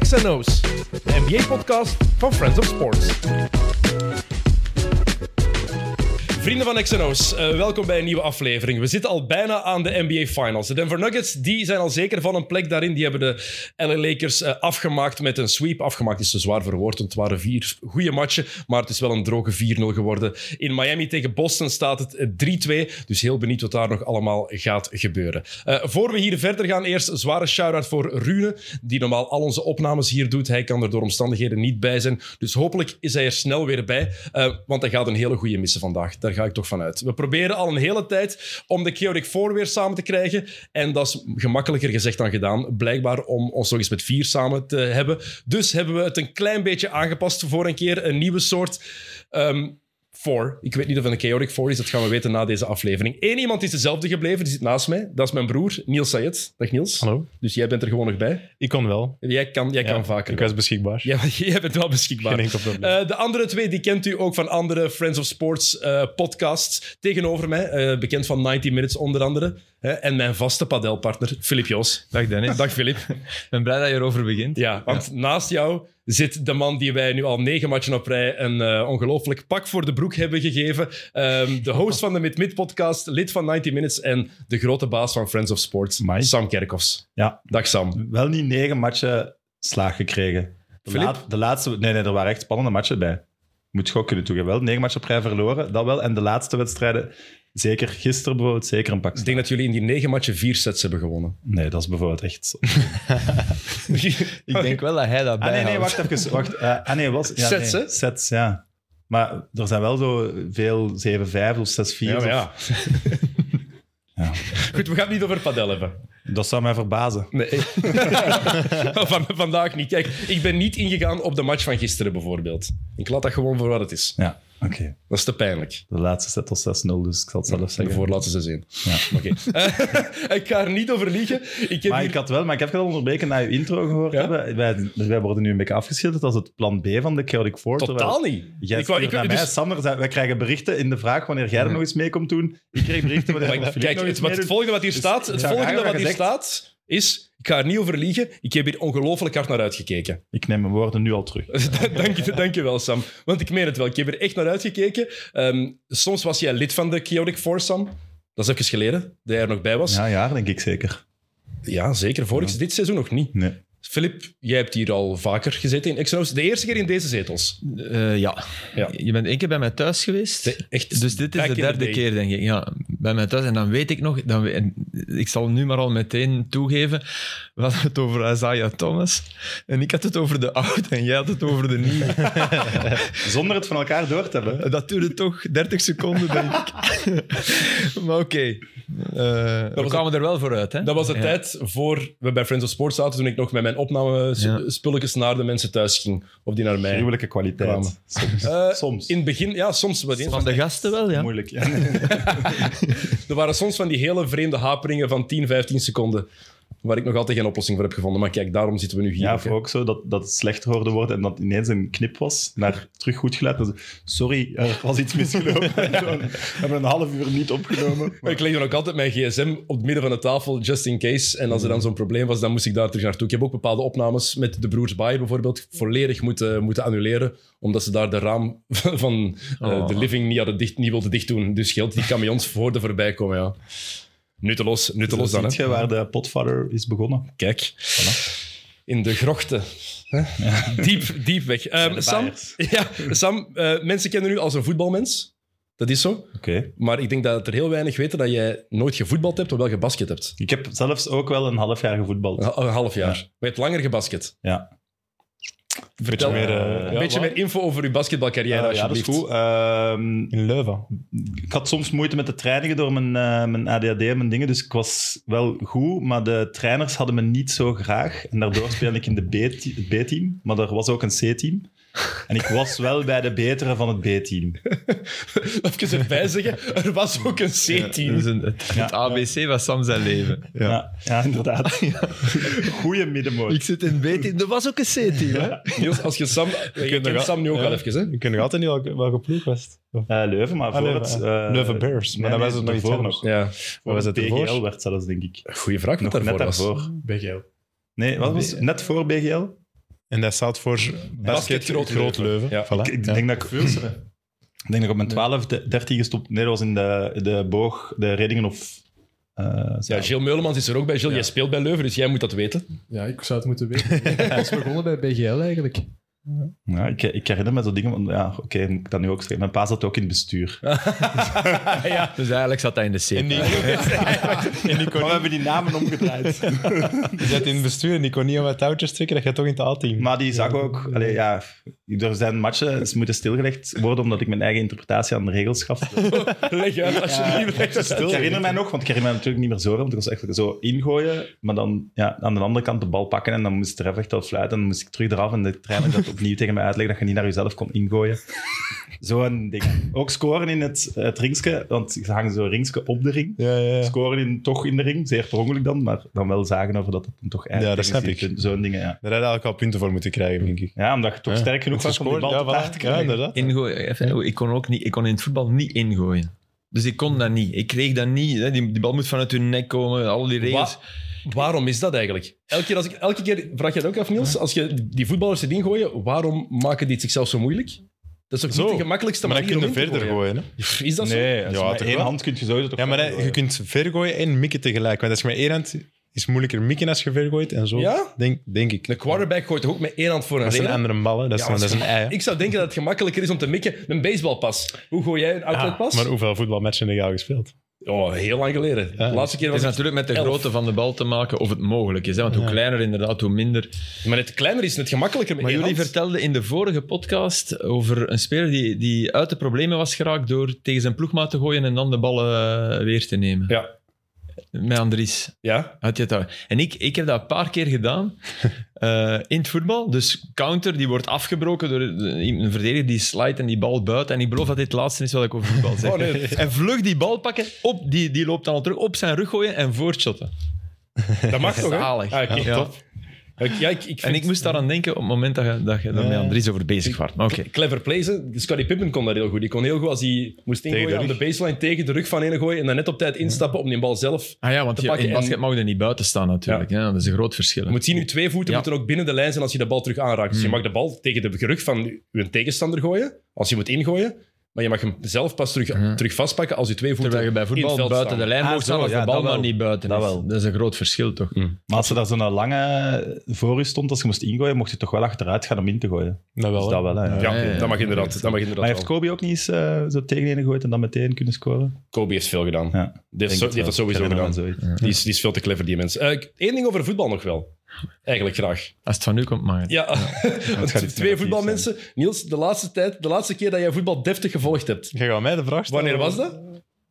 XNO's, de NBA-podcast van Friends of Sports. Vrienden van XNO's, eh, welkom bij een nieuwe aflevering. We zitten al bijna aan de NBA Finals. De Denver Nuggets die zijn al zeker van een plek daarin. Die hebben de LA Lakers eh, afgemaakt met een sweep. Afgemaakt is te zwaar verwoord, want het waren vier goede matchen. Maar het is wel een droge 4-0 geworden. In Miami tegen Boston staat het eh, 3-2. Dus heel benieuwd wat daar nog allemaal gaat gebeuren. Eh, voor we hier verder gaan, eerst een zware shout-out voor Rune, die normaal al onze opnames hier doet. Hij kan er door omstandigheden niet bij zijn. Dus hopelijk is hij er snel weer bij, eh, want hij gaat een hele goede missen vandaag. Daar ga ik toch van uit. We proberen al een hele tijd om de Chaotic Four weer samen te krijgen. En dat is gemakkelijker gezegd dan gedaan, blijkbaar om ons nog eens met vier samen te hebben. Dus hebben we het een klein beetje aangepast voor een keer. Een nieuwe soort... ehm, Four. Ik weet niet of het een Chaotic Four is, dat gaan we weten na deze aflevering. Eén iemand is dezelfde gebleven, die zit naast mij. Dat is mijn broer, Niels Sayed. Dag Niels. Hallo. Dus jij bent er gewoon nog bij. Ik kon wel. Jij kan, jij kan vaker. Ik wel. was beschikbaar. Ja, maar jij bent wel beschikbaar. Geen enkel probleem. Eh, de andere twee die kent u ook van andere Friends of Sports eh, podcasts. Tegenover mij, eh, bekend van 90 Minutes onder andere. hè, en mijn vaste padelpartner, Filip Joos. Dag Dennis. Dag Filip. Ik ben blij dat je erover begint. Ja, want naast jou zit de man die wij nu al negen matchen op rij een eh, ongelooflijk pak voor de broek hebben gegeven. Ehm, de host van de Mid-Mid-podcast, lid van 90 Minutes en de grote baas van Friends of Sports, Amai. Sam Kerkhoffs. Ja. Dag Sam. Wel niet negen matchen slaag gekregen. De, Filip? laat- de laatste... Nee, nee, er waren echt spannende matchen bij. Moet je ook kunnen toegeven. Wel negen matchen op rij verloren, dat wel. En de laatste wedstrijden, zeker gisteren bijvoorbeeld, zeker een pak Ik slaag. denk dat jullie in die negen matchen vier sets hebben gewonnen. Nee, dat is bijvoorbeeld echt... zo. Ah, Ik denk wel dat hij dat Ah nee, bijhoudt. nee, wacht even. Wacht. Eh, ah nee, was... Ja, Sets, nee. hè? Sets, ja. Maar er zijn wel zo veel 7-5 of 6-4. Oh, Ja, of- maar ja. Ja. Goed, we gaan het niet over padel hebben. Dat zou mij verbazen. Nee. Van, vandaag niet. Kijk, ik ben niet ingegaan op de match van gisteren bijvoorbeeld. Ik laat dat gewoon voor wat het is. Ja, oké. Dat is te pijnlijk. De laatste set was 6-0, dus ik zal het zelf De zeggen. voorlaatste zes in. Ja. Oké. Eh, ik ga er niet over liegen. Ik heb Maar hier- ik had wel, maar ik heb het al onderbreken na uw intro gehoord Ja? hebben. Wij, wij worden nu een beetje afgeschilderd als het plan B van de Chaotic Four. totaal terwijl niet. Jij wou- ik, naar dus- mij, Sam, er zijn- wij krijgen berichten in de vraag wanneer jij er nog eens mee komt doen. Ik kreeg berichten wanneer maar Filip kijk, nog het, eens wat, het meedoet. volgende wat hier staat, het zou volgende raar wat hier gezegd. staat is... Ik ga er niet over liegen. Ik heb hier ongelooflijk hard naar uitgekeken. Ik neem mijn woorden nu al terug. Dus- dank, je, dank je wel, Sam. Want ik meen het wel. Ik heb er echt naar uitgekeken. Ehm, soms was jij lid van de Chaotic Force, Sam. Dat is even geleden, dat jij er nog bij was. Ja, Ja, ja, denk ik zeker. zeker. Vorig, Dit seizoen nog niet. Nee. Filip, jij hebt hier al vaker gezeten in XNO's. De eerste keer in deze zetels. Eh, ja. Ja. Je bent één keer bij mij thuis geweest. De- echt Dus dit back is in de the derde day. keer, denk ik. Ja, bij mij thuis. En dan weet ik nog... Dan we- en ik zal nu maar al meteen toegeven. We hadden het over Isaiah Thomas. En ik had het over de oude en jij had het over de nieuwe. Zonder het van elkaar door te hebben. Dat duurde toch 30 seconden, denk ik. maar oké. Eh, we was- kwamen er wel voor uit, hè? Dat was de Ja. tijd voor we bij Friends of Sports zaten, toen ik nog met mijn Ja. opnamespulletjes naar de mensen thuis ging. Of die naar mij. Gruwelijke kwaliteit. Kwamen. Soms. Eh, Soms. In het begin, ja, soms. Wat eens. Van de gasten wel, ja. Moeilijk. Ja, nee. Er waren soms van die hele vreemde haperingen van 10, 15 seconden, waar ik nog altijd geen oplossing voor heb gevonden. Maar kijk, daarom zitten we nu hier. ja ook, of hè. ook zo dat, dat het slechter hoorde worden en dat ineens een knip was naar terug goed geluid. Dan zo, Sorry, er was iets misgelopen. Gewoon, We hebben een half uur niet opgenomen. Ik leg dan ook altijd mijn gsm op het midden van de tafel, just in case. En als er dan zo'n probleem was, dan moest ik daar terug naartoe. Ik heb ook bepaalde opnames met de broers Bayer bijvoorbeeld volledig moeten, moeten annuleren, omdat ze daar de raam van eh, Oh. de living niet, hadden dicht, niet wilden dicht doen. Dus geldt die camions voor de voorbij komen, ja. Nutteloos, nutteloos dan, Zo hè. ziet je waar de potvader is begonnen. Kijk. In de grochten. hè? Diep, diep weg. Ehm, de Sam, baaiers. ja, Sam eh, mensen kennen u als een voetbalmens. Dat is zo. Oké. Maar ik denk dat er heel weinig weten dat jij nooit gevoetbald hebt, hoewel je basket hebt. Ik heb zelfs ook wel een half jaar gevoetbald. Een ha- Een half jaar. Maar je hebt langer gebasket. Ja. Vertel meer, eh, een ja, beetje wat? meer info over uw Eh, basketbalcarrière, ja, dat is alsjeblieft. goed. Ehm, In Leuven. ik had soms moeite met de trainingen door mijn, eh, mijn ADHD en mijn dingen. Dus ik was wel goed, maar de trainers hadden me niet zo graag. En daardoor speelde ik in de B-te- het B-team. Maar er was ook een C-team. En ik was wel bij de betere van het B-team. Even erbij zeggen, er was ook een C-team. Dus een- het, het Ja. ABC was Sam zijn leven. Ja. Ja, inderdaad. Goeie middenmoot. Ik zit in het B-team. Er was ook een C-team, hè? Niels, als je Sam... Je kunt kent nog- Sam nu ook ja. wel even, hè? Ik ken nog altijd niet welke, welke ploeg was het. Of- Eh, Leuven, maar Ah, voor Leuven, het... ja. eh, Leuven Bears, maar dan was het nog iets daarvoor anders. Ja. Voor was het het ervoor? PGL werd zelfs, denk ik. Goeie vraag wat Nog daarvoor net was. daarvoor. BGL. Nee, wat was het? Net voor BGL? En dat staat voor basket, Groot Groot, Leuven. Leuven. Ja. Voilà. Ik, ik Ja. denk dat ik... Ik denk dat ik op mijn 12, de- 13 gestopt... Nee, dat was in de, de boog, de Redingen of... eh, Ja, Gilles Meulemans is er ook bij. Gilles, Ja. jij speelt bij Leuven, dus jij moet dat weten. Ja, ik zou het moeten weten. Ik was begonnen bij BGL eigenlijk. Ja, ik, ik herinner me zo dingen van, ja, oké, moet ik dat nu ook zeggen. Mijn pa zat ook in het bestuur. ja. Dus eigenlijk zat hij in de C. En die, Maar we hebben die namen omgedraaid. die zat in het bestuur en die kon niet aan mijn touwtjes trekken. Dat gaat toch in het A-team. maar die zag ook, allee, ja, er zijn matchen, ze moeten stilgelegd worden omdat ik mijn eigen interpretatie aan de regels gaf. Leg uit alsjeblieft. Leg dat stil. Ik herinner mij nog, want ik herinner mij natuurlijk niet meer zo, want ik was echt zo ingooien, maar dan ja, aan de andere kant de bal pakken en dan moest er even echt wat fluiten en dan moest ik terug eraf en de trainer dat opnieuw tegen mij uitleggen dat je niet naar jezelf kon ingooien. Zo'n ding. Ook scoren in het, het ringske, want ze hangen zo ringske op de ring. Ja, ja, ja. scoren in, toch in de ring. Zeer per ongeluk dan, maar dan wel zagen over dat het hem toch Ja, dat tegen snap zit. ik. Zo'n dingen, ja. Daar had eigenlijk al punten voor moeten krijgen, denk ik. Ja, omdat je toch Ja. sterk genoeg Want was ze om die bal scoorden, te ja, paard te voilà. krijgen. Ja, inderdaad. Ingooien. Even, oh, ik, kon ook niet, ik kon in het voetbal niet ingooien. Dus ik kon dat niet. Ik kreeg dat niet. Hè. Die, die bal moet vanuit hun nek komen, al die regels. Wa- waarom is dat eigenlijk? Elke keer, als ik, elke keer vraag je dat ook af, Niels. Als je die voetballers erin gooien, waarom maken die het zichzelf zo moeilijk? Dat is ook Zo. niet de gemakkelijkste Maar dan manier kun je om in te verder gooien. gooien. Hè? Is dat zo? Ja, Dus met toch één wel. hand kun je sowieso toch Ja, maar wel dan- je gooien. kunt vergooien en mikken tegelijk. Want als je met één hand is moeilijker mikken als je vergooit en zo. Ja? Denk, denk ik. De quarterback gooit toch ook met één hand voor een Dat is een reden? andere bal, hè. Dat is, Ja, maar dat is een ei. hè. Ik zou denken dat het gemakkelijker is om te mikken. Een baseballpas. Hoe gooi jij een outletpas? Maar hoeveel voetbalmatchen heb je al gespeeld? Oh, heel lang geleden. Ja. De laatste keer Het was is het... natuurlijk met de elf. grootte van de bal te maken of het mogelijk is. Hè? Want hoe Ja. kleiner inderdaad, hoe minder. Maar het kleiner is het gemakkelijker. met Maar één jullie hand. vertelden in de vorige podcast over een speler die, die uit de problemen was geraakt door tegen zijn ploegmaat te gooien en dan de ballen eh, weer te nemen. Ja. Met Andries. Ja? Had je het daar? En ik, ik heb dat een paar keer gedaan eh, in het voetbal. Dus counter, die wordt afgebroken door een verdediger die slijt en die bal buiten. En ik beloof dat dit het laatste is wat ik over voetbal zeg. Oh, nee. En vlug die bal pakken, op, die, die loopt dan al terug, op zijn rug gooien en voortshotten. Dat mag toch, hè? Zalig. Ah, oké, Ja. top. Ja, ik, ik vind- En ik moest daaraan denken op het moment dat je, dat je daar met Andries over bezig was. Maar oké. Clever plays. hè. Scottie Pippen kon dat heel goed. Die kon heel goed als hij moest de ingooien aan de rug. baseline tegen de rug van ene gooien en dan net op tijd instappen om die bal zelf. Ah ja, want Te je- pakken in en- basket mag je niet buiten staan natuurlijk. Ja. dat is een groot verschil. Je moet zien, je twee voeten Ja. moeten ook binnen de lijn zijn als je de bal terug aanraakt. Dus je mag de bal tegen de rug van je tegenstander gooien, als je moet ingooien. Maar je mag hem zelf pas terug, terug vastpakken als je twee voeten Terwijl je bij in het voetbal veld buiten staan. de lijn Ah, mag staan zo, als ja, de bal dat maar wel. niet buiten Dat is. wel. Dat is een groot verschil toch? Maar als er daar zo'n lange voor je stond, als je moest ingooien, mocht je toch wel achteruit gaan om in te gooien. Nou Dus dat wel, hè. Ja, Ja, ja, dat mag ja. inderdaad. Dat mag inderdaad Maar heeft wel. Kobe ook niet eens eh, zo tegen een gegooid en dan meteen kunnen scoren? Kobe heeft veel gedaan. Ja, die heeft, Denk zo- het die heeft dat wel. sowieso Ik herinner me gedaan. zoiets. Die, is, die is veel te clever, die mens. Eén ding over voetbal nog wel. Eigenlijk graag. Als het van nu komt, mag het. Ja, want gaat iets twee negatiefs voetbalmensen. Niels, de laatste, tijd, de laatste keer dat jij voetbal deftig gevolgd hebt. Je gaat mij de vraag stellen. Wanneer was dat?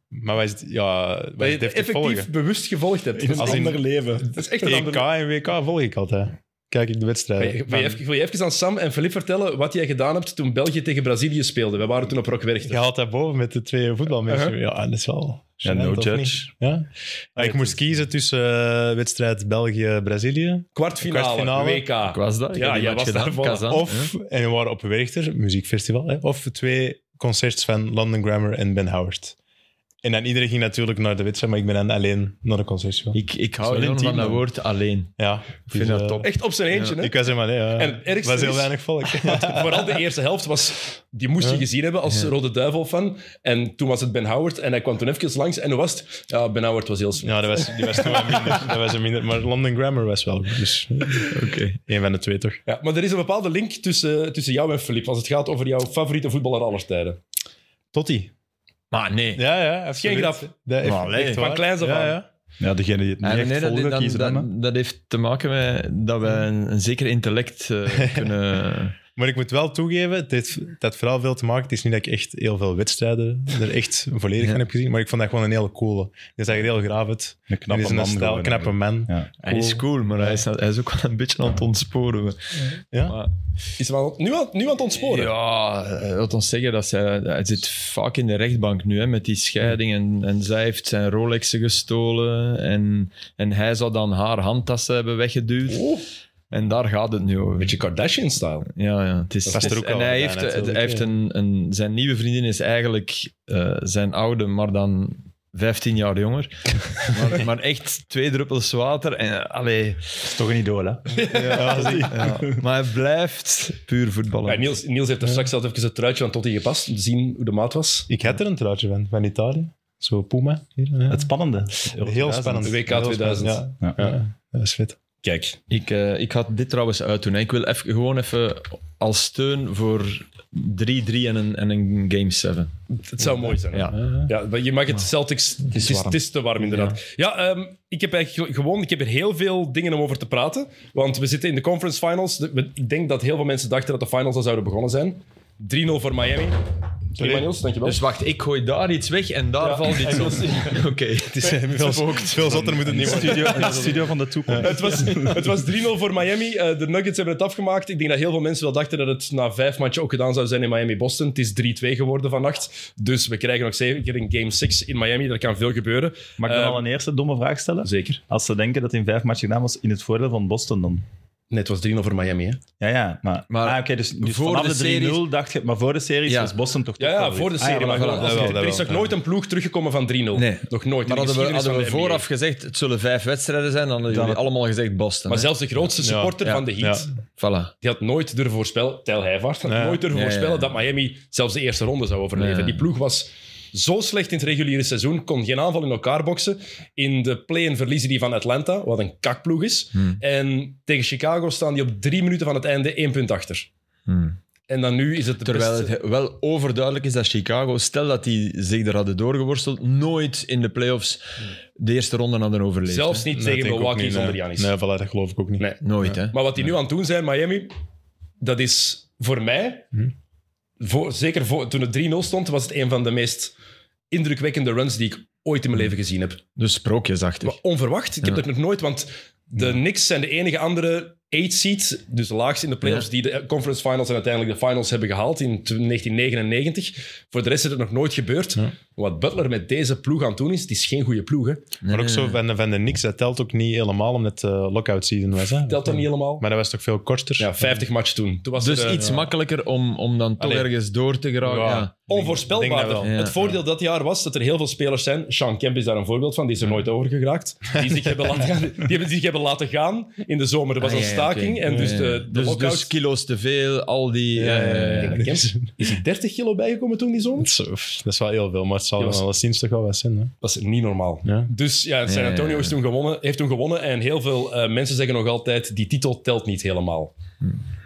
Maar wij, ja, wij Dat je het het heeft te effectief volgen. bewust gevolgd hebt. een Als in- ander leven. Dat is echt een ander EK en WK volg ik altijd. Kijk ik de Wil je- wedstrijden. wil je even- wil je even aan Sam en Filip vertellen wat jij gedaan hebt toen België tegen Brazilië speelde? We waren toen op Rockwerchter. Je haalt dat boven met de twee voetbalmensen. Dus Uh-huh. Ja, dat is wel... Ja, gênant, no of judge. niet? Ja? Ah, ik moest kiezen tussen eh, wedstrijd België-Brazilië Kwartfinale, Kwartfinale. Ik WK. was dat. Ik Ja, heb die jij match was daarvoor. Kazan, of, en we waren op Werchter, muziekfestival, hè, of twee concerts van London Grammar en Ben Howard. En dan iedereen ging natuurlijk naar de wedstrijd, maar ik ben dan alleen naar de concert gegaan. Ik, ik hou wel enorm intiem, van dat man. woord alleen. Ja, vind dus, dat eh, top. Echt op zijn eentje, hè? Ik was helemaal nee. Ja. En het Er ergste was heel is- weinig volk. Vooral de eerste helft was... Die moest je gezien hebben als Rode Duivel-fan. En toen was het Ben Howard. En hij kwam toen even langs. En hoe was het? Ja, Ben Howard was heel slecht. ja, dat was, die was toen wel minder. Dat was een minder. Maar London Grammar was wel. goed, Dus Oké. één van de twee toch? Ja, maar er is een bepaalde link tussen, tussen jou en Filip. Als het gaat over jouw favoriete voetballer aller tijden. Totti. Maar nee. Ja, ja. Geen grap. Dat heeft, Maar allee, echt van waar. kleins af aan. Ja, ja. Ja, degene die het niet Ah, echt nee, dat, volgen, dat- kiezen dat, dan, hè. dat heeft te maken met dat we een, een zeker intellect eh, kunnen... Maar ik moet wel toegeven, het heeft, het had vooral veel te maken. Het is niet dat ik echt heel veel wedstrijden er echt volledig van heb gezien. Maar ik vond dat gewoon een hele coole. Die zag er heel graaf uit. Een En knappe die is een man. snel, gewoon, knappe man. Ja. Hij is cool, maar hij is, hij is ook wel een beetje aan het ontsporen. Ja? Maar- Is hem al- nu, aan, nu aan het ontsporen. Ja, eh, laat ons zeggen dat zij, hij zit vaak in de rechtbank nu hè, met die scheiding. En, en zij heeft zijn Rolexen gestolen. En, en hij zou dan haar handtassen hebben weggeduwd. Oh, En daar gaat het nu over. beetje Kardashian-style. Ja, ja. Het is, past het is- er ook en wel hij bij heeft, natuurlijk, hij heeft ja. een, een, zijn nieuwe vriendin is eigenlijk eh, zijn oude, maar dan 15 jaar jonger. Maar, maar echt twee druppels water. En, eh, allee, Dat is toch een idool, hè? ja. Maar hij blijft puur voetballen. Ja, Niels, Niels heeft er straks zelf even het truitje aan Totti gepast, om te zien hoe de maat was. Ik had er een truitje van, van Italië. Zo Puma. Hier, ja. Het spannende. Heel spannend. WK Heel 2000. spannend, Ja. Ja. Ja. Dat is vet. Kijk, Ik, eh, ik ga dit trouwens uitdoen. hè. Ik wil even, gewoon even als steun voor 3-3 en een, en een Game 7. het zou mooi zijn. hè? Ja. Ja, maar je mag het Celtics... Het is, warm. het is te warm, inderdaad. Ja, ehm, ik heb eigenlijk gewoon... Ik heb er heel veel dingen om over te praten. Want we zitten in de conference finals. De- we- Ik denk dat heel veel mensen dachten dat de finals al zouden begonnen zijn. 3-0 voor Miami. Prima, Niels. Dankjewel. Dus wacht, ik gooi daar iets weg en daar Ja. valt iets op. Oké, het is Veel, veel zotter moet het niet worden. Studio, een studio van de toekomst. Het was, het was 3-0 voor Miami. Eh, de Nuggets hebben het afgemaakt. Ik denk dat heel veel mensen wel dachten dat het na vijf matchen ook gedaan zou zijn in Miami-Boston. Het is 3-2 geworden vannacht. Dus we krijgen nog zeker een Game 6 in Miami. Er kan veel gebeuren. Mag ik dan Eh, al een eerste domme vraag stellen? Zeker. Als ze denken dat in vijf matchen gedaan was, in het voordeel van Boston dan? Nee, het was 3-0 voor Miami, hè? Ja, ja, maar, Maar ah, oké, dus, dus voor vanaf de de, series- 3-0 dacht je, maar voor de series Ja. was Boston toch Ja, toch ja favoriet? voor de Ah, ja, serie. maar maar voilà. gewoon- dat wel, dat er is wel. nog nooit een ploeg teruggekomen van 3-0. Nee. Nog nooit. Maar in de hadden we, geschiedenis hadden van de we NBA. vooraf gezegd, het zullen vijf wedstrijden zijn, dan hadden Dan jullie allemaal gezegd Boston. Maar hè. zelfs de grootste supporter Ja. van de Heat, Voilà. die had nooit durven voorspellen, tel hij vaart, had Ja. nooit durven Ja, ja, voorspellen ja. dat Miami zelfs de eerste ronde zou overleven. Ja. Die ploeg was zo slecht in het reguliere seizoen, kon geen aanval in elkaar boksen. In de play-in verliezen die van Atlanta, wat een kakploeg is. Hmm. En tegen Chicago staan die op drie minuten van het einde één punt achter. Hmm. En dan nu is het de Terwijl beste... het wel overduidelijk is dat Chicago, stel dat die zich er hadden doorgeworsteld, nooit in de playoffs de eerste ronde hadden overleefd. Zelfs niet Dat tegen denk ik ook Milwaukee niet, zonder nee. Giannis. Nee, voilà, dat geloof ik ook niet. Nee. hè. Nooit, hè. Maar wat die nu aan het doen zijn, Miami, dat is voor mij, Hm. voor, zeker voor, toen het 3-0 stond, was het een van de meest indrukwekkende runs die ik ooit in mijn leven gezien heb. Dus sprookjesachtig. Maar onverwacht. Ik heb dat nog nooit, want de Knicks zijn de enige andere eight seed, dus de laagste in de playoffs, Ja. die de conference finals en uiteindelijk de finals hebben gehaald in t- 1999. Voor de rest is het nog nooit gebeurd. Wat Butler met deze ploeg aan het doen is, het is geen goede ploeg. Hè. Maar ook zo van de, van de niks, dat telt ook niet helemaal omdat de lockout season was. Hè? Telt dat niet helemaal? Maar dat was toch veel korter? Ja, 50 match toen. toen was Dus er, eh, iets makkelijker om, om dan toch Allee. ergens door te geraken. Ja. Ja. denk dat Onvoorspelbaarder. wel. Ja, het voordeel dat jaar was dat er heel veel spelers zijn. Sean Kemp is daar een voorbeeld van, die is er nooit over geraakt. Die zich hebben laten gaan, die hebben zich hebben laten gaan in de zomer. Er was Ah, een ja, ja, staking oké. en dus Ja, de, ja. de dus, lockout. dus kilo's te veel, al die... eh, Ik denk dat Kemp- is hij 30 kilo bijgekomen toen die zomer? Zo, pff, dat is wel heel veel, maar het zal Ja, wel was- alleszins toch wel wat zijn. Hè? Dat is niet normaal. Ja. Dus ja, San Ja, ja, Antonio ja. Is toen gewonnen, heeft toen gewonnen. En heel veel eh, mensen zeggen nog altijd, die titel telt niet helemaal.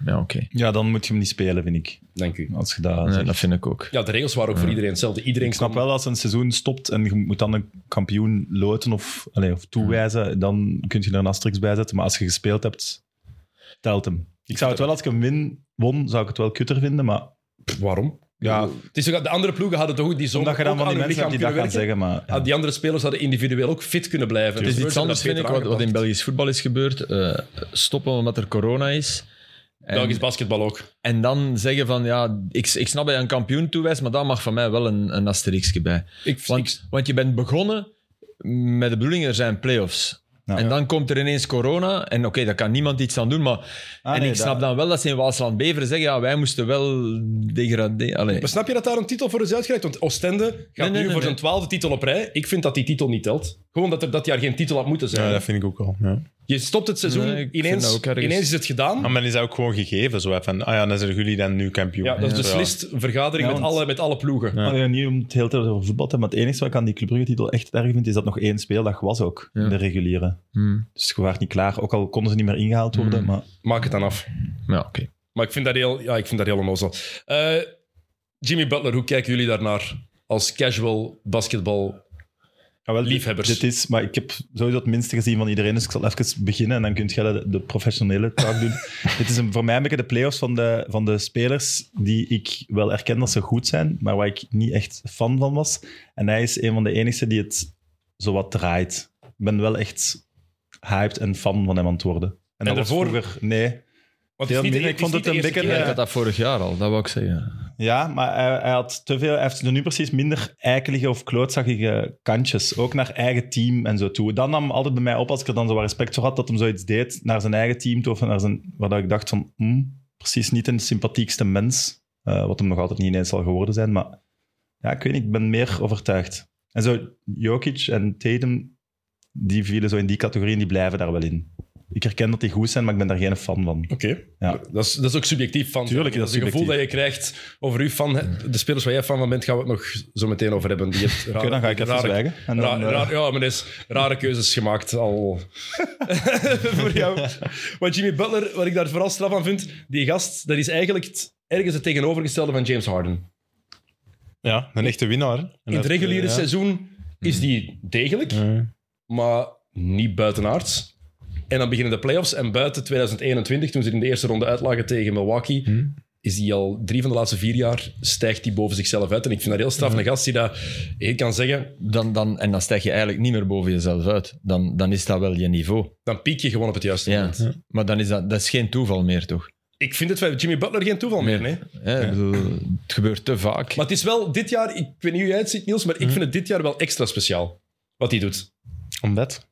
Ja, oké. Ja, dan moet je hem niet spelen, vind ik. Dank u. Als je dat Ja, zegt. dat vind ik ook. Ja, de regels waren ook voor iedereen hetzelfde. Iedereen Ik snap kon- wel als een seizoen stopt en je moet dan een kampioen loten of, allez, of Mm. toewijzen, dan kun je er een asterisk bij zetten. Maar als je gespeeld hebt, telt hem. Ik zou het wel, als ik hem win, won, zou ik het wel kutter vinden, maar... Pff, Waarom? Ja, Het is ook, de andere ploegen hadden toch ook die zomer omdat je dan ook van die aan hun mensen hebt die lichaam dat gaan kunnen werken? zeggen, maar... Ah, die andere spelers hadden individueel ook fit kunnen blijven. Het is Dus iets Spurs anders, vind hebben ik, dat wat, beter wat in aangepakt. Belgisch voetbal is gebeurd. Eh, stoppen omdat er corona is. En, Belgisch basketbal ook. en dan zeggen van, ja, ik, ik snap dat je een kampioen toewijst, maar daar mag van mij wel een, een asteriekje bij. Ik, Want, want je bent begonnen met de bedoeling, er zijn play-offs. Ja. en dan komt er ineens corona. En oké, daar kan niemand iets aan doen. Maar, Ah, en nee, ik snap dat- dan wel dat ze in Waasland-Beveren zeggen... Ja, wij moesten wel degraderen. Allee. maar snap je dat daar een titel voor is uitgereikt? Want Oostende gaat nee, nu nee, voor nee. zijn twaalfde titel op rij. Ik vind dat die titel niet telt. Gewoon dat er dat jaar geen titel had moeten zijn. Ja, dat vind ik ook wel. Ja. Je stopt het seizoen, Nee, ik vind ineens, dat ook ergens- ineens is het gedaan. Ah, maar is dat ook gewoon gegeven? Zo hè, van, ah ja, dan zijn jullie dan nu kampioen. Ja, dat is Ja. dus beslist een vergadering Ja, met, want- alle, met alle ploegen. Ja. Allee, niet om het heel tijd over voetbal te hebben, maar het enige wat ik aan die Club Brugge titel echt erg vind, is dat nog één speeldag was ook, Ja. in de reguliere. Hmm. Dus je waart niet klaar, ook al konden ze niet meer ingehaald worden, Mm. maar... Maak het dan af. Ja, oké. Maar ik vind dat heel, ja, ik vind dat heel onnozel. Eh, Jimmy Butler, hoe kijken jullie daarnaar als casual basketbal? Ja, Ah, wel, dit- Liefhebbers. Dit is, maar ik heb sowieso het minste gezien van iedereen, dus ik zal even beginnen en dan kunt jij de, de professionele taak doen. dit is een, voor mij een beetje de play-offs van de, van de spelers die ik wel erken dat ze goed zijn, maar waar ik niet echt fan van was. En hij is een van de enigste die het zowat draait. Ik ben wel echt hyped en fan van hem aan het worden. En, dat was daarvoor- vroeger... Nee. Want Heel het is niet de- minder. Ik is niet vond het de een eerste dikke- keer. Ik had dat vorig jaar al, dat wou ik zeggen. Ja, maar hij, hij had te veel. Hij heeft nu precies minder eikelige of klootzakkige kantjes. Ook naar eigen team en zo toe. Dat nam altijd bij mij op als ik er dan zo wat respect voor had dat hem zoiets deed naar zijn eigen team toe. Of naar zijn, waar dat ik dacht van, hmm, precies niet een sympathiekste mens. Eh, wat hem nog altijd niet ineens zal geworden zijn. Maar ja, ik weet niet, ik ben meer overtuigd. En zo Jokic en Tatum, die vielen zo in die categorie en die blijven daar wel in. Ik herken dat die goed zijn, maar ik ben daar geen fan van. Oké. Ja. Dat, is, dat is ook subjectief van. Tuurlijk, dat is het gevoel dat je subjectief. krijgt over uw fan. De spelers waar jij fan van bent, gaan we het nog zo meteen over hebben. Die hebt Oké, dan ga ik even zwijgen. En dan, Ra- eh, raar- ja, maar er is rare keuzes gemaakt al voor jou. Maar Jimmy Butler, wat ik daar vooral straf aan vind, die gast, dat is eigenlijk het- ergens het tegenovergestelde van James Harden. Ja, een echte winnaar. hè. En In het dat, reguliere eh, ja. seizoen is die degelijk, Ja. maar niet buitenaards. En dan beginnen de playoffs en buiten 2021, toen ze in de eerste ronde uitlagen tegen Milwaukee, Hm. is die al drie van de laatste vier jaar stijgt die boven zichzelf uit. En ik vind dat heel straf. Een gast die dat heel kan zeggen, Dan, dan, en dan stijg je eigenlijk niet meer boven jezelf uit. Dan, dan is dat wel je niveau. dan piek je gewoon op het juiste Ja. moment. Maar dan is dat, dat is geen toeval meer, toch? Ik vind het van Jimmy Butler geen toeval meer, nee. Hè, ik bedoel, het gebeurt te vaak. Maar het is wel dit jaar, ik weet niet hoe jij het ziet, Niels, maar Hm. ik vind het dit jaar wel extra speciaal wat hij doet. Omdat?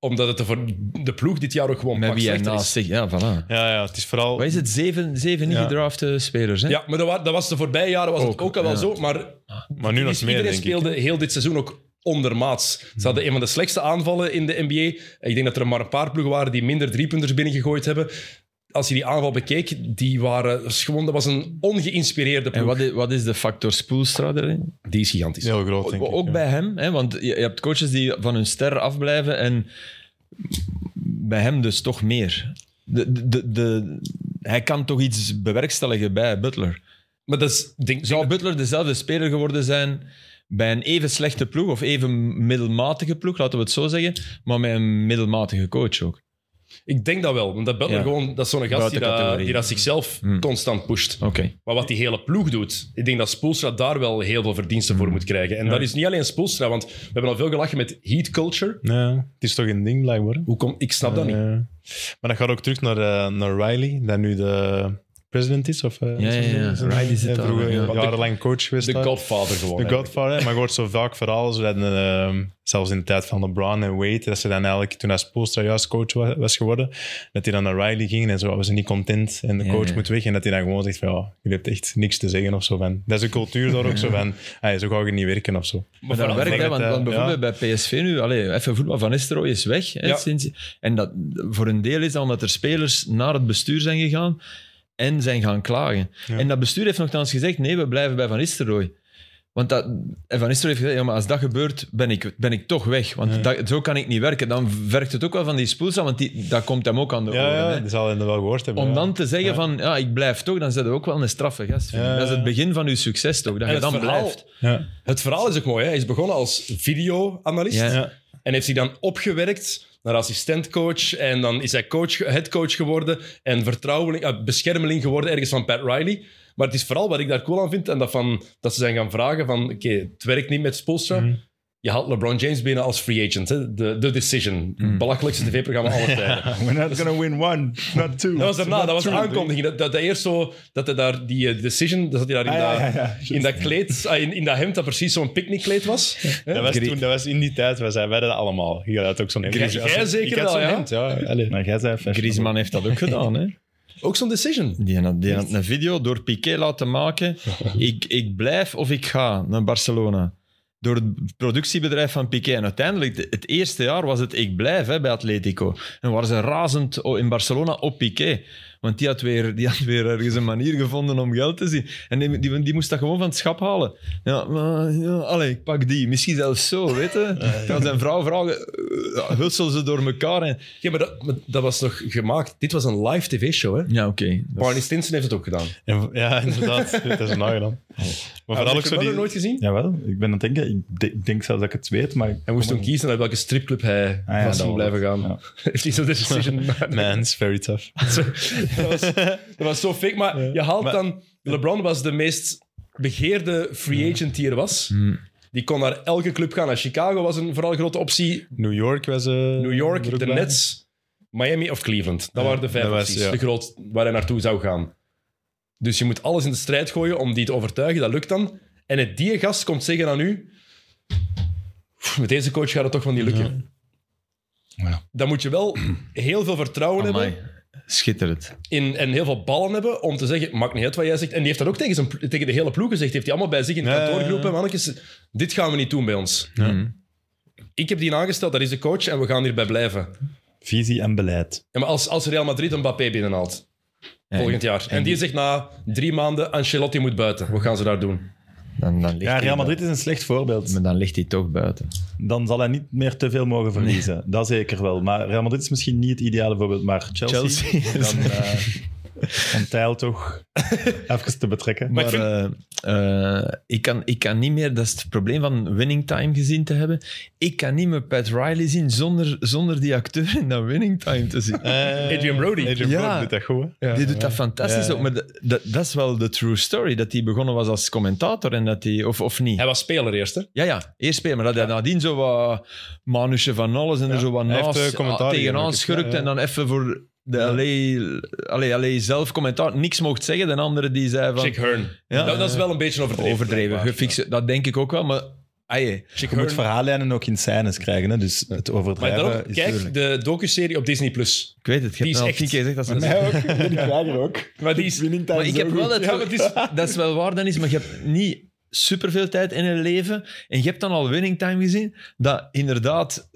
Omdat het er voor de ploeg dit jaar ook gewoon Met pak wie hij slechter naast is. zich... Ja, voilà. Ja, ja, het is vooral... Wat is het? Zeven, zeven niet Ja. gedrafte spelers, hè? Ja, maar dat, wa- dat was de voorbije jaren was Ook, het ook al wel ja. zo, maar Maar nu nog is- meer, iedereen denk ik. speelde heel dit seizoen ook ondermaats. Ze hadden een van de slechtste aanvallen in de NBA. Ik denk dat er maar een paar ploegen waren die minder driepunters binnengegooid hebben. Als je die aanval bekeek, die waren, was gewoon, dat was een ongeïnspireerde En ploeg. wat is, wat is de factor Spoelstra erin? Die is gigantisch. Heel groot, denk ik. Ook ja. bij hem, hè? want je, je hebt coaches die van hun ster afblijven en bij hem dus toch meer. De, de, de, de- hij kan toch iets bewerkstelligen bij Butler. Maar dat is, denk, Zou Butler dezelfde speler geworden zijn bij een even slechte ploeg of even middelmatige ploeg, laten we het zo zeggen, maar met een middelmatige coach ook? ik denk dat wel. Want dat Butler Ja. gewoon, dat is zo'n gast die dat, Buitencategorie. die dat zichzelf constant pusht. Oké. Maar wat die hele ploeg doet, ik denk dat Spoelstra daar wel heel veel verdiensten voor moet krijgen. En dat is niet alleen Spoelstra, want we hebben al veel gelachen met heat culture. Ja, het is toch een ding, blijkbaar. hè? Hoe kom, ik snap dat niet. Ja. maar dat gaat ook terug naar, eh, naar Riley, dat nu de president is. Of, eh, Ja, ja, ja. is een- Riley zit eh, daar, vroeger ja. jarenlang coach geweest. De daar. Godfather gewoon. De hè. Godfather, hè. maar je hoort zo vaak verhalen, zo dat, eh, zelfs in de tijd van LeBron en Wade, dat ze dan eigenlijk, toen hij Spoelstra juist coach wa- was geworden, dat hij dan naar Riley ging en zo, "Oh, we zijn niet content en de Ja, coach ja. moet weg. En dat hij dan gewoon zegt van, ja, jullie hebt echt niks te zeggen of zo. Van. Dat is een cultuur daar ook zo van, hey, zo ga je niet werken of zo. Maar Maar dat vooral- werkt, denk hè, dat want, hij- want bijvoorbeeld bij PSV nu, allee, even voetbal, Van Nistelrooy is weg. Hè, Ja. sinds, en dat, voor een deel is dat omdat er spelers naar het bestuur zijn gegaan en zijn gaan klagen. Ja. En dat bestuur heeft nogthans gezegd, nee, we blijven bij Van Nistelrooy. Want dat, en Van Nistelrooy heeft gezegd, ja, maar als dat gebeurt, ben ik, ben ik toch weg. Want dat- zo kan ik niet werken. Dan vergt het ook wel van die spoelzaam, want die, dat komt hem ook aan de Ja, oren. ja, hè. dat zal hij wel gehoord hebben. Om ja. dan te zeggen Ja. van, ja, ik blijf toch, dan zet je ook wel een straffe gast. vinden. Ja, ja, Dat is het ja. begin van uw succes toch, dat En je het dan verhaal- blijft. Ja. Het verhaal is ook mooi. Hè? Hij is begonnen als videoanalist Ja. Ja. en heeft zich dan opgewerkt naar assistentcoach. En dan is hij coach, headcoach geworden en vertrouweling, eh, beschermeling geworden ergens van Pat Riley. Maar het is vooral wat ik daar cool aan vind en dat, van, dat ze zijn gaan vragen van oké, het werkt niet met Spolstra. Mhm. Je haalt LeBron James binnen als free agent. Hè? De, de Decision. Belachelijkste tv-programma aller tijden. We're not gonna win one, not two. Dat was daarna, dat was de aankondiging. Dat, dat, dat eerst zo, dat hij daar die eh, decision, dat zat hij daar in, Ah, ja, dat, ja, ja. in dat kleed, ah, in, in dat hemd dat precies zo'n picknickkleed was. Hè? Dat was, toen, dat was in die tijd, we zeiden wij dat allemaal. Je had ook zo'n hemd. Jij- Dus als- jij zeker ik had wel, zo'n ja? hemd, ja. Allee. Maar jij zei fashion. Griezmann heeft dat ook gedaan, hè. Ook zo'n decision. Die had, die had een video door Piqué laten maken. Ik, ik blijf of ik ga naar Barcelona. Door het productiebedrijf van Piqué. En uiteindelijk, de- het eerste jaar was het ik blijf hè, bij Atletico. En waren ze razend o- in Barcelona op Piqué. Want die had, weer, die had weer ergens een manier gevonden om geld te zien. En die, die, die moest dat gewoon van het schap halen. Ja, maar, ja, allee, ik pak die. Misschien zelfs zo, weet je. Kan zijn vrouw vragen, eh, hutsel ze door elkaar. En... Ja, maar dat, maar dat was nog gemaakt. Dit was een live tv-show, hè? Ja, oké. Barney Stinson heeft het ook gedaan. En- Ja, inderdaad. dat is een nagedaan. Maar Had vooral je ook zo Butler die... nooit gezien? Oh. Jawel, ik ben aan het denken. Ik, de- ik denk zelfs dat ik het weet, maar... Hij moest toen kiezen naar welke stripclub hij Ah ja, vast ging dat wel. blijven gaan. Ja. Heeft hij zo'n decision Man, it's very tough. dat, was, dat was zo fake. Maar je haalt Maar- dan... LeBron was de meest begeerde free agent die er was. Die kon naar elke club gaan. Naar Chicago was een vooral grote optie. New York was... eh, New York, er ook de bij. Nets, Miami of Cleveland. Dat Ja, waren de vijf dat was- opties, ja. de groot waar hij naartoe zou gaan. Dus je moet alles in de strijd gooien om die te overtuigen. Dat lukt dan. En het die gast komt zeggen aan u... "Pff, Met deze coach gaat het toch wel niet lukken. Dan moet je wel heel veel vertrouwen hebben. Amai. Schitterend. in, en heel veel ballen hebben om te zeggen, maakt niet uit wat jij zegt. En die heeft dat ook tegen, zijn, plo- tegen de hele ploeg gezegd. Heeft hij allemaal bij zich in het Ja, ja, kantoor ja. geroepen. Mannetjes, dit gaan we niet doen bij ons. Ik heb die aangesteld, dat is de coach en we gaan hierbij blijven. Visie en beleid. Ja, maar als, als Real Madrid een Mbappé binnenhaalt Ja, volgend jaar. En, die zegt na drie maanden, Ancelotti moet buiten. Wat gaan ze daar doen? Dan, dan ligt Ja, hij Real bu- Madrid is een slecht voorbeeld. Maar dan ligt hij toch buiten. Dan zal hij niet meer te veel mogen verliezen. Dat zeker wel. Maar Real Madrid is misschien niet het ideale voorbeeld. Maar Chelsea, Chelsea. dan eh ontijl toch even te betrekken. Maar, Maar ik eh, eh, ik, kan, ik kan niet meer, dat is het probleem van winning time gezien te hebben. Ik kan niet meer Pat Riley zien zonder, zonder die acteur in dat winning time te zien. Adrian Brody. eh, Adrian Ja. Brody doet dat goed, hè? die doet dat fantastisch Ja. ook, maar dat, dat, dat is wel de true story. Dat hij begonnen was als commentator en dat hij, of, of niet. Hij was speler eerst, hè? Ja, ja, eerst spelen. Maar dat hij nadien zo wat manusje van alles en er zo wat hij heeft, naast, eh, commentaar ah, gegeven tegenaan ook. schurkt Ja, ja. en dan even voor de LA, allee, LA zelf commentaar niks mocht zeggen. De andere die zei van... Chick Hearn. Ja. dat, dat is wel een beetje overdreven. overdreven, blijkbaar. gefixt. Dat denk ik ook wel, maar... ah, jee. Chick Je moet Hearn. verhaallijnen ook in scènes krijgen. Hè? Dus het Maar overdrijven daarom, is kijk duurlijk. de docu-serie op Disney+. Plus. Ik weet het, ik Die is heb het al echt- tien keer gezegd. Dat ze dat Mij ook. Die krijgen ook. Maar die is... Winning time Maar ik zo heb goed. wel het... Ja, maar het is- Dat is wel waar, Dennis, maar je hebt niet superveel tijd in je leven en je hebt dan al winning time gezien, dat inderdaad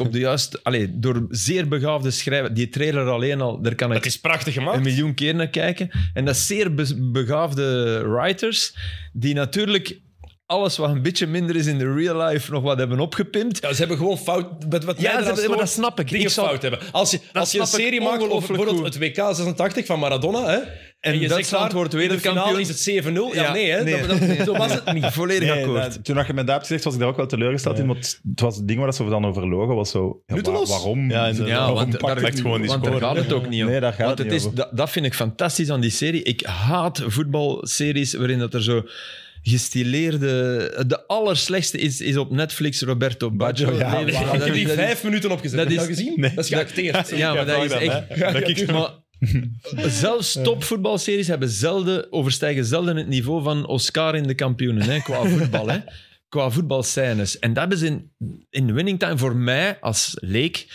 op de juiste... Allee, door zeer begaafde schrijver, die trailer alleen al, daar kan ik Het is prachtig een gemaakt. miljoen keer naar kijken. En dat zeer be- begaafde writers, die natuurlijk alles wat een beetje minder is in de real life nog wat hebben opgepimpt. Ja, ze hebben gewoon fout... Met wat jij Ja, eraan ze hebben- maar stoort, dat snap ik. Dingen Ik zal- fout hebben. Als je, als je een snap ik serie maakt over ongelooflijk bijvoorbeeld het WK 86 van Maradona, hè? En, je Duitsland zegt daar, wordt in de finale wereldkampioen. is het 7-0. Oh, Ja, Ja, nee, hè? nee. Dat, dat- zo was het niet. Volledig Nee, akkoord. dat- toen dat je met dat hebt gezegd, was ik daar ook wel teleurgesteld in. Want het was het ding waar dat ze dan over logen, was zo... ja, Nutteloos. wa- waarom? Ja, inderdaad. Ja, Waarom want pakt daar, hij gewoon die want daar score? gaat het ook niet om. Nee, daar gaat want het het niet is, over. dat, dat vind ik fantastisch aan die serie. Ik haat voetbalseries waarin dat er zo gestileerde... De allerslechtste is, is op Netflix Roberto Baggio. Baggio, ja, Nee, maar- dat- Ik heb die dat is- vijf minuten opgezet. dat Heb je is- dat gezien? Nee. Dat is geacteerd. Ja, maar dat vraag is dan, echt... hè. Dat ik- Maar zelfs topvoetbalseries hebben zelden, overstijgen zelden het niveau van Oscar in de kampioenen, hè, qua voetbal. Hè. Qua voetbalscènes. En dat hebben ze in, in winning time voor mij als leek...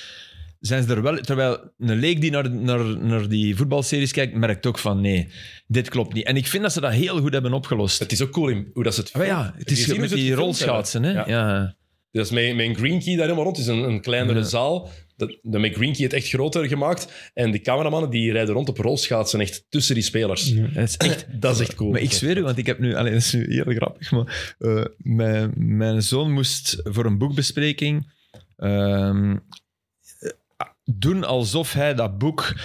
Zijn ze er wel, terwijl een leek die naar, naar, naar die voetbalseries kijkt, merkt ook van nee, dit klopt niet. En ik vind dat ze dat heel goed hebben opgelost. Het is ook cool in, hoe dat ze het Maar Ah, ja, het Heb je is gezien met hoe ze die het gefilmd rolschaatsen. Hè? hebben? Ja. Ja. Dus mijn, mijn green key daar helemaal rond. Het is een, een kleinere zaal. Dat, de, mijn green key heeft echt groter gemaakt. En de cameramannen die rijden rond op rolschaatsen echt tussen die spelers. Dat is echt Dat is echt cool. Maar ik zweer u, want ik heb nu... Alleen, dat is nu heel grappig, maar... eh, mijn, mijn zoon moest voor een boekbespreking... ehm, eh, doen alsof hij dat boek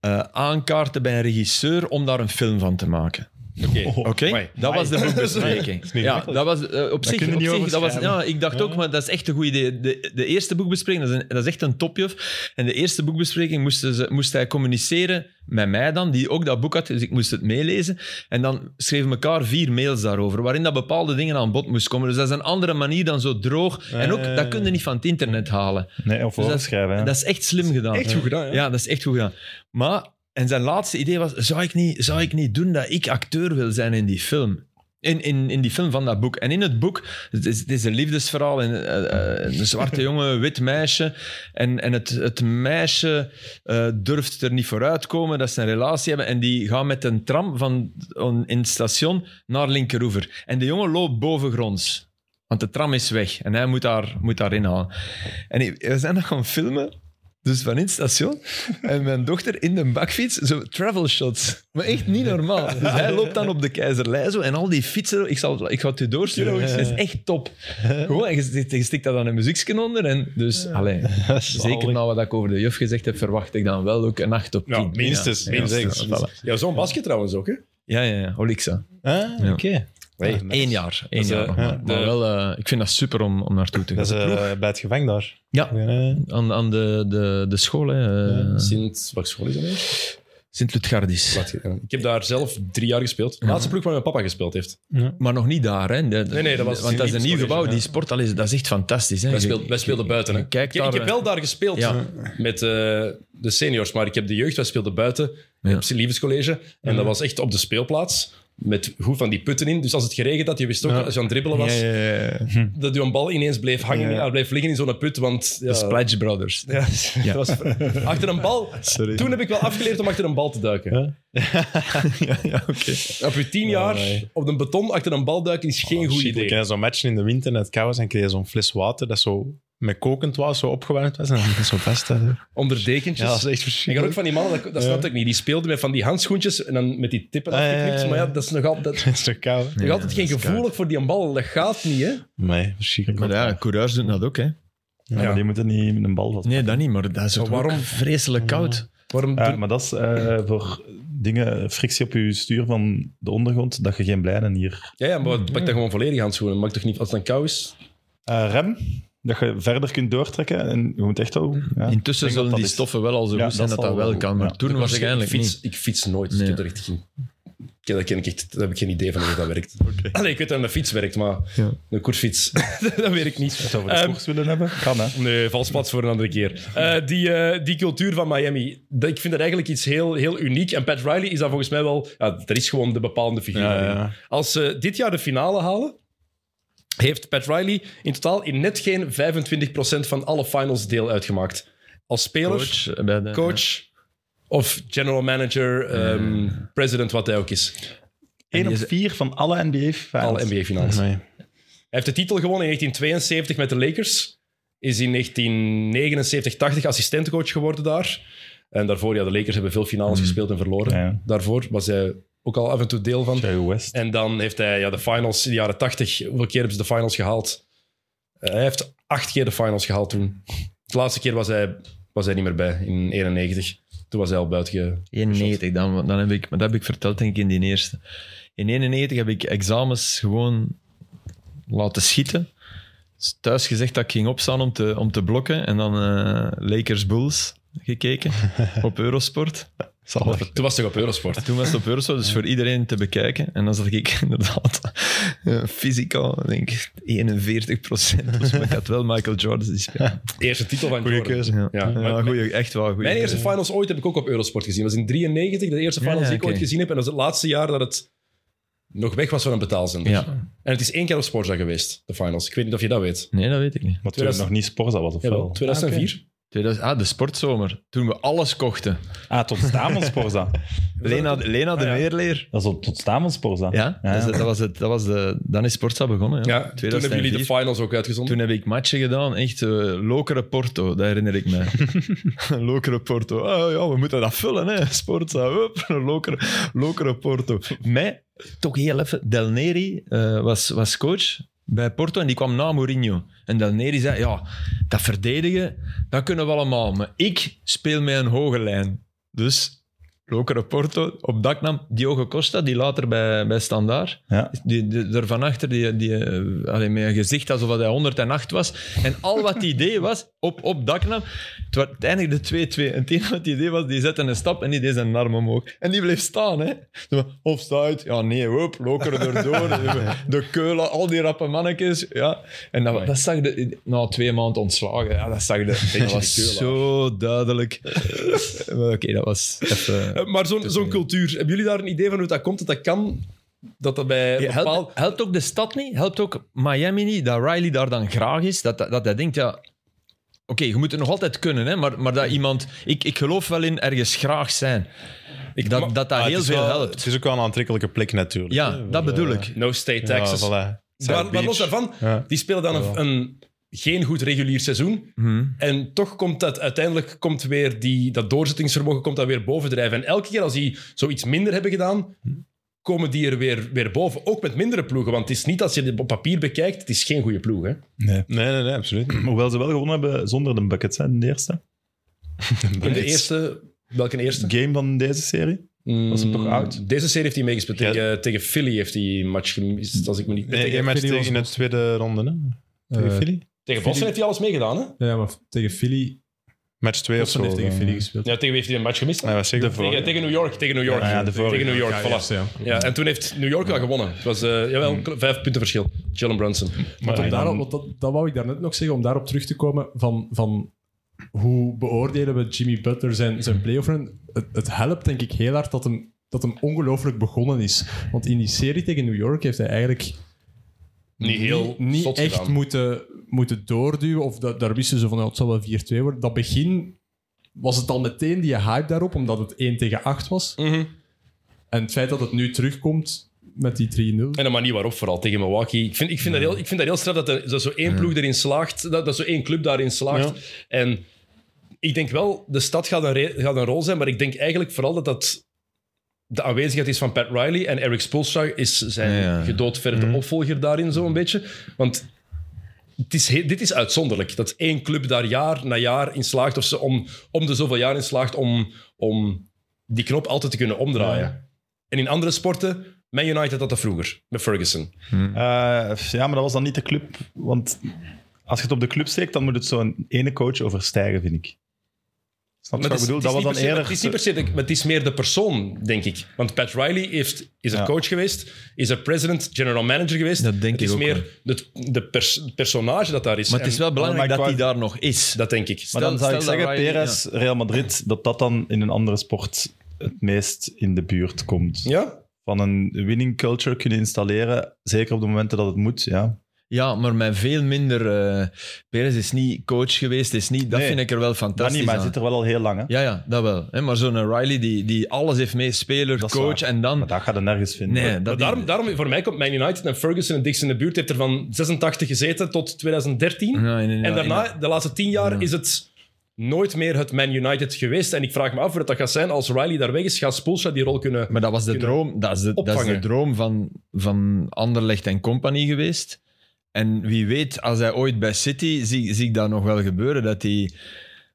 eh, aankaartte bij een regisseur om daar een film van te maken. Oké. Oké? amai. Dat was de boekbespreking. ja, dat was eh, op kun zich... je Op niet zich dat was, ja, overschrijven. ik dacht ook, maar dat is echt een goed idee. De, de eerste boekbespreking, dat is, een- dat is echt een topjuf. En de eerste boekbespreking moesten ze, moest hij communiceren met mij dan, die ook dat boek had, dus ik moest het meelezen. En dan schreven elkaar vier mails daarover, waarin dat bepaalde dingen aan bod moest komen. Dus dat is een andere manier dan zo droog. En ook, dat kun je niet van het internet halen. Nee, Dus of dat, is, overschrijven. hè. dat is echt slim gedaan. Echt goed gedaan, hè? Ja, dat is echt goed gedaan. Maar, en zijn laatste idee was, zou ik niet, zou ik niet doen dat ik acteur wil zijn in die film? In, in, in die film van dat boek. En in het boek, het is, het is een liefdesverhaal, en, eh, eh, een zwarte jongen, wit meisje. En, en het, het meisje eh, durft er niet vooruit komen dat ze een relatie hebben. En die gaan met een tram van, on- in het station naar Linkeroever. En de jongen loopt bovengronds. Want de tram is weg en hij moet daar, moet daar inhalen. En ik- we zijn dat gaan filmen dus van in het station. En mijn dochter in de bakfiets, zo travel shots. Maar echt niet normaal. Dus hij loopt dan op de keizerlei zo en al die fietsen. Ik, zal, ik ga het u doorsturen. Het is echt top. Gewoon, en je, stikt- je stikt dat dan een muziekje onder. En dus, allee, zeker na wat ik over de juf gezegd heb, verwacht ik dan wel ook een 8 op 10. Nou, Minstens. Ja, Minstens. ja, voilà. Ja, zo'n basket trouwens ook, hè? Ja, ja, ja. Olixa. Ah, oké. Hey. Eén jaar. Eén is, jaar eh, nog maar. ja, Maar de- wel, eh, ik vind dat super om, om naartoe te gaan. Dat is eh, bij het gevang daar. Ja. Ja. Aan, aan de, de, de school, hè. eh, Sinds, wat school is dat eigenlijk? Sint-Ludgardis. Wacht, eh, Ik heb daar zelf drie jaar gespeeld. De laatste ploeg waar mijn papa gespeeld heeft. Maar nog niet daar, hè? De- Nee, nee, dat was want dat is een Olympisch nieuw College, gebouw. Die sport, al is, dat is echt fantastisch. Hè? Wij, Je- speel- wij speelden buiten. Hè. Kijk ik, daar, ik heb hè. wel daar gespeeld Ja. met eh, de seniors, maar ik heb de jeugd, wij speelden buiten Ja. op het Liefdescollege. En dat was echt op de speelplaats. met goed van die putten in. Dus als het geregend had, je wist ook, Ja. als je aan het dribbelen was, Ja, ja, ja. dat je een bal ineens bleef hangen, Ja. ah, bleef liggen in zo'n put. Want ja, De Splash Brothers. ja, dat was, achter een bal. Sorry. Toen heb ik wel afgeleerd om achter een bal te duiken. ja, ja oké. Op je tien jaar op een beton achter een bal duiken is Oh, geen goed idee. Ah, Ik ken zo'n matchen in de winter en het kou was en kreeg je zo'n fles water dat zo met kokend was, zo opgewarmd was en dan zo vast. had. Onder dekentjes. Ja, dat is echt ik had ook verschrikkelijk. van die mannen, dat, dat Ja. snapte ik niet. Die speelden met van die handschoentjes en dan met die tippen Ah, ja, ja, ja. afgeknipt. Maar ja, dat is nog altijd, dat, Het is toch koud? nog altijd geen gevoelig voor die bal. Dat gaat niet, hè? Nee, verschrikkelijk. Maar ja, coureurs doen dat ook, hè. Ja, maar die moeten niet met een bal vast. Nee, dat niet, maar dat is Maar toch waarom- ook vreselijk koud. Waarom Ja, doen- maar dat is eh, voor dingen, frictie op je stuur van de ondergrond, dat je geen blijden hier. ja, ja, maar pak dan gewoon volledige handschoenen. Maakt toch niet als het dan kou is? Eh, rem, dat je verder kunt doortrekken en je moet echt al. Ja. Intussen Ik denk dat zullen dat die is- stoffen wel al zo Ja, goed zijn dat dat dat zal wel wel- kan, maar ja. toen Ik wou zeggen, waarschijnlijk ik fiets, niet. Ik fiets nooit. Nee. Ik heb er echt geen... ik- Dat ken ik echt, daar heb ik geen idee van hoe dat werkt. Allee, ik weet dat een fiets werkt, maar Ja. een koersfiets, dat weet ik niet. Als we de Ehm, koers willen hebben, kan hè. Nee, vals plat voor een andere keer. Eh, die, eh, die cultuur van Miami, dat, ik vind dat eigenlijk iets heel, heel uniek. En Pat Riley is daar volgens mij wel... Ja, dat is gewoon de bepalende figuur. Ja, daarin. ja. Als ze dit jaar de finale halen, heeft Pat Riley in totaal in net geen 25% van alle finals deel uitgemaakt. Als speler, coach, Coach, bij de- of general manager, ehm, president, wat hij ook is. 1 op die is- 4 van alle NBA fans. Alle NBA-finals. Nee. Hij heeft de titel gewonnen in 1972 met de Lakers. Is in 1979-80 assistentcoach geworden daar. En daarvoor, ja, de Lakers hebben veel finales gespeeld en verloren. Ja. Daarvoor was hij ook al af en toe deel van. Jerry West. En dan heeft hij ja, de finals in de jaren 80. Hoeveel keer hebben ze de finals gehaald? Eh, hij heeft acht keer de finals gehaald toen. De laatste keer was hij, was hij niet meer bij, in 91. Toen was hij al buiten. ge- 91, dan, want dan heb ik, maar dat heb ik verteld denk ik in die eerste. In 91 heb ik examens gewoon laten schieten. Dus thuis gezegd dat ik ging opstaan om te, om te blokken. En dan eh, Lakers Bulls gekeken op Eurosport. Toen was hij op Eurosport. Toen was het op Eurosport, dus voor iedereen te bekijken. En dan zat ik inderdaad eh, fysica, denk ik, 41 procent. Dus maar ik had wel Michael Jordan die spelen. Eerste titel van Goeie Jordan. keuze. Ja, Ja, ja, maar- goeie, echt wel goed. Mijn eerste finals ooit heb ik ook op Eurosport gezien. Dat was in 93, de eerste Ja, finals die ik oké. ooit gezien heb. En dat was het laatste jaar dat het nog weg was van een betaalzender. Ja. En het is één keer op Sportza geweest, de finals. Ik weet niet of je dat weet. Nee, dat weet ik niet. Maar toen het nog niet Sporza was, of Jawel, wel? 2004. 2000, ah, de sportzomer. Toen we alles kochten. Ah, tot staan van Sporza. Lena, Lena de Ah, ja. Meerleer. Dat is al tot staan van Sporza. Ja, Dus dat Ja, is- ja. Dat was het, dat was de, dan is Sportza begonnen. Ja. Ja, toen hebben 2004. jullie de finals ook uitgezonden. Toen heb ik matchen gedaan, echt eh, Lokeren Porto, dat herinner ik me. Lokeren Porto, ah ja, we moeten dat vullen, hè. Sportza, hup, Lokeren, Lokeren Porto. Mij, toch heel even, Del Neri eh, was, was coach bij Porto en die kwam na Mourinho. En Del Neri zei, ja, dat verdedigen, dat kunnen we allemaal, maar ik speel met een hoge lijn. Dus... Lokeren Porto, op dak nam Diogo Costa, die later bij, bij Standaard Ja. die, die, er van achter, die, die, eh, allee, met een gezicht alsof hij 108 was. En al wat hij deed was, op, op daknam, het, wa- het eindigde 2-2. En het enige wat hij deed was, die zette een stap en die deed zijn arm omhoog. En die bleef staan, hè. Zo van, Offside, ja nee, hoop, lokeren erdoor. De keulen, al die rappe mannetjes. Ja. En dat, dat zag de, na twee maanden ontslagen, ja, dat zag de, dat was zo duidelijk. Maar Oké, dat was Eh, even... maar zo'n zo'n cultuur, hebben jullie daar een idee van hoe dat komt? Dat dat kan? Dat dat bij Ja, bepaal- helpt, helpt ook de stad niet, helpt ook Miami niet, dat Riley daar dan graag is, dat, dat, dat hij denkt, ja, oké, je moet het nog altijd kunnen, hè, maar, maar dat iemand, ik, ik geloof wel in ergens graag zijn. Ik, dat, maar- dat dat Ah, het heel is veel wel- Het helpt. is ook wel een aantrekkelijke plek natuurlijk. Ja, hè, dat voor, bedoel eh, ik. No state ja, taxes. voilà. maar, maar Beach. los daarvan, Ja. die spelen dan een, een geen goed regulier seizoen. Mhm. En toch komt dat uiteindelijk komt weer die, dat doorzettingsvermogen komt dat weer bovendrijven. En elke keer als die zoiets minder hebben gedaan, komen die er weer, weer boven. Ook met mindere ploegen. Want het is niet als je het op papier bekijkt, het is geen goede ploeg. Hè? Nee, nee, nee, absoluut niet. Hoewel ze wel gewonnen hebben zonder de buckets, hè, in de eerste. In de eerste, welke eerste? Game van deze serie. was hem toch oud? Mm, Deze serie heeft hij meegespeeld. Ja. Tegen, tegen Philly heeft hij een match gemist, als ik me niet... Nee, tegen, één match Philly tegen in de was- tweede ronde, hè? Tegen Eh, Philly? tegen Boston heeft hij alles meegedaan, hè? ja, maar tegen Philly. Match 2 of zo. eh. Watson heeft tegen dan. Philly gespeeld. eh, Ah, Ja, tegen wie heeft hij een match gemist? Hij was zeker tegen, tegen New York, tegen New York. Ah, Ja, ja, de vorige. tegen New York, voilà. ja. Ja, en toen heeft New York wel gewonnen. Het was, eh, jawel, vijf punten verschil. Jalen Brunson. Want om dan- daarop, want dat, dat wou ik daarnet nog zeggen, om daarop terug te komen van, van hoe beoordelen we Jimmy Butler zijn, zijn playoff run. Het, het helpt denk ik heel hard dat hem dat hem ongelooflijk begonnen is. Want in die serie tegen New York heeft hij eigenlijk Niet heel niet, niet zot echt gedaan. moeten, moeten doorduwen. Of da- daar wisten ze van, nou, het zal wel 4-2 worden. Dat begin was het al meteen die hype daarop, omdat het 1 tegen 8 was. Mhm. En het feit dat het nu terugkomt met die 3-0. En de manier waarop, vooral tegen Milwaukee. Ik vind, ik vind, dat, heel, ik vind dat heel straf dat, er, dat zo één ploeg erin slaagt, dat, dat zo één club daarin slaagt. En ik denk wel, de stad gaat een, re- gaat een rol zijn, maar ik denk eigenlijk vooral dat dat de aanwezigheid is van Pat Riley en Eric Spoelstra is zijn Ja, ja. gedoodverde opvolger daarin, zo'n beetje. Want het is he- dit is uitzonderlijk, dat één club daar jaar na jaar in slaagt, of ze om, om de zoveel jaar in slaagt om, om die knop altijd te kunnen omdraaien. En in andere sporten, Man United had dat vroeger, met Ferguson. Eh, ja, maar dat was dan niet de club. Want als je het op de club steekt, dan moet het zo'n ene coach overstijgen, vind ik. Snap je Maar wat ik het is- bedoel? het is Dat was dan niet per se- eerder... Het is niet per se, de- maar het is meer de persoon, denk ik. Want Pat Riley heeft, is er Ja. coach geweest, is er president, general manager geweest. Dat denk het ik is ook meer wel. het de pers- het personage dat daar is. Maar het En is wel belangrijk maar dat qua- hij daar nog is. Dat denk ik. Maar dan Stel- zou ik stel zeggen, dat Riley- Perez, Real Madrid, dat dat dan in een andere sport het meest in de buurt komt. Ja? Van een winning culture kunnen installeren, zeker op de momenten dat het moet, ja. Ja, maar met veel minder... eh Perez is niet coach geweest, is niet, dat Nee. vind ik er wel Maar fantastisch niet, maar hij aan. zit er wel al heel lang, hè. Ja, ja, dat wel. Hè, maar zo'n Riley die, die alles heeft mee, speler, Dat is coach waar. en Maar dan... dat gaat er nergens vinden. Nee, dat Maar die- daarom, daarom, voor mij komt Man United en Ferguson het dichtst in de buurt. Heeft er van 86 gezeten tot 2013. Mm, Ja, in- Mm. in- en in- daarna, de laatste tien jaar, is het nooit meer het Man United geweest. En ik vraag me af wat dat gaat zijn als Riley daar weg is. Gaat Spoelstra die rol kunnen... Maar dat was de kunnen droom, dat is de, dat is de opvangen. droom van, van Anderlecht en Company geweest. En wie weet, als hij ooit bij City, zie, zie ik dat nog wel gebeuren, dat hij,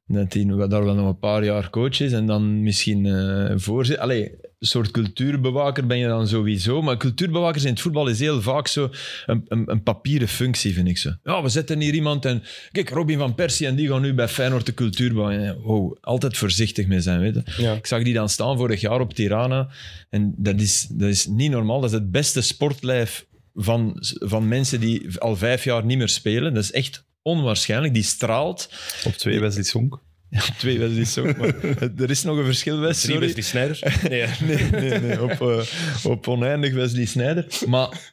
dat hij nog- daar wel nog een paar jaar coach is en dan misschien eh voorzitter. Allee, een soort cultuurbewaker ben je dan sowieso. Maar cultuurbewakers in het voetbal is heel vaak zo een, een, een papieren functie, vind ik zo. Ja, we zetten hier iemand en... Kijk, Robin van Persie en die gaan nu bij Feyenoord de cultuur bouwen. Wow, altijd voorzichtig mee zijn, weet je. Ik zag die dan staan vorig jaar op Tirana. En dat is, dat is niet normaal. Dat is het beste sportlijf van, van mensen die al vijf jaar niet meer spelen. Dat is echt onwaarschijnlijk. Die straalt. Op twee Wesley Sonk. Twee wedstrijden is ook, maar er is nog een verschil, Wes. Drie Sorry. Wesley Sneijder. Nee. Nee, nee, nee op, eh, op oneindig Wesley Sneijder. Maar,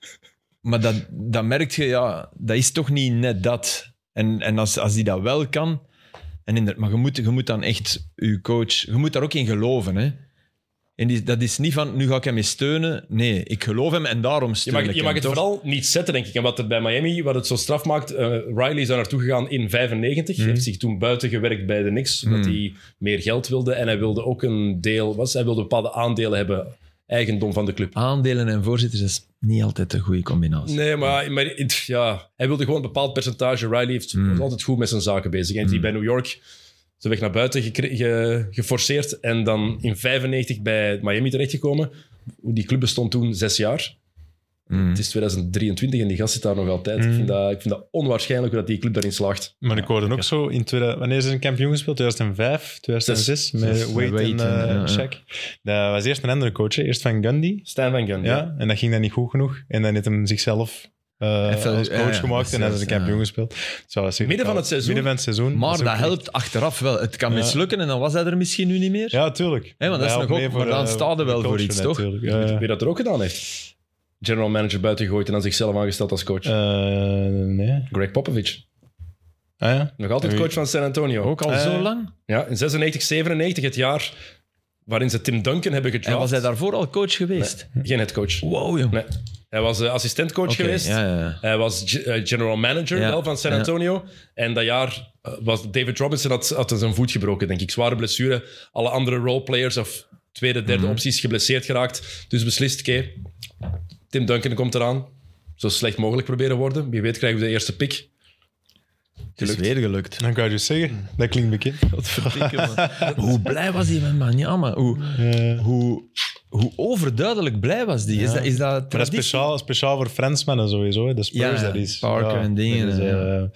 maar dat, dat merk je, ja, dat is toch niet net dat. En, en als, als die dat wel kan... En inderdaad, maar je moet, je moet dan echt je coach... Je moet daar ook in geloven, hè. En die, dat is niet van, nu ga ik hem eens steunen. Nee, ik geloof hem en daarom Je steun mag, ik je hem, mag het toch? vooral niet zetten, denk ik. En wat het bij Miami, wat het zo straf maakt, eh, Riley is daar naartoe gegaan in 95. heeft zich toen buiten gewerkt bij de Knicks, omdat hij meer geld wilde. En hij wilde ook een deel, was, hij wilde bepaalde aandelen hebben, eigendom van de club. Aandelen en voorzitters is niet altijd een goede combinatie. Nee, maar, maar het- ja, hij wilde gewoon een bepaald percentage. Riley heeft, was altijd goed met zijn zaken bezig. En die bij New York zijn weg naar buiten gekre- ge- geforceerd. En dan in 95 bij Miami terechtgekomen. Die club bestond toen zes jaar. Mm. Het is 2023 en die gast zit daar nog altijd. Ik, Mhm. vind dat, ik vind dat onwaarschijnlijk hoe dat die club daarin slaagt. Maar ik hoorde ook zo in 2000 wanneer ze een kampioen gespeeld? 2005, 2006 met Wade en Wade en, eh, ja, ja. Shaq. Dat was eerst een andere coach, hè. eerst van Gundy. Stijn van Gun. Ja. en dat ging dan niet goed genoeg. En dan heeft hem zichzelf eh, Even- als ja, coach ja, gemaakt en dan is precies, een kampioen ja. gespeeld. Zo, dat is- Midden van het seizoen. Midden van het seizoen. Maar is ook dat niet- helpt achteraf wel. Het kan mislukken en dan was hij er misschien nu niet meer. Ja, tuurlijk. Hè, want dat is helpt nog mee ook- maar dan eh, staat er de wel voor culture iets, toch? natuurlijk. Ja, ja. Weet je dat er ook gedaan heeft? General manager buiten gegooid en dan zichzelf aangesteld als coach. Eh, nee. Greg Popovich. Ah ja. Nog altijd En wie- coach van San Antonio. Ook al Eh, zo lang. Ja, in 96, 97, het jaar waarin ze Tim Duncan hebben gedraft. En was hij daarvoor al coach geweest? Geen headcoach. Wow, jong. Nee. Hij was eh, assistentcoach Oké, geweest. Ja, ja, ja. Hij was ge- eh, general manager Ja. wel, van San Ja. Antonio. En dat jaar eh, was David Robinson had, had zijn voet gebroken, denk ik. Zware blessure. Alle andere roleplayers of tweede, derde Mhm. opties geblesseerd geraakt. Dus beslist, oké, Tim Duncan komt eraan. Zo slecht mogelijk proberen worden. Wie weet krijgen we de eerste pick. Het is weer gelukt. Hmm. Dan kan je dus zeggen, dat klinkt bekend. hoe blij was hij met Manjama? Hoe, Eh, hoe, hoe overduidelijk blij was die? Is dat, is dat Maar dat is traditie? speciaal, speciaal voor Fransmannen sowieso. Hè. De Spurs, Ja, dat is... Parker ja, en dingen, dat is, eh, ja.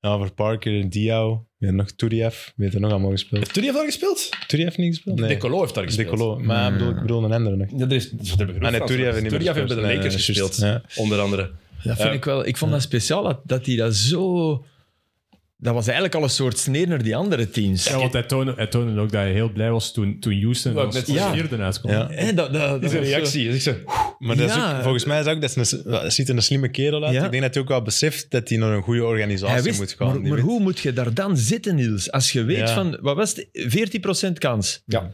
ja, voor Parker en Diao. En nog Turiev. Weet er nog allemaal gespeeld. Toen heeft daar gespeeld? Turiev niet gespeeld? Nee. De Decolo heeft daar gespeeld. Decolo. Maar ik bedoel, Hmm. ik bedoel een andere nog. Ja, er is, er hebben genoeg Ah, nee, Fransen. Turiev heeft niet meer Turiev heeft bij de gespeeld. Lakers Nee, gespeeld, juist, onder andere. Dat vind ik wel... Ik vond dat speciaal, dat, dat hij dat zo... Dat was eigenlijk al een soort sneer naar die andere teams. Ja, want hij toonde, hij toonde ook dat hij heel blij was toen, toen Houston Wou ik als net als zeggen. vierde uitkwam. Ja. Hè, dat, dat, dat is een was zo- reactie. Dus ik zeg, Maar dat is Ja. ook, volgens mij is ook, dat is een, dat ziet er een slimme kerel uit. Ja. Ik denk dat hij ook wel beseft dat hij naar een goede organisatie Hij wist, moet gaan. maar, Die maar weet- hoe moet je daar dan zitten, Niels? Als je weet Ja. van, wat was het, 14% kans. Ja.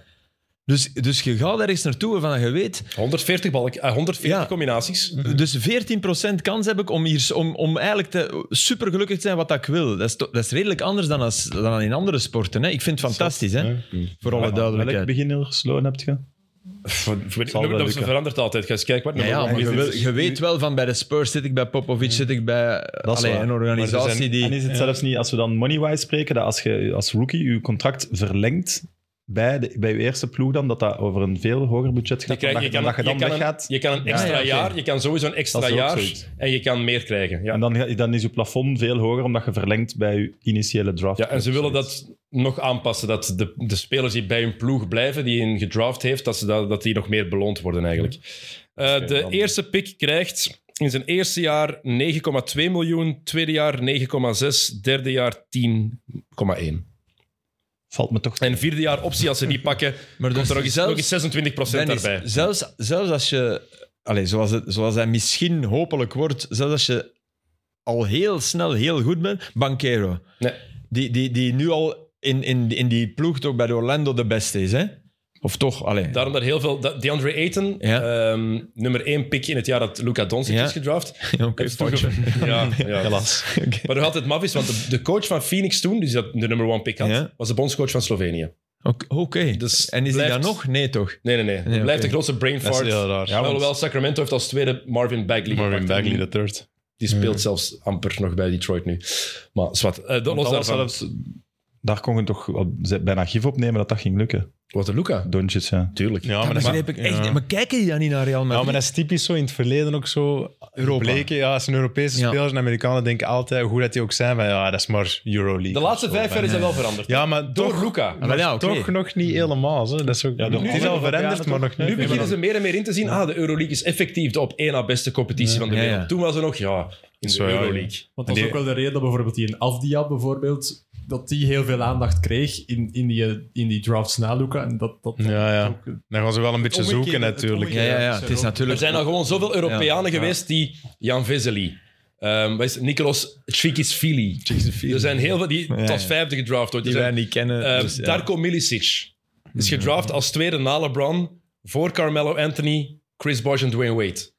Dus, dus je gaat ergens naartoe waarvan je weet, 140, balk, eh, 140 Ja. combinaties. dus 14% kans heb ik om, hier, om, om eigenlijk te, supergelukkig te zijn wat dat ik wil. Dat is, to- dat is redelijk anders dan, als, dan in andere sporten. Hè. Ik vind het fantastisch, hè? voor alle Welk duidelijkheid. beginner gesloten heb je? zal wel Dat lukken. verandert altijd. Ga eens kijken wat Ja, ja, maar je, nummer wil- je weet wel van bij de Spurs zit ik bij Popovic, zit ik bij Dat is allee, waar. een organisatie Maar er zijn- die... En is het zelfs niet, als we dan money-wise spreken, dat als je als rookie je contract verlengt bij, de, bij je eerste ploeg dan, dat dat over een veel hoger budget Je, gaat, krijgt- omdat je, je, kan, omdat je je, dan kan een, weggaat. je kan een Ja, extra ja, oké. jaar, je kan sowieso een extra Dat is ook jaar zoiets. en je kan meer krijgen. Ja. En dan, ga- dan is je plafond veel hoger, omdat je verlengt bij je initiële draft. Dus Ja, en ze willen dat nog aanpassen, dat de, de spelers die bij hun ploeg blijven, die hun gedraft heeft, dat, ze dat, dat die nog meer beloond worden eigenlijk. Eh, Oké, de dan- eerste pick krijgt in zijn eerste jaar 9,2 miljoen, tweede jaar 9,6, derde jaar 10,1. Valt me toch En vierde jaar optie, als ze die pakken, Maar komt dus er nog eens, zelfs- nog eens 26 Dennis, daarbij. Zelfs, zelfs als je, allez, zoals, het, zoals hij misschien hopelijk wordt, zelfs als je al heel snel heel goed bent, Banquero, Nee. die, die, die nu al in, in, in die ploeg toch bij de Orlando de beste is, hè? Of toch? Allee. Daarom dat heel veel... dat DeAndre Ayton, Ja. ehm, nummer één pick in het jaar dat Luca Doncic Ja. is gedraft, Ja, oké, heeft foutje. toege- Ja, ja. Helaas. Oké. Maar nog altijd maf is, want de, de coach van Phoenix toen, die dat de nummer one pick had, Ja. was de bondscoach van Slovenië. Oké, Oké. Dus En is hij blijft- daar nog? Nee, toch? Nee, nee, nee. Dat Nee, blijft oké. de grootste brain Dat fart. is heel raar. Ja, Alhoewel Sacramento heeft als tweede Marvin Bagley Marvin gepakt. Bagley, Die- de third. Die speelt zelfs amper nog bij Detroit nu. Maar zwart. Eh dat Dat los was daarvan. zelfs, daar kon je toch wel ze- bijna gif opnemen dat dat ging lukken. Wat de Luca? Doncic, ja. Tuurlijk. Ja, dat maar, dat, begrijp ik echt ja. niet. Maar kijken die dan niet naar Real ja, Madrid? maar dat is typisch zo in het verleden ook zo. Europa. Bleken, ja, als een Europese Ja. spelers en Amerikanen denken altijd, hoe goed dat die ook zijn, van ja, dat is maar Euroleague. De laatste of zo, vijf jaar van- is dat wel veranderd. Ja, maar Door toch, Luca. Maar Ah, ja, oké. toch nog niet helemaal. Zo. Dat is ook, de het is al Europeanen veranderd, toch? maar nog niet. Nu beginnen ze meer en meer in te zien, ah, de Euroleague is effectief de op één na beste competitie van de Ja, wereld. ja. Toen was er nog, ja, in de Zo, ja, ja. Euroleague. Want dat is Die- ook wel de reden dat bijvoorbeeld die in Afdia bijvoorbeeld, dat die heel veel aandacht kreeg in, in, die, eh, in die drafts na Luca. En dat, dat Ja, ja. ook- Dan gaan ze wel een beetje Omgekeerde- zoeken het natuurlijk. ja, ja, ja, het is Er natuurlijk... zijn al gewoon zoveel Europeanen geweest die Jan Vesely, ehm, wat is het? Nicolas Tsikisvili. Er zijn heel veel die ja. tot vijfde gedraft wordt. ehm, die wij niet kennen. Eh, dus, ja. Darko Milicic is gedraft als tweede na LeBron voor Carmelo Anthony, Chris Bosh en Dwayne Wade.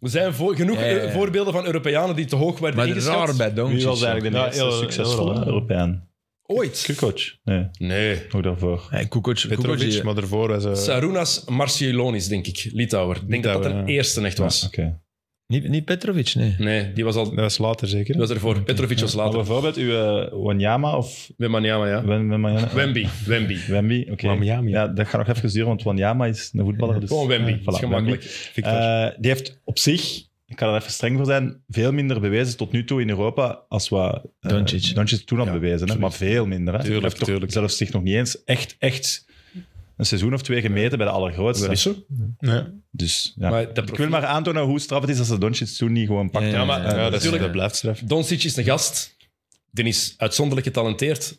Er zijn voor- genoeg Hm. Ja, ja, ja. eh, voorbeelden van Europeanen die te hoog werden Maar ingeschat. raar bij Doncic. Wie was eigenlijk de Ja, meest heel- succesvolle heel raar. Europeaan? Ooit. Kukoc? Nee, Nee. ook daarvoor. Ja, Kukoc, Kukoc, Petrovic, die- maar daarvoor was... eh, Sarunas Marcielonis, denk ik. Litouwer. Ik denk dat dat Litouwer, een ja. eerste echt was. Oké. niet, niet Petrovic, nee. Nee, die was al... dat was later zeker. Die was ervoor. Petrovic was Maar later. bijvoorbeeld uw eh, Wanyama of Wembanyama, ja. Wen- Wembanyama? Wemby. Wemby. Wemby, oké. Wanyama. Ja, dat ga ik nog even duren, want Wanyama is een voetballer. Dus, Gewoon Wemby. Ja, Dat is voilà, gemakkelijk. Wemby. Victor. Eh, die heeft op zich, ik kan er even streng voor zijn, veel minder bewezen tot nu toe in Europa als wat eh, Doncic. toen had Ja, bewezen. Hè? absoluut. Maar veel minder. Hè? Tuurlijk, Hij heeft toch tuurlijk. Zelfs zich nog niet eens echt, echt een seizoen of twee gemeten bij de allergrootste. zo. ja. Dus ja. Maar dat ik wil maar aantonen hoe straf het is als ze Doncic toen niet gewoon pakt. Ja, maar- Eh, Ja, dat, is, natuurlijk. dat blijft straf. Doncic is een gast. Die is uitzonderlijk getalenteerd.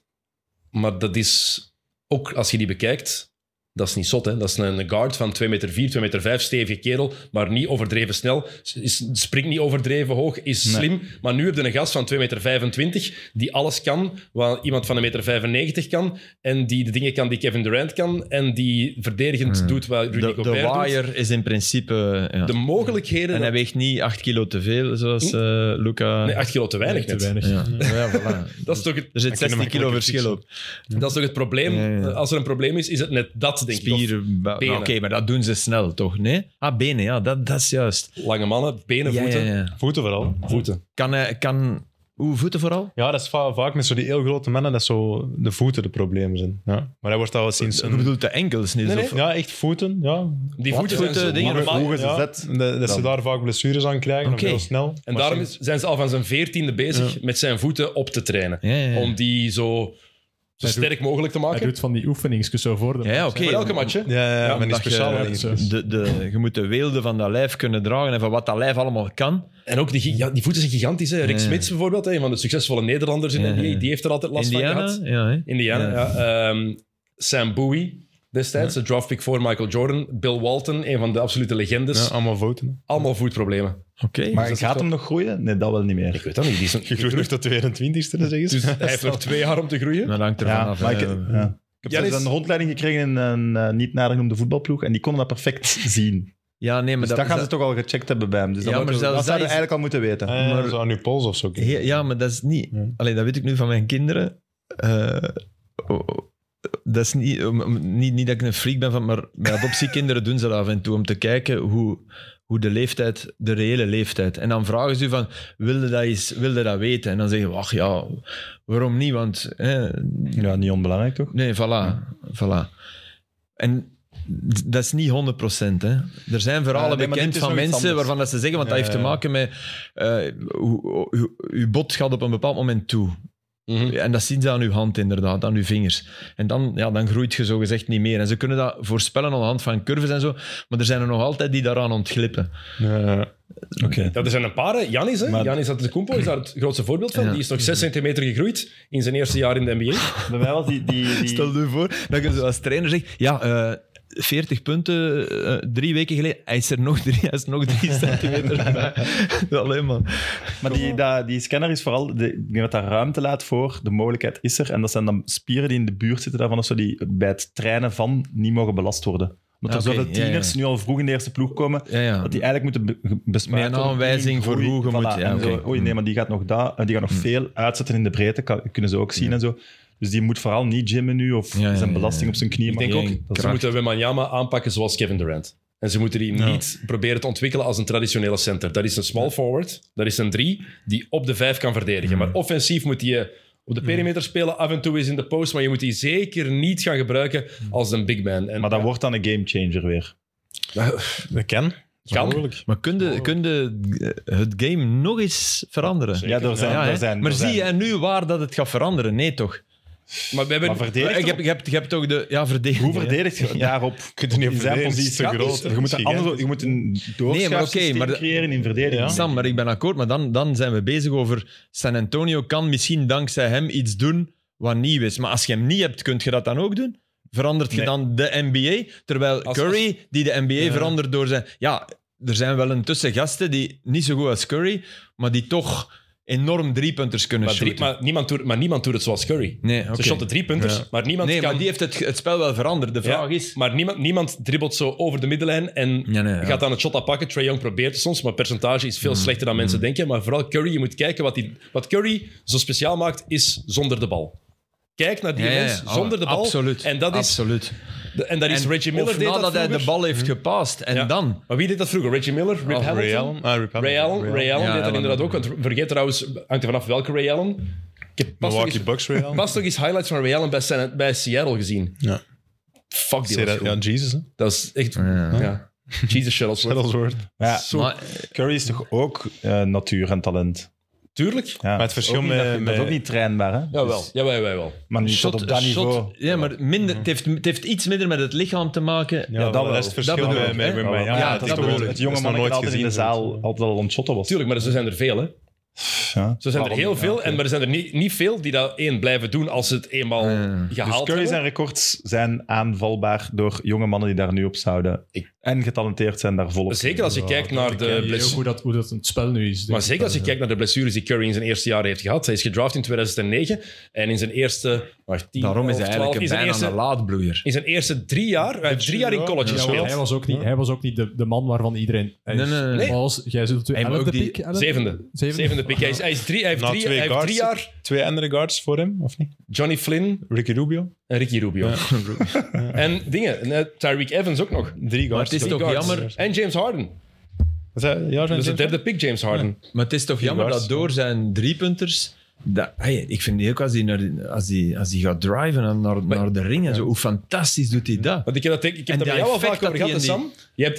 Maar dat is ook als je die bekijkt. Dat is niet zot, hè? Dat is een guard van 2 meter 4, 2 meter 5, stevige kerel, maar niet overdreven snel. Is, springt niet overdreven hoog, is slim. Maar nu heb je een gast van 2 meter 25 die alles kan, wat iemand van 1 meter 95 kan, en die de dingen kan die Kevin Durant kan, en die verdedigend doet wat Rudy De, de Gobert doet. wire is in principe... ja. De mogelijkheden... En hij weegt niet 8 kilo te veel, zoals eh Luca. nee, 8 kilo te weinig te net. weinig. Ja, ja voilà. Dat is toch het Er zit 16 kilo verschil op. Dat is toch het probleem? Ja, ja, ja. Als er een probleem is, is het net dat, denk ik. Spieren. ba- nou, benen. Oké, maar dat doen ze snel, toch? Nee? Ah, benen, ja, dat, dat is juist. Of Lange mannen, benen, Ja, voeten. ja, ja. Voeten vooral. Voeten. Kan, hij- kan... Hoe voeten vooral? Ja, dat is va- vaak met zo die heel grote mannen dat zo de voeten de problemen zijn. Ja. Maar dat wordt al wel sinds... Je Een, bedoelt de enkels, niet? nee. Of- ja, echt voeten, ja. Die Wat? voeten, Voeten, zijn zo dingen, normaal. Hoe Hoge ja. zet. Dat, dat ze Dan. daar vaak blessures aan krijgen, Oké. of heel snel. En Maar daarom sinds- zijn ze al van zijn veertiende bezig met zijn voeten op te trainen. Ja, ja, ja. Om die zo zo Hij doet- sterk mogelijk te Hij maken. doet van die oefeningen zo voor. de Ja, match. oké. Bij elke match, hè? Ja, ja, ja, maar die omdat je- speciale ja, dingen. zo. De, de, je moet de weelde van dat lijf kunnen dragen en van wat dat lijf allemaal kan. En ook die, gi- ja, die voeten zijn gigantisch. Hè. Rick Ja. Smits bijvoorbeeld, hè, een van de succesvolle Nederlanders in Ja. NBA, die heeft er altijd last van Indiana, gehad. ja, hè. Indiana, ja. Ehm, Sam Bowie destijds, de draftpick voor Michael Jordan. Bill Walton, een van de absolute legendes. Ja, allemaal voten. Allemaal voetproblemen. Oké. Maar gaat hem nog groeien? Nee, dat wel niet meer. Ik weet dat niet. Die is een- Je groeit nog tot 22 e zeg eens. Dus hij heeft nog twee jaar om te groeien. Dat hangt ervan Ja, af. eh, maar hè. ik, ja. ik heb Janis- zelfs een rondleiding gekregen in een eh, niet nader genoemde voetbalploeg en die konden dat perfect zien. Ja, nee, maar Dus dat, gaan ze toch al gecheckt hebben bij hem. Dus dat, Ja, moet- maar zelfs dat dat zouden is- we eigenlijk al moeten weten. Ja, Maar- zo aan uw pols of zo. He- ja, maar dat is niet. Ja. Alleen dat weet ik nu van mijn kinderen. Eh, oh, oh, dat is niet, om- om- niet, niet dat ik een freak ben van, maar bij adoptiekinderen doen ze dat af en toe om te kijken hoe, hoe de leeftijd, de reële leeftijd. En dan vragen ze u van, wilde dat, eens, wilde dat weten? En dan zeggen we, ach ja, waarom niet? Want eh, Ja, niet onbelangrijk toch? Nee, voilà. voilà. En d- dat is niet 100%. Hè. Er zijn verhalen Ja, Eh, nee, maar dit bekend is van nog iets mensen anders. waarvan dat ze zeggen, want dat Ja, heeft te ja. maken met eh, hoe, hoe- hoe- uw bot gaat op een bepaald moment toe. Mhm. En dat zien ze aan uw hand inderdaad, aan uw vingers. En dan, ja, dan groeit je zogezegd niet meer. En ze kunnen dat voorspellen aan de hand van curves en zo, maar er zijn er nog altijd die daaraan ontglippen. Oké. Dat er zijn een paar. hè. Janis, hè? Maar- Janis Antetokounmpo is daar het grootste voorbeeld van. Ja. Die is nog 6 centimeter gegroeid in zijn eerste jaar in de NBA. Bij mij was die... die, die... Stel je voor dat je zo als trainer zegt, ja... eh, 40 punten, eh, drie weken geleden. Hij is er nog drie, hij is nog drie centimeter bij. Alleen man. Maar die, dat- die scanner is vooral, de, ik denk dat daar ruimte laat voor, de mogelijkheid is er. En dat zijn dan spieren die in de buurt zitten daarvan, of zo, die bij het trainen van niet mogen belast worden. Omdat er Ah, Oké, zoveel ja, ja. tieners nu al vroeg in de eerste ploeg komen, Ja, ja. dat die eigenlijk moeten be- ge- bespaard Met een worden. aanwijzing voor Groei, hoe je moet- ja, en zo, oké. Oei, nee, maar die gaat nog, da, eh, die gaat nog veel uitzetten in de breedte, kan- kunnen ze ook zien en zo. Dus die moet vooral niet gymmen nu, of Ja, ja, zijn ja, belasting ja. op zijn knieën. Ik denk maar- ook, dat is ze moeten Wembanyama aanpakken zoals Kevin Durant. En ze moeten die niet proberen te ontwikkelen als een traditionele center. Dat is een small forward, dat is een drie, die op de vijf kan Hmm. verdedigen. Maar offensief moet die eh, op de perimeter spelen, af en toe is in de post, maar je moet die zeker niet gaan gebruiken Hmm. als een big man. En Maar dat wordt dan een gamechanger weer. Dat kan. Kan. Maar kunde, kunde eh, het game nog eens veranderen? Ja, er zijn... Ja, hè? er zijn maar er zie zijn- jij nu waar dat het gaat veranderen? Nee, toch? Eh, Maar we hebben... Maar verdedigt Ik heb, ik heb, ik heb toch de... Ja, verdediging. Hoe hè? verdedigt je daarop? Je kunt er niet op In zijn positie verdedigen, het is te gaat groot. niet zo. Je moet, een Misschien, hè. andere, je moet een Nee, maar oké, doorschuifsysteem maar dat- creëren in verdediging. Ja. Sam, maar ik ben akkoord. Maar dan, dan zijn we bezig over... San Antonio kan misschien dankzij hem iets doen wat nieuw is. Maar als je hem niet hebt, kun je dat dan ook doen? Verandert je Nee. dan de NBA? Terwijl Als- Curry, die de NBA verandert door zijn... Ja, er zijn wel een tussengasten die niet zo goed als Curry, maar die toch enorm driepunters kunnen maar, drie- shooten. maar niemand doet, maar niemand doet het zoals Curry. Nee, oké. Ze shotten drie punters, Ja. maar niemand Nee, kan... maar die heeft het, het spel wel veranderd. De Ja, vraag is... Maar niemand, niemand dribbelt zo over de middenlijn en Ja, nee, ja. Mm. gaat dan het shot aanpakken. Trae Young probeert het soms, maar het percentage is veel slechter dan mensen denken. Maar vooral Curry, je moet kijken wat, die, wat Curry zo speciaal maakt, is zonder de bal. Kijk naar die Ja, ja, mens ja. zonder de bal. Absoluut. En dat is, Absoluut. en dat Oh, is En Reggie Miller of deed dat nadat hij de vroeger. Hm. bal heeft gepast. En Ja. dan... Maar wie deed dat vroeger? Reggie Miller? Rip Oh, Hamilton? Ray Allen. Ah, Rip Hamilton. Ray Allen, Ray Allen Ja, deed dat ja, inderdaad maar- ook. Want vergeet trouwens, hangt er vanaf welke Ray Allen. Ik heb pas nog eens- Milwaukee Bucks Ray Allen. pas nog eens highlights van Ray Allen bij, San- bij Seattle gezien. Ja. Fuck, die Say was that- goed. Ja, Jesus. hè. Dat is echt... Ja. Ja. Jesus Shuttlesworth. Shuttlesworth. Ja, Zo- Maar, Curry is toch ook eh, natuur en talent? Tuurlijk. Ja. Maar het verschil Ook niet met- dat, je- dat is met- ook niet trainbaar, hè? Jawel, Dus- jawel, jawel. wel. maar niet tot op dat niveau. shot- ja, maar minder, het, heeft, het heeft iets minder met het lichaam te maken. Ja, dat dat wel. is het verschil Dat bedoel met ik, met- hè? met Ja, mij. ja, Ja, dat het is is toch bedoel wel- ik. het dat jonge is man nog dat nooit altijd in de gezien. zaal altijd al ontschotten was. Tuurlijk, maar er zijn er veel, hè. Ja. Dus Zo zijn er heel veel, en, maar er zijn er niet, niet veel die dat één blijven doen als ze het eenmaal Ja. gehaald Dus Curry hebben. zijn records zijn aanvalbaar door jonge mannen die daar nu op zouden. Ik- En getalenteerd zijn daar volop. Zeker als je kijkt naar Ja, de je eh, weet ook blessures. hoe dat, hoe dat het spel nu is. dus Maar zeker als je kijkt naar de blessures die Curry in zijn eerste jaar heeft gehad. Hij is gedraft in 2009 en in zijn eerste... Wacht, 10, Daarom is hij 11, eigenlijk 12, in een zijn bijna eerste, een laadbloeier. In zijn eerste drie jaar... Hij heeft drie jaar in college Ja, Ja, want gespeeld. hij was ook niet, hij was ook niet de, de man waarvan iedereen... Hij Nee, is- nee, nee. Nee. Als, jij zult de Hij moet ook elfde die pick... elfde? Zevende. Zevende. Zevende pick. Hij, is, hij, is drie, hij heeft Na drie, twee hij heeft drie guards. jaar Twee andere guards voor hem, of niet? Johnny Flynn Ricky Rubio. en Ricky Rubio. en dingen. en, eh, Tyreek Evans ook nog. Drie Maar het guards. is toch Guards. jammer, En James Harden. Is dat- Ja, zijn Dat is de James- derde pick, James Harden. maar het is toch jammer guards. dat door zijn driepunters Dat, hey, ik vind die ook als hij die, als die, als die gaat driven en naar, naar de ring en zo, hoe fantastisch doet hij dat? Want ik heb dat, ik heb En dat bij dat jou al effect vaak over dat gehad, hè, die in Sam. Je hebt,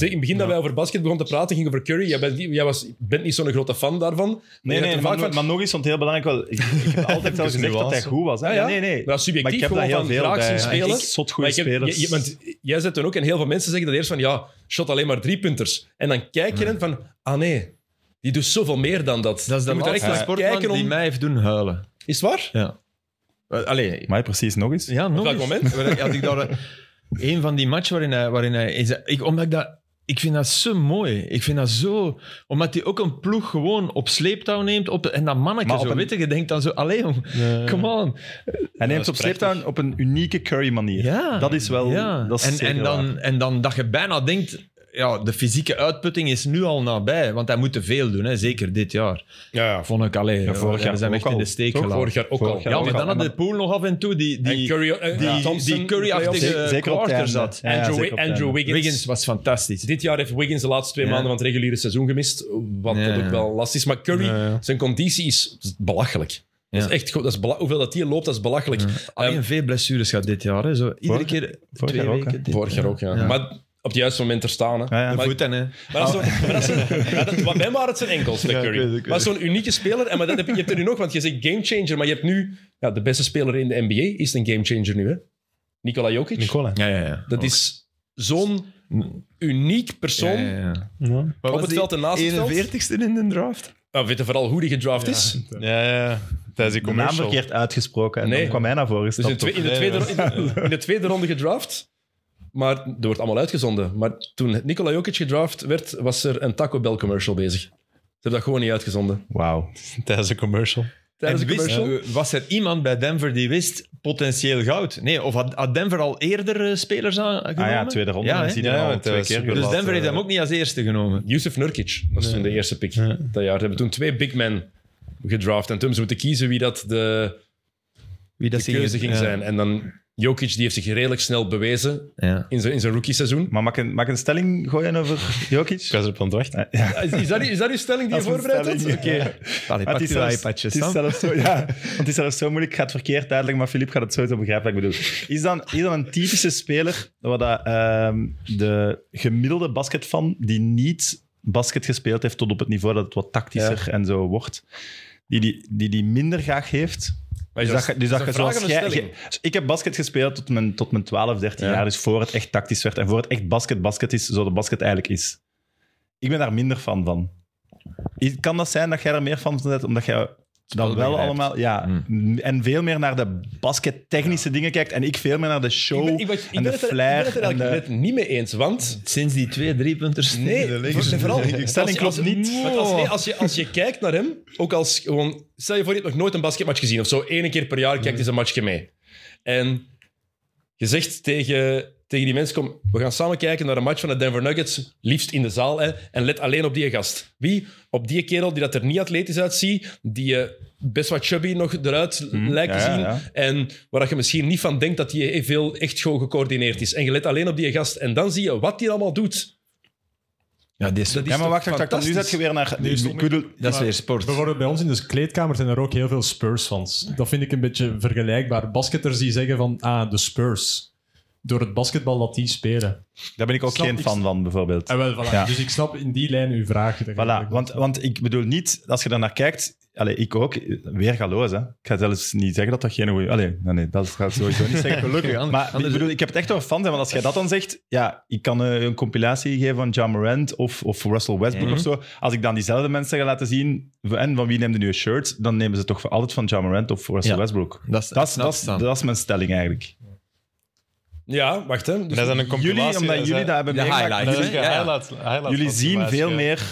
in het begin dat wij over basket begonnen te praten, ging over Curry. Jij bent, niet- jij was, bent niet zo'n grote fan daarvan. Maar Nee, je hebt nee, er maar, vaak van- maar nog eens, want heel belangrijk wel. Ik, ik heb altijd wel Even gezegd dat hij nuance. goed was. hè. Ja, ja. Nee, nee. Dat is subjectief, maar ik heb dat gewoon van heel veel graag bij. zien ja. spelen. Echt zot goede Maar ik heb- spelers. je- je- want jij zet toen ook, en heel veel mensen zeggen dat eerst van, ja, shot alleen maar driepunters. En dan kijk je en van, ah nee, die doet zoveel meer dan dat. Dat is de je moet er echt laatste naar sportman kijken om... die mij heeft doen huilen. Is het waar? Ja. Eh, Allee, Maar precies, nog eens. ja, nog welk eens. moment? Waar- Had ik daar een van die matchen waarin hij... Waarin hij is, ik, omdat ik dat... Ik vind dat zo mooi. Ik vind dat zo... Omdat hij ook een ploeg gewoon op sleeptouw neemt. Op, en dat mannetje Maar op zo, een- weet je, je denkt dan zo... Allee, jong, come on. Hij neemt op Sleeptown op een unieke Curry-manier. Ja. Dat is wel... Ja. Dat is en, zeker en, waar. dan, en dan dat je bijna denkt... Ja, de fysieke uitputting is nu al nabij. Want hij moet te veel doen, hè, zeker dit jaar. Ja, ja. Vond ik, allee, Ja, vorig we jaar zijn hem echt ook in de al. steek Toch? gelaten. Vorig jaar ook Vorig al. jaar Ja, ook maar dan al. had de pool nog af en toe die... En die Curry, eh, die, Thompson, die Curry-achtige playoffs. Zeker- zeker op het quarter einde. zat. Ja, ja, Andrew, zeker op het Andrew einde. Wiggins. Wiggins was fantastisch. Dit jaar heeft Wiggins de laatste twee Ja. maanden van het reguliere seizoen gemist. Wat Ja, dat ja. ook wel lastig is. Maar Curry, Ja, ja. zijn conditie is belachelijk. Dat is echt goed. Dat is bela- hoeveel dat hij loopt, dat is belachelijk. Alleen Ehm, veel blessures gaat dit jaar. Hè. Zo, iedere Vorig- keer vorig twee jaar ook, weken. hè. dit, vorig jaar ook, ja. Maar op het juiste moment er staan. Hè. Ja, ja. Maar- Voeten, hè. Maar dat is zo- maar dat is zo- ja, dat- wat mij waren het zijn enkels, bij Ja, ik Curry. weet het, ik maar zo'n unieke speler, en maar dat heb, je je hebt er nu nog, want je zegt gamechanger, maar je hebt nu ja, de beste speler in de NBA, is een gamechanger nu, hè? Nikola Jokic. Nicola. Ja, ja, ja. dat is zo'n uniek persoon. Ja, ja, ja. Ja, Op het veld en naast het veld. 41ste in de draft. Nou, we weten vooral hoe die gedraft is. ja. ja. Tijdens die De naam commercial. verkeerd uitgesproken. En Nee. dan kwam hij naar voren Dus in, gestapt. twee- in, de Nee, tweede, dat in, de, in de tweede ronde gedraft. Maar er wordt allemaal uitgezonden. Maar toen Nikola Jokic gedraft werd, was er een Taco Bell commercial bezig. Ze hebben dat gewoon niet uitgezonden. Wauw. Tijdens de commercial. Tijdens en de wist, commercial. eh, was er iemand bij Denver die wist potentieel goud? Nee, of had, had Denver al eerder eh, spelers aangenomen? Ah ja, tweede ronde. Ja, Ja, hè. zie Ja, ja, al want twee dat is keer. super Dus laat, Denver heeft eh, hem ook niet als eerste genomen. Yusuf Nurkic was toen de eerste pick Ja. dat jaar. Ze hebben toen twee big men gedraft. En toen ze moeten kiezen wie dat de, Wie de keuze ging ja. zijn. En dan Jokic, die heeft zich redelijk snel bewezen Ja. in zijn, in zijn rookie seizoen. Maar mag ik, een- mag ik een stelling gooien over Ik Jokic? was erop aan het wachten. Is, is dat, is dat uw stelling die je Dat is mijn voorbereid had? stelling, ja. Oké. Allee, Maar pak het, is je zelfs, iPadje, het is Sam. zelfs zo, ja, want het is zelfs zo moeilijk. Ik ga het verkeerd uitleggen, maar Filip gaat het sowieso begrijpen wat ik bedoel. Is dan, is dan een typische speler, wat dat, ehm, de gemiddelde basketfan, die niet basket gespeeld heeft tot op het niveau dat het wat tactischer en zo wordt, die die, die, die minder graag heeft... Maar Dus is dat, je- dus is dat een je vraag zoals of een jij- stelling? jij- ik heb basket gespeeld tot mijn, tot mijn 12, 13 Ja. jaar, dus voor het echt tactisch werd en voor het echt basket basket is, zo de basket eigenlijk is. Ik ben daar minder fan van. Is- Kan dat zijn dat jij er meer van bent, omdat jij dan wel begrijpt. allemaal... Ja, en veel meer naar de baskettechnische dingen kijkt en ik veel meer naar de show Ik ben- ik ben- ik en ben de het er- ik ben flair. het er en de- eigenlijk net niet mee eens, want... Sinds die twee driepunters. Nee, voor- vooral. De stelling Als je- klopt als- niet. want Als, nee, als, je, als je kijkt naar hem, ook als gewoon. Stel je voor, je hebt nog nooit een basketmatch gezien of zo. Ene keer per jaar kijkt eens een matchje mee. En je zegt tegen, tegen die mensen: kom, we gaan samen kijken naar een match van de Denver Nuggets. Liefst in de zaal. Hè, en let alleen op die gast. Wie? Op die kerel die dat er niet atletisch uitziet. Die eh, best wat chubby nog eruit lijkt te Hm, ja, zien. ja. En waar dat je misschien niet van denkt dat die veel echt gewoon gecoördineerd is. En je let alleen op die gast. En dan zie je wat die allemaal doet. Ja, dit is, Dat is Ja, maar wacht, toch wacht, wacht. Nu fantastisch? zet je weer naar... Nee, stop ik met- bedoel- dat is weer sport. Bijvoorbeeld bij ons in de kleedkamer zijn er ook heel veel Spurs-fans. Dat vind ik een beetje vergelijkbaar. Basketters die zeggen van, ah, de Spurs. Door het basketbal dat die spelen. Daar ben ik ook Snap geen ik. fan van, bijvoorbeeld. En wel, voilà. Ja. Dus ik snap in die lijn uw vraag. Dat je Voilà, eigenlijk- want, want ik bedoel niet, als je daarnaar kijkt, allee, ik ook, weergaloos. Hè. Ik ga zelfs niet zeggen dat dat geen goede... Allee, nee, nee, dat gaat sowieso niet zeggen, Gelukkig, gelukkig. anders- Maar ik anders- bedoel, ik heb het echt over fans, hè, want als jij dat dan zegt, ja, ik kan eh, een compilatie geven van John Morant of, of Russell Westbrook Mhm. of zo. Als ik dan diezelfde mensen ga laten zien, en van wie neemt nu een shirt, dan nemen ze toch voor altijd van John Morant of Russell Ja. Westbrook. Dat is, Dat is, snap dat, is, staan. dat is mijn stelling eigenlijk. Ja, wacht hè. Dus Dat is dan een compilatie. Jullie, omdat dat jullie dat zijn- hebben eh, de meegemaakt, highlights, jullie- hè? Ja, ja. Highlights- highlights jullie van zien compilatie, veel ja. meer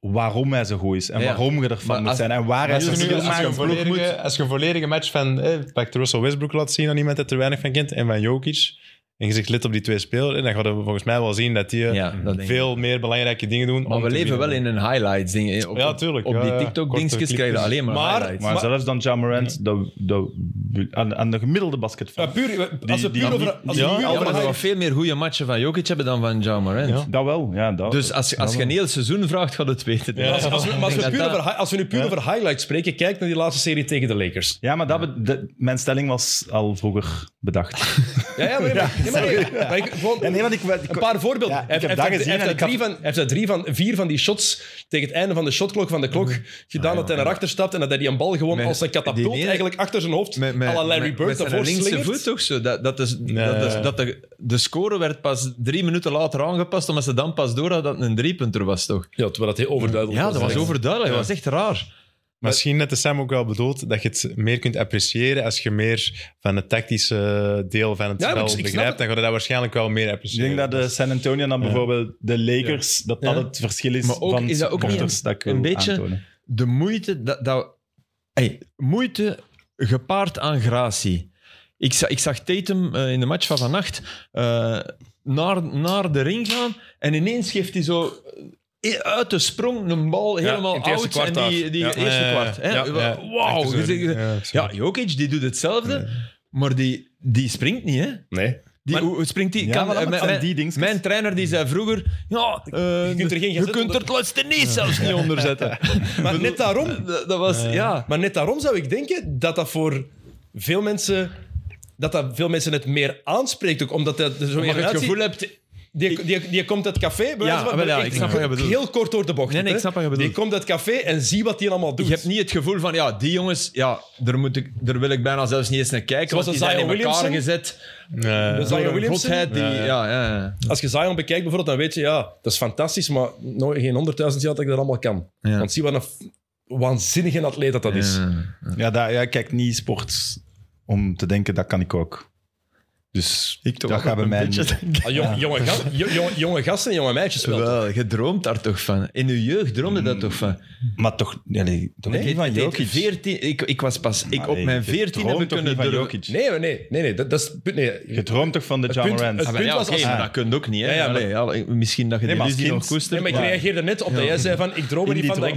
waarom hij zo goed is en Ja. waarom je ervan Maar moet als- zijn en waar hij Als je, zijn nu, speel als, je maakt. een volledige, als je een volledige match van eh, pak de Russell Westbrook laat zien aan iemand dat er weinig van kent en van Jokic en je zegt lid op die twee spelers, en dan gaan we volgens mij wel zien dat die eh, Ja, dat denk ik. veel meer belangrijke dingen doen. Maar om we te leven wel winnen. in een highlights ding. Op, Ja, tuurlijk. Op Ja, die ja. TikTok Korte dingetjes krijg je clipjes. alleen maar, Maar- highlights. Maar, Maar- zelfs dan John Morant, dat, dat basketbal, aan, aan de gemiddelde basketbal. Ja, puur, als we puur die- die- over... Als we Ja, puur maar over we hype- nog veel meer goede matchen van Jokic hebben dan van Ja Morant. Ja. Dat wel, ja. Dat, Dus als, als je een heel seizoen vraagt, gaat het weten. denk ik. Als, als, we, maar als, Ik we denk puur dat over, hi- als we nu puur over highlights spreken, kijk naar die laatste serie tegen de Lakers. ja, maar dat be- de- mijn stelling was al vroeger Ah, bedacht. Ja, ja, maar, nee, maar, nee, maar ik- gewoon Ja, nee, want ik, ik- een paar voorbeelden. Ja, ik Hij heb heeft- dat hij heeft- gezien hij en heeft ik daar drie had- van- hij heeft daar drie van, vier van die shots tegen het einde van de shotklok van de klok Mhm. Ah, gedaan dat hij naar achter stapt en dat hij die een bal gewoon Met- als een die katapult ene- eigenlijk achter zijn hoofd Met, met, à la Larry met- Bird met zijn daarvoor linkse slingert. voet toch zo. Dat, dat is, dat is, Nee. dat de, de score werd pas drie minuten later aangepast, omdat ze dan pas door hadden dat het een driepunter was, toch? Ja, terwijl dat heel overduidelijk Ja, dat was echt. overduidelijk. Dat was echt raar. Misschien net is Sam ook wel bedoeld dat je het meer kunt appreciëren als je meer van het tactische deel van het Ja, maar ik- spel ik snap het. begrijpt. Dan ga je dat waarschijnlijk wel meer Ik appreciëren. denk dat de San Antonio dan bijvoorbeeld de Lakers, dat dat Ja. het verschil is Maar ook- van is dat ook niet supporters, dat ik wil een beetje- aantonen. De moeite... Dat, dat, hey, moeite gepaard aan gratie. Ik, za- ik zag Tatum eh, in de match van vannacht eh, naar, naar de ring gaan en ineens geeft hij zo... eh, Uit de sprong een bal helemaal in het eerste oud kwart en die, daar. die Ja. eerste Ja, ja, kwart. hè. ja, Ja, Wauw. echt zo. Je zegt- Ja, Ja, Jokic die doet hetzelfde, maar die, die springt niet, hè? Nee. Die, Maar- hoe hoe springt die? Ja, Kan- maar eh, dat mijn, zijn mijn- die dingetjes. mijn trainer die zei vroeger: ja, eh, Je kunt er geen je gezet kunt er onder- het laatste niet zelfs niet onder zetten. Maar net daarom eh, dat, dat was, ja. Maar net daarom zou ik denken dat dat voor veel mensen, dat dat veel mensen het meer aanspreekt. Ook omdat dat er zo Omdat je het gevoel hebt. Die, die, die komt uit het café, bij Ja, wijze van- wel ja, echt ik snap wat je bedoelt. Heel kort door de bocht. Nee, nee, hè. ik snap wat je Die bedoelt. komt uit het café en zie wat die allemaal doet. Je hebt niet het gevoel van, ja, die jongens, ja, daar, moet ik, daar wil ik bijna zelfs niet eens naar kijken. Zoals want die een zijn in Zion elkaar Williamson. gezet. Ja. Dus Door Zion een Williamson? godheid die, ja, ja. ja, Als je Zion bekijkt bijvoorbeeld, dan weet je, ja, dat is fantastisch, maar nooit geen honderdduizend jaar dat ik dat allemaal kan. Ja. Want zie wat een f- waanzinnige atleet dat dat is. Ja, daar, ja, ik kijk niet sport om te denken, dat kan ik ook. Dus Ik toch dat ook gaat bij een mij beetje, niet. denk ik. Ah, jong- jonge, ga- jo- jonge, jonge gasten en jonge meisjes wel. Wel, je droomt daar toch van. In je jeugd droomde dat toch van. Maar toch, ja, nee, toch Nee, niet van het heet Jokic. 14 ik, ik was pas ik, Maar op nee, mijn je 14 droomt heb ik toch kunnen niet van durven- Jokic? Nee, maar nee, nee, nee, dat, dat is... het punt. Nee, Je droomt toch van de Het John punt- Morant? het Ah, punt maar ja, was oké, als- maar dat kunt ook niet. Hè? Ja, ja, maar- Allee, ja, ik- misschien dat je Nee, de maar illusie als nog kind- koestert. Nee, maar ik reageerde net op dat jij zei van ik droom er In niet die van dat ik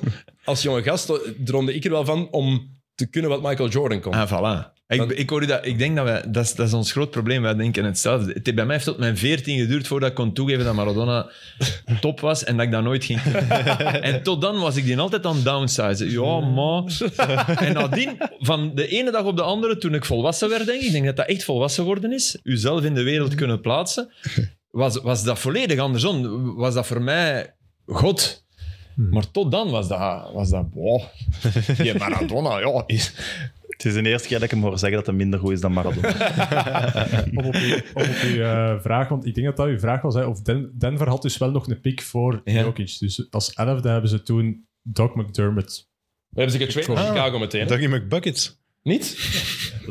dingen kon. Als jonge gast droomde ik er wel van om te kunnen wat Michael Jordan kon. Ah, voilà. Ik, Want- ik, hoorde dat, ik denk dat wij... Dat is, dat is ons groot probleem. Wij denken hetzelfde. Het, bij mij heeft tot mijn 14 geduurd voordat ik kon toegeven dat Maradona top was en dat ik dat nooit ging doen. En tot dan was ik die altijd aan het downsizen. Ja, maar... En nadien, van de ene dag op de andere, toen ik volwassen werd, denk ik, ik denk dat dat echt volwassen worden is, uzelf in de wereld kunnen plaatsen, was, was dat volledig andersom. Was dat voor mij God. Maar tot dan was dat... Was dat wow. Die Maradona, ja... Is, Het is de eerste keer dat ik hem hoor zeggen dat hij minder goed is dan Maradona. Om op uw, om op uw, eh, vraag, want ik denk dat dat uw vraag was, hè, of Den- Denver had dus wel nog een pick voor Ja. Jokic. Dus als elfde hebben ze toen Doc McDermott. We hebben ze getraind naar Ah. Chicago meteen. hè? Dougie McBuckets. Niet?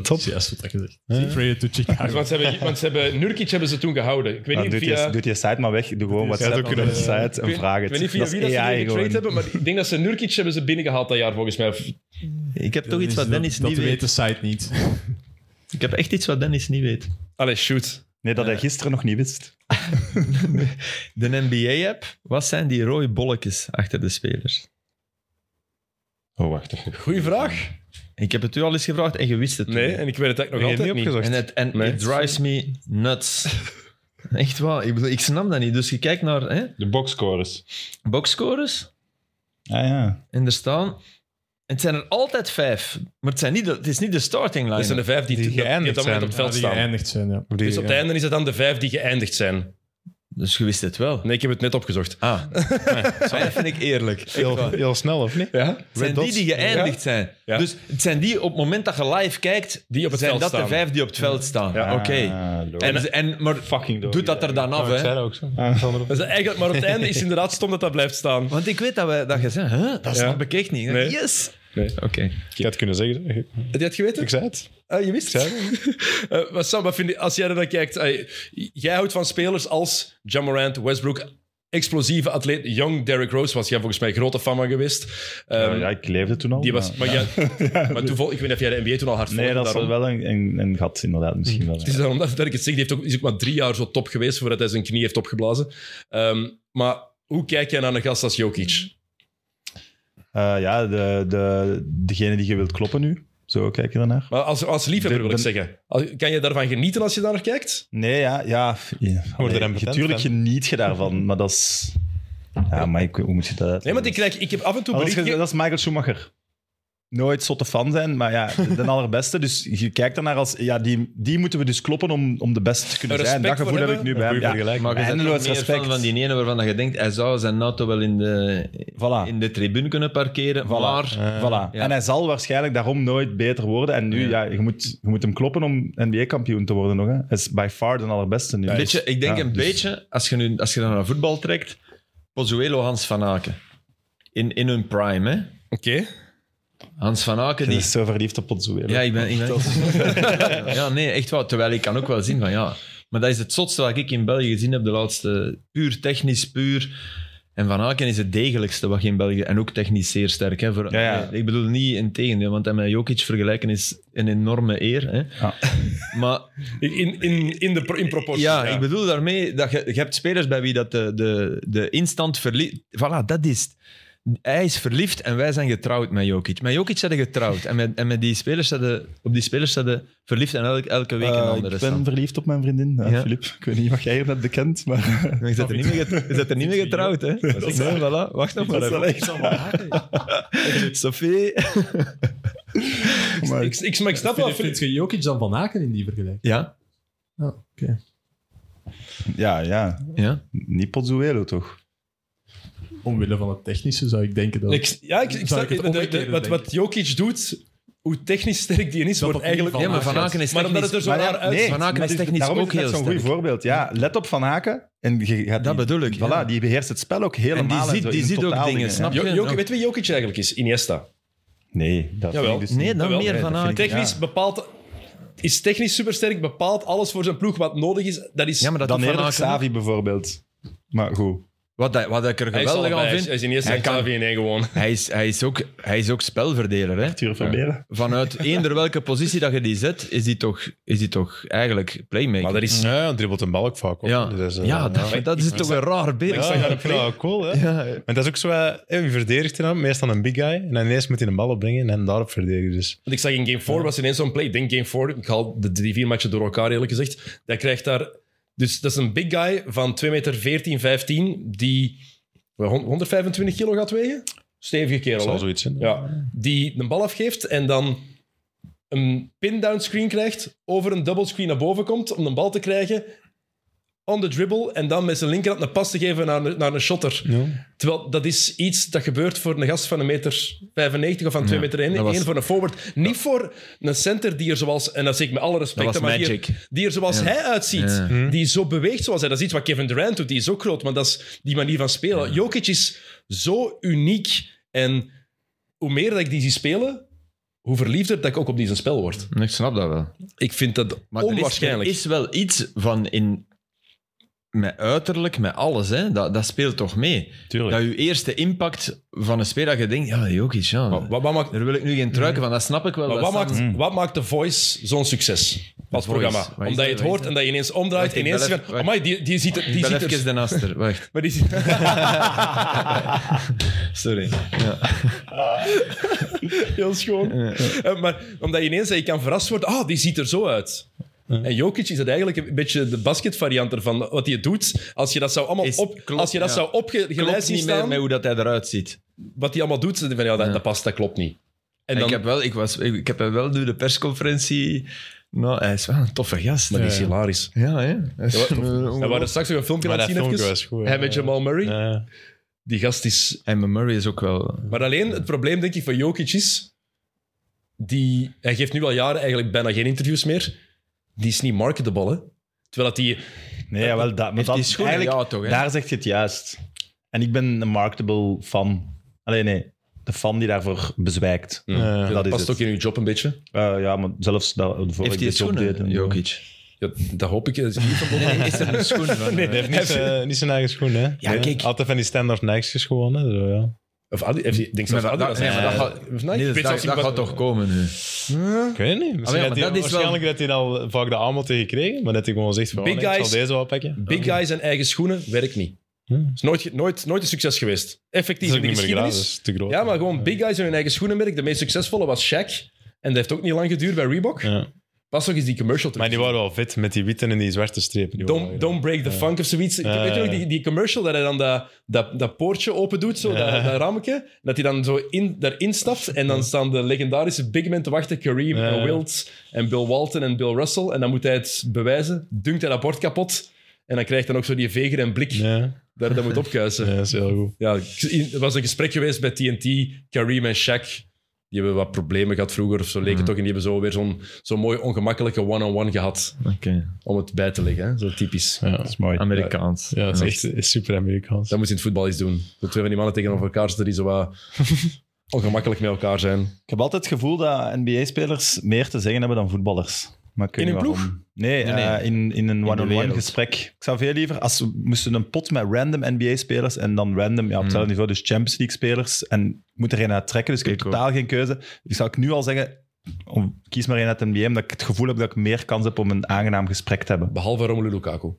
Top. Juist wat dat gezegd. Die traded to Dus Chicago. Want ze hebben, want ze hebben Nurkic hebben ze toen gehouden. Ik weet Nou, niet doet, via... je, doet je site maar weg. Doe gewoon je WhatsApp site ook op de kunnen- site ik en weet- vraag Ik het. weet niet via Dat is wie dat ze AI die getraind gewoon. hebben, maar ik denk dat ze Nurkic hebben ze binnengehaald dat jaar, volgens mij. Of- Ik heb toch iets wat Dat- Dennis dat niet weet weet. de site niet. Ik heb echt iets wat Dennis niet weet. Allee, shoot. Nee, dat hij gisteren nog niet wist. De NBA-app, wat zijn die rode bolletjes achter de spelers? Oh, wacht. Goeie vraag. Ik heb het u al eens gevraagd en je wist het Nee, toen. en ik weet het eigenlijk nog Nee, altijd niet niet. opgezocht. En, het, en Nee. it drives me nuts. Echt waar. Ik, bedoel, ik snap dat niet. Dus je kijkt naar hè, De boxscores. boxscores Ah ja. en er staan... Het zijn er altijd vijf, maar het, zijn niet de- het is niet de starting line. Dat zijn de vijf die, Die die, die op geëindigd dat moment op het Ja, veld die Ah, staan. geëindigd zijn, ja. Dus op het einde is het dan de vijf die geëindigd zijn. Dus je wist het wel. Nee, ik heb het net opgezocht. Ah, dat vind ik eerlijk. Echt Heel, waar. heel snel, of niet? Ja? Het zijn Red die dots. die geëindigd zijn. Ja. Dus het zijn die op het moment dat je live kijkt, Die op het zijn veld dat staan. de vijf die op het veld staan. Ja. Oké. En, en, maar Fucking doet Oh, dat er dan af, Ik zei hè? dat ook zo. Dat is Dus eigenlijk, maar op het einde is het inderdaad stom dat dat blijft staan. Want ik weet dat, we, dat je zegt, hè, dat snap ik echt niet. hè. Nee. Yes! Nee. Oké. Ik had het kunnen zeggen. Ik Heb je het geweten? zei het. Ah, je wist het. Eh, maar Sam, wat vind je, als jij er naar kijkt, eh, jij houdt van spelers als John Morant, Westbrook, explosieve atleet, young Derrick Rose was jij volgens mij grote fan van geweest. Ehm, Ja, ik leefde toen al. die was, maar, jij- maar toen vol- ik weet niet of jij de NBA toen al hard Nee, volgde, dat is daarom. wel een, een, een gat inderdaad. Misschien wel. Het is daarom dat ik het zeg, die heeft ook, is ook maar drie jaar zo top geweest voordat hij zijn knie heeft opgeblazen. Ehm, maar hoe kijk jij naar een gast als Jokic? Eh, ja, de, de, degene die je wilt kloppen nu. Zo kijk je daarnaar. Maar als, als liefhebber De- wil ik de- zeggen. Als- Kan je daarvan genieten als je daar naar kijkt? Nee, ja. ja, ja. Word er dan patent natuurlijk van? geniet je daarvan, maar dat is... Ja, maar ik, hoe moet je dat uit? Nee, want ik, krijg, ik heb af en toe Maar dat, is, berichten... dat is Michael Schumacher. Nooit zotte fan zijn, maar ja, de, de allerbeste. Dus je kijkt ernaar als... Ja, die, die moeten we dus kloppen om, om de beste te kunnen Respect zijn. Dat gevoel voor heb ik hebben. nu bij hem. Goeie Ja. vergelijking. Maar je bent Eindeloos toch meer respect. fan van die ene waarvan je denkt, hij zou zijn auto wel in de, Voilà. in de tribune kunnen parkeren, maar... Eh, Ja. Voilà. En hij zal waarschijnlijk daarom nooit beter worden. En nu, ja, je, moet, je moet hem kloppen om NBA-kampioen te worden nog. Hè. Hij is by far de allerbeste nu. Een beetje, ik denk Ja, een dus- beetje, als je, nu, als je dan naar voetbal trekt, Pozuelo, Hans van Aken. In, in hun prime, hè. Oké. Hans van Aken, Hij die... is zo verliefd op Pozzuelo. Ja, ik ben... Ik ben ja, nee, echt wel. Terwijl ik kan ook wel zien van, ja... Maar dat is het zotste wat ik in België gezien heb de laatste... Puur technisch, puur... En Van Aken is het degelijkste wat je in België... En ook technisch zeer sterk, hè. Voor, Ja, ja. Ik bedoel niet in tegendeel, want hem met Jokic vergelijken is een enorme eer, hè. Ja. Maar In, in, in, de, pro- in proportie. ja, ik bedoel daarmee dat je, je hebt spelers bij wie dat de, de, de instant verliefd... Voilà, dat is het. Hij is verliefd en wij zijn getrouwd met Jokic. Met Jokic zijn we getrouwd. En, met, en met die spelers zijn we- op die spelers zijn we verliefd en elke, elke week een Eh, andere ik ben stand. verliefd op mijn vriendin, ja, Ja. Filip. Ik weet niet wat jij hier net bekend, maar... Maar Je bent er niet meer get- je bent er niet meer getrouwd, hè? Nee, voilà. Wacht nog maar is wel even. echt- Sophie... maar- Ik, ik, maar ik snap wel... Vind, vind je Jokic dan van Aken in die vergelijking? Ja? Oh, oké. Ja, ja. Ja? Niet Pozzuelo, toch? Omwille van het technische zou ik denken dat... Ik, ja, ik, ik Zou snap ik het de- de- omgekeerde wat, wat Jokic doet, hoe technisch sterk die in is, Dat wordt dat niet eigenlijk... van- ja, maar Van Aken is Maar omdat het er technisch- zo Maar ja, naar uit... nee, Van Aken maar is dit- technisch daarom ook is het heel net zo'n goed sterk. voorbeeld. Ja, let op Van Haken. En je gaat Dat die, bedoel ik, Voilà, ja. die beheerst het spel ook helemaal. En die ziet- zo die in ziet ook totaaldingen, dingen, ja. snap je? Jo- Jokic- Ja. weet je wie Jokic eigenlijk is? Iniesta. Nee, dat Jawel. vind ik dus Nee, niet. dan Jawel, meer nee, Van dat vind Aken. ik- Technisch bepaalt... Is technisch supersterk, bepaalt alles voor zijn ploeg wat nodig is. Dat is Ja, maar dat Dan doet Van eerder Aken ook. Xavi bijvoorbeeld. Maar goed. Wat, dat- wat ik er hij is geweldig aan allebei. vind... Hij is Iniesta Hij en kan- Xavi in één gewoon. Hij is, hij is, ook, hij is ook spelverdeler, hè? Tuur Verberen. vanuit eender welke positie dat je die zet, is die toch, is die toch eigenlijk playmaker. Maar dat is... Ja, hij dribbelt een balk vaak. ook. ja, Dus, eh, ja, dat, dat is toch een raar beeld. Ja, ik vind dat wel cool, hè? Maar dat is ook zo, eh, wie verdedigt hij dan? Meestal een big guy. En dan ineens moet hij een bal opbrengen en hem daarop verdedigen. Dus Want ik zag in game 4 was ineens zo'n play. Ik denk game 4, ik haal de drie, vier matchen door elkaar eerlijk gezegd. Dat krijgt daar... Dus dat is een big guy van 2 meter 14, 15, die wel hon- 125 kilo gaat wegen. Stevige dat kerel, zal hè? zoiets zijn. Ja, die een bal afgeeft en dan een pin-down screen krijgt, over een double screen naar boven komt om een bal te krijgen, on the dribble, en dan met zijn linkerhand een pas te geven naar, een- naar een shotter. Ja. Terwijl dat is iets dat gebeurt voor een gast van een meter 95 of van 2 Ja, meter 1, dat was- voor een forward. Niet voor een center die er zoals, en dat zeg ik met alle respect, Dat was maar die magic. er, die er zoals Ja. hij uitziet. Ja. Die zo beweegt zoals hij. Dat is iets wat Kevin Durant doet, die is ook groot, maar dat is die manier van spelen. Jokic is zo uniek en hoe meer dat ik die zie spelen, hoe verliefder dat ik ook op die zijn spel word. Ik snap dat wel. Ik vind dat Maar er is, er onwaarschijnlijk. is wel iets van in... Met uiterlijk, met alles, hè. Dat, dat speelt toch mee. Tuurlijk. Dat je eerste impact van een speler, dat je denkt, ja, Jokic, ja. Wat, wat maakt, Daar wil ik nu geen truiken van, dat snap ik wel. maar wat, dat snap ik. maakt, wat maakt The Voice zo'n succes als Hmm. Voice, programma? wat is Omdat dat? je het Wat is hoort dat? en dat je ineens omdraait Wacht, en ik ineens ben zegt... even- Amai, die, die ziet, er- Ik die ben ziet even er... de naster, wacht. Maar die ziet- Sorry. Ja. Heel schoon. Eh, maar omdat je ineens dat je kan verrast worden, ah, die ziet er zo uit. En Jokic is dat eigenlijk een beetje de basketvariant ervan. Wat hij doet, als je dat zou allemaal Is- op, klopt, als je dat ja. zou opgeleid Klopt zien niet meer staan, met hoe dat hij eruit ziet. wat hij allemaal doet, dan denk je van, ja, dat, dat past, dat klopt niet. En dan, Ik heb wel, ik was, ik, ik heb hem wel door de persconferentie. Nou, hij is wel een toffe gast. maar die is Ja, ja. hilarisch. Ja, hè? Hij is- Ja, eh, En we hadden straks nog een filmpje Maar aan dat het zien, filmpje even. was goed. Hij met Jamal Murray. Ja. Die gast is En mijn Murray is ook wel. Maar alleen het probleem, denk ik, van Jokic is... Die, hij geeft nu al jaren eigenlijk bijna geen interviews meer. Die is niet marketable, hè. Terwijl dat die... Nee, jawel, dat, maar Heeft dat die schoenen? eigenlijk, Ja, toch, hè? daar zegt je het juist. En ik ben een marketable fan. Alleen nee, de fan die daarvoor bezwijkt. Ja. dat dat is past het. ook in uw job een beetje. Eh, ja, maar zelfs dat, voor Heeft ik hij dit opdeed schoenen, en- Jokic? Ja, dat hoop ik. Dat is niet van- Nee, is er een schoen van? Hij heeft niet, zijn- niet zijn eigen schoen, hè? Ja, Nee. kijk. Altijd van die standaard Nike's gewonnen. Zo, ja. Of Adi, heeft hij- ik denk Maar zelfs dat, Adidas. dat, nee, maar dat Eh, gaat, of nee, Nike. dat, Ik weet dat, zelfs niet dat gaat wat- toch komen nu? Ik Ah, weet het niet. ja, Misschien maar had hij, dat is wel- waarschijnlijk dat hij al vaak de aanbod heeft gekregen, maar dat hij gewoon zegt van, Big oh, nee, ik guys- zal deze wel pakken. Big guys en eigen schoenen werkt niet. Hmm. is nooit, ge- nooit, nooit een succes geweest. Dat Effectief is in ook de niet meer gedaan, dat geschiedenis. is te groot. Ja, maar gewoon big guys in hun eigen schoenenmerk. De meest succesvolle was Shaq. En dat heeft ook niet lang geduurd bij Reebok. Ja. Pas nog eens die commercial terug. Maar die waren wel fit met die witte en die zwarte strepen. Die waren Don't, wel- don't break the funk of zoiets. Ik Ja, weet je nog ja. die, die commercial dat hij dan dat, dat, dat poortje open doet, zo, dat, dat rammetje, dat hij dan zo in, daarin stapt en dan staan de legendarische big men te wachten, Kareem Ja, en ja. Wilt en Bill Walton en Bill Russell. En dan moet hij het bewijzen, dunkt hij dat bord kapot en dan krijgt hij ook zo die veger en blik Ja, daar dat moet opkuisen. ja, Ja. dat is heel goed. er was een gesprek geweest bij TNT, Kareem en Shaq. Die hebben wat problemen gehad vroeger of zo, leek Mhm. het toch. En die hebben zo weer zo'n zo'n mooi ongemakkelijke one-on-one gehad Oké, om het bij te leggen. Hè? Zo typisch. Ja, is mooi. Amerikaans. ja het is echt super Amerikaans. Dat Dus moet je in het voetbal eens doen. De twee van die mannen tegenover elkaar zitten die zo wat ongemakkelijk met elkaar zijn. Ik heb altijd het gevoel dat NBA-spelers meer te zeggen hebben dan voetballers. Maar ik weet In een niet waarom. Nee, Nee, nee. eh, in, in een one-on-one wereld. gesprek. Ik zou veel liever, als we moesten een pot met random NBA-spelers en dan random, ja, op hetzelfde niveau, dus Champions League-spelers. En ik moet er een uit trekken, dus ik heb Ik ook. totaal geen keuze. Ik zou ik nu al zeggen, om- kies maar één uit NBA, omdat ik het gevoel heb dat ik meer kans heb om een aangenaam gesprek te hebben. Behalve Romelu Lukaku.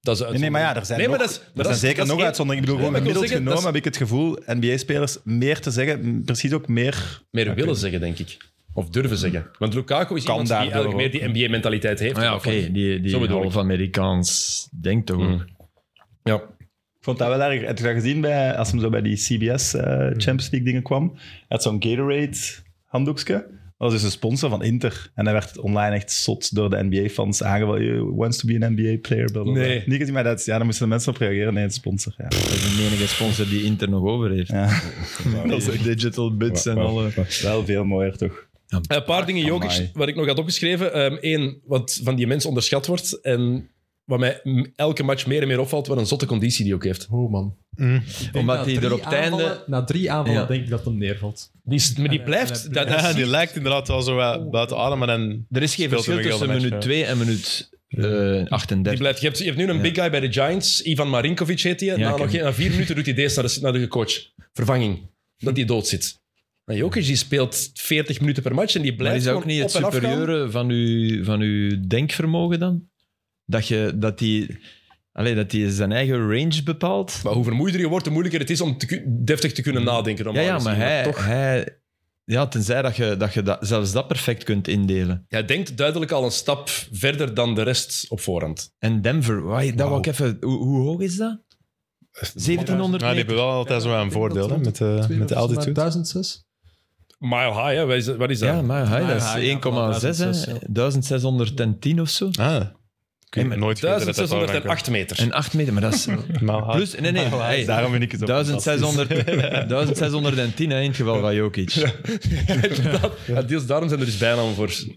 Dat is een Nee, nee, maar ja, er zijn, Nee, maar nog, dat is- maar er dat zijn is- zeker dat is nog één- uitzonderingen. Ik bedoel, Nee, gewoon maar ik wil gemiddeld zeggen, genomen dat heb ik het gevoel, NBA-spelers meer te zeggen, m, precies ook meer... Meer willen zeggen, denk ik. Of durven zeggen. Want Lukaku is Kan iemand die daardoor eigenlijk meer die NBA-mentaliteit heeft. Ah ja, oké. Die, Zo die bedoel ik. half-Amerikaans denkt toch ook. Ja. Ik vond dat wel erg. Heb je dat gezien bij, als hem zo bij die CBS eh, Champions League dingen kwam? Hij had zo'n Gatorade handdoekje. Dat was dus een sponsor van Inter. En hij werd online echt zot door de NBA-fans aangevallen. "You wants to be an NBA player. Blah, blah, blah. Nee. Niet gezien, maar dat is, ja, daar moesten de mensen op reageren. Nee, het is sponsor. Ja. Dat is de enige sponsor die Inter nog over heeft. Ja. Dat is echt digital bits en alle... eh, Wel veel mooier, toch? Eh, Een paar dingen, Jokic, Amai. wat ik nog had opgeschreven. Eén, wat van die mens onderschat wordt. En wat mij m- elke match meer en meer opvalt, wat een zotte conditie die ook heeft. Oh man. Omdat hij Na drie er op het aanvallen- einde- Na drie aanvallen Ja. denk ik dat hem neervalt. Die, is- maar die En hij- en blijft... hij Dat, dat Ja, is- die lijkt inderdaad wel zo wat buiten adem, maar dan... Er is geen Speelt hem verschil een tussen hele match, minuut ja. 2 en minuut eh, die 38. blijft, je, hebt, je hebt nu een big guy bij de Giants. Ivan Marinkovic heet hij. ik na, ken nog geen- na vier minuten doet hij deze naar de, naar de coach. Vervanging. Dat hij dood zit. Maar Jokic die speelt 40 minuten per match en die Maar blijft is dat ook gewoon niet het op en af gaan. superieure van uw, van uw denkvermogen dan? Dat je dat die, allee, dat die zijn eigen range bepaalt? Maar hoe vermoeider je wordt, hoe moeilijker het is om te ku- deftig te kunnen nadenken. Ja, normaal ja gezien. maar hij, toch, hij... Ja, tenzij dat je, dat je dat, zelfs dat perfect kunt indelen. hij denkt duidelijk al een stap verder dan de rest op voorhand. En Denver, wai, dat wou ik even... Hoe, hoe hoog is dat? 1700 Ja, Ah, die hebben meter? wel altijd zo wat een voordeel hè, met, de, Twee met de of zo, maar altitude. 1006? Mile high, hè? Wat is- wat is dat? Ja, maar hij, Ja, dat ja, ja, is 1,6, hè. 1600. 1610 of zo. Ah, ik heb nooit geweten dat dat daar aan kan. 1608 meter. En 8 meter, maar dat is... Maal hard. Plus, nee, nee, hey, Dus Daarom vind ik het ook 1600, 1610 hè, in het geval van Jokic. Inderdaad. Ja, deels daarom zijn er dus bijnamen voor. Dus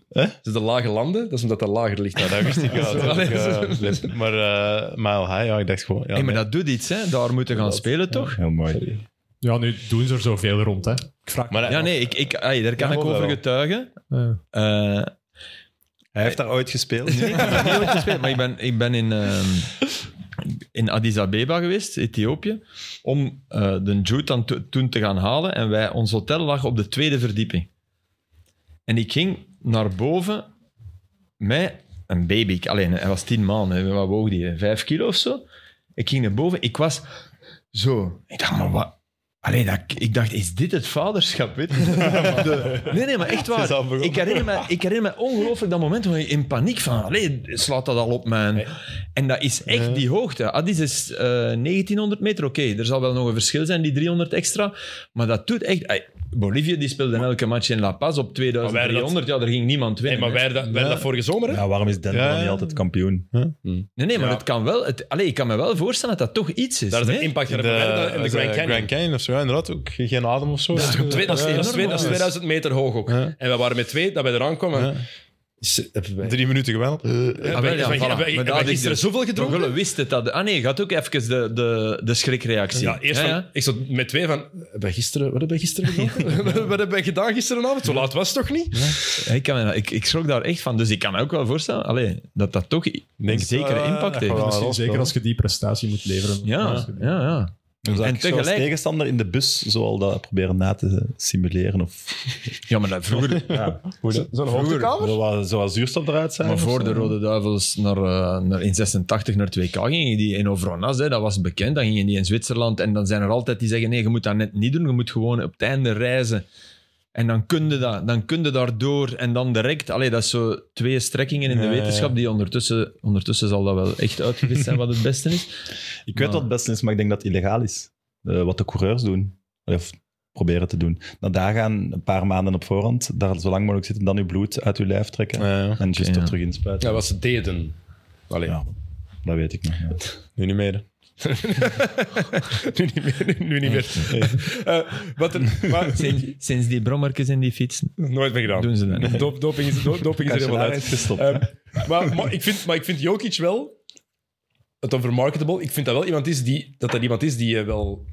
de lage landen, dat is omdat dat lager ligt. Ja, dat wist ik wel. Zo. natuurlijk, eh, flip. maar eh Mile High, ja, ik dacht gewoon... Ja, Hey, maar nee. dat doet iets, hè? daar moeten gaan spelen toch? Heel mooi. Ja, nu doen ze er zoveel rond, hè. Ik vraag Maar, Ja, nee, ik, ik, hey, daar kan Ja, ik wel. over getuigen. Eh, Eh, Hij heeft daar ooit gespeeld. nee, ik ben niet ooit gespeeld, maar ik ben, ik ben in, ehm, in Addis Abeba geweest, Ethiopië, om eh, de Jude dan to- toen te gaan halen. En wij, ons hotel lag op de tweede verdieping. En ik ging naar boven met een baby. Alleen, hij was tien maanden. hè. Wat woog die? Vijf kilo of zo? Ik ging naar boven. Ik was zo. Ik dacht, maar wat... Allee, dat, ik dacht, is dit het vaderschap? Weet je? De- nee, nee, maar echt Het is al waar. begonnen. Ik herinner me, ik herinner me ongelooflijk dat moment waar je in paniek van... Allee, slaat dat al op mijn... En dat is echt die hoogte. Addis is eh, 1900 meter, oké. Er zal wel nog een verschil zijn, die 300 extra. Maar dat doet echt... Ay, Bolivia die speelde in elke match in La Paz op 2300. Ja, daar ging niemand winnen. Hey, maar hè. wij hadden wij hadden dat vorige zomer, hè? Ja, Nou, waarom is Denver Ja. dan niet altijd kampioen? Nee, nee, maar Ja. het kan wel. Het, allee, ik kan me wel voorstellen dat dat toch iets is. Daar is een nee? impact in in de, de, in de Grand Canyon. Grand Canyon of zo, ja, inderdaad. Ook geen adem of zo. Dat is twee- dat is- Ja, dat is twee- dat is 2000 meter hoog ook. Ja. En we waren met twee dat wij eraan kwamen. Ja. Is- eh, hebben wij- Drie minuten geweld. hebben Ah, wij- wel, ja, hebben wij- voilà. hebben wij- Maar hebben daar wij had ik gisteren de- zoveel Nog gedronken? wel wist het dat. Ah nee, gaat ook even de, de, de schrikreactie. Ja, eerst van, ik zat met twee van... Hebben wij gisteren, wat hebben wij gisteren gedaan? wat hebben wij gedaan gisteravond? Zo laat was het toch niet? Ja, Ik, kan me- ik, ik schrok daar echt van. Dus ik kan me ook wel voorstellen allee, dat dat toch i- een zekere eh, impact heeft. misschien zeker als je die prestatie moet leveren. Ja, Als je- ja, ja. Dus En en tegelijk... tegelijk- Als tegenstander in de bus zoal dat proberen na te simuleren. Of, Ja, maar dat vroeger... ja. Zo'n Zoals, zoals zuurstof eruit zijn. Maar of voor zo. de Rode Duivels naar, eh, naar in 86 naar 2K gingen die in Ovronas, hè, dat was bekend. Dan gingen die in Zwitserland en dan zijn er altijd die zeggen: nee, je moet dat net niet doen, je moet gewoon op het einde reizen. En dan kun je, dat, dan kun je daardoor en dan direct. Allee, dat is zo twee strekkingen in de Ja, ja, ja. wetenschap die ondertussen... Ondertussen zal dat wel echt uitgevist zijn wat het beste is. Ik weet Maar- wat het beste is, maar ik denk dat het illegaal is. Eh, wat de coureurs doen. Of proberen te doen. Nou, daar gaan een paar maanden op voorhand, daar zo lang mogelijk zitten, dan uw bloed uit uw lijf trekken. Ja, en just Oké, er ja. terug inspuiten. Ja, wat ze deden. Allee. Ja. Dat weet ik nog. Ja. nu niet meer. nu niet meer. Nu niet meer. Eh, wat er, maar, Sinds, sinds die brommerkes in die fietsen nooit meer gedaan. doen ze dat niet. Dop- doping is, do- doping is er helemaal uit. Ehm, maar, maar, ik vind, maar ik vind Jokic wel, het over marketable, ik vind dat wel iemand is die, dat dat iemand is die je wel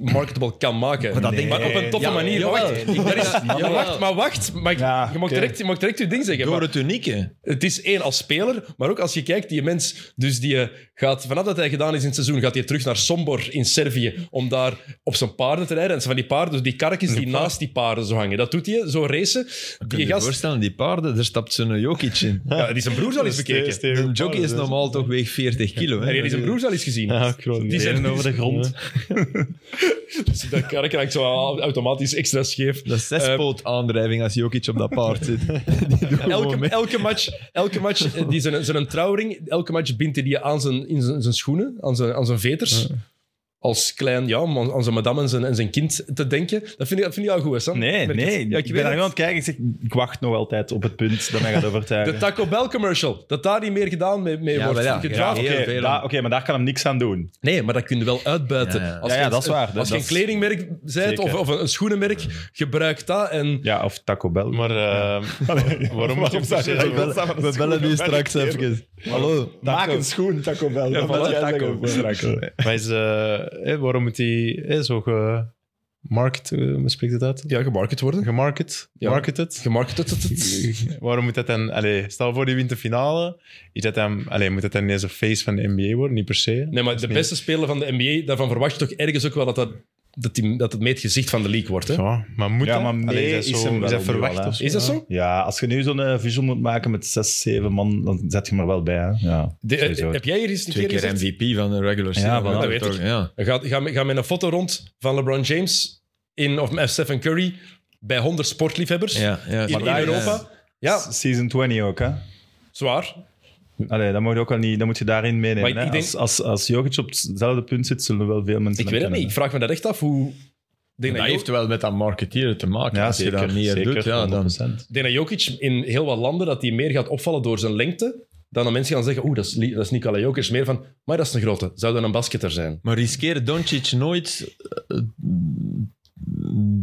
marketable kan maken. Maar, denk- op een toffe Ja, manier. jawel. wacht, Ik daar is, denk dat- ja, wacht, maar wacht. Maar ik- Ja, je, mag oké. direct, je mag direct je ding zeggen. Door maar het unieke. het is één als speler, maar ook als je kijkt, die mens, dus die eh, gaat, vanaf dat hij gedaan is in het seizoen, gaat hij terug naar Sombor in Servië om daar op zijn paarden te rijden. En het zijn van die paarden, dus die karretjes die naast die paarden zo hangen. Dat doet hij, zo racen. Kun je Die je gast, voorstellen, die paarden, daar stapt zo'n Jokic in. ja, die zijn broer zal eens bekeken. Een jockey is normaal toch weeg 40 kilo. Hè? Heb je zijn broer al eens gezien? Ja, klopt. Die zijn over de grond. Dus dat kark krijgt zo automatisch extra scheef. Dat is zespoot aandrijving als Jokic op dat paard zit. Elke, elke match, elke match eh, die zijn, zijn trouwring, elke match bindt hij die aan zijn, in zijn, zijn schoenen, aan zijn, aan zijn veters. Als klein, ja, om aan, aan zijn madame en zijn, en zijn kind te denken. Dat vind ik, dat vind ik al goed, hè, Sam? Nee, Merk het. nee. Ja, ik ik ben weet daar het. gewoon aan het kijken. Ik zeg, ik wacht nog altijd op het punt dat mij gaat overtuigen. De Taco Bell commercial, dat daar niet meer gedaan mee, mee Ja, wordt wel ja. gedraafd. Ja, heel Oké, veel. daar- Oké, maar daar kan hem niks aan doen. Nee, maar dat kun je wel uitbuiten. Ja, ja. Als Ja, ja, je- dat is waar. Dat- Als je dat een is- kledingmerk bent of, Zeker. of een een schoenenmerk, gebruik dat en... Ja, of Taco Bell. Maar eh, waarom mag je zou je dat dat We bellen nu straks even. Hallo. Maak een schoen, Taco Bell. Ja, Dat voilà, moet jij Taco. zeggen. Straks. Maar is, eh, eh, waarom moet die eh, zo gemarket, eh, hoe spreekt het uit? Ja, gemarket worden. Gemarket, Ja. marketed. Gemarket. Waarom moet dat dan, allee, stel voor die wint de finale, is dat dan, allee, moet dat dan ineens een face van de NBA worden? Niet per se. Nee, maar de niet- beste speler van de NBA, daarvan verwacht je toch ergens ook wel dat dat, dat, die, dat het mee het gezicht van de league wordt. Hè? Ja, maar moet Ja, dat? maar mee Allee, is hem wel is dat nu al, verwacht hè. of zo? Is dat Ja. zo? Ja, als je nu zo'n eh, visual moet maken met zes, zeven man, dan zet je hem er wel bij. Hè? Ja, De- eh, sowieso. heb jij hier eens een Twee keer keer gezegd? MVP van de regular season. Ja, voilà, Maar dat weet toch, ik. Ja. Ga, ga, ga met een foto rond van LeBron James in, of met Stephen Curry bij 100 sportliefhebbers Ja, eh, ja. in, in daar is- Europa. Ja, S- Season 20 ook, hè? zwaar. Allee, dat, moet je ook wel niet, dat moet je daarin meenemen. Maar ik- ik hè. denk- als, als, als Jokic op hetzelfde punt zit, zullen wel veel mensen Ik hem weet het niet. Ik kennen. vraag me dat echt af. Hoe... Ik Denk Dat dat, Jo- heeft wel met dat marketeeren te maken. Ja, als je zeker. dat meer zeker doet, ja, dan... 100%. ik denk dat Jokic in heel wat landen dat hij meer gaat opvallen door zijn lengte dan dat mensen gaan zeggen, oeh, dat is, Li- dat is Nikola Jokic. Meer van, maar dat is een grote. Zou dat een basketter zijn? Maar riskeert Doncic nooit eh,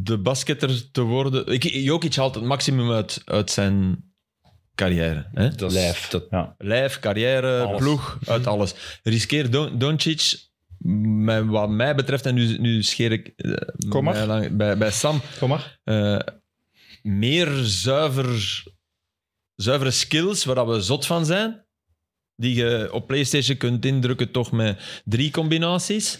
de basketter te worden? Ik, Jokic haalt het maximum uit, uit zijn carrière. Hè? Dat is, Lijf. dat- Ja. Lijf, carrière, Alles. ploeg, uit alles. Riskeert Don, Doncic, met wat mij betreft, en nu, nu scheer ik eh, Kom maar. mij lang- bij, bij Sam, Kom maar. eh, meer zuiver, zuivere skills waar dat we zot van zijn. Die je op PlayStation kunt indrukken, toch met drie combinaties.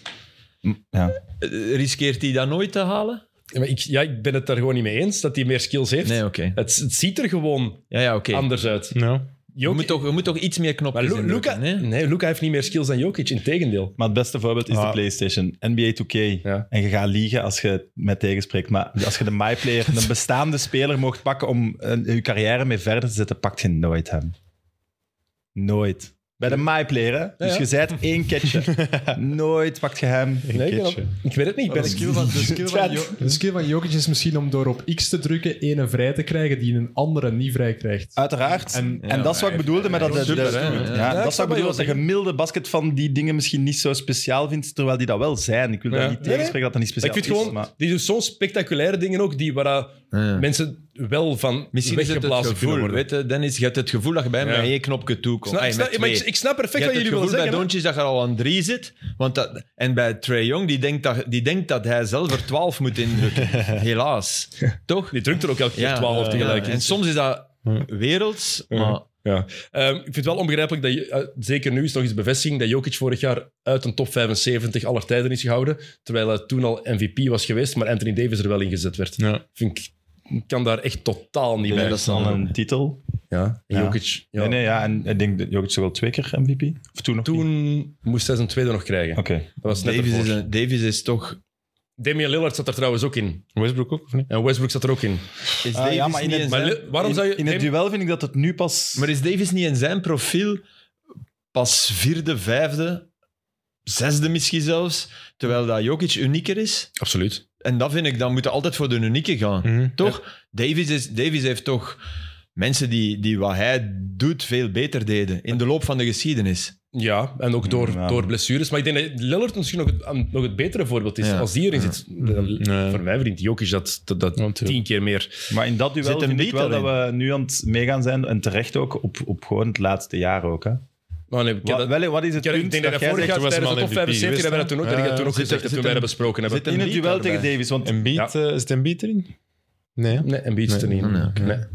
Ja. Eh, Riskeert hij dat nooit te halen? Ja, maar ik, ja, ik ben het daar gewoon niet mee eens dat hij meer skills heeft. Nee, oké. Het, het ziet er gewoon Ja, ja, oké. anders uit. Nou. Ja. Je, Jokic- moet toch- je moet toch iets meer maar knopjes Lu- indrukken, Luca, hè? nee? Luca heeft niet meer skills dan Jokic, in tegendeel. Maar het beste voorbeeld is Ah. de PlayStation. NBA 2K. Ja. En je gaat liegen als je mij tegenspreekt. Maar als je de MyPlayer, een bestaande speler, mocht pakken om eh, je carrière mee verder te zetten, pakt je nooit hem. Nooit. Bij de MyPlayer, hè? Dus ja. je zijt één catcher. nooit pakt je hem. Nee, ik, Kitchen. ik weet het niet. Ik ben De skill, van, de, skill van Jo- de skill van Jokic is misschien om door op X te drukken één een vrij te krijgen die een andere niet vrij krijgt. Uiteraard. En, ja, dat is wat ik maar bedoelde met dat... hij de- heeft super, de- hè? ja, Ja, ik dat snap is wat wat ik je bedoel, wilt dat de gemiddelde basket van die dingen misschien niet zo speciaal vindt, terwijl die dat wel zijn. Ik wil Ja. daar Nee, niet nee. tegenspreken dat dat niet ik speciaal vind is. gewoon, maar- die doen soms spectaculaire dingen ook, die waar dat Ja. mensen wel van Misschien is het het weggeblazen kunnen gevoel, worden. weet je, Dennis, je hebt het gevoel dat je bij hem Ja. met één knopje toekomt. Snap- Ay, met snap- maar ik, twee. ik snap perfect Je wat hebt jullie het willen gevoel bij zeggen. hè. Doncic dat je al aan drie zit. Want dat, en bij Trae Young, die denkt, dat, die denkt dat hij zelf er twaalf moet indrukken. Helaas. Toch? Die drukt er ook elke keer 12 eh, tegelijk. ja. in. En soms is dat werelds, maar... Ja. Ehm, ik vind het wel onbegrijpelijk dat je, eh, zeker nu is nog eens bevestiging, dat Jokic vorig jaar uit een top 75 aller tijden is gehouden, terwijl hij toen al MVP was geweest, maar Anthony Davis er wel in gezet werd. Ja. Vind ik ik kan daar echt totaal niet bij. dat is dan een titel. Ja. En Ja. Jokic, ja. Nee, nee, ja. En ik denk dat Jokic toch wel twee keer MVP? Of toen nog niet? Toen moest hij zijn tweede nog krijgen. Oké. Dat was net Davis ervoor. is, een- Davis is toch Damian Lillard zat er trouwens ook in. Westbrook ook, of niet? En Westbrook zat er ook in. Is Ah, Davis ja, maar in niet het- in Maar zijn- Li- waarom in, zou je... in het Dam- duel vind ik dat het nu pas... Maar is Davis niet in zijn profiel pas vierde, vijfde, zesde misschien zelfs, terwijl dat Jokic unieker is? Absoluut. En dat vind ik, dan moeten altijd voor de unieke gaan. Mhm. Toch? Davies, is, Davies heeft toch mensen die, die wat hij doet veel beter deden in de loop van de geschiedenis. Ja, en ook door, Ja. door blessures. Maar ik denk dat Lillard misschien nog het, nog het betere voorbeeld is. Ja. Als die erin zit, dan- Nee. voor mij verdient Jokic dat, dat, dat Mm. Ja, natuurlijk. tien keer meer. Maar in dat Zit duel hem vind ik niet wel dat alleen. we nu aan het meegaan zijn. En terecht ook, op, op gewoon het laatste jaar ook. Hè. Maar nee, ik heb Wat, dat- wel, wat is het ik heb- ik punt denk dat dat jij vorig zegt... jaar toen was tijdens de hem al top 75 MVP hebben we dat toen ook, dat ik dat toen ook Zit er- gezegd heb zit toen wij er- dat besproken hebben. zit er- In het Embiid duel daarbij? tegen Davis, want En Beat, Ja. eh, is het een Beat erin? Nee. hè? Nee, en Beach er niet. Nee, Nee, oké.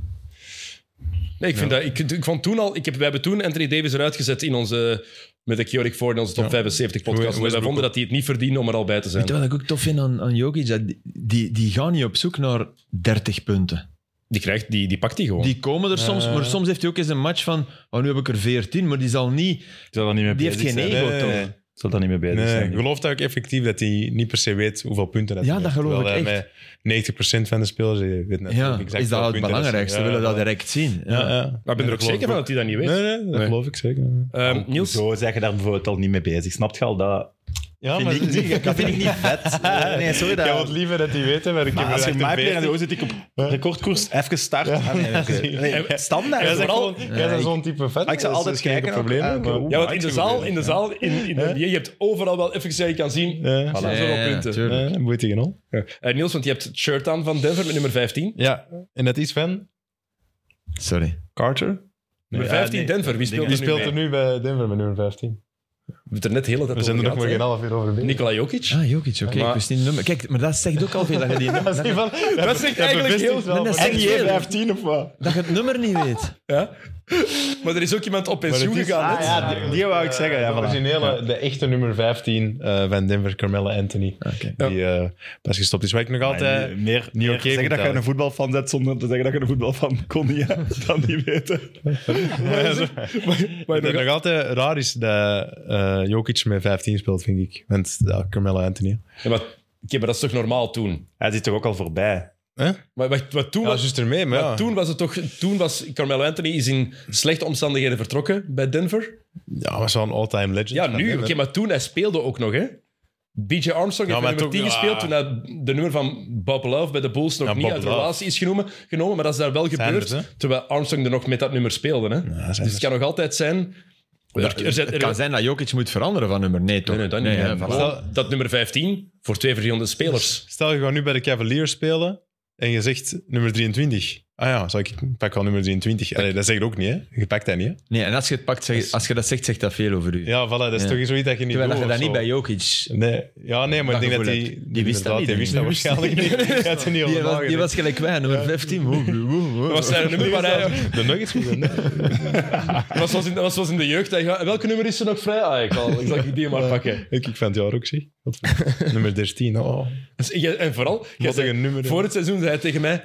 Nee, ik vind dat... Ik, ik vond toen al... Ik heb, wij hebben toen Anthony Davis eruit gezet in onze... Met de Keurig voor in onze top 75 podcast. Westbrook omdat wij vonden dat hij het niet verdiende om er al bij te zijn. Weet je wat ik ook tof vind aan, aan Jokic? Dat die- Die, die gaan niet op zoek naar 30 punten. Die, krijgt, die, die pakt hij gewoon. Die komen er soms, maar soms heeft hij ook eens een match van oh, nu heb ik er 14, maar die zal niet... ik zal daar niet mee Die bezig heeft geen zijn. ego, Nee, toch? nee, nee. Ik zal daar niet mee bezig Nee, zijn. ik geloof dat ook effectief dat hij niet per se weet hoeveel punten dat Ja, hij dat heeft. geloof ik Terwijl hij Met 90% van de spelers hij weet net Ja, exact is dat hoeveel het punten belangrijkste? ze- Ze willen ja, dat direct zien. Ja. Ja, ja. Maar ik ben er ook zeker van dat hij dat niet weet. Nee, nee, dat Nee. geloof ik zeker. Ehm, Niels, Zo zeg je daar bijvoorbeeld al niet mee bezig. Snap je al dat? Ja, Vind ik niet, dat vind ik niet vet. Nee, sorry. Ik Dat... heb wat liever dat hij weet, hè, maar ik Maar heb als je er mij echt player een en zit ik op recordkoers. Even start. Ah, nee, nee, nee. Nee, standaard. Jij bent vooral. gewoon- jij bent zo'n type vet. Maar ik zou dus altijd dat is geen kijken ook, probleem, ah, maar- oké. Ja, want in de zaal, in de zaal, in, in de NBA, je hebt overal wel even gezegd, je kan zien, Ja. voilà. Ja, zoveel ja, punten. tuurlijk. Eh, Boeit hij al? Eh, Niels, want je hebt het shirt aan van Denver met nummer 15. Ja, en dat is van Sorry. Carter. Nummer Ja, 15 nee. Denver, wie speelt, Die er, speelt nu er mee? nu bij Denver met nummer 15. We hebben het er net de hele tijd We zijn er over nog maar geen gehad, half uur over hè. bezig. Nikola Jokic. Ah, Jokic, oké. Maar- Ik wist niet het nummer. Kijk, maar dat zegt ook al veel dat je die nummer... Dat is van- Dat zegt eigenlijk bevestigt heel- wel Nee, dat wat- zegt veel. 15 of wat? Dat je het nummer niet weet. Ja? Maar er is ook iemand op pensioen het is- gegaan. Ah, hè? ja, die, die wou ik zeggen. Ja, de voilà. originele, de echte nummer 15 eh, van Denver, Carmelo Anthony. Die eh, pas gestopt is. Waar ik nog altijd... Nee, meer, niet meer oké zeggen dat moet je houden. een voetbalfan bent zonder te zeggen dat je een voetbalfan kon. Ja, dat niet weten. Ja, zo. Wat nog altijd raar is dat eh, Jokic met 15 speelt, vind ik. Want ja, Carmelo Anthony. Ja, maar, oké, maar dat is toch normaal toen? Hij zit toch ook al voorbij. Huh? Maar, maar, maar toen, Ja, was, juist ermee, maar maar ja. toen was het toch... Toen was Carmelo Anthony is in slechte omstandigheden vertrokken bij Denver. Ja, was wel een all-time legend. Ja, van nu. Oké, Denver. maar toen, hij speelde ook nog, hè. B.J. Armstrong Ja, heeft maar nummer toen- 10 gespeeld ja. toen hij de nummer van Bob Love bij de Bulls nog Ja, niet Bob uit Love. relatie is genomen, genomen, maar dat is daar wel gebeurd, Sanders, hè? terwijl Armstrong er nog met dat nummer speelde. Hè? dus Sanders. het kan nog altijd zijn... er, er zijn- dus het er- kan zijn dat Jokic moet veranderen van nummer. Nee, toch? Nee, nee, dat niet. hè, Maar voilà. wel dat nummer 15 voor twee verschillende spelers. Stel, je gaat nu bij de Cavaliers spelen en je zegt nummer 23. Ah ja, zou ik ik pak al nummer 23. Allee, dat zeg je ook niet, hè? Je pakt dat niet, hè? Nee, en als je, het pakt, zeg- als je dat zegt, zegt dat veel over u. Ja, voilà, dat is Ja. toch zoiets dat je niet Terwijl doet. dat je dat of niet zo. bij Jokic... Nee, ja, nee, maar Dat ik denk dat gevoel die... heb ik. Die wist dat inderdaad, niet, Die denk wist dat ik. waarschijnlijk niet. Die had er Die niet was, over die nagedacht. was gelijk wij, nummer 15. Woe, woe, woe. Dat was zijn nummer waar hij... De Nuggets moeten... nee. Dat was zoals in, dat was zoals in de jeugd. Hij gaat, welke nummer is er nog vrij? Ah, ik, zal, ik zal die maar pakken. Ik, ik vind het jaar ook, zeg. Wat voor- nummer 13, oh. Dus jij- en vooral, jij Wat zei- een nummer, hè. voor het seizoen zei hij tegen mij...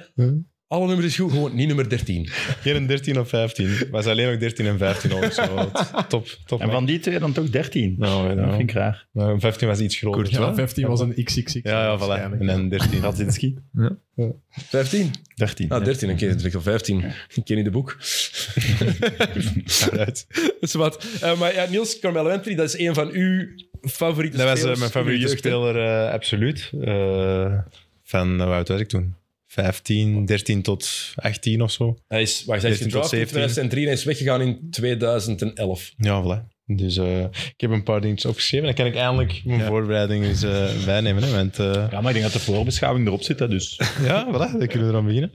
Alle nummers is goed, gewoon niet nummer 13. Geen 13 of 15. Was alleen nog 13 en 15 al. Zo. Top, top. En van die twee dan toch 13. nou, Dat nou, vind ik raar. nou, 15 was iets groter. Ja, 15 was een XXX. Ja, ja, voilà. En dan 13. Radzinski. 15? 13. Ah, 13. Oké, dat is al 15. Ik ken niet de boek. Uit. Dus wat. Eh, maar ja, Niels Carmelo Anthony, dat is een van uw favoriete Dat was eh, spelers mijn in uw favoriete jeugd, hè? speler, eh, absoluut. Eh, van, eh, hoe oud was ik toen? 15, 13 tot 18 of zo. Hij is, wacht, hij is 13 tot gedraft in 17. 2003 en hij is weggegaan in 2011. Ja, voilà. Dus eh, ik heb een paar dingetjes opgeschreven. Dan kan ik eindelijk mijn voorbereiding eens eh, bijnemen. Hè, want, eh, Ja, maar ik denk dat de voorbeschouwing erop zit, hè, dus. Ja, voilà, dan kunnen we eraan beginnen.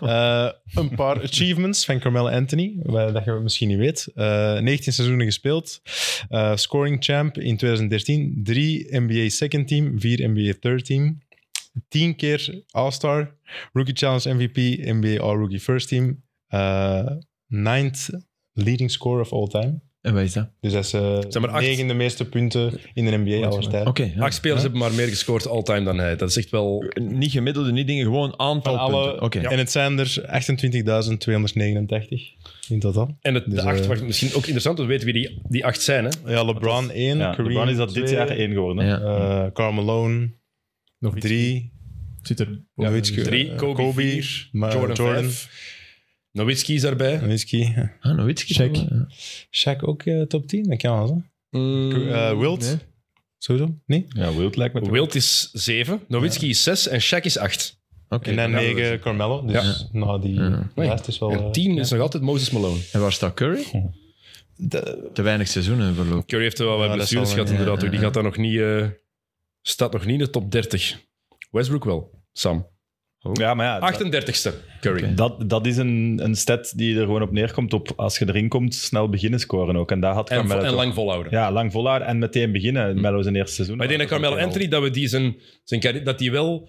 Eh, een paar achievements van Carmelo Anthony, waar- dat je misschien niet weet. Eh 19 seizoenen gespeeld, Eh, scoring champ in 2013, 3 NBA second team, 4 NBA third team, 10 keer All-Star, Rookie Challenge MVP, NBA All-Rookie first team, eh ninth leading scorer of all time. En wat is dat? Dus dat is eh Zijn maar acht. negende meeste punten in de NBA aller tijden. Oké. ja. Acht spelers hebben maar meer gescoord all-time dan hij. Dat is echt wel... Niet gemiddelde, niet dingen, gewoon aantal Van alle, punten. Oké. En het zijn er 28.289 in totaal. En het, Dus, de acht, eh, wacht, misschien ook interessant, we weten wie die, die acht zijn. Hè? Ja, LeBron 1, Ja, Kareem LeBron is dat dit 2, jaar één geworden. hè. Ja. eh, Karl Malone, Nog iets. Drie. Zit er Nowitzki, Drie, eh, Kobe vier, maar Jordan, Jordan vijf. Nowitzki is daarbij. Nowitzki. Ah, Nowitzki. Check. Ja. Shaq ook eh, top 10? Dat kan wel, hè? Eh, Wilt? nee. Sowieso? Nee? Ja, Wild lijkt me toch. Wild is 7, Nowitzki is 6 en Shaq is 8. Oké. en dan ja, 9 Carmelo. Dus nou, die Ja. lijst is wel... En eh, 10 ja. is nog altijd Moses Malone. En waar staat Curry? Te weinig seizoenen verloop. Curry heeft er wel wat Ja, dat blessures zal gehad, wel, ja, inderdaad. ja, ook. Die ja. gaat daar nog niet, eh, staat nog niet in de top 30. Westbrook wel, Sam. Ja, maar ja, dat- 38ste, Curry. dat, dat is een, een stat die er gewoon op neerkomt op als je erin komt, snel beginnen scoren ook. En daar had En, Carmelo en toch- lang volhouden. Ja, lang Hm. volhouden en meteen beginnen. Melo zijn eerste seizoen. Maar ik denk dat Ook Carmelo wel. Anthony, dat we die zijn, zijn carri- dat die wel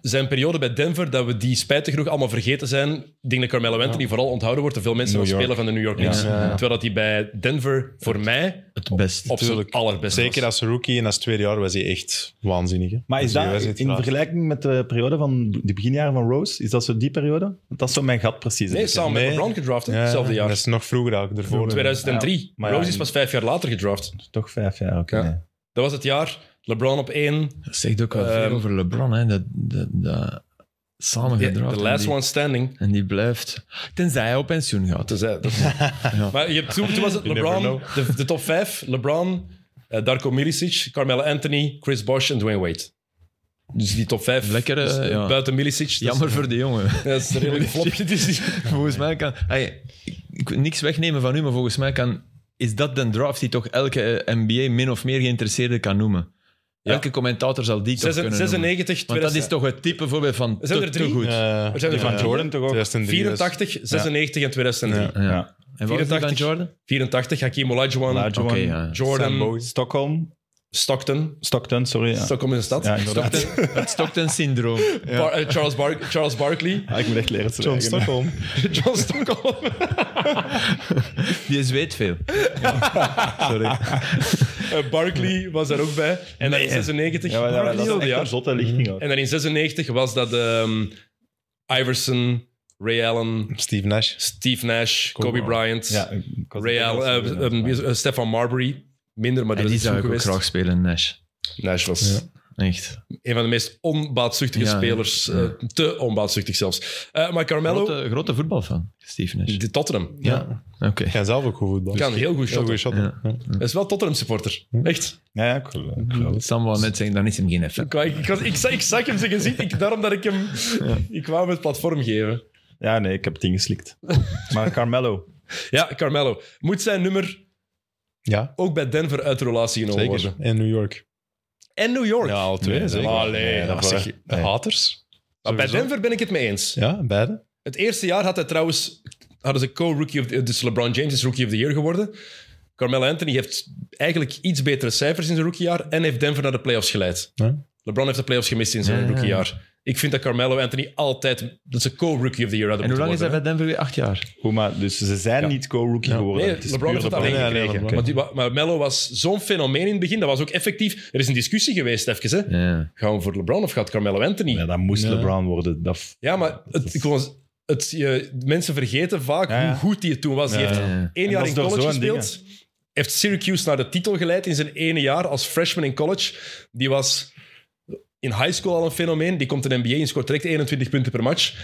zijn periode bij Denver, dat we die spijtig genoeg allemaal vergeten zijn. Ik denk dat Carmelo Anthony vooral onthouden wordt door veel mensen New als York. speler van de New York Knicks. Ja, ja, ja. Terwijl dat hij bij Denver voor mij Het best. op zijn Tuurlijk. allerbeste Zeker was. als rookie en als tweede jaar was hij echt waanzinnig. hè. Maar is Dus die dat was echt in raar. vergelijking met de periode van de beginjaren van Rose, is dat zo die periode? Want dat is zo mijn gat precies. Nee, samen Nee. met LeBron gedraft, hè, Ja, hetzelfde Dat jaar. is nog vroeger eigenlijk. Ervoor. 2003. maar ja, Rose is in- pas vijf jaar later gedraft. Toch vijf jaar, oké. Ja. nee. Dat was het jaar. LeBron op één. Dat zegt ook wel Ehm, veel over LeBron, hè. Dat, dat, dat De samengedraaid. the en last die- one standing. En die blijft... Tenzij hij op pensioen gaat. Dus, eh, dat- Maar je hebt, toen, toen was het You never LeBron, de, de top 5. LeBron, eh, Darko Milicic, Carmelo Anthony, Chris Bosh en Dwayne Wade. Dus die top 5. Lekker, eh, ja. Buiten Milicic. dat is- Jammer voor de jongen. Dat is een redelijk flopje. Dus die- Volgens mij kan... Hey, ik, ik- niks wegnemen van u, maar volgens mij kan... Is dat de draft die toch elke eh, NBA min of meer geïnteresseerde kan noemen? Ja. Elke commentator zal die toch kunnen noemen. 96, Want dat is 2000, toch het type voorbeeld van Er zijn te, er te drie. goed. Eh, Er zijn er Die van Ja. Jordan toch ook? 2003 dus. 84, 96 en 2003. Ja. Ja. En wat was die van 84? Jordan? 84, Hakim Olajuwon, Olajuwon, Oké, ja. Sam Jordan, Bowie. Stockholm. Stockton. Stockton, sorry. Ja. Stockholm is een stad. Ja, inderdaad. Stockton- het Stockton-syndroom. Bar- eh, Charles, Bar- Charles Barkley. Ah, ik moet echt leren te John zwijgen. Stockholm. John Stockholm. Die zweet veel. Eh, Barkley was daar ook bij. En dan in 96. Ja, maar dat- Barkley dat is heel echt jaar. een zotte lichting ook. En dan in 96 was dat ehm, Iverson, Ray Allen, Steve Nash. Steve Nash, Kobe Bryant, Ja, ik- ik was Ray het Allen, Engels eh, geworden, ehm, wie is- maar- eh, Stefan Marbury. Minder, maar En dat die is zou goed ik ook geweest. graag spelen, Nash. Nash was Echt. een van de meest onbaatzuchtige Ja, ja. spelers. eh, te onbaatzuchtig zelfs. Eh, maar Carmelo, Grote, grote voetbalfan, Steve Nash. de Tottenham. Ja, oké. Ik kan zelf ook goed voetballen. Dus Kan heel goed Heel shotten. goede shotten. Ja. Ja. Hij is wel Tottenham supporter. Echt. Ja, ja, cool. eh, Mm-hmm. cool. Sam wou net zeggen, dan is hem geen fan. Ik, wou- ik, was- ik, zag- ik zag hem zijn gezicht, ik, daarom dat ik hem... Ik wou hem het platform geven. Ja, nee, ik heb het ingeslikt. Maar Carmelo. Ja, Carmelo. Moet zijn nummer Ja, ook bij Denver uit de relatie genomen zeker. worden? En New York. En New York. Ja, al twee, Nee, zeker. allee, Nee, dat was was- echt- nee. Haters. Maar bij Sowieso. Denver ben ik het mee eens. Ja, beide. Het eerste jaar had hij trouwens, hadden ze co-rookie of the, dus LeBron James is rookie of the year geworden. Carmelo Anthony heeft eigenlijk iets betere cijfers in zijn rookiejaar en heeft Denver naar de playoffs geleid. Ja. LeBron heeft de playoffs gemist in zijn Ja. rookiejaar. Ik vind dat Carmelo Anthony altijd dat ze co-rookie of the year hadden En hoe lang is moeten hij bij worden. Denver weer? Acht jaar. Hoe maar, dus ze zijn Ja. niet co-rookie geworden. Nee, Het Oh, is LeBron puur heeft het LeBron. alleen Ja, nee, gekregen. LeBron. Want die wa- maar Melo was zo'n fenomeen in het begin. Dat was ook effectief. Er is een discussie geweest, even. Hè. Ja. Gaan we voor LeBron of gaat Carmelo Anthony? Ja, dat moest Ja. LeBron worden. Dat, Ja, maar het, ik was- het, je, mensen vergeten vaak Ja, ja. hoe goed hij het toen was. Hij Ja, heeft ja, ja. één En jaar dat in is door college zo'n gespeeld. Heeft Syracuse naar de titel geleid in zijn ene jaar als freshman in college. Die was in high school al een fenomeen. Die komt in NBA en scoort direct 21 punten per match.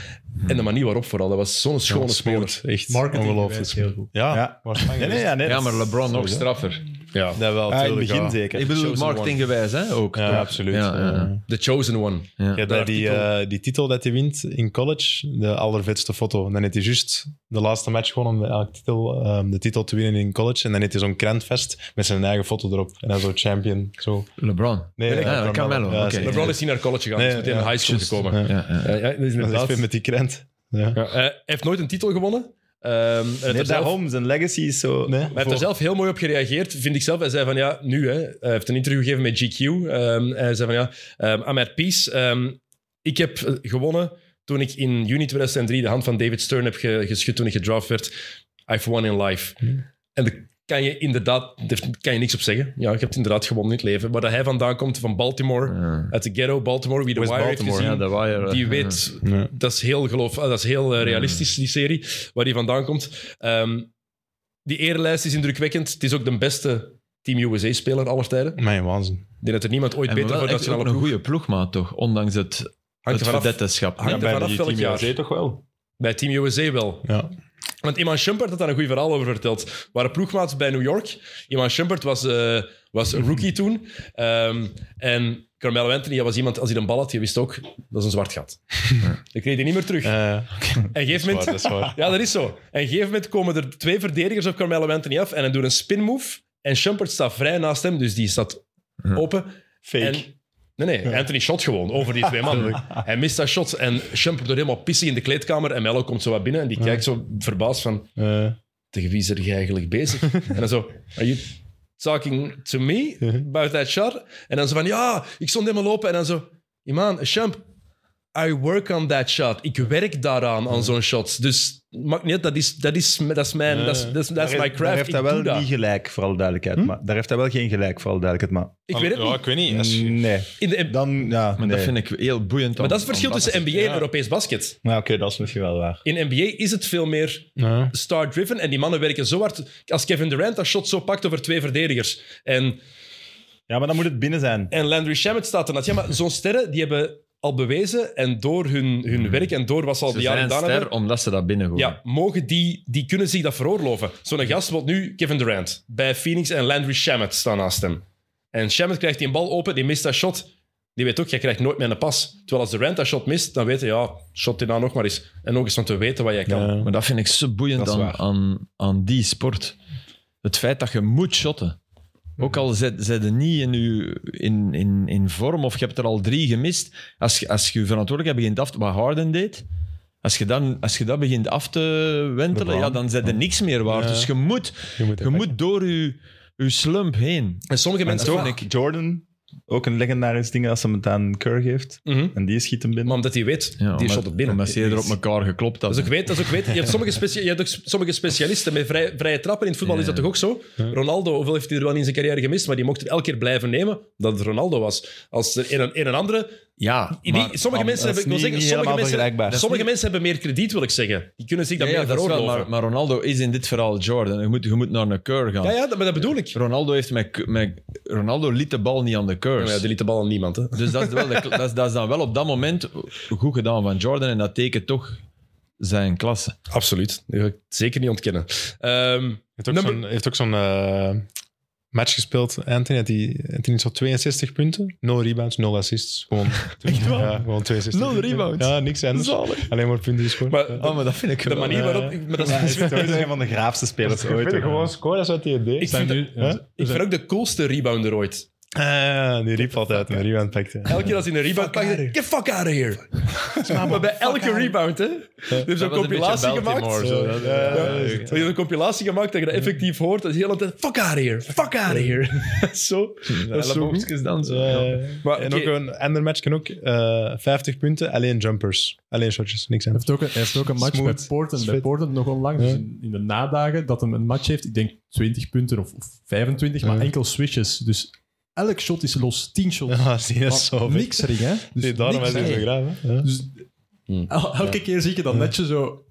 En de manier waarop vooral. Dat was zo'n schone speler. Smooth. Echt Marketing ongelooflijk. heel goed. Ja, Ja. waarschijnlijk. nee, nee, ja, nee, ja, dat is- maar LeBron nog Sowieso. straffer. Ja. Dat wel, Ah, in het tuurlijk, begin ja. zeker. Ik bedoel, Chosen marketinggewijs, hè, ook. Ja, toch? absoluut. Ja, ja, ja. Ja, The chosen one. Ja. Ja, dat dat die, eh, die titel dat hij wint in college, de allervetste foto. En dan heeft hij juist de laatste match gewonnen om de, elke titel, ehm, de titel te winnen in college. En dan heeft hij zo'n krant vast met zijn eigen foto erop. En dan zo champion. Zo. Lebron. Nee, ja, ja, Carmelo. Ja, oké. LeBron is niet naar college gegaan. Nee, is meteen ja, naar high school juist. gekomen. Ja. Ja, ja. Ja, ja, dat is Dat is inderdaad- weer met die krant. Ja. Ja, eh, hij heeft nooit een titel gewonnen. Ehm, hij heeft er Nee, zelf- daarom, zijn legacy is zo... Nee. Hij heeft er zelf heel mooi op gereageerd, vind ik zelf. Hij zei van ja, nu hè. Eh, Hij heeft een interview gegeven met GQ. Ehm, hij zei van ja, ehm I'm at peace. Ehm, ik heb eh, gewonnen toen ik in juni 2003 de hand van David Stern heb ge- geschud toen ik gedraft werd. I've won in life. En daar kan je inderdaad, daar kan je niks op zeggen. Ja, je hebt inderdaad gewonnen in het leven. Waar dat hij vandaan komt, van Baltimore, Ja. uit de ghetto Baltimore, wie de West Wire heeft Baltimore, gezien. Ja, de wire. Die weet, Ja. dat is heel, geloof, ah, dat is heel eh, realistisch, die serie, waar die vandaan komt. Ehm, die erenlijst is indrukwekkend. Het is ook de beste Team USA-speler aller tijden. Ik Mijn waanzin. denk dat er niemand ooit En beter wel voor echt nationale ook een ploeg goede ploegmaat toch, ondanks het, hangt het er vanaf. verdettenschap. hangt er bij vanaf die welk Team jaar. USA toch wel. Bij Team USA wel. Ja. Want Iman Shumpert had daar een goed verhaal over verteld. Waren ploegmaats bij New York. Iman Shumpert was, eh, was een rookie toen. Ehm, en Carmelo Anthony dat was iemand, als hij een bal had, je wist ook, dat is een zwart gat. Dan kreeg hij niet meer terug. Eh, en geef waar, dat moment... is waar. Ja, dat is zo. En op een gegeven moment komen er twee verdedigers op Carmelo Anthony af en dan doen een spin move. En Shumpert staat vrij naast hem, dus die staat open. Fake. En, nee, nee, Anthony shot gewoon over die twee mannen. Hij mist dat shot en Shumpert wordt helemaal pissig in de kleedkamer en Melo komt zo wat binnen en die kijkt zo verbaasd van Eh, tegen wie is er jij eigenlijk bezig? en dan zo, are you talking to me about that shot? En dan zo van, ja, ik stond helemaal open. En dan zo, Iman, Champ, I work on that shot. Ik werk daaraan, aan zo'n shot. Dus maakt niet uit, dat is, dat is, dat is mijn, dat is, dat is, dat is Daar- my Daar craft. heeft Ik hij wel doe dat. niet gelijk, voor alle duidelijkheid. Maar, daar heeft hij wel geen gelijk, voor alle duidelijkheid. Maar Ik weet het ja, niet. ik weet niet. Als je- nee, In de, dan... Ja, Maar dat vind ik heel boeiend. maar dat is het verschil tussen NBA en Europees basket. Nou, oké, dat is misschien wel waar. In NBA is het veel meer Ja. star-driven. En die mannen werken zo hard. Als Kevin Durant dat shot zo pakt over twee verdedigers. En Ja, maar dan moet het binnen zijn. En Landry Shamet staat ernaast. Ja, maar zo'n sterren die hebben al bewezen en door hun, hun werk en door wat ze al Hmm. Ze de jaren zijn gedaan ster hebben, omdat ze dat binnengooien. ja, mogen die, die kunnen zich dat veroorloven. Zo'n gast wordt nu Kevin Durant bij Phoenix en Landry Shamet staan naast hem. En Shamet krijgt die een bal open, die mist dat shot. Die weet ook, jij krijgt nooit meer een pas. Terwijl als Durant dat shot mist, dan weet je, ja, shot die nou nog maar eens. En ook eens van te weten wat jij kan. Ja. Maar Hm. dat vind ik zo boeiend Dat is aan, waar. aan, aan die sport. Het feit dat je moet shotten. Ook al zet je niet in, je, in, in, in vorm of je hebt er al drie gemist. Als je als je verantwoordelijkheid begint af te... Wat Harden deed... Als je, dan, als je dat begint af te wentelen, ja, dan zit er niks meer waard. Dus je moet, Je moet je moet door je, je slump heen. En sommige mensen dat ook. vind Jordan, ook een legendarisch ding als hij hem het aan Kerr geeft. Mhm. En die schiet hem binnen. Maar omdat hij weet, Ja, die omdat- shot het binnen. Omdat ze er op elkaar geklopt Dat is hadden. ook weet, dat is ook weet. Je hebt sommige, specia- je hebt ook s- sommige specialisten met vrij, vrije trappen. In het voetbal is dat toch ook zo? Ronaldo, hoeveel heeft hij er wel in zijn carrière gemist? Maar die mocht het elke keer blijven nemen, dat het Ronaldo was. Als er een, een en andere... Ja, die- maar- sommige mensen dat is hebben... Ik wil zeggen, niet- niet sommige, helemaal mensen, vergelijkbaar. sommige mensen hebben meer krediet, wil ik zeggen. Die kunnen zich dat Ja, ja, meer dat is wel, veroorloven. maar, maar Ronaldo is in dit verhaal Jordan. Je moet, je moet naar een keur gaan. Ja, ja, dat, maar dat bedoel ik. Ronaldo, heeft met, met, Ronaldo liet de bal niet aan de Ja, maar curse. ja, die liet de bal aan niemand. Hè. Dus dat is, wel de- dat, is, dat is dan wel op dat moment goed gedaan van Jordan. En dat tekent toch zijn klasse. Absoluut. Dat ga ik zeker niet ontkennen. Ehm, heeft ook Nummer- zo'n, heeft ook zo'n eh, match gespeeld, Anthony. Had die, Anthony had zo 62 punten, 0 rebounds, 0 assists. Gewoon, Ja, gewoon 62. Nul rebounds? Ja, niks anders. Alleen maar punten gescoord. maar Ja. de, Oh, maar dat vind ik de manier waarop... maar dat is- Hij is sowieso een van de graafste spelers Ik ooit. vind hoor. gewoon scoren uit die idee. ik Zijn vind, dat- nu, Huh? er ik zijn- vind ook de coolste rebounder ooit. Ah, die riep altijd uit, een rebound pakte. Elke keer als hij een rebound pakt, get the fuck out of here. maar bij elke rebound, hè. Die hebben zo'n compilatie gemaakt. zo. Ja, Dat- ja, ja, ja. ja. Die hebben een compilatie gemaakt dat je dat effectief hoort. Dat is heel de hele tijd, fuck out of here, fuck out of here. zo. dat is zo goed. dan zo. ja. Eh, Maar, en Ah, oké. ook een ander match kan ook eh, 50 punten, alleen jumpers. Alleen shotjes, niks anders. heeft ook een, hij heeft ook een match Smooth. bij Portland. Bij Fit. Portland nog onlangs, dus in, in de nadagen, dat hem een match heeft. Ik denk 20 punten of, of 25, maar Ja. enkel swishes. Dus elk shot is los. 10 shots. Ja, die Maar is zo vet. niks ring, hè? Dus Die daarom niks is hij ring. zo graag. hè. Ja. Dus el- elke keer zie ik je dat netje zo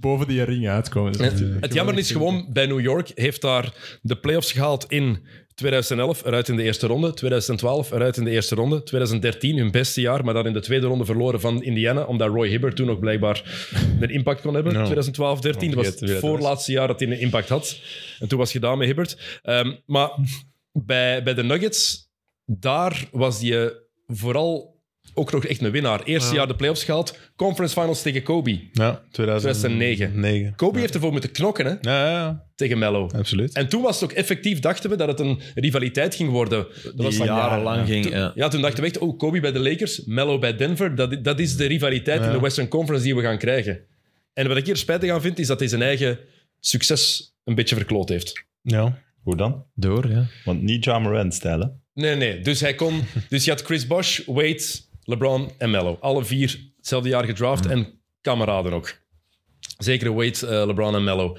boven die ring uitkomen. Dat is natuurlijk Het jammer is gewoon, bij New York heeft daar de playoffs gehaald in 2011, eruit in de eerste ronde. 2012, eruit in de eerste ronde. 2013, hun beste jaar, maar dan in de tweede ronde verloren van Indiana, omdat Roy Hibbert toen nog blijkbaar een impact kon hebben. Ja. 2012, 13, dat was Vergeet het weer, dat is- voorlaatste jaar dat hij een impact had. En toen was het gedaan met Hibbert. Ehm, maar bij, bij de Nuggets, daar was die eh, vooral... Ook nog echt een winnaar. Eerste jaar de playoffs gehaald. Conference finals tegen Kobe. Ja, 2009. 2009. Kobe heeft ervoor moeten knokken hè, Ja, ja, ja, tegen Mello. absoluut. En toen was het ook effectief, dachten we dat het een rivaliteit ging worden. Dat was Die dan- jarenlang ging... Ja. Ja, toen dachten we echt, oh, Kobe bij de Lakers, Melo bij Denver. Dat, dat is de rivaliteit in de Western Conference die we gaan krijgen. En wat ik hier spijtig aan vind, is dat hij zijn eigen succes een beetje verkloot heeft. Ja. Hoe dan? Door, ja. Want niet John Morant stijlen. Nee, nee. Dus hij kon... Dus je had Chris Bosh, Wade, LeBron en Melo. Alle vier hetzelfde jaar gedraft en kameraden ook. Zeker Wade, eh, LeBron en Melo.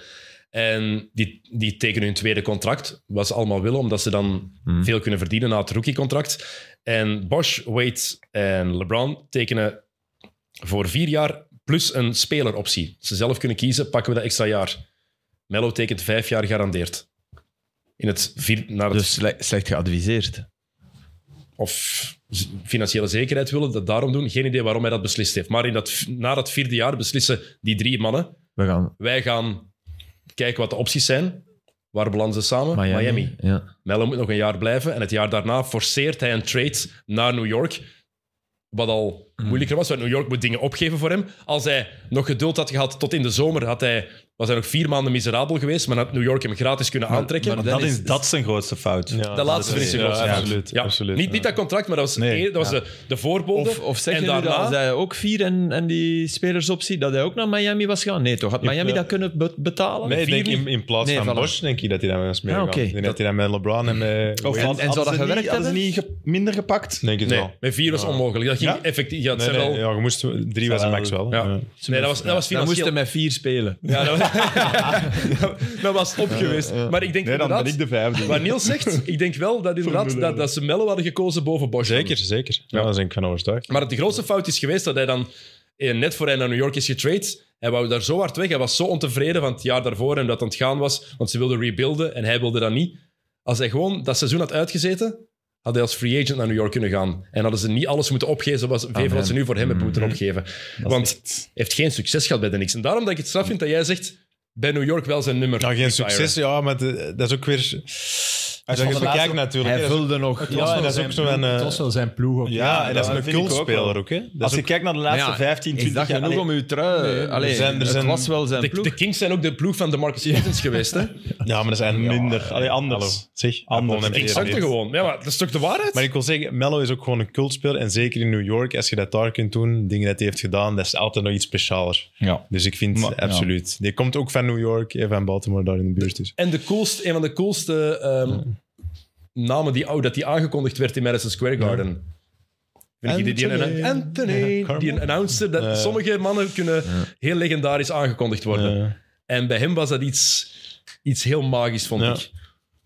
En die, die tekenen hun tweede contract, wat ze allemaal willen, omdat ze dan veel kunnen verdienen na het rookiecontract. En Bosch, Wade en LeBron tekenen voor vier jaar plus een speleroptie. Ze zelf kunnen kiezen, pakken we dat extra jaar. Melo tekent vijf jaar garandeerd. in het vier, naar het, Dus sle- slecht geadviseerd. of z- financiële zekerheid willen, dat daarom doen. Geen idee waarom hij dat beslist heeft. Maar in dat, v- na dat vierde jaar beslissen die drie mannen, We gaan wij gaan kijken wat de opties zijn. Waar belanden ze samen? Miami. Miami. Ja. Melo moet nog een jaar blijven. En het jaar daarna forceert hij een trade naar New York. Wat al moeilijker was, want New York moet dingen opgeven voor hem. Als hij nog geduld had gehad tot in de zomer, had hij, was hij nog vier maanden miserabel geweest. Maar had New York hem gratis kunnen aantrekken. Maar dat is, dat is zijn grootste fout. de laatste vind ik zijn ja, grootste fout. absoluut, Ja, absoluut. niet, niet dat contract, maar dat was, Nee, eer- dat was de, de voorbode. Of, of zeg en je nu dat daarna, als hij ook vier en, en die spelersoptie, dat hij ook naar Miami was gaan? Nee, toch? Had Miami eh, dat kunnen be- betalen? Nee, ik denk Vier in, in plaats Nee, van voilà. Bosch denk ik dat hij daar was mee Ah, gegaan. oké. Ik denk dat hij daar met LeBron en met... Of Wade- had- en zou hadden dat ze gewerkt niet, hadden ze hebben? niet ge- minder gepakt? denk het Nee, wel. met vier was onmogelijk. Dat ging Ja? effectief. Ja, het Nee, zijn nee, wel- ja, je moest, drie was de max wel. ja. Ja. Nee, dat was, dat was Dan moest financieel. hij met vier spelen. Ja, dat, was, dat was op geweest. Maar ik denk Nee, dan inderdaad... ben ik de vijfde. Wat Niels zegt, ik denk wel dat, inderdaad, dat, dat ze Mello hadden gekozen boven Bosch. Zeker, zeker. Ja. Daar ben ik van overtuigd. Maar de grootste fout is geweest dat hij dan eh, net voor hij naar New York is getrade. Hij wou daar zo hard weg. Hij was zo ontevreden van het jaar daarvoor en dat het aan het gaan was. Want ze wilden rebuilden en hij wilde dat niet. Als hij gewoon dat seizoen had uitgezeten, had hij als free agent naar New York kunnen gaan. En hadden ze niet alles moeten opgeven zoals Ah, even wat ze nu voor hem hebben Mm-hmm. moeten opgeven. Want hij heeft geen succes gehad bij de Knicks. En daarom dat ik het straf vind dat jij zegt, bij New York wel zijn nummer. Nou, geen retiren. succes, ja, maar de- dat is ook weer... Als je het bekijkt natuurlijk. hè, Hij dat is ook- vulde nog... Ja, en dat is ook zo'n... Het eh, was wel zijn ploeg. Ook, Ja, en dat is dat een vind ik ook cultspeler wel. ook, hè. Dat Als is je kijkt naar de laatste Ja, 15, Is 20 dat jaar... genoeg om allee, uw trui... Nee, er Allee, zijn- er zijn- het was wel zijn De, ploeg. de Kings zijn ook de ploeg van de Marcus Cousins geweest, hè? Ja, maar dat zijn Minder. Allee, anders. Zeg, Anders. appel en Ik Ik peren. snapte gewoon. Ja, maar dat is toch de waarheid? Maar ik wil zeggen, Mello is ook gewoon een cultspeler. En zeker in New York, als je dat daar kunt doen, dingen dat hij heeft gedaan, dat is altijd nog iets specialer. Ja. Dus ik vind Maar- absoluut. Die komt ook van New York en van Baltimore daar in de buurt. Dus. En de coolste, een van de coolste ehm, namen die, oh, dat die aangekondigd werd in Madison Square Garden. Vind ik die, die, Anthony. die- Anthony, Carmel. die een announcer. Dat Ja. Sommige mannen kunnen heel legendarisch aangekondigd worden. Ja. En bij hem was dat iets, iets heel magisch, vond Ja. ik.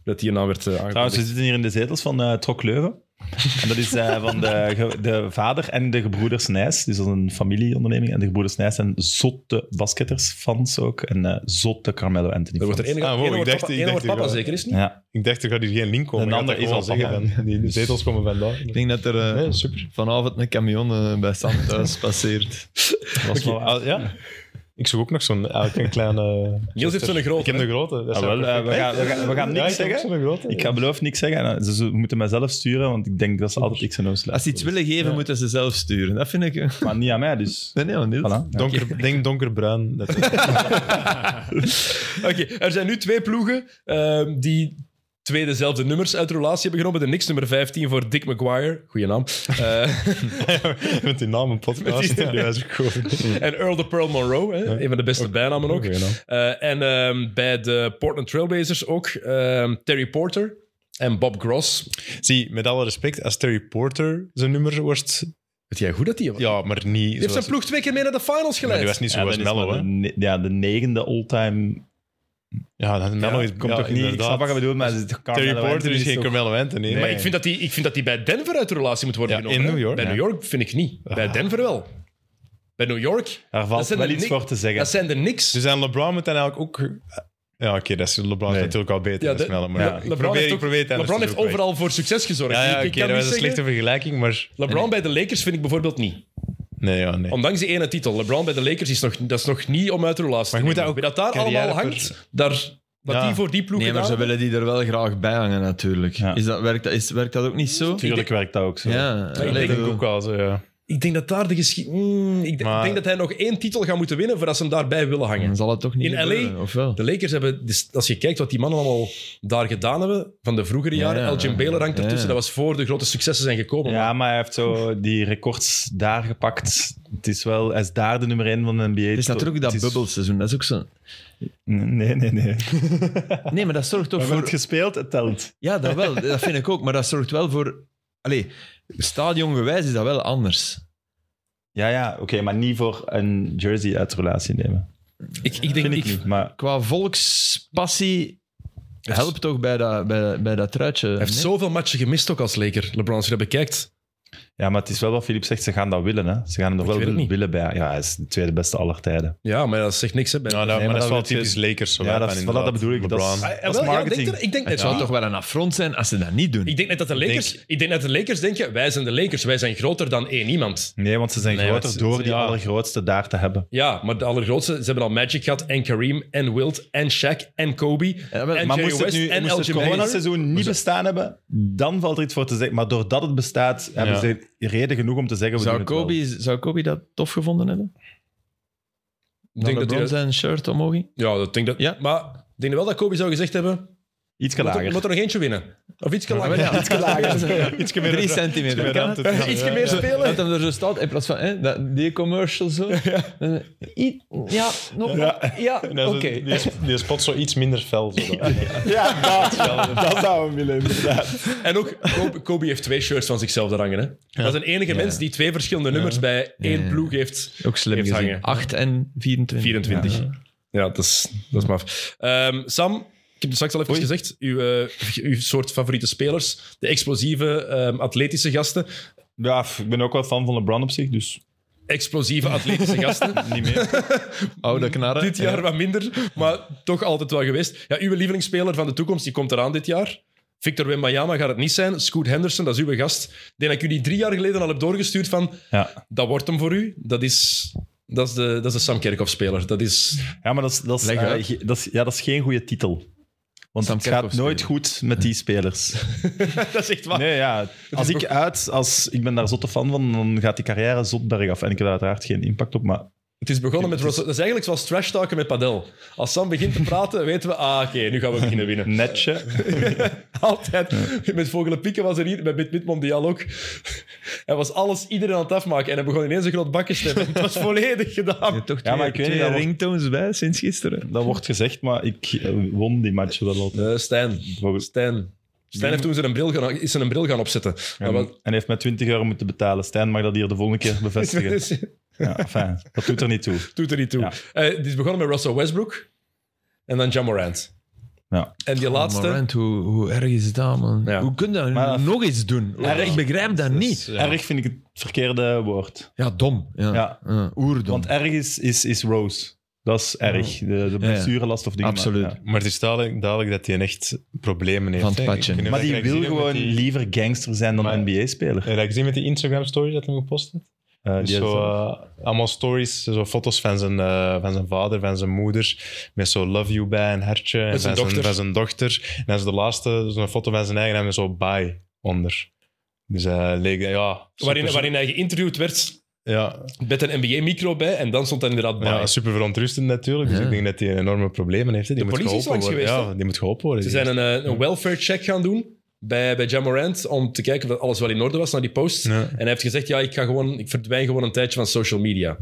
Dat die naam werd eh, Trouwens, aangekondigd. we zitten hier in de zetels van eh Trok Leuven. En dat is eh, van de, ge- de vader en de gebroeders Nijs. Dus dat is een familieonderneming. En de gebroeders Nijs zijn zotte basketters-fans ook. En eh, zotte Carmelo Anthony er wordt er fans. één Ah, wow, één ik wordt dacht- papa, ik één dacht wordt hier papa wel. zeker is het niet. Ja. Ik dacht, er gaat hier geen link komen. Een Ik had ander dat is gewoon al zeggen. papa. van, Die, de zetels komen vandaag. Ik denk dat er eh, Nee, super. vanavond een camion eh, bij Sam thuis passeert. Dat was wel waar. Ah, ja. Ik zoek ook nog zo'n eigenlijk een kleine... Niels heeft zo'n Ik grote. heb de grote. dat Ah, zou wel, eh, perfect- we gaan- we gaan- we gaan Ja, niks ik heb ook zeggen. zo'n grote. Ik ga beloof niks zeggen. En, eh, Ze ze moeten mij zelf sturen, want ik denk dat ze altijd X en O's Als luisteren. ze iets willen geven, moeten ze zelf sturen. Dat vind ik... eh, Maar niet aan mij, dus... Nee, nee, maar Niels. Voilà. Ja. Donker, denk donkerbruin. Dat Oké, er zijn nu twee ploegen ehm, die twee dezelfde nummers uit de relatie hebben genomen. De Knicks nummer 15 voor Dick McGuire, goeie naam. Eh, Met die naam een podcast. Met die- Ja, dat is ook goed. en Earl de Pearl Monroe, hè, een van de beste bijnamen ook. Goeie naam. Eh, en ehm, bij de Portland Trailblazers ook ehm, Terry Porter en Bob Gross. Zie, met alle respect, als Terry Porter zijn nummer wordt... Weet jij goed dat die was? Ja, maar niet die heeft zijn zoals... ploeg twee keer mee naar de finals Maar geleid. die was niet Ja, zoals dan is Mello, maar hè. de ne- ja, de negende all-time... Ja, dat Mello is... Komt ja, toch niet... Ik snap inderdaad. wat je bedoelt, maar... het is- Terry Carmelo Porter Anthony is geen toch- Carmelo Anthony. Maar ik vind, dat die, ik vind dat die bij Denver uit de relatie moet worden Ja, genomen. in hè. New York, Bij ja. Ah. New York vind ik niet. Bij Denver wel. Bij New York, Daar Dat valt zijn wel de iets Nick- voor te zeggen. dat zijn er niks. Dus aan LeBron moet dan eigenlijk ook... Ja, oké, dat is LeBron is Nee. natuurlijk al beter Ja, dan de- Mello. Maar ja, ik LeBron probeer, heeft, ik ook- probeer het anders LeBron te heeft zoeken. overal voor succes gezorgd. Ja, ja Ik- oké, ik kan dat niet was een zeggen- slechte vergelijking, maar... LeBron bij de Lakers vind ik bijvoorbeeld niet. Nee, ja, nee. Ondanks die ene titel. LeBron bij de Lakers is nog, dat is nog niet om uit de relatie Maar je moet te dat komen. ook Wie dat daar allemaal carrière hangt, daar, wat Ja. die voor die ploeg Nee, maar gedaan ze willen die er wel graag bij hangen, natuurlijk. Ja. Is dat, werkt, dat, is, werkt dat ook niet zo? Tuurlijk werkt dat ook zo. Ja, ik allee, denk bedoel- wel zo, ja. Ik denk dat daar de geschiedenis... mm, ik, d- Maar- denk dat hij nog één titel gaat moeten winnen voordat ze hem daarbij willen hangen. Dan zal het toch niet In LA? gebeuren, of wel? De Lakers hebben, dus als je kijkt wat die mannen allemaal daar gedaan hebben, van de vroegere jaren, ja, Elgin ja. Baylor hangt Ja, ja. ertussen, dat was voor de grote successen zijn gekomen. Ja, maar hij heeft zo die records daar gepakt. Het is wel, hij is daar de nummer 1 van de NBA. Het is natuurlijk ook dat Het is- bubbelseizoen. Dat is ook zo. Nee, nee, nee. Nee, maar dat zorgt toch Er wordt voor... gespeeld, het telt. Ja, dat wel. Dat vind ik ook. Maar dat zorgt wel voor... Allee, stadiongewijs is dat wel anders. Ja, ja, oké, maar niet voor een jersey uit de relatie nemen. Ik, ik denk Vind ik ik, niet, maar... Qua volkspassie helpt toch bij dat, bij, bij dat truitje. Hij heeft zoveel matchen gemist ook als Laker, LeBron, als je dat bekijkt. Ja, maar het is wel wat Filip zegt, ze gaan dat willen. Hè? Ze gaan hem er wel weet het willen, niet. willen bij. Ja, hij is de tweede beste aller tijden. Ja, maar dat zegt niks, hè. Bij Nou, dat, Nee, maar dat is wel dat wil je- typisch Lakers. Ja, dat, is- voilà, inderdaad. dat bedoel ik. Dat is, LeBron. Ah, dat wel, is ja, ik marketing. denk, er- ik denk Het net zou niet. toch wel een affront zijn als ze dat niet doen. Ik denk net dat de Lakers, ik denk... dat de Lakers denken, wij zijn de Lakers, wij zijn groter dan één iemand. Nee, want ze zijn Nee, groter want ze- door ze- die ja. allergrootste daar te hebben. Ja, maar de allergrootste, ze hebben al Magic gehad en Kareem en Wilt en Shaq en Kobe maar- en Maar Jerry moest het, West nu, en moest het Elgin Baylor. coronaseizoen niet bestaan hebben, dan valt er iets voor te zeggen. Maar doordat het bestaat, hebben Ja. ze reden genoeg om te zeggen... We Zou doen het wel. Kobe, zou Kobe dat tof gevonden hebben? Ik denk dat LeBron die dat- zijn shirt omhoog ging? Ja, dat denk dat. Ja. Maar ik denk wel dat Kobe zou gezegd hebben, Iets moet er, lager. moet er nog eentje winnen. Of iets langer. Iets lager. Iets meer- Drie centimeter. Kan het? Iets meer spelen. Dat hem er zo staat, in plaats van hè, dat- die commercial zo. Dan- I- Ja, nog Ja, oké. Ja, zo- die, sp- die spot zo iets minder fel. Zo dan. Ja, dat, dat zou hem willen, inderdaad. En ook, Kobe, Kobe heeft twee shirts van zichzelf daar hangen. Hè. Dat is de enige mens die twee verschillende nummers bij één Ja. ploeg heeft. Ook slim Heeft gezien. hangen. 8 en 24. 24. Ja, dat, is, dat is maf. Ehm, Sam, ik heb het straks al even gezegd. Uw, eh, uw soort favoriete spelers. De explosieve, ehm, atletische gasten. Ja, f- ik ben ook wel fan van LeBron op zich, dus Explosieve, atletische gasten. niet meer. Oude knarren. dit jaar wat minder, maar toch altijd wel geweest. Ja, uw lievelingsspeler van de toekomst, die komt eraan dit jaar. Victor Wembanyama gaat het niet zijn. Scoot Henderson, dat is uw gast. Ik denk dat ik jullie drie jaar geleden al heb doorgestuurd van... Ja, Dat wordt hem voor u. Dat is, dat is, de, dat is de Sam Kerkhoff-speler. Dat is... ja maar dat is, dat, is, Leg eh, uit. ge- dat, is, ja, dat is geen goede titel. Want Sam het gaat Kerkhoff nooit spelen. goed met die spelers. dat is echt waar. Nee, ja. Als ik uit, als ik ben daar zotte fan van, dan gaat die carrière zot bergaf. En ik heb daar uiteraard geen impact op, maar Het is begonnen met... Russell- Dat is eigenlijk zoals trash talken met Padel. Als Sam begint te praten, weten we... Ah, oké, nu gaan we beginnen winnen. netje. Altijd. Met Vogelen Pieken was er hier, met Bit Bit Mondial ook. Hij was alles, iedereen aan het afmaken. En hij begon ineens een groot bakje te hebben. Het was volledig gedaan. Toch Ja, maar ik weet niet, dat wordt- ringtones bij sinds gisteren. Dat wordt gezegd, maar ik eh, won die match wel altijd. Eh, Stijn. Bijvoorbeeld. Stijn. Stijn heeft toen zijn een bril gaan, is zijn een bril gaan opzetten. Maar En, wat- en heeft mij 20 euro moeten betalen. Stijn mag dat hier de volgende keer bevestigen. Ja, enfin, dat doet er niet toe. doet er niet toe. Ja. Eh, het is begonnen met Russell Westbrook en dan John Morant. Ja. En Oh, die laatste... Morant, hoe, hoe erg is dat, man? Ja. Hoe kun je dat Maar dat- nog eens doen? Erg. Ik begrijp dat niet. Erg vind ik het verkeerde woord. Ja, dom. Ja. Ja. Ja, oerdom. Want erg is, is, is Rose. Dat is erg. De, de blessurelast of dingen. Absoluut. maar, ja. Maar het is duidelijk, duidelijk dat hij echt problemen heeft. Van het hè. padje. Ik weet niet Maar of die je dat wil gezien hebt gewoon met die- liever gangster zijn dan Maar- NBA-speler. Heb je dat gezien met die Instagram-stories dat hij gepost heeft? Eh, Dus die zo, is- eh, allemaal stories, zo foto's van zijn, eh, van zijn vader, van zijn moeder, met zo love you bij een hartje. En Met zijn van dochter. Van zijn dochter. En dan is de laatste, zo'n foto van zijn eigen en met zo bye onder. Dus hij leek, ja... Waarin, super- waarin hij geïnterviewd werd Ja, met een NBA-micro bij en dan stond hij inderdaad bij. ja, super verontrustend natuurlijk. Dus Ja. ik denk dat hij enorme problemen heeft. hè. Die De moet politie is geholpen worden. langs geweest, ja, die moet geholpen worden. Ze zijn een, eh, een welfare-check gaan doen bij, bij John Morant om te kijken of alles wel in orde was na die post. Ja. En hij heeft gezegd, ja, ik, ga gewoon, ik verdwijn gewoon een tijdje van social media.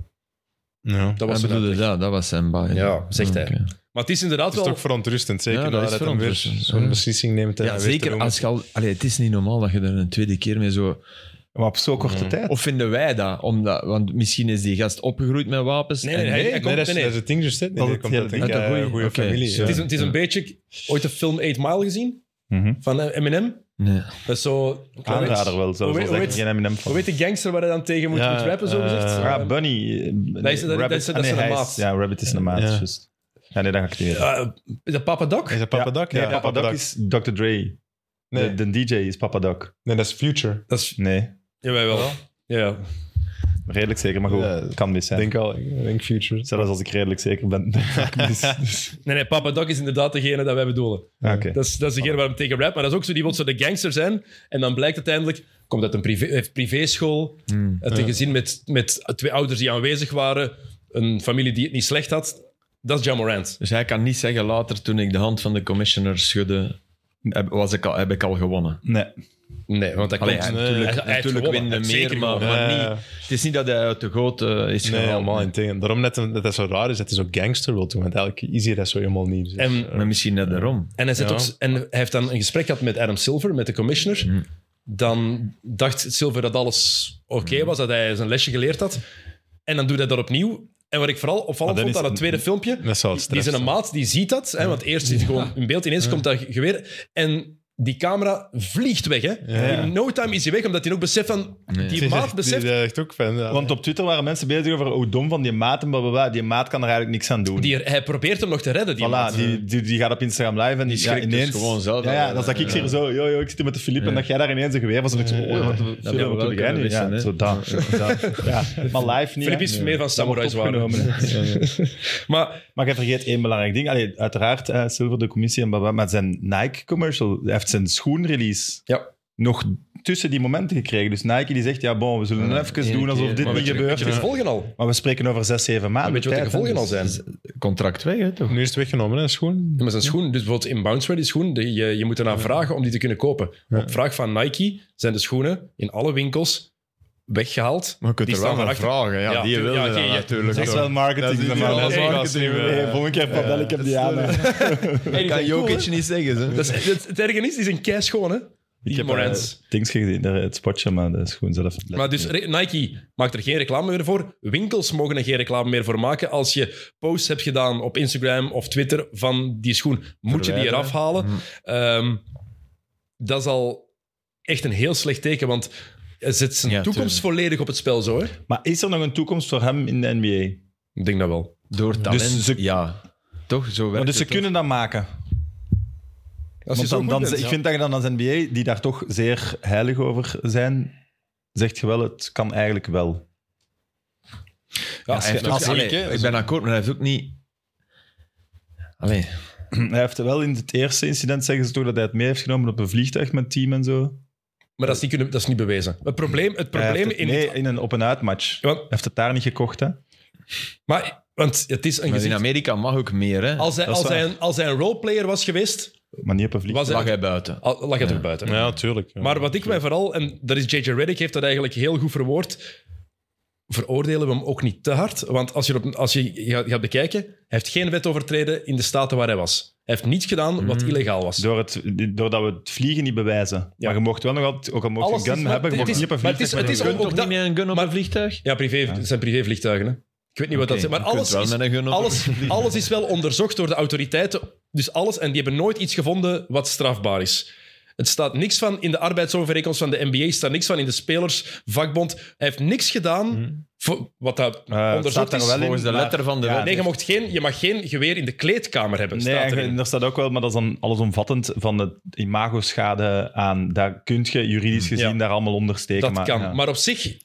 Ja. Dat Ja, was zijn bedoelde, uitleg. ja, dat was zijn baai. Ja, zegt hij. Oké. Maar het is inderdaad Dat is wel... toch verontrustend, zeker Ja, dat is dat, hij weer verontrustend, zo'n ja. beslissing neemt. en Ja, hij weet zeker. erom. Als je al, allee, het is niet normaal dat je er een tweede keer mee zo... Maar op zo'n korte tijd. Of vinden wij dat? Omdat, want misschien is die gast opgegroeid met wapens. Nee, nee, en- hij- Nee, hij komt- nee, dat is- nee, nee. dat is het ding, just, hè. Dat Nee, is komt het uit hele een ding. eh, Oké. goede Oké. familie. Het Het ja. is, een- het is een beetje... Ooit de film 8 Mile gezien? Mhm. Van eh, Eminem? Nee. Dat is zo... Aanrader wel, zelfs Hoe al weet- zeg ik hoe geen Eminem Hoe van. heet de gangster waar hij dan tegen moet, Ja, moet rappen, zo gezegd? eh, Ah, Bunny. eh, is- dat- dat Rabbit. is- dat Ah, is nee, een hij maat. Ja, Rabbit is een maat, Ja. juist. Ja, nee, dat ga ik niet weten. Eh, is dat Papa Doc? Is dat Papa Doc? Nee, Ja, Papa Doc is Dr. Dre. Nee. De, de DJ is Papa Doc. Nee, dat is Future. Dat is... Nee, Jawel, wel. Ja, ja. redelijk zeker, maar goed, Ja. kan mis zijn. Denk al, ik denk Future. Zelfs als ik redelijk zeker ben. Dus- dus- Nee, nee, Papa Doc is inderdaad degene dat wij bedoelen. Ah, Oké. Dat is, dat is degene waar hem tegen rapt. Maar dat is ook zo, die wil zo de gangster zijn. En dan blijkt uiteindelijk, komt uit een privé, heeft privéschool, Hmm. uit een gezin met, met twee ouders die aanwezig waren, een familie die het niet slecht had. Dat is John Morant. Dus hij kan niet zeggen later, toen ik de hand van de commissioner schudde, heb, was ik al, heb ik al gewonnen. Nee. Nee, want dat Allee, komt... hij- hij- natuurlijk, hij heeft natuurlijk gewonnen. winnen Hij heeft meer, zeker maar, gewonnen. maar Ja. niet, het is niet dat hij uit de goot eh, is Nee, gehaald. helemaal in tegen. Daarom net dat dat zo raar is dat hij zo gangster wil doen. Want eigenlijk is hij dat zo helemaal niet. Dus, En- eh, Maar misschien net daarom. En hij, zit Ja. ook, en hij heeft dan een gesprek gehad met Adam Silver, met de commissioner. Mm. Dan dacht Silver dat alles oké Mm. was, dat hij zijn lesje geleerd had. En dan doet hij dat opnieuw. En wat ik vooral opvallend Ah, Maar dan vond aan is- het tweede filmpje, dat zal het die stress zijn een maat, die ziet dat. Hè, want eerst zit hij gewoon in beeld, ineens komt dat geweer. En die camera vliegt weg. Hè? Ja. In no time is hij weg, omdat hij ook beseft van... Die Die maat zegt- beseft... Die, die zegt ook eh, fan. Ja. Want op Twitter waren mensen bezig over hoe dom van die maat en blablabla. Die maat kan er eigenlijk niks aan doen. Die, hij probeert hem nog te redden, die maat. Voilà, die, die, die gaat op Instagram live en die schrikt dus gewoon zelf Ja, al, ja, eh, dan zag ik hier zo, yo, yo, ik zit hier met de Filip en dat jij daar ineens een geweer was. En ik zo, oh, wat, we wat, wel wat doe jij kunnen nu? wissen, Ja, hè. zo dat. dat. Ja, maar live niet. Filip is hè. meer van Dat wordt samurai's waren. opgenomen. Maar Maar jij vergeet één belangrijk ding. Allee, uiteraard, eh Silver, de commissie en blablabla, maar zijn Nike-commercial hij heeft zijn schoenrelease Ja. nog tussen die momenten gekregen. Dus Nike die zegt, ja, bon, we zullen Ja, even één doen alsof keer. dit maar niet weet je, gebeurt. weet je de gevolgen al? Maar we spreken over zes, zeven maanden. weet je wat de tijd, gevolgen hè, al dus- zijn? Contract weg, hè, toch? Nu is het weggenomen, hè, schoen. Ja, maar zijn schoen, dus bijvoorbeeld in Bounce Ready schoen, die, je, je moet ernaar vragen om die te kunnen kopen. Op vraag van Nike zijn de schoenen in alle winkels weggehaald. Maar je kunt Die er wel staan naar erachter. vragen. Ja, Ja, die tuurlijk. wilde Ja, oké, dat ja. natuurlijk. Dat is hoor. wel Dat marketing. is Dat niet alles marketing. marketing, Hey, ja. volgende keer Pavel, ik heb die aan. hè. Hey, kan cool, Jokic hè? niet zeggen. Hè? Dat is, het, het erge is, die zijn kei schoon, hè? Die heb, Morants. eh, Dings gezien, daar, het spotje, maar de schoen zelf. Maar dus re- Nike maakt er geen reclame meer voor. Winkels mogen er geen reclame meer voor maken. Als je posts hebt gedaan op Instagram of Twitter van die schoen, moet je die Verwijderen. eraf halen. Mm. Ehm, dat is al echt een heel slecht teken, want hij zet zijn Ja, toekomst volledig op het spel zo. Hè? Maar is er nog een toekomst voor hem in de NBA? Ik denk dat wel. Door talent, Dus ze- ja. Toch, zo werkt Maar dus ze het kunnen dat maken. Als je Want zo dan, goed dan, bent, ik ja. vind dat je dan als NBA, die daar toch zeer heilig over zijn, zegt je wel, het kan eigenlijk wel. Ja, Hij als- heeft ook- als- allee, ik ben akkoord, maar hij heeft ook niet... Allee, Hij heeft wel in het eerste incident, zeggen ze toch, dat hij het mee heeft genomen op een vliegtuig met het team en zo. maar dat is, niet kunnen, dat is niet bewezen. Het probleem, het Hij probleem heeft in... het mee in een op- en uitmatch. Hij Want, heeft het daar niet gekocht, hè. maar, want het is een maar in gezicht... Amerika mag ook meer, hè. Als hij, Dat is als, hij waar. een, als hij een roleplayer was geweest, Maar niet op een vliegtuig. was lag hij, hij buiten. al- lag hij er buiten. Ja, tuurlijk. Ja. Maar wat ik mij vooral, en dat is JJ Reddick heeft dat eigenlijk heel goed verwoord, veroordelen we hem ook niet te hard. Want als je, op, als je gaat, gaat bekijken, hij heeft geen wet overtreden in de staten waar hij was. Hij heeft niets gedaan wat illegaal was. Door het, doordat we het vliegen niet bewijzen. Ja. Maar je mocht wel nog altijd, ook al mocht je Alles een is gun maar- hebben, je het mocht is- niet op een maar het vliegtuig is- met het een is gun. ook- Toch dat- niet met een gun op maar- een vliegtuig? Ja, privé, het zijn privévliegtuigen. Hè. Ik weet niet wat dat Oké, zijn, maar je kunt alles wel is, met een gun op alles, alles is wel onderzocht door de autoriteiten. Dus alles, en die hebben nooit iets gevonden wat strafbaar is. Het staat niks van in de arbeidsovereenkomst van de NBA, staat niks van in de spelersvakbond. Hij heeft niks gedaan voor, wat dat Eh, het staat onderzocht daar is. wel in, Volgens de maar- letter van de Ja, wet. Nee, je, mocht geen, je mag geen geweer in de kleedkamer hebben. Nee, staat en erin. ge- daar staat ook wel, maar dat is dan allesomvattend van de imagoschade aan. Daar kun je juridisch Mm, gezien Ja. daar allemaal onder steken. Dat maar, kan. ja. Maar op zich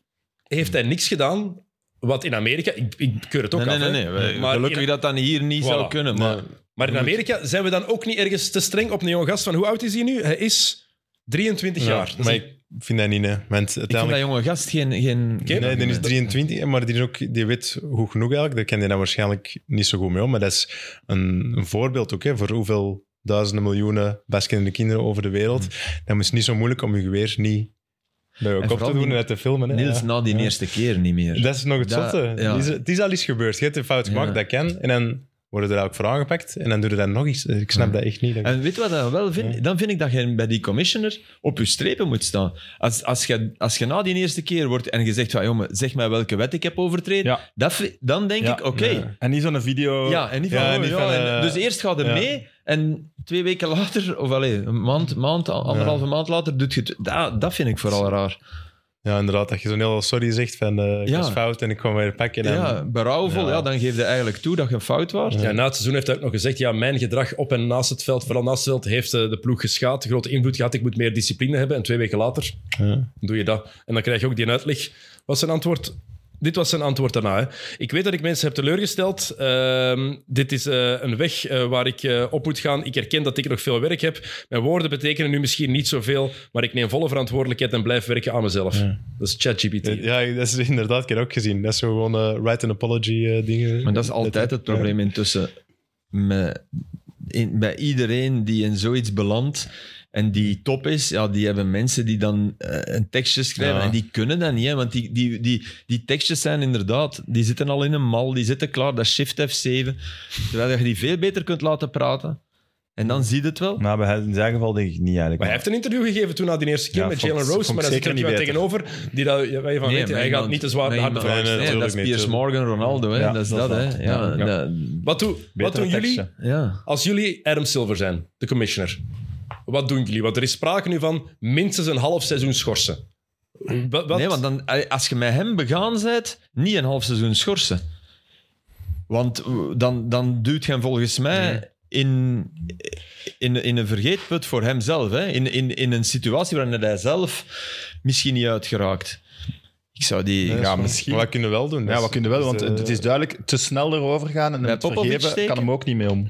heeft hij niks gedaan wat in Amerika... Ik, ik keur het ook Nee, af, nee, nee. hè. nee. We- Maar Gelukkig in- dat dat hier niet Voilà. zou kunnen, maar... Maar in Amerika zijn we dan ook niet ergens te streng op een jonge gast van hoe oud is hij nu? Hij is 23 Ja, jaar. Dat is maar een- ik vind dat niet, hè. Want Ik vind dat uiteindelijk... jonge gast geen... geen... Oké. Nee, die is 23, maar die, is ook, die weet goed genoeg eigenlijk. Daar kent hij dan waarschijnlijk niet zo goed mee om. Maar dat is een, een voorbeeld ook, hè, voor hoeveel duizenden miljoenen basketende kinderen over de wereld. Dan is het niet zo moeilijk om je geweer niet bij En je kop te vooral doen die- en uit te filmen. Hè. Niels Ja. na die Ja. eerste keer niet meer. Dat is nog het Dat- zotte. ja. Het, is, het is al iets gebeurd. Je hebt een fout Ja. gemaakt, dat kan. En dan worden er ook voor aangepakt. En dan doe je dan nog iets. Ik snap Ja. dat echt niet. Dat- En weet je wat ik dan wel vind? Ja. Dan vind ik dat je bij die commissioner op je strepen moet staan. Als, als, je, als je na die eerste keer wordt en je zegt van, jongen, zeg mij welke wet ik heb overtreden, Ja. dat vi- dan denk Ja. ik, oké. Ja. En niet zo'n video. Ja, en niet van, Ja, oh, niet ja, van, en- eh, dus eerst gaat hij ja. mee en twee weken later, of allee, een maand, maand al- anderhalve maand later, doet je het. Dat, dat vind ik vooral raar. Ja, inderdaad. Dat je zo'n heel sorry zegt van eh, ik Ja. was fout en ik kwam weer pakken. En Ja, berouwvol, ja. Ja. dan geef je eigenlijk toe dat je fout was. Ja, na het seizoen heeft hij ook nog gezegd, ja, mijn gedrag op en naast het veld, vooral naast het veld, heeft eh, de ploeg geschaad, grote invloed gehad, ik moet meer discipline hebben. En twee weken later Ja. doe je dat. En dan krijg je ook die uitleg. Wat zijn antwoord? Dit was zijn antwoord daarna. Hè. Ik weet dat ik mensen heb teleurgesteld. Ehm, dit is eh, een weg eh, waar ik eh, op moet gaan. Ik herken dat ik nog veel werk heb. Mijn woorden betekenen nu misschien niet zoveel, maar ik neem volle verantwoordelijkheid en blijf werken aan mezelf. Dat is ChatGPT. Ja, dat is inderdaad, ik heb dat ook gezien. Dat is zo gewoon eh, write an apology eh, dingen. Maar dat is altijd het probleem intussen. Met, in- bij iedereen die in zoiets belandt en die top is, ja, die hebben mensen die dan eh, een tekstje schrijven Ja. en die kunnen dat niet. Hè, want die, die, die, die tekstjes zijn inderdaad, die zitten al in een mal, die zitten klaar, dat is shift F7. Terwijl je die veel beter kunt laten praten. En dan zie je het wel. Nou, bij hem in zijn geval denk ik niet eigenlijk. Maar hij heeft een interview gegeven toen na die eerste keer Ja, met vond- Jalen vond Rose, ik maar daar zit er zeker iemand niet tegenover die dat, ja, waar je van weet, maar hij iemand- gaat niet te zwaar maar de harde iemand- vragen Nee, nee, stellen. nee, dat is natuurlijk Piers Morgan niet, Ronaldo, hè, Ja, dat is dat dat. is hè. dat. Ja, Ja. dat- Wat, doe, wat Betere doen jullie teksten. ja. als jullie Adam Silver zijn, de commissioner? Wat doen jullie? Want er is sprake nu van minstens een half seizoen schorsen. Wa- wat- Nee, want dan, eh, als je met hem begaan bent, niet een half seizoen schorsen. Want eh, dan, dan duwt je hem volgens mij in, in, in een vergeetput voor hemzelf. Hè? In, in, in een situatie waarin hij zelf misschien niet uitgeraakt. Ik zou die... dat is ja, waar. misschien... Maar wat kunnen we wel doen? Dus, Ja, we kunnen wel, want eh, het is duidelijk te snel erover gaan en Bij het Popovic vergeven steken? kan hem ook niet mee om.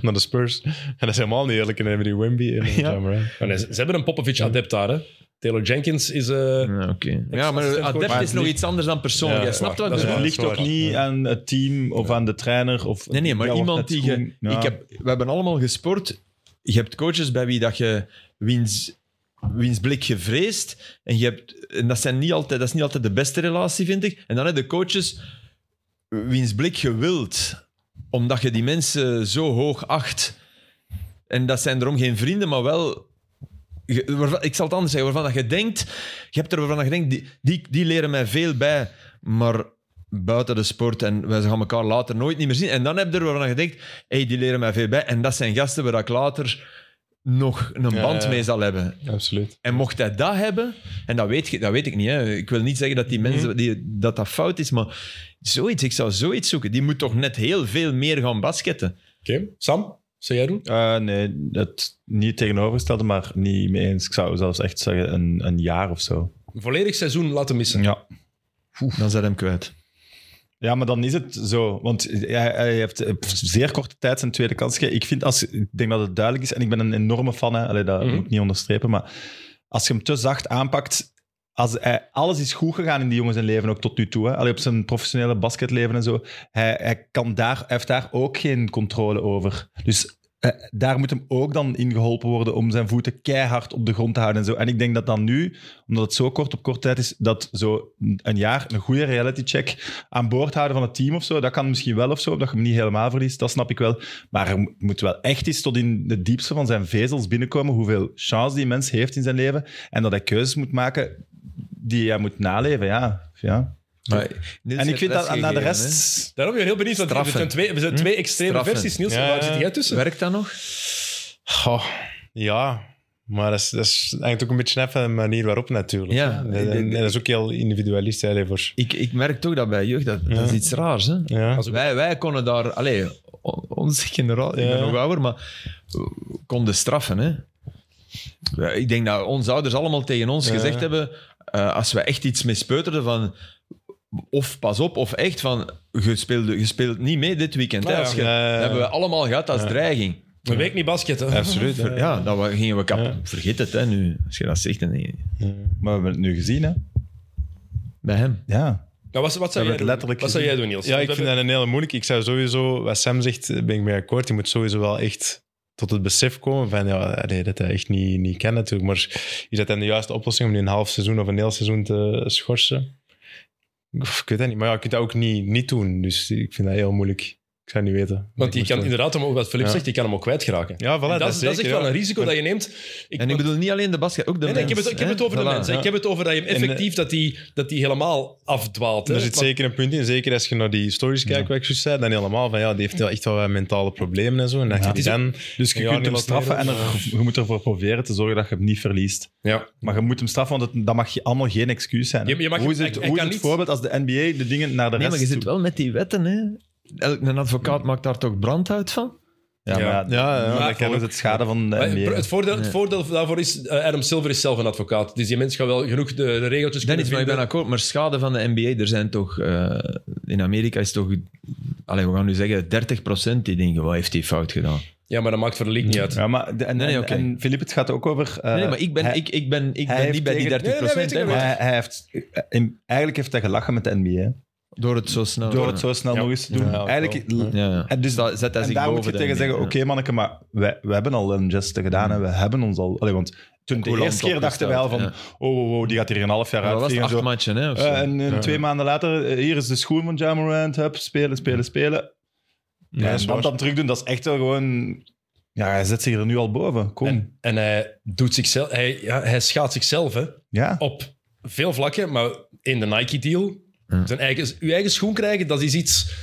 naar de Spurs. En dat is helemaal niet eerlijk. En dan hebben die Wimby en ja. Maar Oh, nee, ze, ze hebben een Popovic-adept daar, hè. Taylor Jenkins is... eh, Ja, oké. ja, maar assistent coach. adept is nog iets anders dan persoonlijk. Ja, Jij snapt wat ik Dus Ja, bedoel? het dat is ligt ook waar. niet aan het team of aan de trainer. Of, Nee, nee, maar Ja, iemand het die goed- je... ja. Ik heb, we hebben allemaal gesport. Je hebt coaches bij wie dat je wiens, wiens blik je vreest. En, je hebt, en dat, zijn niet altijd, dat is niet altijd de beste relatie, vind ik. En dan heb je coaches wiens blik je wilt. Omdat je die mensen zo hoog acht. En dat zijn erom geen vrienden, maar wel... je- waarvan- ik zal het anders zeggen. Waarvan dat je denkt... Je hebt er waarvan je denkt, die, die, die leren mij veel bij. Maar buiten de sport en wij gaan elkaar later nooit niet meer zien. En dan heb je er waarvan je denkt, hey, die leren mij veel bij. En dat zijn gasten waar ik later nog een Ja, band ja. mee zal hebben. Mm, Absoluut. En mocht hij dat hebben, en dat weet, je- dat weet ik niet, hè. ik wil niet zeggen dat die Mhm. mensen, die, dat dat fout is, maar zoiets, ik zou zoiets zoeken. Die moet toch net heel veel meer gaan basketten. Oké, Sam, zou jij doen? Eh, nee, het niet tegenovergestelde, maar niet mee eens. Ik zou zelfs echt zeggen een, een jaar of zo. Een volledig seizoen laten missen. Ja. Dan zijn hem kwijt. Ja, maar dan is het zo. Want hij, hij heeft op zeer korte tijd zijn tweede kans gegeven. Ik, vind als, ik denk dat het duidelijk is. En ik ben een enorme fan. Hè. Allee, dat Mhm. moet ik niet onderstrepen. Maar als je hem te zacht aanpakt... Als hij, alles is goed gegaan in die jongen zijn leven, ook tot nu toe. Hè. Allee, op zijn professionele basketleven en zo. Hij, hij, kan daar, hij heeft daar ook geen controle over. Dus eh, daar moet hem ook dan in geholpen worden om zijn voeten keihard op de grond te houden. En, zo. en ik denk dat dan nu, omdat het zo kort op kort tijd is, dat zo een jaar een goede reality check aan boord houden van het team of zo. Dat kan misschien wel of zo, dat je hem niet helemaal verliest. Dat snap ik wel. Maar er mo- moet wel echt eens tot in de diepste van zijn vezels binnenkomen hoeveel chance die mens heeft in zijn leven. En dat hij keuzes moet maken die hij moet naleven, ja. ja. En ik vind dat naar de rest... Daarom ben ik heel benieuwd, want we Straffen. zijn twee, we Hm? zijn twee extreme Straffen. versies. Niels, Ja, waar ja. zit jij tussen? Werkt dat nog? Goh, ja. Maar dat is, dat is eigenlijk ook een beetje even de manier waarop natuurlijk. Ja. En, en dat is ook heel individualist. Hè, daarvoor. Ik, ik merk toch dat bij jeugd, dat, dat is iets raars. Hè? Ja. Als wij, wij konden daar, allee, on- onze generatie, ik Ja. ben nog ouder, maar eh, konden straffen. Hè? Ja, Ik denk dat onze ouders allemaal tegen ons Ja. gezegd hebben, eh, als we echt iets mispeuterden van, of pas op, of echt van, je speelt, je speelt niet mee dit weekend. Ah, hè, ja. als je, Ja, ja, ja. dat hebben we allemaal gehad als dreiging. Een week niet basketten. Nou, Absoluut. hè. Ja, dat we- gingen we kapot. Ja. Vergeet het hè, nu, als je dat zegt. Dan denk je- Maar we hebben het nu gezien, hè. bij hem. Ja. Nou, wat, wat, zou hebben jij het doen? letterlijk wat zou jij doen, Niels? Ja, ik vind dat een hele moeilijk. Ik zou sowieso, wat Sam zegt, ben ik mee akkoord. Je moet sowieso wel echt tot het besef komen van, ja, nee, dat hij echt niet, niet kan natuurlijk. Maar is dat dan de juiste oplossing om die een half seizoen of een heel seizoen te schorsen? Oef, Ik weet dat niet. Maar ja, je kunt dat ook niet, niet doen. Dus ik vind dat heel moeilijk. Ik zou niet weten. Want je Ik kan moest- inderdaad, om- wat Philip Ja. zegt, je kan hem ook kwijtgeraken. Ja, voilà, En dat, dat, is is, dat is echt zeker, wel ja. een risico dat je neemt. Ik, En ik bedoel niet alleen de basket, ook de Nee, nee, ik heb het, ik heb mens, het over hè. de Voilà. mensen. Ik heb het over dat je hem En, eh, effectief dat die, dat die helemaal afdwaalt. hè. Daar zit Want- zeker een punt in. Zeker als je naar die stories kijkt, wat ik juist zei, dan helemaal van, ja, die heeft wel echt wel wat mentale problemen en zo. En dat je die dan... Dus je Ja, kunt niet hem wat straffen en meer er- je moet ervoor proberen te zorgen dat je hem niet verliest. Ja. Maar je moet hem straffen, want het- dat mag je allemaal geen excuus zijn. hè. Je- je mag- hoe is hij- het, hij hoe is kan het niet- voorbeeld als de NBA de dingen naar de Nee, rest maar je zit toe- wel met die wetten, hè. Elk een advocaat maakt daar toch brand uit van? Ja, maar ja, Ja, ja, maar dat dat kan is het schade van de Maar NBA. het, voordeel, het Ja. voordeel daarvoor is, eh, Adam Silver is zelf een advocaat. Dus die mensen gaan wel genoeg de, de regeltjes Dennis, maar ik ben vinden. akkoord. Maar schade van de NBA, er zijn toch... eh, in Amerika is toch... Allee, we gaan nu zeggen 30% die denken, wat heeft hij fout gedaan? Ja, maar dat maakt voor de league niet uit. Ja, maar de, en, Nee, nee, en- oké. en Filip, het gaat ook over... eh, Nee, nee, maar ik ben, hij, ik, ik ben, ik hij ben heeft niet bij die 30%. Nee, nee, weet ik hè, tegen- wel. maar hij, hij heeft, eh, in- eigenlijk heeft hij gelachen met de NBA. hè. door het zo snel... Door het zo snel Ja. nog eens te doen. Ja, ook eigenlijk, wel. Ja, ja. En dus- Sta- zet hij en zich daar moet boven je de tegen NBA, zeggen, ja. oké manneke, maar we, we hebben al een geste gedaan en we hebben ons al... Allee, want toen de Coulant eerste keer dachten wij al van, opgesteld, oh, oh, oh, die gaat hier een half jaar Ja, dat was uitvliegen. en acht zo. matchen, hè? Of zo. Eh, en eh, twee maanden later, eh, hier is de schoen van Jamorant, hup, spelen, spelen, spelen. Ja, en is dat waar. dan terug doen, dat is echt wel gewoon... Ja, hij zet zich er nu al boven, kom. En, en hij, doet zichzelf, hij, ja, hij schaadt zichzelf hè, ja. op veel vlakken, maar in de Nike-deal. Zijn eigen, uw eigen schoen krijgen, dat is iets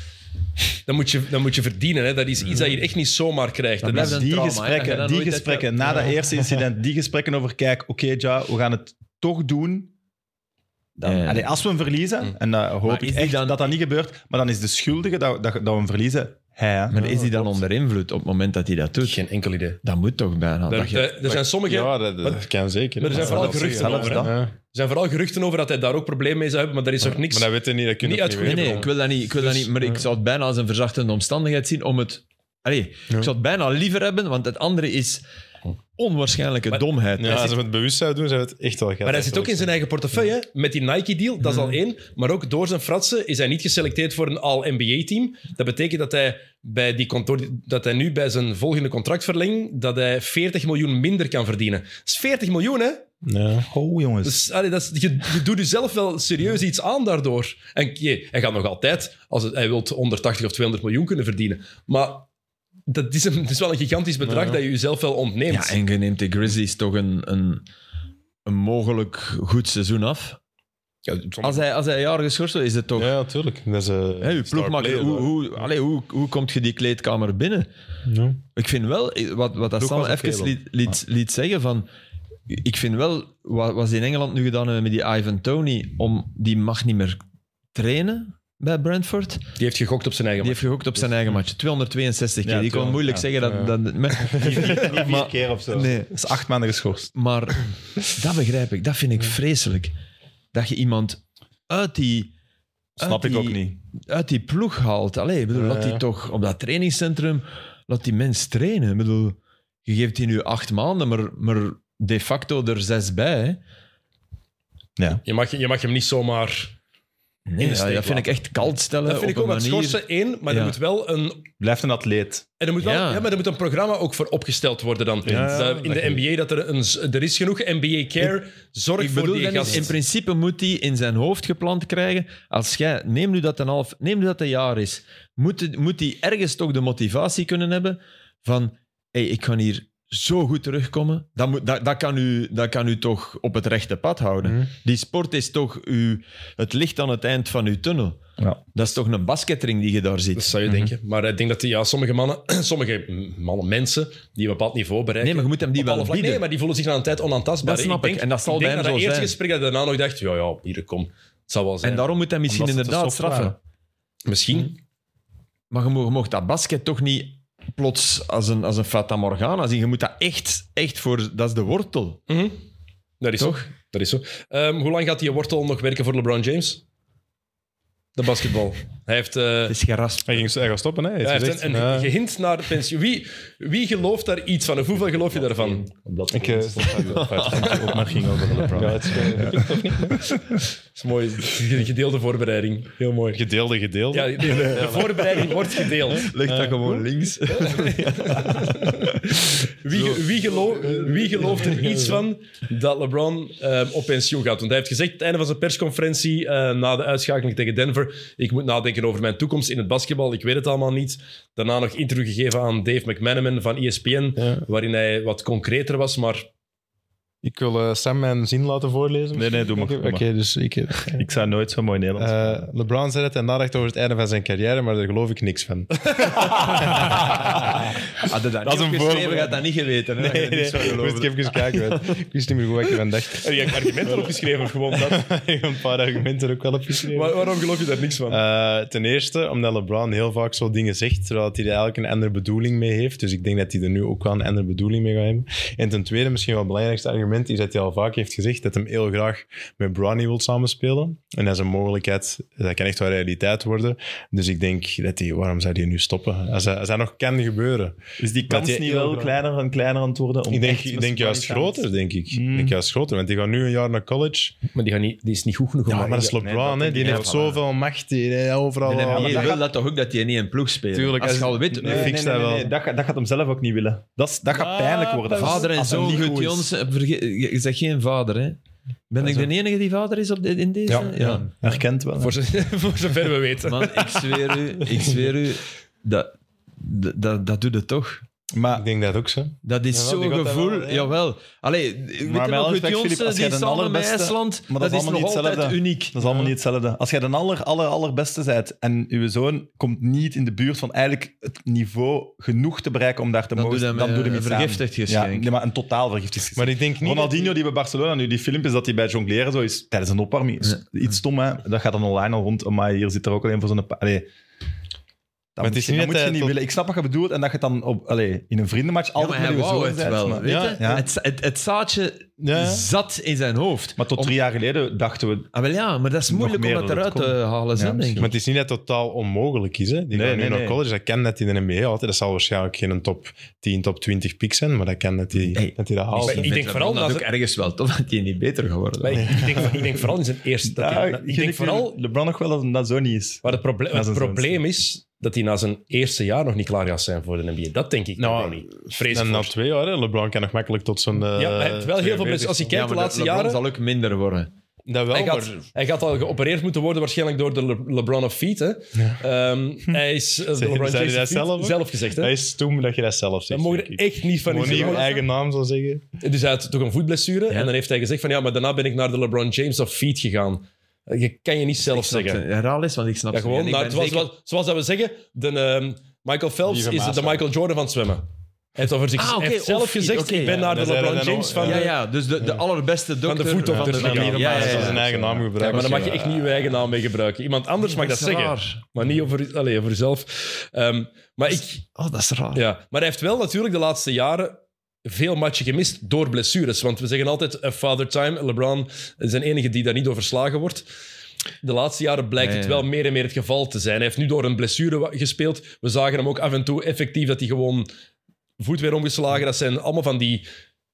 Dat moet je, dat moet je verdienen. Hè. Dat is iets dat je echt niet zomaar krijgt. Dat blijft is- een Die trauma, hè. gesprekken, Dat je dat die nooit gesprekken hebt, na ja. dat eerste incident, die gesprekken over kijk, oké ja, we gaan het toch doen. Dan, Ja. Mm. Allee, als we hem verliezen, en dat hoop Maar is ik die echt dan- dat dat niet gebeurt, maar dan is de schuldige dat, dat, dat we hem verliezen hij. hè. Maar is hij dan onder invloed op het moment dat hij dat doet? Geen enkel idee. Dat moet toch bijna. Daar- dat je- daar- er zijn sommige... Ja, dat, dat kan zeker. Maar er zijn Dat vooral is wel geruchten zeker. over. hè. zelfs Er Ja. zijn vooral geruchten over dat hij daar ook problemen mee zou hebben, maar daar is nog niks. Maar dat weten niet, dat kun je Niet ook uit niet goede Nee, weten. nee, ik wil dus, eh, dat niet. Ik wil dat niet maar ik zou het bijna als een verzachtende omstandigheid zien om het... Allee, ik zou het bijna liever hebben, want het andere is onwaarschijnlijke Maar- domheid. Ja, Hij als zit- ze het bewust zouden doen, zou het echt wel gaan. Maar hij zit ook in zijn eigen portefeuille. hè. Met die Nike-deal, dat is al één. Maar ook door zijn fratsen is hij niet geselecteerd voor een All-NBA-team. Dat betekent dat hij, bij die contour, dat hij nu bij zijn volgende contractverlenging dat hij 40 miljoen minder kan verdienen. Dat is 40 miljoen, hè? Ja. Oh jongens. Dus, allee, dat is, je, je doet jezelf wel serieus iets aan daardoor. En je, hij gaat nog altijd, als het- hij wil 180 of 200 miljoen kunnen verdienen. Maar dat is, een, het is wel een gigantisch bedrag dat je jezelf wel ontneemt. Ja, en je neemt de Grizzlies toch een, een, een mogelijk goed seizoen af. Ja, sommige- Als hij, als hij een jaar geschorst wordt, is het toch... ja, tuurlijk. Dat is, eh, Hè, uw star ploegmaker, player, hoe, hoor. hoe, allee, hoe, hoe kom je die kleedkamer binnen? Ja. Ik vind wel, eh, wat, wat dat Doek Sam was oké even wel. liet, liet, liet zeggen, van, ik vind wel, wat, wat ze in Engeland nu gedaan hebben met die Ivan Tony, om, die mag niet meer trainen bij Brentford. die heeft gegokt op zijn eigen Die heeft gegokt op zijn eigen match. 262 keer. Ja, Die kon 200, moeilijk ja. zeggen dat... dat maar, Niet vier keer of zo. nee, Dat is acht maanden geschorst. maar dat begrijp ik. Dat vind ik vreselijk. Dat je iemand uit die... uit Snap ik Ah, die- ook niet. uit die ploeg haalt. Allee, ik bedoel, laat die toch op dat trainingscentrum, laat die mens trainen. Ik bedoel, je geeft die nu acht maanden, maar, maar de facto er zes bij. hè. Ja. Je mag, je mag hem niet zomaar... Nee, de ja, steek dat vind ik echt kalt stellen. Dat vind Eh, op ik ook een wat manier. schorsen één, maar er Ja. moet wel een. Blijft een atleet. En er moet wel, ja. Ja. maar er moet een programma ook voor opgesteld worden dan. Dat in de NBA dat er een, er is genoeg NBA care. Zorg Ik voor bedoel, die dat is, gast. in principe moet hij in zijn hoofd gepland krijgen. Als jij, neem nu dat een half, neem nu dat een jaar is, moet het- moet hij ergens toch de motivatie kunnen hebben van, hey, ik kan hier zo goed terugkomen. Dat, moet, dat, dat, kan u, dat kan u toch op het rechte pad houden. Mhm. Die sport is toch uw, het licht aan het eind van uw tunnel. Ja. Dat is toch een basketring die je daar ziet. Dat zou je denken. Maar ik denk dat die, ja, sommige mannen, sommige mannen, mensen die een bepaald niveau bereiken. nee, maar je moet hem die op alle wel vlakken- bieden. Nee, maar die voelen zich na een tijd onaantastbaar. Dat snap ik. Denk, En dat zal ik denk bij hem na dat zo eerste zijn. gesprek dat je daarna nog dacht, ja, ja, hier, kom. Het zal wel zijn. en daarom moet hij misschien Omdat ze te inderdaad soft waren. straffen. Mhm. Misschien. Maar je mo- je mocht dat basket toch niet plots als een, als een Fata Morgana zien. Je moet dat echt, echt voor... Dat is de wortel. Mhm. Dat is Toch? zo. Dat is zo. Ehm, hoe lang gaat die wortel nog werken voor LeBron James? De basketbal. Hij heeft... eh, Het is geraspt. Hij, ging, hij gaat stoppen, hè? Hij Ja, heeft hij heeft gezegd. een, Ja. een gehind naar pensioen. Wie, wie gelooft daar iets van? Of hoeveel geloof je daarvan? Ik eh, stop daar. Opmerking over LeBron. Ja, het is, eh, Dat is mooi. Gedeelde voorbereiding. Heel mooi. Gedeelde, gedeelde. Ja, de, de voorbereiding wordt gedeeld. Leg Eh, dat gewoon links. Ah, Wie, ge- wie, geloof- wie gelooft er iets van dat LeBron eh, op pensioen gaat? Want hij heeft gezegd, het einde van zijn persconferentie, eh, na de uitschakeling tegen Denver, ik moet nadenken over mijn toekomst in het basketbal, ik weet het allemaal niet. Daarna nog interview gegeven aan Dave McManaman van E ESPN, Ja. waarin hij wat concreter was, maar Ik wil eh, Sam mijn zin laten voorlezen. Nee, nee, doe maar, Oké, doe maar. Oké, dus ik... Ik zou nooit zo mooi Nederlands. eh, LeBron zei het en nadacht over het einde van zijn carrière, maar daar geloof ik niks van. Had je dat, is niet een opgeschreven, voorbeeld. je had dat niet geweten. Hè? Nee, nee, ik moest even kijken. want Ik wist niet meer goed wat ik ervan dacht. Heb je argumenten opgeschreven of gewoon dat? Ik heb een paar argumenten ook wel opgeschreven. waarom geloof je daar niks van? Eh, ten eerste, omdat LeBron heel vaak zo dingen zegt, terwijl hij er eigenlijk een andere bedoeling mee heeft. Dus ik denk dat hij er nu ook wel een andere bedoeling mee gaat hebben. En ten tweede, misschien wel het belangrijkste argument, is dat hij al vaak heeft gezegd dat hij heel graag met Bronny wil samenspelen. En dat is een mogelijkheid, dat kan echt wel realiteit worden. Dus ik denk dat hij, waarom zou hij nu stoppen? Als, hij- als dat nog kan gebeuren. Is Eh, Dus die dat kans je niet heel wel graag- kleiner en kleiner aan het worden? Om Ik denk, echt met ik denk z'n juist allen samen te- groter, denk ik. Mm. Ik denk juist groter, want die gaat nu een jaar naar college. Maar die, gaan niet, die is niet goed genoeg om Ja, maar dat is dat- LeBron, nee, hè. dat Die denk ik heeft wel. zoveel macht, die eh, overal... En al- je dat wil gaat- dat toch ook dat hij niet in ploeg speelt? Tuurlijk, als je als- al weet... Nee, fix dat wel. Dat, gaat- dat gaat hem zelf ook niet willen. Dat, is- dat gaat pijnlijk worden. Vader en Als hem zoon, niet goed Gut is. Jonsen, verge- je je zegt geen vader, hè? Ben ik de enige die vader is op de- in deze? Ja. Herkent wel. Voor, z- voor zover we weten. Man, ik zweer u, ik zweer u, dat, dat, dat doet het toch. Maar Ik denk dat ook zo. dat is Jawel, die zo'n gaat dat wel, gevoel. ja. Jawel. Allee, ik met weet je alle nog, respect, Gut Filip, Jonsen, als die jij de samen met allerbeste- IJsland, maar dat is nog allemaal niet altijd hetzelfde. uniek. Dat is allemaal niet hetzelfde. Als jij de aller, aller, allerbeste bent en uw zoon komt niet in de buurt van eigenlijk het niveau genoeg te bereiken om daar te Dan mogen, doe je hem, dan doe je eh, hem iets aan. vergiftigd Ja, geschenk. nee, maar een totaal vergiftigd geschenk. Maar ik denk niet... Ronaldinho die bij Barcelona nu die filmpjes dat hij bij jongleren zo is tijdens een opwarming. Is Iets stom, hè? Dat gaat dan online al rond. Maar hier zit er ook alleen voor zo'n. pa- Allee. Dat het moet is je, niet dat moet dat je hij niet tot- willen. Ik snap wat je bedoelt en dat je het dan op, allee, in een vriendenmatch Ja, altijd maar hij met je wou zoon het bent, wel. maar- weet Ja, je? ja. Het, het, het zaadje Ja. zat in zijn hoofd. Maar tot Om- drie jaar geleden dachten we Ah, wel ja, maar dat is Nog moeilijk om meer dat dan eruit het te halen, Ja, hè, denk misschien. ik. Maar het is niet dat het totaal onmogelijk is. Hè. Die Nee, gaan nu nee, naar nee. college. Dat kan dat hij in de NBA altijd. Dat zal waarschijnlijk geen top 10, top 20 pick zijn. Maar dat kan dat hij Hey. dat, hij dat haalt. Ik denk vind vooral LeBron dat ook ergens wel tof dat hij niet beter geworden Maar is. ik, ik denk, ik denk vooral in zijn eerste... Dat Ja, hij- ik gun denk vooral... LeBron nog wel dat hem dat zo niet is. Maar het, proble- Nou, Dat is het een probleem is dat hij na zijn eerste jaar nog niet klaar gaat zijn voor de NBA. Dat denk ik Nou, nou niet. Vrees ik En na voor. twee jaar, hè. LeBron kan nog makkelijk tot zo'n... eh, Ja, hij heeft wel heel veel 42 mensen... Als je kijkt de maar laatste LeBron jaren... zal ook minder worden. Dat wel, Hij maar... gaat, hij gaat al geopereerd moeten worden, waarschijnlijk door de Le- LeBron of Feet. Hè? Ehm, hij is eh, de Zei- LeBron James zei hij dat Feet zelf ook? gezegd. Dat Hè? is toen dat je dat zelf Dat zegt. mogen denk er ik. echt niet van in Gewoon niet zijn je eigen naam zou zeggen. Dus hij had toch een voetblessure. Ja. En dan heeft hij gezegd van ja, maar daarna ben ik naar de LeBron James of Feet gegaan. Eh, Je kan je niet zelf zeggen. Herhaal eens, want ik snap Ja, het niet. gewoon, En ik nou, ben het was zeker- wel- zoals dat we zeggen, de, ehm, Michael Phelps Lieve is de Maas, ja. Michael Jordan van het zwemmen. Hij heeft, over zich, Ah, hij oké, heeft zelf of niet, gezegd, oké, ik ben ja, naar de dat zei LeBron hij dan James ook, van... Ja, de- ja, dus de, de allerbeste dokter... de voet op van de de vlieg. Van Ja, hier ja, op ja, basis ja. zijn eigen naam Ja, gebruiken. maar dan mag je echt niet je eigen naam mee gebruiken. Iemand anders mag dat Dat is zeggen, raar. maar niet over, allez, over jezelf. Ehm, maar, ik, Oh, dat is raar. ja. maar hij heeft wel natuurlijk de laatste jaren veel matchen gemist door blessures. Want we zeggen altijd, eh, father time, LeBron is de enige die daar niet door verslagen wordt. De laatste jaren blijkt Ja, ja. het wel meer en meer het geval te zijn. Hij heeft nu door een blessure wa- gespeeld. We zagen hem ook af en toe effectief dat hij gewoon voet weer omgeslagen. Dat zijn allemaal van die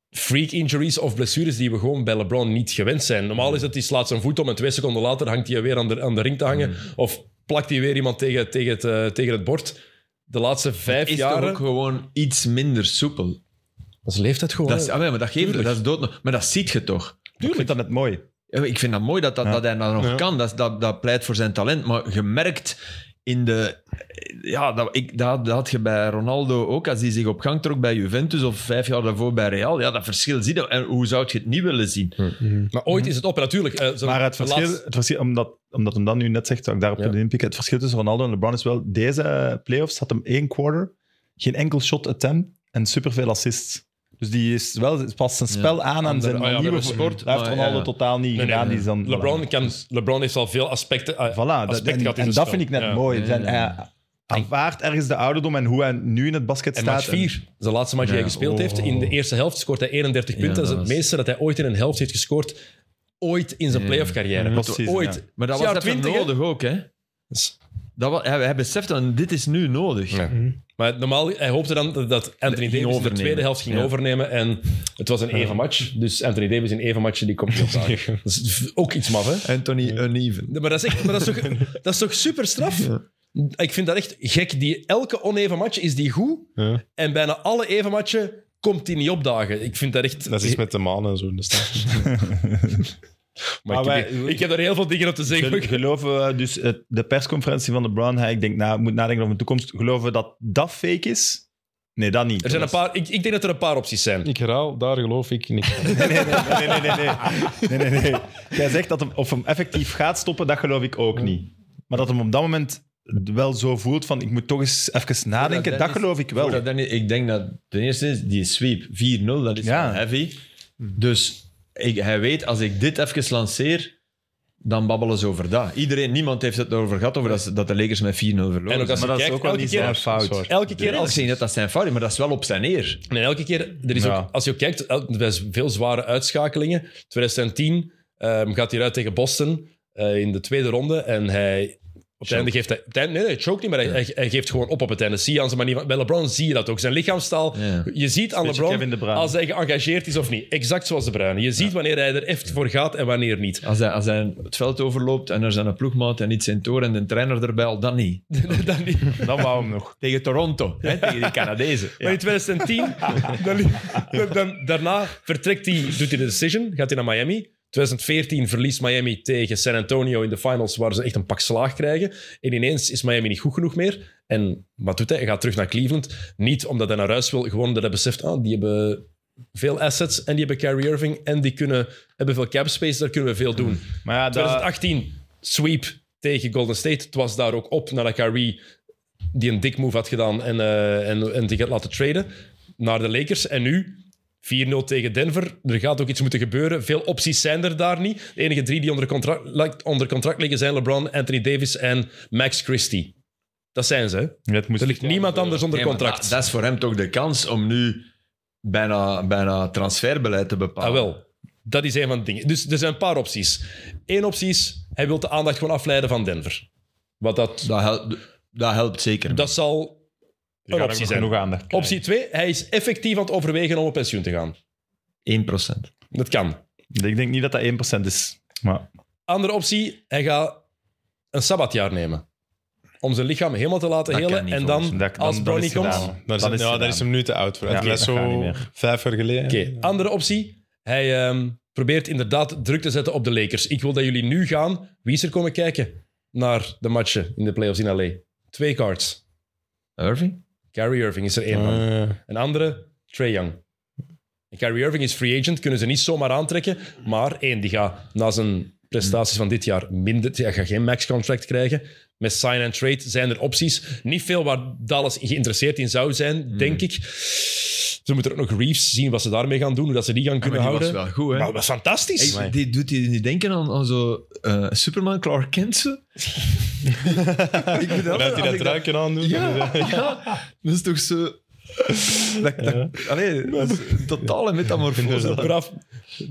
freak injuries of blessures die we gewoon bij LeBron niet gewend zijn. Normaal is dat hij slaat zijn voet om en twee seconden later hangt hij weer aan de, aan de ring te hangen. Mm. Of plakt hij weer iemand tegen, tegen, het, eh, tegen het bord. De laatste vijf Is toch jaren... ook gewoon iets minder soepel. Dat is leeftijd gewoon. Dat is, ah, ja, maar dat geeft Tuurlijk. dat is dood. Maar dat ziet je toch. Ik vind dat net mooi. Ja, maar Ik vind dat mooi dat, dat, Ja. dat hij dat nog Ja. kan. Dat, dat, dat pleit voor zijn talent. Maar gemerkt in de... Ja, dat, ik, dat, dat had je bij Ronaldo ook. Als hij zich op gang trok bij Juventus of vijf jaar daarvoor bij Real. Ja, dat verschil zie je. En hoe zou je het niet willen zien? Hm. maar ooit is het op, en natuurlijk. eh, zo'n- Maar het de verschil, laatste- het verschil omdat, omdat hem dat nu net zegt, zou ik daarop Ja. willen inpikken. Het verschil tussen Ronaldo en LeBron is wel, deze playoffs had hem één quarter, geen enkel shot attempt en superveel assists. Dus die is wel, past zijn spel aan aan Andere- oh zijn ah ja, nieuwe bij de sport. sport, Dat heeft maar Ronaldo ja. totaal niet Nee, nee, gedaan. nee. Die is dan, LeBron, kan, LeBron heeft al veel aspecten. eh, Voilà, dat, aspect en, gehad in en zijn dat vind ik spel. net Ja. mooi. Ja, Zijn, ja, ja. hij aanvaart ergens de ouderdom en hoe hij nu in het basket En staat. match 4, dat is de laatste match die hij Ja, gespeeld oh. heeft. In de eerste helft scoort hij 31 Ja, punten. dat dat is het was- meeste dat hij ooit in een helft heeft gescoord. Ooit in zijn Ja. playoff carrière. Ja, precies, ooit. ja. Maar dat Het is was jaar even 20, hè? nodig ook, hè? Dus- Dat was, hij, hij beseft dan, dit is nu nodig. Ja. Maar normaal, hij hoopte dan dat- dat Anthony Ging Davis de overnemen. tweede helft ging Ja. overnemen. En het was een even match. Dus Anthony Davis in even matchen, die komt niet op zaken. Dat is ook iets maf, hè? Anthony Uneven. Nee, maar dat is, echt, maar dat is, toch, dat is toch super straf? Ik vind dat echt gek. Die, elke oneven match is die goed. Ja. En bijna alle even matchen komt die niet opdagen. Ik vind dat echt... Dat is iets met de maan en zo. in de stad. Maar ik, Ah, Maar heb, wij- hier- ik heb er heel veel dingen op te zeggen. Gel- Geloven we dus het- de persconferentie van LeBron, hij, ik denk, nou, ik moet nadenken over de toekomst. Geloven we dat dat fake is? Nee, dat niet. Er zijn een paar, ik, ik denk dat er een paar opties zijn. Ik herhaal, daar geloof ik niet van. Nee, nee, nee, nee, nee, nee. nee, nee, nee. Jij zegt dat hem, of hem effectief gaat stoppen, dat geloof ik ook niet. Maar dat hem op dat moment wel zo voelt van, ik moet toch eens even nadenken, dat, Dennis- geloof ik wel. Voordat Danny- ik denk dat ten eerste is die sweep 4-0, dat is Ja. wel heavy. Dus ik, hij weet, als ik dit even lanceer, dan babbelen ze over dat. Iedereen, niemand heeft het erover gehad over dat, ze- dat de Lakers met 4-0 verloren. En ook als maar je dat is kijkt, ook wel elke niet keer, zijn fout. elke keer als als ik zeg niet dat dat zijn fout is, maar dat is wel op zijn eer. Nee, elke keer. Er is Ja. ook, als je ook kijkt, el- bij z- veel zware uitschakelingen. 2010 ehm, gaat hij uit tegen Boston eh, in de tweede ronde. En hij. Op het einde geeft hij. op het einde- nee, nee, choke niet, maar hij, hij, hij geeft gewoon op op het einde. Zie je aan zijn manier. van- Bij LeBron zie je dat ook. Zijn lichaamstaal. Ja. Je ziet aan beetje Kevin De LeBron Bruyne. als hij geëngageerd is of niet. Exact zoals de Bruine. Je ziet wanneer hij er echt voor gaat en wanneer niet. Als hij, als hij het veld overloopt en er zijn een ploegmaat en iets in toren en de trainer erbij, al dan niet. Dan niet. Dat wou hem nog. Tegen Toronto, hè, tegen die Canadezen. Maar in 2010, dan, dan- daarna vertrekt hij, doet hij de decision, gaat hij naar Miami. 2014 verliest Miami tegen San Antonio in de finals, waar ze echt een pak slaag krijgen. En ineens is Miami niet goed genoeg meer. En wat doet hij? Hij gaat terug naar Cleveland. Niet omdat hij naar huis wil, gewoon omdat hij beseft, ah, die hebben veel assets en die hebben Kyrie Irving en die kunnen, hebben veel cap space, daar kunnen we veel doen. Maar ja, dat, 2018, sweep tegen Golden State. Het was daar ook op nadat Kyrie die een dik move had gedaan en, eh, en, en zich had laten traden naar de Lakers. En nu 4-0 tegen Denver. Er gaat ook iets moeten gebeuren. Veel opties zijn er daar niet. De enige drie die onder contract, lijkt- onder contract liggen zijn LeBron, Anthony Davis en Max Christie. Dat zijn ze. hè. Het moest Er ligt niemand anders onder Nee, maar contract. Dus Dat, dat is voor hem toch de kans om nu bijna, bijna transferbeleid te bepalen. Ah, wel. Dat is een van de dingen. Dus er zijn een paar opties. Eén optie is, hij wil de aandacht gewoon afleiden van Denver. Wat dat, Dat, helpt, dat helpt zeker. dat zal die een gaan ook optie nog zijn. genoeg aandacht krijgen. Optie 2, hij is effectief aan het overwegen om op pensioen te gaan. 1%. Dat kan. Ik denk niet dat dat 1% is. Maar Andere optie, hij gaat een sabbatjaar nemen. Om zijn lichaam helemaal te laten Dat kan helen. niet, En volgens dan, dat, als dan, dat Bronny is komt... gedaan. Oké, Daar is, Dat het- is ja, daar gedaan. is hem nu te oud voor. Ja, dat is dat gaat niet zo meer. vijf jaar geleden. andere optie. Hij ehm, probeert inderdaad druk te zetten op de Lakers. Ik wil dat jullie nu gaan. Wie is er komen kijken naar de matchen in de playoffs in L.A.? Twee cards. Irving? Kyrie Irving is er één van. Eh, Een andere, Trae Young. En Kyrie Irving is free agent, kunnen ze niet zomaar aantrekken. Maar één, die gaat na zijn prestaties van dit jaar minder... Hij gaat geen max-contract krijgen. Met sign and trade zijn er opties. Niet veel waar Dallas geïnteresseerd in zou zijn, Hmm. denk ik. Ze moeten ook nog Reeves zien wat ze daarmee gaan doen, hoe dat ze die gaan kunnen die was houden. wel goed, hè? Maar dat is fantastisch. Hey, die doet hij nu denken aan, aan zo eh, Superman Clark Kent zo? ik bedoel, Laat hij dat truikje aan doen. Ja, ja, dat is toch zo... Dat, dat, Allee, dat is een totale metamorfose. Braaf,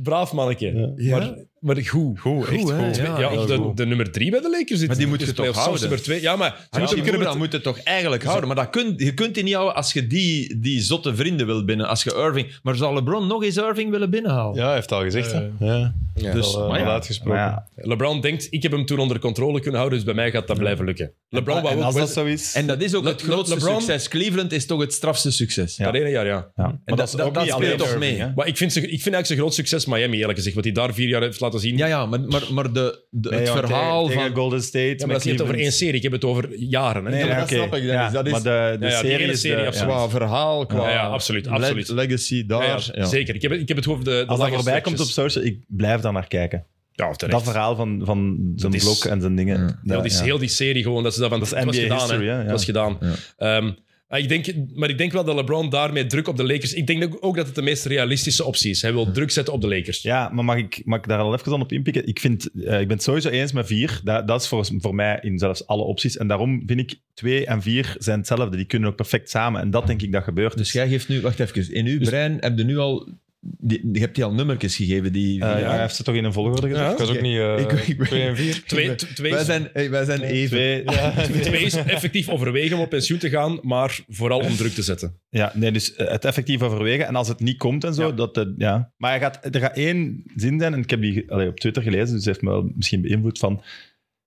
braaf mannetje. Ja. Maar, maar goed. Goed, echt Goed, hè? goed. Ja, Ja, heel de, goed. de nummer drie bij de Lakers zit. Maar die moet je is toch playoffs, soms houden? Nummer twee. Ja, maar Ja, ze die kunnen Moera met- moet het toch eigenlijk houden. Maar dat kun, je kunt die niet houden als je die, die zotte vrienden wil binnen. Als je Irving... Maar zou LeBron nog eens Irving willen binnenhalen? Ja, hij heeft het al gezegd. hè. ja. Ja. Dus, Dus, maar ja. uitgesproken. Maar ja, LeBron denkt, ik heb hem toen onder controle kunnen houden, dus bij mij gaat dat blijven lukken. Oh, LeBron wou en ook als dat West- zo is... En dat is ook Le- het grootste LeBron- succes. Cleveland is toch het strafste succes. dat ene jaar, ja. ja. Maar En dat, is dat, ook dat niet speelt alleen toch Irving, mee. hè? Maar ik vind, ze- ik vind eigenlijk zijn groot succes Miami, eerlijk gezegd. Wat hij daar vier jaar heeft laten zien. Ja, ja, maar, maar, maar de, de, Nee, het want verhaal tegen, van... tegen Golden State... Ja, maar met dat is niet over Cleveland. één serie, ik heb het over jaren. Hè? Nee, Ja, ja, dat oké. snap ik, Dennis. Ja, Dat is- Maar de, de Ja, ja, die serie ene is... de- serie, ja. absoluut. Qua verhaal, qua Ja, ja, absoluut, le- absoluut. legacy daar. ja, ja, ja. Zeker. Ik heb, het- ik heb het over de, de Als dat lange voorbij komt op stretches. social, ik blijf daar naar kijken. Ja, terecht. Dat verhaal van, van zijn Dat is- blok en zijn dingen. Ja, Ja, die, Heel die serie gewoon, dat ze dat van... Dat is het was NBA gedaan, history, hè, ja. Het was gedaan. Ja. Ehm, maar, ik denk, maar ik denk wel dat LeBron daarmee druk op de Lakers... Ik denk dat- ook dat het de meest realistische optie is. Hij wil druk zetten op de Lakers. Ja, maar mag ik, mag ik daar al even aan op inpikken? Ik, vind, eh, ik ben het sowieso eens met vier. Dat, dat is voor, voor mij in zelfs alle opties. En daarom vind ik twee en vier zijn hetzelfde. Die kunnen ook perfect samen. En dat denk ik dat gebeurt. Eh, Dus jij geeft nu... Wacht even. In uw brein heb je nu al... Die, je hebt die al nummertjes gegeven. Die, Eh, ja. Hij heeft ze toch in een volgorde gezet? Ik was ook niet eh, Ik- ik ben- 2 en 4. Twee, t- twee, wij zijn, hey, wij zijn even. Twee, ja. Twee is effectief overwegen om op pensioen te gaan, maar vooral om druk te zetten. Ja, nee, dus eh, het effectief overwegen. En als het niet komt en zo, dat... eh, ja. Maar hij gaat, er gaat één zin zijn, en ik heb die ge- allee, op Twitter gelezen, dus heeft me wel misschien beïnvloed van...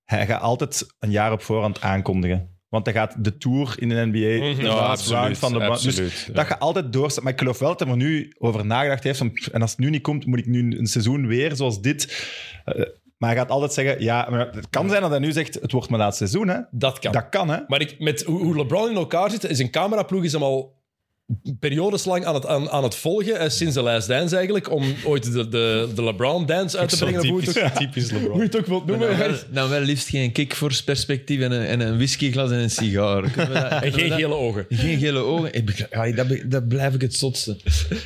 Hij gaat altijd een jaar op voorhand aankondigen. Want hij gaat de tour in de NBA, de Ja, last absoluut, round van de... ba- Dus absoluut, ja. dat gaat altijd doorzetten. Maar ik geloof wel dat hij er nu over nagedacht heeft. van, pff, En als het nu niet komt, moet ik nu een seizoen weer zoals dit... Eh, maar hij gaat altijd zeggen, ja, maar het kan zijn dat hij nu zegt, het wordt mijn laatste seizoen, hè. Dat kan. Dat kan, hè. Maar ik, met hoe hoe LeBron in elkaar zit, is een cameraploeg is hem al periodes lang aan het, aan, aan het volgen, eh, sinds de last dance eigenlijk, om ooit de, de, de LeBron-dance uit te brengen. of Hoe je het ook, typisch hoe je LeBron. het ook wilt Maar noemen. Dan nou wel, dan wel liefst geen kickforce perspectief en een, en een whiskyglas en een sigaar. Kunnen we dat- En kunnen we geen dat- gele ogen. geen gele ogen. Ik begrijp- ja, dat, be- dat blijf ik het zotste.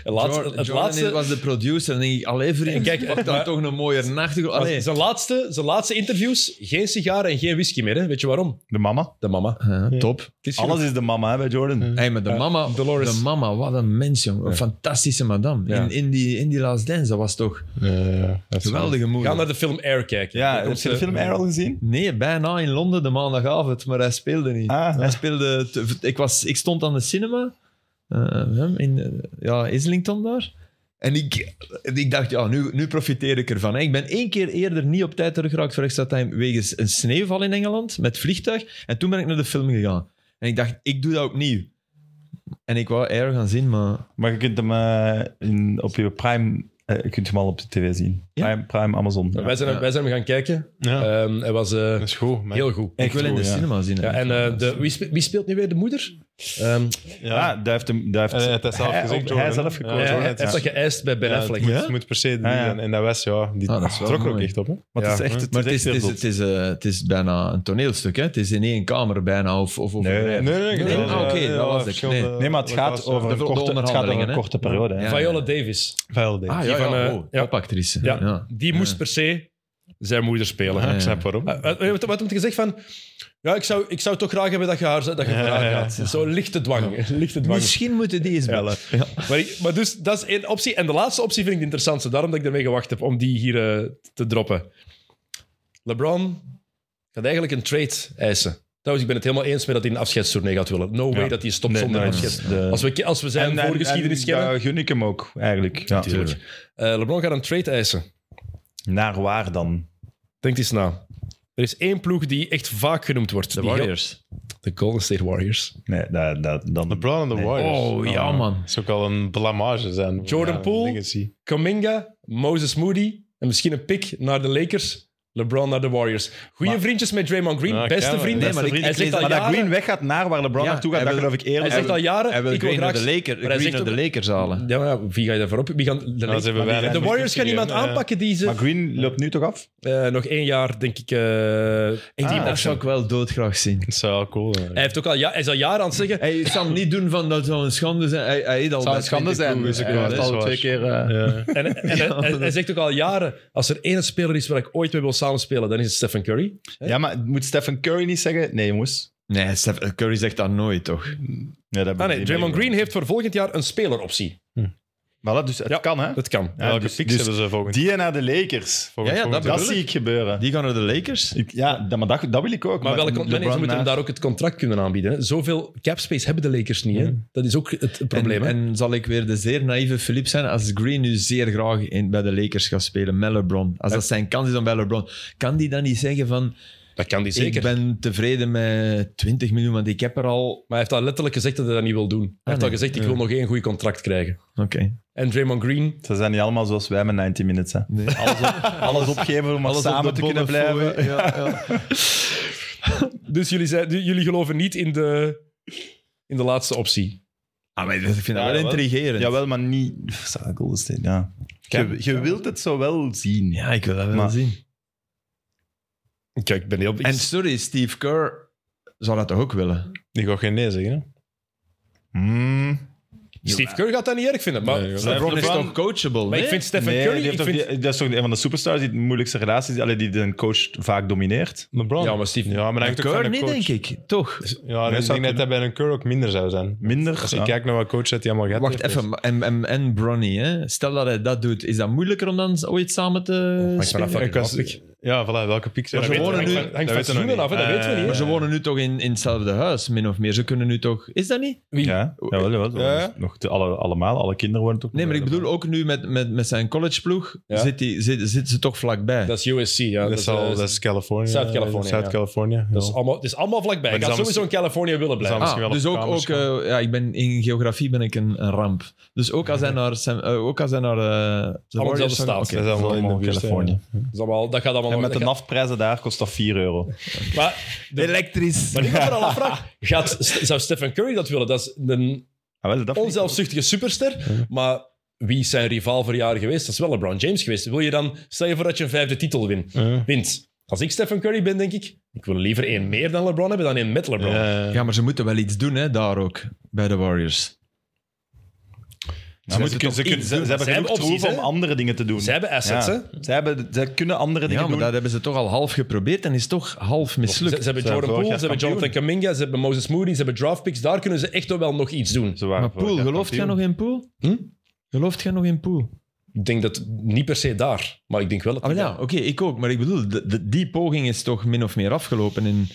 En laatste- Jordan- het Jordan laatste, was de producer. En dan denk ik, allee vriend, En kijk, kijk, pak dan maar- toch een mooie nacht. Allee. zijn, laatste, zijn laatste interviews, geen sigaren en geen whisky meer. Hè. Weet je waarom? De mama. De mama. Het Ja, top. is genoeg. Alles is de mama, hè, bij Jordan. Hey, maar de mama, Dolores. de mama, wat een mens, jong. Een fantastische madame. Ja. In, in, die, in die Last Dance, dat was toch geweldige Ga moeder. naar de film Air kijken. Ja, Daar heb komt je de ze- film Air al gezien? Nee, bijna in Londen de maandagavond, maar hij speelde niet. Ah. hij speelde. te- ik, was, ik stond aan de cinema, eh, hem in eh, ja, Islington daar. En ik, ik dacht, ja, nu, nu profiteer ik ervan. hè. Ik ben één keer eerder niet op tijd teruggeraakt voor extra time wegens een sneeuwval in Engeland met vliegtuig. En toen ben ik naar de film gegaan. En ik dacht, ik doe dat opnieuw. En ik wou Air gaan zien, maar Maar je kunt hem eh, in, op je Prime eh, je kunt hem al op de tv zien. Prime, Prime Amazon. Ja. Wij, zijn, wij zijn hem gaan kijken. Ja. Ehm, hij was eh, Dat is goed. man. heel goed. Ik wil in de goed, ja. cinema zien. Ja, en eh, de, wie, spe- wie speelt nu weer de moeder? Ehm, Ja, daar heeft hem... daar heeft, Eh, het is zelf hij, gezegd, ook- Jordan. Hij zelf hij- gekozen. Ja, hij Jordan, heeft dat geëist bij Ben Ja, het Affleck. moet, Ja? het moet per se die Ah, ja. zijn. En dat was, ja, die Ah, dat is wel trok er ook mooi. echt op. Hè? Maar het is Ja. echt... Het Maar is het is, echt het, is, heel het, is, eh, het is bijna een toneelstuk, hè? Het is in één kamer bijna, of, of over Nee. Nee, eh, nee, nee, ah, oké, dat was ik. veel. Nee, maar het gaat over een de korte, het gaat over onderhandelingen, een hè? korte periode. hè. Ja. Viola Davis. Vuil, Ah, Die ja, van, ja, eh, wow, ja. topactrice. Ja. Ja. Die moest per se zijn moeder spelen. Ik snap waarom. Ah. Eh, eh, wat- Wat heb je gezegd van... Ja, ik zou, ik zou toch graag hebben dat je, haar, dat je voor haar gaat. Zo lichte dwang. Lichte dwang. Misschien moeten die eens bellen. Maar, ik- maar dus, dat is één optie. En de laatste optie vind ik de interessantste. Daarom dat ik ermee gewacht heb om die hier eh, te droppen. LeBron gaat eigenlijk een trade eisen. Trouwens, ik ben het helemaal eens met dat hij een afscheidstournee gaat willen. No way Ja. dat hij stopt Nee, zonder nee, afscheid. dat is de- Als, we, ke- als we zijn en- voorgeschiedenis en kennen... daar gun ik hem ook, eigenlijk. Ja, natuurlijk. Eh, LeBron gaat een trade eisen. Naar waar dan? Denk eens na. Er is één ploeg die echt vaak genoemd wordt. De Die Warriors. heel- De Golden State Warriors. Nee, dat, dat, dan... LeBron en de Nee. Warriors. Oh, ja, man. Dat is ook al een blamage zijn. voor Jordan mijn Poole. legacy. Kaminga, Moses Moody en misschien een pick naar de Lakers. LeBron naar de Warriors. Goeie vriendjes met Draymond Green, Ja, beste ja, maar- vrienden. Nee, maar ik- hij ik zegt lees al Maar dat Green jaren... weggaat naar waar LeBron Ja, naartoe gaat, hij dat wil- geloof ik eerder. Hij zegt al Hij jaren, wil ik wil Green naar graag... de Lakers, maar hij Green zegt naar de ook- Lakers halen. Ja, maar ja, wie ga je daarvoor op? Wie gaan de, Lakers- hebben Maar wij de net Warriors gaan niet niemand gegeven, aanpakken die ze... Maar Green loopt nu toch af? Eh, nog één jaar, denk ik... eh, Die team match option. zou ik wel doodgraag zien. Dat zou wel cool zijn. Eh. Hij, heeft ook al, ja, hij is al jaren aan het zeggen... Hij kan niet doen van dat zou een schande zijn. Hij, hij heeft al bij 20 ploegen dus ik gespeeld, wou- hè. dat is waar. eh, Ja. En, en hij, hij zegt ook al jaren, als er één speler is waar ik ooit mee wil samenspelen, dan is het Stephen Curry. Ja, maar moet Stephen Curry niet zeggen? Nee, jongens. Nee, Steph- Curry zegt dat nooit, toch? Ja, dat Ah nee, Draymond Green heeft voor volgend jaar een speleroptie. Voilà, dus het Ja. kan, hè? Dat kan. Ja, Welke dus- picks dus hebben ze volgend Die naar de Lakers. volgend- Ja, ja, dat volgend Dat jaar? bedoel zie ik gebeuren. Die gaan naar de Lakers. Ik- ja, dat, maar dat, dat wil ik ook. Maar welke LeBron eh, nee, nee, ze moeten hem naar- daar ook het contract kunnen aanbieden. Hè. Zoveel capspace hebben de Lakers niet. Hè. Dat is ook het probleem. En, hè. en zal ik weer de zeer naïeve Philip zijn als Green nu zeer graag in, bij de Lakers gaat spelen met LeBron? Als dat zijn kans is dan bij LeBron, kan die dan niet zeggen van dat kan die zeker. ik ben tevreden met 20 miljoen, want ik heb er al... Maar hij heeft al letterlijk gezegd dat hij dat niet wil doen. Hij heeft al nee. gezegd, ik wil nog één goed contract krijgen. Oké. En Draymond Green, Ze zijn niet allemaal zoals wij met 90 Minutes. Hè. Alles, op- alles opgeven om maar Alles op samen de te kunnen bonnen blijven. voor, ja, ja. dus jullie, zijn, jullie geloven niet in de, in de laatste optie. Ah, maar ik vind dat Ja, wel wel. intrigerend. Jawel, maar niet... Pff, Golden State, ja. Je, je wilt het zo wel zien. Ja, ik wil dat wel Maar- zien. Kijk, ik ben heel... En sorry, Steve Kerr zou dat toch ook willen? Die gaat geen nee zeggen. hè? Hmm. Steve Kerr gaat dat niet erg vinden. Maar, Nee, joh. LeBron is toch... coachable, Maar ik nee? vind Stephen Nee, Curry... die heeft Ik toch vind, die- dat is toch een van de superstars die de moeilijkste relaties... Allee, die de coach vaak domineert. LeBron? Ja, maar Steve- Ja, Maar maar dat hangt ook Kerr van de niet, coach. Dus, denk ik. Toch? Ja, Nee, ik zou denk dat dat bij een Curry ook minder zou zijn. Minder. Als je ja. kijkt naar wat coach dat hij allemaal gaat. Wacht even, maar- dus? en, en, en Bronny, hè? stel dat hij dat doet, is dat moeilijker om dan ooit samen te maar Oh, ik ben spelen? dat fucking Ik was- lastig. Ja, voilà, welke pick zijn Maar er? ze wonen Dat nu- weten we hangt nog van niet. seizoenen af, hè, dat Eh, weten we niet, hè. Maar ze wonen nu toch in, in hetzelfde huis, min of meer. Ze kunnen nu toch... Is dat niet? Wie? Ja, jawel, jawel. Ja. Nog te, alle, allemaal, alle kinderen wonen toch Nee, maar ik bedoel ook nu met, met, met zijn collegeploeg Ja. zit, die, zit, zit ze toch vlakbij. Dat is USC, ja. Dat is, al, eh, dat is Californië. Zuid-Californië, Zuid California. dat is allemaal, het is allemaal vlakbij. Maar Ik die had zal sowieso in Californië willen blijven. zal misschien wel Ah, op dus ook, kamers ook eh, ja, ik ben, in geografie ben ik een, een ramp. Dus ook als hij naar... Sam, eh, ook als hij naar eh, de Allemaal Warriors dezelfde zou- staat. Oké. dat is allemaal in de buurt. Californië. Dat, is allemaal, dat gaat allemaal En nog- met de dat naftprijzen daar kost dat 4 euro. gaat- maar, de- Elektrisch. maar ik heb me al afvraag. Gaat, zou Stephen Curry dat willen? Dat is een Ah, wel, dat vind ik- onzelfzuchtige superster. Maar wie is zijn rivaal voor jaren geweest? Dat is wel LeBron James geweest. Wil je dan, stel je voor dat je een vijfde titel wint. Ja. wint. Als ik Stephen Curry ben, denk ik, ik wil liever één meer dan LeBron hebben dan één met LeBron. Ja. Ja, maar ze moeten wel iets doen, hè, daar ook, bij de Warriors. Ja, maar ze, kunnen- ze, kunnen- ze- ze Ze hebben genoeg hebben opties, troeven om hè? andere dingen te doen. Ze hebben assets, hè? Ja. Ze, hebben, ze kunnen andere Ja, dingen maar doen. dat hebben ze toch al half geprobeerd en is toch half Ze, ze mislukt. hebben Ze zijn Jordan vorig Poole, jaar ze hebben kampioen. Jonathan Kaminga, ze hebben Moses Moody, ze hebben draft picks. Daar kunnen ze echt wel wel nog iets doen. Ze waren Maar vorig Poel, jaar gelooft jij kampioen. nog in Poel? Hm? Gelooft jij nog in Poel? Ik denk dat niet per se daar, maar ik denk wel dat. Ah, wel ja, oké, ik ook. Maar ik bedoel, de, de- die poging is toch min of meer afgelopen. In,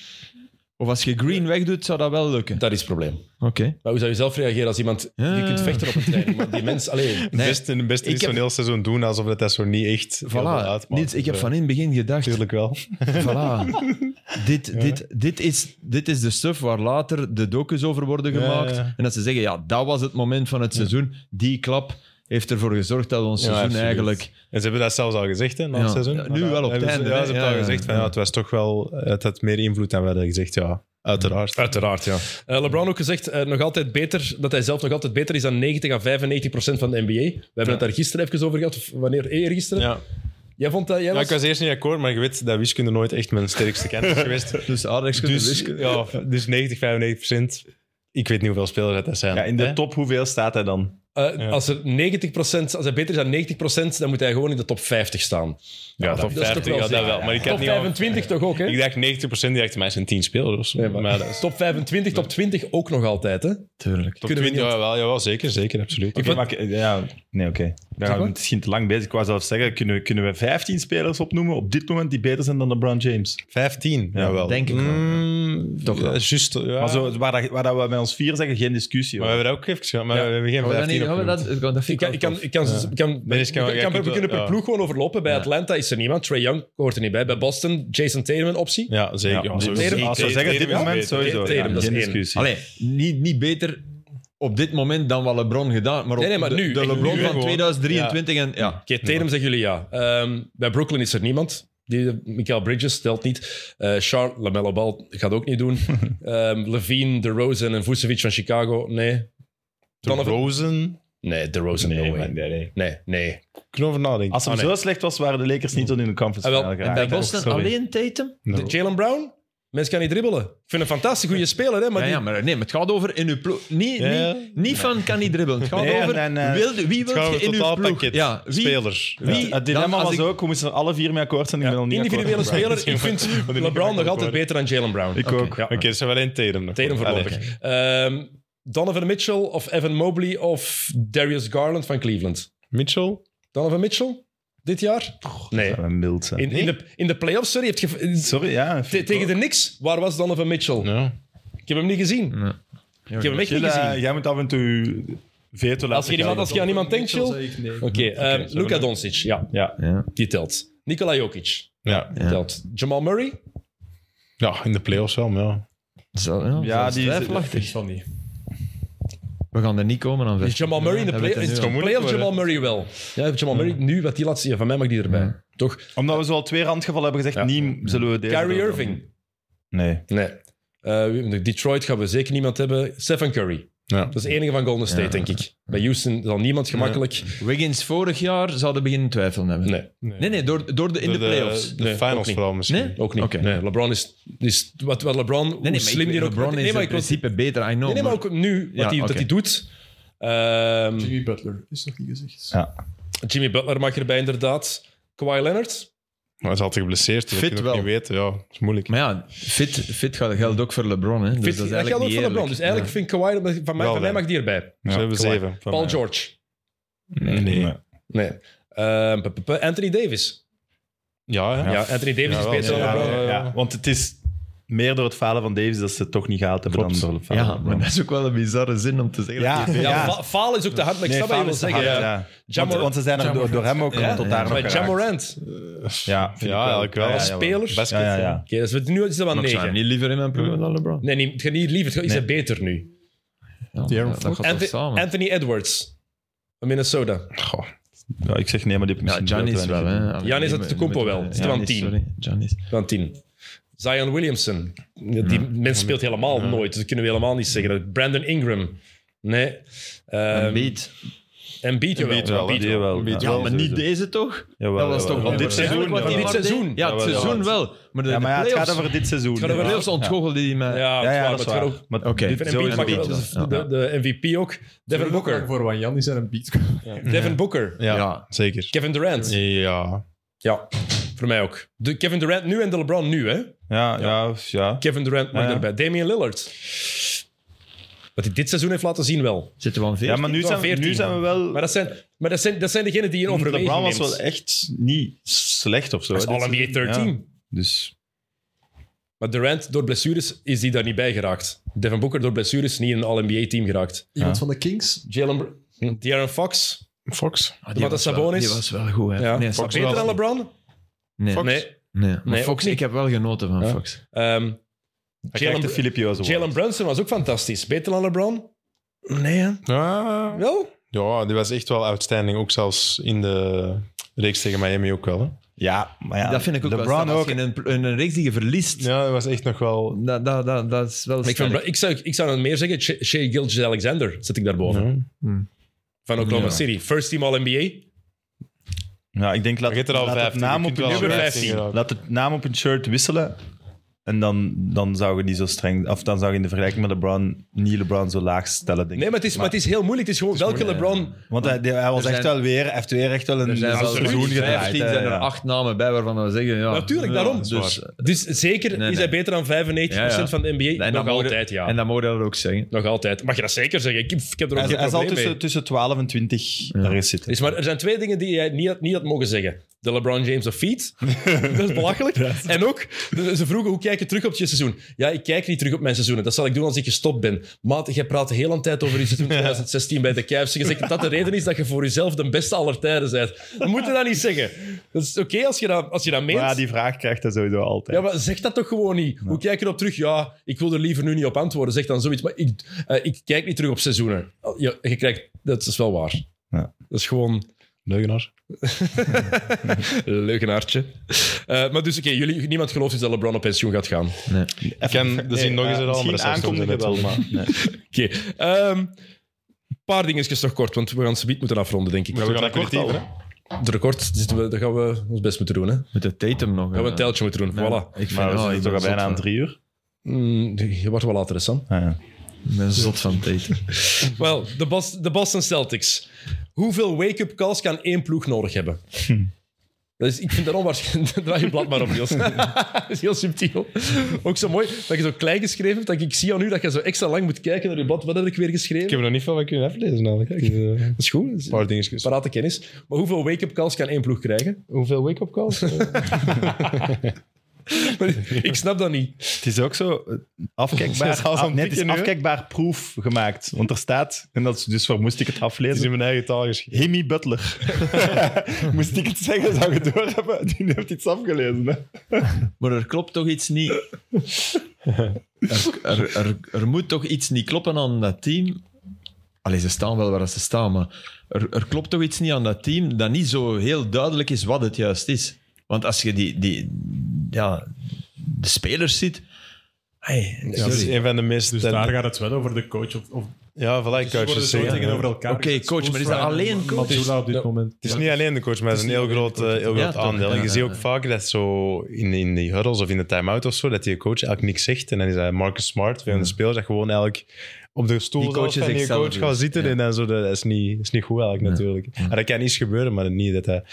of als je Green wegdoet, zou dat wel lukken. Dat is het probleem. Oké. Maar hoe zou je zelf reageren als iemand... Ja, Je ja, kunt ja. vechten op een training, maar die mens... alleen. Nee. Best, in, best Ik niet heb- zo'n heel seizoen doen alsof dat, dat zo niet echt heel veel Voilà, uitmaakt. Niels, ik heb Zo. van in het begin gedacht, Natuurlijk wel. voilà, dit, dit, dit, is, dit is de stuff waar later de docus over worden Ja, gemaakt. ja. En dat ze zeggen, ja, dat was het moment van het seizoen, die klap. heeft ervoor gezorgd dat ons Ja, seizoen absoluut. eigenlijk... En ze hebben dat zelfs al gezegd, hè, na Ja. het seizoen. Ja, nu wel op het Ja, einde, Ja, hè. ze hebben Ja, al ja, gezegd, van, ja. ja, het was toch wel... Het had meer invloed dan we hadden gezegd, ja. Uiteraard. Uiteraard, ja. Eh, LeBron ook gezegd eh, nog altijd beter, dat hij zelf nog altijd beter is dan 90 à 95 procent van de NBA. We hebben het daar gisteren even over gehad, of wanneer eh, eergisteren. Ja. Jij vond dat... Jij Ja, was... ik was eerst niet akkoord, maar je weet dat wiskunde nooit echt mijn sterkste kant is geweest. Dus aardrijkskunde, Dus, wiskunde. ja, dus 90, 95 procent. Ik weet niet hoeveel spelers dat zijn. Ja, in de hè? top, hoeveel staat hij dan? Eh, Als, er 90 als hij beter is dan 90 dan moet hij gewoon in de top 50 staan. Ja, top Dat is 50, toch wel ja, dat zeker. wel. Maar ik had Top niet al- 25 toch ook, hè? Ik dacht 90 procent, die dacht, mij zijn 10 spelers. of zo. Nee, maar- eh, maar dat is- Top 25, top 20 ook nog altijd, hè? Tuurlijk. top Kunnen we 20, ja, wel, ja, wel, zeker, zeker, absoluut. Ik vond- Oké, maar ik- ja, nee, oké. Daar gaan maar. we misschien te lang bezig. Ik wou zelf zeggen, kunnen we, kunnen we 15 spelers opnoemen op dit moment die beter zijn dan LeBron James? 15, ja, wel. denk ik wel. Toch wel. Mm, eh, Juist, ja. Maar zo, waar, dat, waar dat we met ons vier zeggen, geen discussie. Maar hoor. we hebben dat ook even gezegd, maar Ja. we hebben geen Gaan we dat 15 niet- gaan we opgenoemd. dat- dat vind Ik ik kan, wel ik kan, tof. ik kan, ik kan, Dennis kan- we, jij kan- kunt we kunnen per wel- ja. ploeg gewoon overlopen. Bij Atlanta is er niemand. Trae Young hoort er niet bij. Bij Boston, Jason Tatum een optie. Ja, zeker. Ja, Ja, sowieso. Tatum- als we Tatum zeggen, dit is moment beter. sowieso. Tatum, ja, dat is geen één. discussie. Allee, niet, niet beter op dit moment dan wat LeBron gedaan, maar, op Nee, nee, maar de- nu, de echt LeBron nu, van gewoon. 2023 en ja. Oké, Tatum zeggen jullie ja. Ehm, bij Brooklyn is er niemand. Die, eh, Michael Bridges stelt niet. Eh Charles Lamello Ball gaat ook niet doen. Ehm Levine, DeRozan en Vucevic van Chicago. Nee. De Donovan- Rosen. Nee, DeRozan, Nee, no way. maar- nee, nee. Nee, nee. Kunnen we over nadenken. Als het Ah, nee. zo slecht was, waren de Lakers niet tot in de conference Ah, wel, finale en geraakt. bij hè. Boston Sorry. alleen Tatum? De Jalen Brown? Mensen kan niet dribbelen. Ik vind een fantastisch goede speler, hè? Maar Maar ja, die- ja, maar, nee, maar het gaat over in uw ploeg. Niet, Ja. niet, niet van kan niet dribbelen. Het gaat Nee, over en- en, eh, wilde- wie wil gaan we je in uw ploeg? totaalpakket. Ja, wie, Spelers. Wie, Het dan dilemma als was ik- ook, we moesten er alle vier mee akkoord zijn. Ik ben al niet individuele akkoord. speler. Ik vind LeBron nog altijd beter dan Jalen Brown. Ik Ah, ook. Oké, dat zijn wel één Tatum nog. Tatum Allee. voorlopig. Ehm, Donovan Mitchell of Evan Mobley of Darius Garland van Cleveland? Mitchell? Donovan Mitchell? Dit jaar? Nee. Ja, we mild zijn. In, in, de, in de playoffs, sorry. Heb je, Sorry, ja. te- tegen de Knicks, waar was Donovan Mitchell? Ja. Ik heb hem niet gezien. Ik heb hem echt niet Gilles, eh, gezien. jij moet af en toe je veto laten Als je, iemand, als je aan iemand denkt, Jill. Oké, ik nee. ehm, Luka Doncic, ja, Ja. die telt. Nikola Jokic, Ja. die telt. Jamal Murray, ja, in de playoffs wel, maar ja. Zo, ja, Ja, dat is die is- twijfelachtig. van niet. We gaan er niet komen aan Is Jamal Murray in de Ja, play- dat weet in ik de nu al. play-off? Jamal Murray wel. Ja, Jamal Murray, nu wat die laatste... Ja, van mij mag die erbij. Toch? Omdat we zo al twee randgevallen hebben gezegd, niet zullen we deze... Kyrie doen. Irving. Nee. Nee. Eh, wie- Detroit gaan we zeker niemand hebben. Stephen Curry. Ja. Dat is de enige van Golden State, denk ik. Bij Houston zal niemand gemakkelijk... Wiggins vorig jaar zouden beginnen twijfelen hebben. Nee, nee, nee, door, door de, in de, playoffs. De, Nee, ook finals niet. vooral misschien. Nee? ook niet. Oké. Nee, LeBron is... is wat, wat LeBron, nee, hoe nee, slim maar die ik, er ook... LeBron nee, is maar in ik wil- principe beter, I know. nee, nee, maar maar- ook nu, wat Ja, hij oké. dat hij doet... Ehm, Jimmy Butler is nog niet gezegd. Ja. Jimmy Butler mag erbij, inderdaad. Kawhi Dus Leonard. Maar hij is altijd geblesseerd, dus Fit dat kun je wel. ook niet weten. Ja, dat is moeilijk. Maar ja, fit, fit gaat- geldt ook voor LeBron. Hè. Dus Vind- dat dat is eigenlijk geldt ook niet voor LeBron. eerlijk. Dus eigenlijk vind ik Kawhi... Van mij, Wel, van mij ja. mag die erbij. Dus we hebben Kawhi. zeven. van Paul mij. George. Nee. nee. Nee. Eh, p- p- p- Anthony Davis. Ja, Ja, ja. Anthony Davis Ja, is wel, beter dan ja, LeBron. ja, ja. Ja, want het is meer door het falen van Davis dat ze het toch niet gehaald hebben Klopt. dan door het Ja, falen van maar LeBron. dat is ook wel een bizarre zin om te zeggen. Ja, dat die- Ja, Ja. fa- falen is ook te hard, maar ik Nee, snap wat je falen wil is te zeggen. hard, ja. ja. Jamor- Want, want ze zijn er door, door hem ook Ja, tot ja. daar nog Maar Ja. geraakt. Morant, oké, Ja, vind Ja, ik eigenlijk wel. Ja, Als jawel. speler. Ja, ja, ja. dus we, nu is het wel Maar ik zou 9. hem niet liever in mijn ploeg dan LeBron. Nee, nee, het gaat niet liever. Het gaat, is hij beter nu? Ja, Die Aaron dat- dat Fox. gaat toch Anthony, samen. Anthony Edwards. van Minnesota. Goh. Ja, ik zeg nee, maar die heb ik Ja, misschien Giannis veel wel. te weinig Hè. Giannis had de compo wel. Zit hem aan Giannis, tien. sorry. Giannis. Van 10. Zion Williamson. Die mens speelt helemaal nooit. Dat kunnen we helemaal niet zeggen. Brandon Ingram. Nee. Een Ehm beat. Embiid jawel. Embiid wel, Embiid die wel. Ja, Ja, maar niet deze toch? dat Jawel, was jawel. toch Van dit Ja, seizoen. wat Van die dit maar deed. seizoen. Ja, het Jawel, seizoen jawel. wel. Maar de Ja, maar ja, het gaat playoffs- over dit seizoen. gaat over de dit playoffs ontgoochelde die mij. Ja, Ja, het ja, waar, dat is maar het gaat waar. ook- Maar Oké. Devin Zo Embiid is mag Embiid, wel, dat is ja. de, de MVP ook. Devin Booker. Voor Wan Jan is er een beat. Devin Booker. Ja, Ja. zeker. Kevin Durant. Ja. Ja, voor mij ook. De Kevin Durant nu en de LeBron nu, hè? Ja, ja, ja. Kevin Durant mag Ja, ja. erbij. Damian Lillard. Wat hij dit seizoen heeft laten zien wel. Zitten we aan Ja, veertien? maar nu van zijn, we- 14. nu zijn we wel... Maar dat zijn, maar dat zijn, dat zijn degenen die je in overweging LeBron was neemt. wel echt niet slecht of zo. Dat is hè, dit All-NBA seizoen. 13. Ja, Dus... Maar Durant, door blessures, is die daar niet bij geraakt. Devin Booker, door blessures, niet in een All-NBA-team geraakt. Iemand van de Kings? Jalen... Hm. Br- De'Aaron Fox. Fox. Ah, Wat was dat Sabonis? wel- Die was wel goed, hè. Ja. Nee, Fox Sabonis- beter dan LeBron? Nee, Fox. Nee. nee. Maar Nee, ook Fox, niet. ik heb wel genoten van Fox. Ehm, Hij krijgt de Filip Joos Award. Jalen Brunson was ook fantastisch. Beter dan LeBron? Nee, hè? Ja. Wel? Ja, die was echt wel outstanding. Ook zelfs in de reeks tegen Miami ook wel. Hè. Ja, maar ja. dat vind ik ook wel LeBron straf. Als ook. je in een, in een reeks die je verliest, Ja, dat was echt nog wel... dat, dat, dat, dat is wel Ik, vind, sterk. ik, zou, ik zou dan meer zeggen, Shea- Shea Gilgis Alexander zit ik daarboven. Van Oklahoma Ja. City. First team All-NBA. Ja, Nou, ik denk, laat, Maar je hebt er al laat, vijf. het naam op een nummer shirt, vijftien. laat het naam op een shirt wisselen. En dan, dan zou je die zo streng... Of dan zou je in de vergelijking met LeBron niet LeBron zo laag stellen, denk Nee, ik. maar het, is, maar, het is heel moeilijk. Het is gewoon welke LeBron... Want hij, die- hij was Er echt zijn- wel weer... Hij heeft weer echt wel een Er zijn wel absoluut. seizoen gedraaid, 15 hè, zijn er ja. acht namen bij waarvan we zeggen, ja. Natuurlijk, Ja, daarom. Dus, Dus zeker Nee, is hij nee. beter dan 95% Ja, ja. van de NBA. en, nog dat mogen- altijd, ja. en dat mogen we dat ook zeggen. Nog altijd. Mag je dat zeker zeggen? Ik, ik heb er ook Hij, geen hij zal probleem mee. tussen, tussen 12 en 20 ergens Er zitten. is maar, er zijn twee dingen die jij niet had, niet had mogen zeggen. De LeBron James of feet. dat is belachelijk. En ook, de- ze vroegen hoe kijk je terug op je seizoen? Ja, ik kijk niet terug op mijn seizoenen. Dat zal ik doen als ik gestopt ben. Maat, jij praat de hele tijd over je seizoen 2016 bij de Cavs. Je zegt dat dat de reden is dat je voor jezelf de beste aller tijden bent. We moeten dat niet zeggen. Dat is oké als je dat, als je dat meent. Maar ja, die vraag krijgt hij sowieso altijd. Ja, maar zeg dat toch gewoon niet. Hoe kijk je erop terug? Ja, ik wil er liever nu niet op antwoorden. Zeg dan zoiets. Maar ik, eh, ik kijk niet terug op seizoenen. Oh, Ja, je krijgt, dat is wel waar. Ja. Dat is gewoon Leugenaar. een leugenaartje. Eh, maar dus, oké, jullie niemand gelooft dus dat LeBron op pensioen gaat gaan. Oké. Ik ken de zin nog eens er al, maar dat eh, Misschien zou ik zo aankondigen meteen wel, maar... nee. ehm, een paar dingetjes nog kort, want we gaan ze niet moeten afronden, denk ik. Moeten we gaan aperitief, kwartier, De record, zitten we, daar gaan we ons best moeten doen. Hè? Gaan Met de Tatum nog. we eh, een teltje moeten doen, ja. voilà. Ik vind, Maar we oh, zitten ik toch ben al bijna zot aan van- drie uur. Mm, je wordt wel later, hè, Sam. Ah, ja. Ik ben zot van Tatum. Wel, de, Bos- de Boston Celtics. Hoeveel wake-up calls kan één ploeg nodig hebben? Hm. Dat is, ik vind dat onwaarschijnlijk. Draai je blad maar op, Niels. dat is heel subtiel. Ook zo mooi dat je zo klein geschreven hebt. Dat ik zie aan u dat je zo extra lang moet kijken naar je blad. Wat heb ik weer geschreven? Ik heb er nog niet veel van kunnen aflezen. eigenlijk. Het is, eh, Een Dat is goed. Dat is paar dingetjes. Parate kennis. Maar hoeveel wake-up calls kan één ploeg krijgen? Hoeveel wake-up calls? ik snap dat niet. Het is ook zo eh, Dat afkijkbaar, is al zo'n af- nee, het is dikke nu, hè? afkijkbaar proef gemaakt. Want er staat, en dat is, dus waar moest ik het Het is in aflezen? mijn eigen taal geschreven. Hemi Butler. moest ik het zeggen, zou je het doorhebben? Die heeft iets afgelezen. Hè? Maar er klopt toch iets niet. Er, er, er, er moet toch iets niet kloppen aan dat team. Allee, ze staan wel waar ze staan, maar er, er klopt toch iets niet aan dat team dat niet zo heel duidelijk is wat het juist is. Want als je die, die ja, de spelers ziet. Hey, Ja, dat is sorry. een van de meest... eh, Dus daar gaat het wel over de coach. Of, of Ja, voilà, ze worden coaches zo zeggen. tegenover ja. elkaar. Oké, coach, maar is dat alleen coach? Matula op dit Ja. moment. Het is niet alleen de coach, maar het is een heel groot, eh, heel Ja, groot toch, aandeel. ja, Je ziet ja, ook vaak dat zo in, in die huddles of in de time-out of zo, dat die coach eigenlijk niks zegt. En dan is dat Marcus Smart, een van de spelers, dat gewoon eigenlijk op de stoel Die coach zelfs van is die zichzelf, coach gaat dus. zitten. Ja. En dan zo, dat is niet, is niet goed eigenlijk natuurlijk. En dat kan iets gebeuren, maar niet dat dat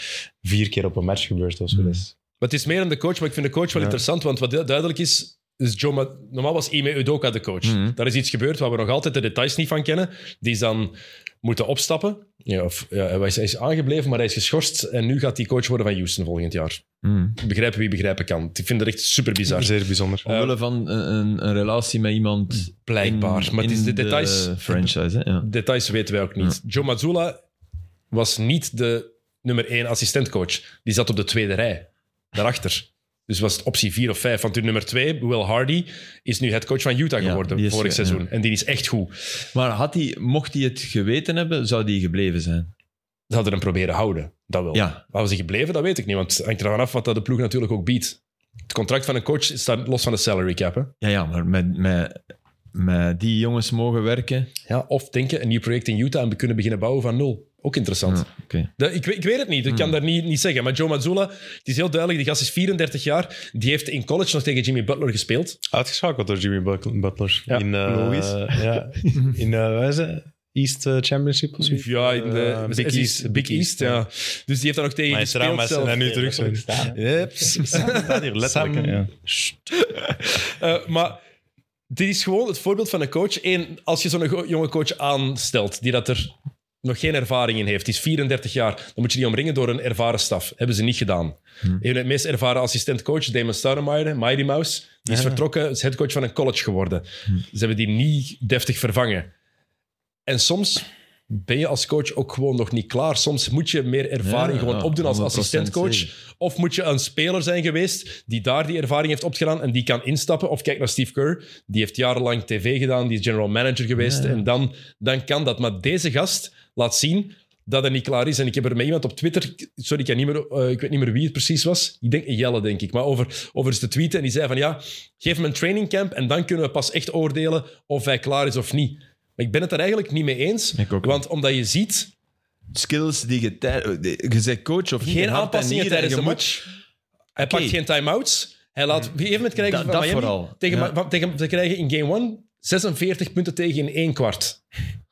vier keer op een match gebeurt of zo. Dat is- Maar het is meer dan de coach, maar ik vind de coach wel interessant, want wat duidelijk is, is Joe Ma- normaal was Ime Udoka de coach. Daar is iets gebeurd waar we nog altijd de details niet van kennen. Die is dan moeten opstappen. Ja, of, ja, hij, is, hij is aangebleven, maar hij is geschorst. En nu gaat hij coach worden van Houston volgend jaar. Mm. Begrijpen wie begrijpen kan. Ik vind dat echt super bizar. Zeer bijzonder. Omwille van een, een, een relatie met iemand. Blijkbaar, maar het is de details. franchise, hè? Ja. Details weten wij ook niet. Joe Mazzulla was niet de nummer één assistentcoach. Die zat op de tweede rij, daarachter. Dus was het optie vier of vijf. Want uw nummer twee, Will Hardy, is nu headcoach van Utah Ja, geworden die is- vorig ja. seizoen. En die is echt goed. Maar had hij, mocht hij het geweten hebben, zou die gebleven zijn. Ze hadden hem proberen houden, dat wel. Ja. Maar was hij gebleven, dat weet ik niet. Want het hangt ervan af wat dat de ploeg natuurlijk ook biedt. Het contract van een coach staat los van de salary cap. Hè? Ja, ja maar met, met, met die jongens mogen werken. Ja, of denken, een nieuw project in Utah en we kunnen beginnen bouwen van nul. Ook interessant. Ja, oké. Hmm. Dat- ik, weet- ik weet het niet, ik kan daar niet, niet zeggen. Maar Joe Mazzulla, het is heel duidelijk, die gast is 34 jaar. Die heeft in college nog tegen Jimmy Butler gespeeld. Uitgeschakeld door Jimmy Butler- Butler. Ja, in, eh, logisch. Ja, in eh, wat is het? East eh, Championship of zoiets? Ja, in de Eh, Big, East, Big East, ja. Dus die heeft daar nog tegen Mijn gespeeld trauma's zelf. zijn nu terug. zo. staat hier letterlijk. Sam- hè, ja. Eh, maar dit is gewoon het voorbeeld van een coach. Eén, als je zo'n go- jonge coach aanstelt, die dat er nog geen ervaring in heeft, die is 34 jaar, dan moet je die omringen door een ervaren staf. Hebben ze niet gedaan. Hmm. Een van de meest ervaren assistentcoach, Damon Stoudemire, Mighty Mouse, die is vertrokken, is headcoach Hmm. van een college geworden. Ze hebben die niet deftig vervangen. En soms ben je als coach ook gewoon nog niet klaar. Soms moet je meer ervaring Ja, gewoon ja, opdoen als 100% assistentcoach. Of moet je een speler zijn geweest die daar die ervaring heeft opgedaan en die kan instappen. Of kijk naar Steve Kerr, die heeft jarenlang tv gedaan, die is general manager geweest. En dan, dan kan dat. Maar deze gast laat zien dat hij niet klaar is. En ik heb er met iemand op Twitter, sorry, ik, kan niet meer, eh, ik weet niet meer wie het precies was. Ik denk Jelle, denk ik, maar over, over eens te tweeten. En die zei van ja, geef hem een trainingcamp en dan kunnen we pas echt oordelen of hij klaar is of niet. Maar ik ben het er eigenlijk niet mee eens. Ik ook want omdat je ziet, Skills die je... tij- Je bent coach of niet, geen hart en aanpassingen nieren, tijdens je de moet- match. Hij Oké. pakt geen time-outs. Hij laat, op een gegeven moment krijgen ze Dat- van dat Miami vooral, Tegen, ja. Ma- tegen, ze krijgen in game 1 46 punten tegen in één kwart.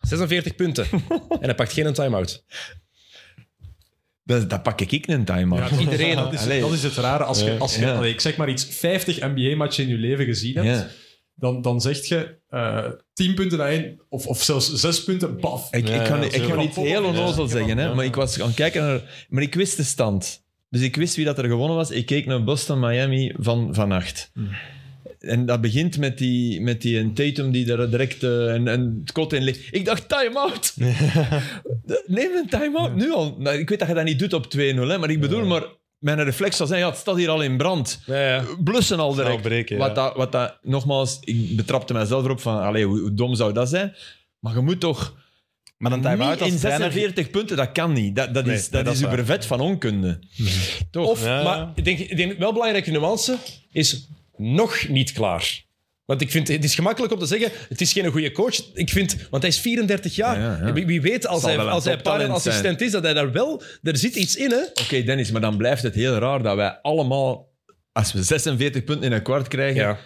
46 punten. en hij pakt geen time-out. Dat, dat pak ik een time-out. Iedereen. Dat is, Allee. dat is het rare. Als je, als je Ja. allee, ik zeg maar iets, 50 NBA-matchen in je leven gezien hebt, Ja. dan, dan zeg je eh 10 punten naar één, of, of zelfs 6 punten, baf. Ik, ik kan, ja, ik kan zeker. iets heel onnozel zeggen, hè, maar ik was gaan kijken naar... Maar ik wist de stand. Dus ik wist wie dat er gewonnen was. Ik keek naar Boston-Miami van vannacht. En dat begint met die, met die een Tatum die daar direct eh, en, en het kot in ligt. Ik dacht, time-out! Neem een time-out nu al. Nou, ik weet dat je dat niet doet op 2-0, hè, maar ik bedoel, maar mijn reflex zal zijn, ja, het staat hier al in brand Ja, ja. blussen al direct. breken, ja. wat, dat, wat dat, nogmaals, ik betrapte mezelf erop van, allee, hoe, hoe dom zou dat zijn? Maar je moet toch Maar dan time-out niet als in trainer... 46 punten, dat kan niet. Dat, dat Nee, is, nee, dat dat is is waar. ubervet van onkunde. Toch? Of, Ja, ja. maar ik denk, ik denk wel belangrijke nuance is nog niet klaar. Want ik vind, het is gemakkelijk om te zeggen, het is geen goede coach. Ik vind, want hij is 34 jaar. Ja, ja, ja. Wie- Wie weet, als Zal hij, wel een als hij een paar jaar toptalent zijn. assistent is, dat hij daar wel... Er zit iets in, hè? Oké, Dennis, maar dan blijft het heel raar dat wij allemaal, als we 46 punten in een kwart krijgen,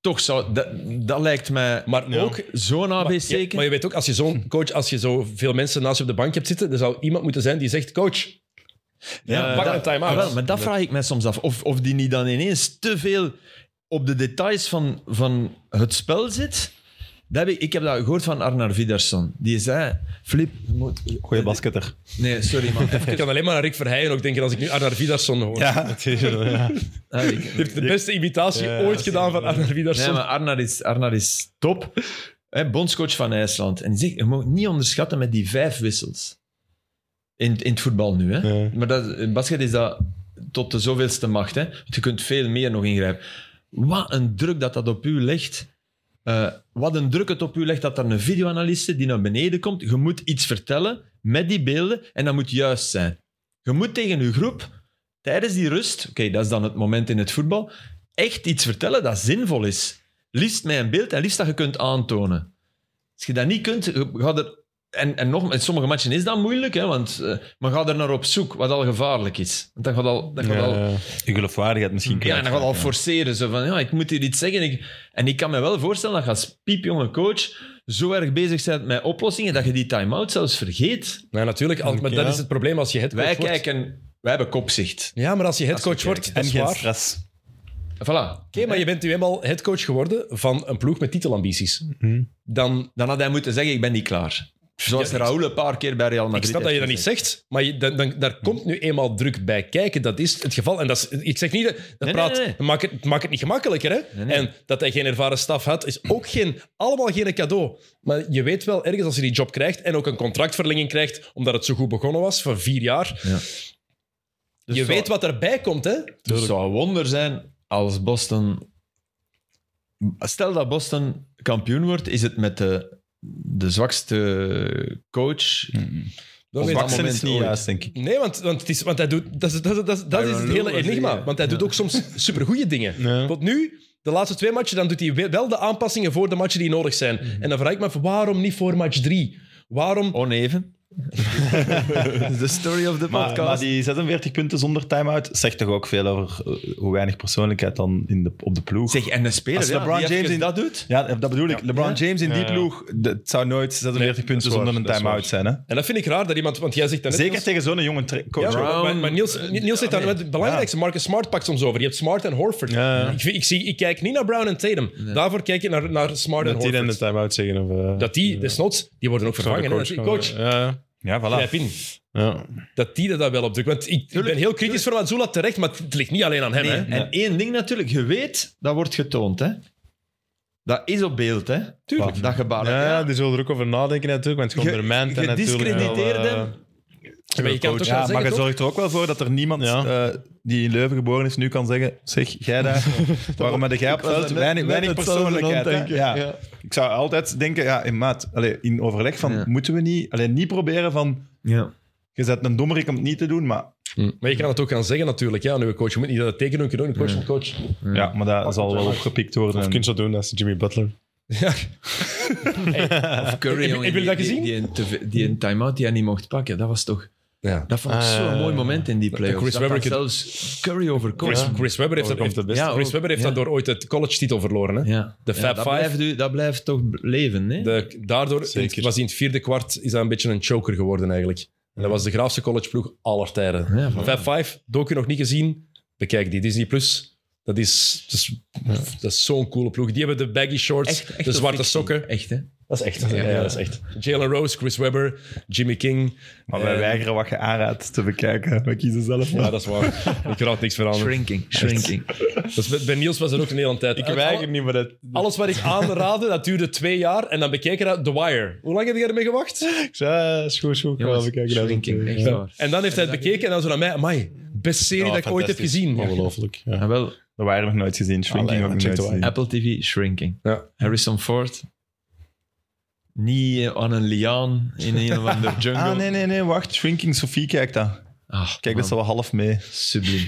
toch zou... Dat, dat lijkt mij Maar ook... zo'n ABC. Ja, maar je weet ook, als je zo'n coach, als je zoveel mensen naast je op de bank hebt zitten, er zou iemand moeten zijn die zegt, coach, Ja, pak dat- een time-out. Ah, wel, maar dat vraag ik mij soms af. Of, of die niet dan ineens te veel op de details van, van het spel zit. Dat heb ik, ik heb dat gehoord van Arnar Vidarsson. Die zei, Flip... je moet- Goeie basketter. Nee, sorry man. ik kan alleen maar aan Rick Verheijen ook denken als ik nu Arnar Vidarsson hoor. Ja, het is, ja. Ah, ik- Die heeft de beste imitatie Ja, ooit ja, gedaan van Arnar Vidarsson. nee, maar Arnar is, Arnar is top. Hè, bondscoach van IJsland. En die zegt, je moet niet onderschatten met die vijf wissels. In, in het voetbal nu, hè. Ja. Maar dat, in basket is dat tot de zoveelste macht. Hè? Want je kunt veel meer nog ingrijpen. Wat een druk dat dat op u legt. Eh, wat een druk het op u legt dat er een videoanalyste die naar beneden komt. Je moet iets vertellen met die beelden en dat moet juist zijn. Je moet tegen je groep tijdens die rust, oké, dat is dan het moment in het voetbal, echt iets vertellen dat zinvol is. Liefst met een beeld en liefst dat je kunt aantonen. Als je dat niet kunt, je gaat er en, en nog, in sommige matchen is dat moeilijk, hè, want, eh, maar ga er naar op zoek, wat al gevaarlijk is. Want dat gaat al, dat gaat al, ja, ja. Je geloofwaardigheid misschien. en dat gaat al forceren. Zo van, ja, ik moet hier iets zeggen. Ik, en ik kan me wel voorstellen dat je als piepjonge coach zo erg bezig bent met oplossingen dat je die time-out zelfs vergeet. Nee, Nou, natuurlijk, al- maar dat Ja. is het probleem als je headcoach Wij wordt. kijken, wij hebben kopzicht. Ja, maar als je headcoach Als we wordt, dat En is geen waar. Oké, stress. Voilà. maar je bent nu eenmaal headcoach geworden van een ploeg met titelambities. Dan, Dan had hij moeten zeggen, ik ben niet klaar. Zoals Ja, ik- Raoul een paar keer bij Real Madrid ik snap dat je heeft dat niet gezegd. zegt, maar je, dan, dan- daar komt nu eenmaal druk bij kijken. Dat is het geval. En dat is, ik zeg niet, dat, dat nee, praat, nee, nee. dat Maakt, het, maakt het niet gemakkelijker. Hè? Nee, nee. En dat hij geen ervaren staf had, is ook geen, allemaal geen cadeau. Maar je weet wel, ergens als je die job krijgt en ook een contractverlenging krijgt, omdat het zo goed begonnen was, van vier jaar. Ja. Dus je zo- weet wat erbij komt, hè? Dus het zou een wonder zijn als Boston... Stel dat Boston kampioen wordt, is het met de, de zwakste coach. Dan Of weet- dat Baksen is moment niet ooit. juist, denk ik. Nee, want, want, het is, want hij doet, dat, is, dat, is- dat, is- dat is Tyronn het Lue hele was die, enigma. ja. Want hij doet ook soms supergoeie dingen. Ja. Tot nu, de laatste twee matchen, dan doet hij we- wel de aanpassingen voor de matchen die nodig zijn. En dan vraag ik me af, waarom niet voor match drie? Waarom... Oh, Oneven. the story of the Maar, maar podcast. die 46 punten zonder time-out zegt toch ook veel over eh, hoe weinig persoonlijkheid dan in de, op de ploeg. zeg, en een speler Als ja, LeBron die James even in- dat doet... Ja, dat bedoel ik. LeBron James in die Ja, ja. ploeg, d- het zou nooit 46 punten dat is waar, zonder een dat is time-out zijn. Hè? En dat vind ik raar dat iemand... Want jij zegt dan net, Zeker Niels- tegen zo'n jonge tra- Ja, coach. maar- Brown, maar, maar Niels, Niels zegt dan nee. het belangrijkste. Marcus Smart pakt soms over. Je hebt Smart en Horford. Ja, ja. Ik, vind- ik, zie, ik kijk niet naar Brown en Tatum. Daarvoor kijk je naar, naar Smart en Dat die Horford. dan de time-out zeggen. Of, eh, dat die, desnoods, die worden ook zou de vervangen. hè. Dat die- Coach, gewoon- Ja, Ja, voilà. grijp in. ja. dat die dat daar wel op drukt. Want ik, ik ben heel kritisch voor Mazzola terecht, maar het ligt niet alleen aan hem. Nee, hè. En één ding natuurlijk, je weet, dat wordt getoond. Hè? Dat is op beeld, hè? Tuurlijk. Dat gebaar. Ja, die zullen er ook over nadenken natuurlijk, want het Ge- ondermijnt en natuurlijk wel... gediscrediteerde- eh, Maar je kan toch Ja, wel maar zeggen, je toch? zorgt er ook wel voor dat er niemand Ja. eh, die in Leuven geboren is nu kan zeggen: zeg jij daar, waarom heb jij op was veld net- weinig, net weinig hetzelfde persoonlijkheid? aan hè? het denken, Ja. ja. Ik zou altijd denken: ja, in maat, allee, in overleg van Ja. moeten we niet, alleen niet proberen van Ja. je zet een dommerik om het niet te doen, maar Hm. Maar je kan het ook gaan zeggen natuurlijk, ja, aan uw coach. Je moet niet dat het tekenen kunnen doen, coach van coach. ja, maar dat zal wel opgepikt worden. Of kun je zo doen, dat is Jimmy Butler. Ja. Of Curry, Ah, Heb- jongen, heb je dat die- gezien? Die, die, een teve- die een time-out die hij niet mocht pakken. Dat was toch... ja. Dat vond ik Ah, zo'n ja, mooi ja. moment in die playoffs. Chris dat Webber dat kan- zelfs Curry overkomt. Chris, Ja. Chris Webber heeft, dat, Overkomt de heeft, beste. ja, Chris ook. Webber heeft Ja. daardoor ooit het college-titel verloren. Hè? Ja. De Ja, Fab dat, Five. blijft, u- dat blijft toch leven, hè? De, daardoor Zeker. was in het vierde kwart is dat een beetje een choker geworden eigenlijk. En dat was de graafste collegeploeg aller tijden. Ja, voilà. Fab Five, docu nog niet gezien, bekijk die. Disney Plus, dat is, dat is, dat is zo'n coole ploeg. Die hebben de baggy shorts, Echt- echt de een zwarte fictie. sokken. Echt, hè? Dat is echt. Ja, ja, dat is echt. Jalen Rose, Chris Webber, Jimmy King. Maar wij Eh, weigeren wat je aanraadt te bekijken. We kiezen zelf. Ja, dat is waar. Ik raad niks veranderen. Shrinking, shrinking. Dus bij, bij Niels was dat ook een hele tijd. Ik weiger niet, maar dat... Alles wat ik aanraadde, dat duurde twee jaar. En dan bekeken dat The Wire. Hoe lang heb jij ermee gewacht? Ik zei, ah, is goed, is goed. ik ga wel Jongens, even kijken. shrinking, echt Ja. waar. En dan heeft hij het bekeken en dan zo naar mij. Amai, best serie Ja, dat ik ooit heb fantastisch. gezien. Ongelooflijk. Ja. Ah, wel, Dat waren we nog nooit gezien. Shrinking nog Allee, check nooit the wire. gezien. Apple TV, shrinking. Ja. Harrison Ford. Niet eh, aan een liaan in een of ander jungle. Ah, nee, nee, nee, wacht. Shrinking, Sophie kijkt dat. Ah, Kijk, man, dat is wel half mee. Subliem.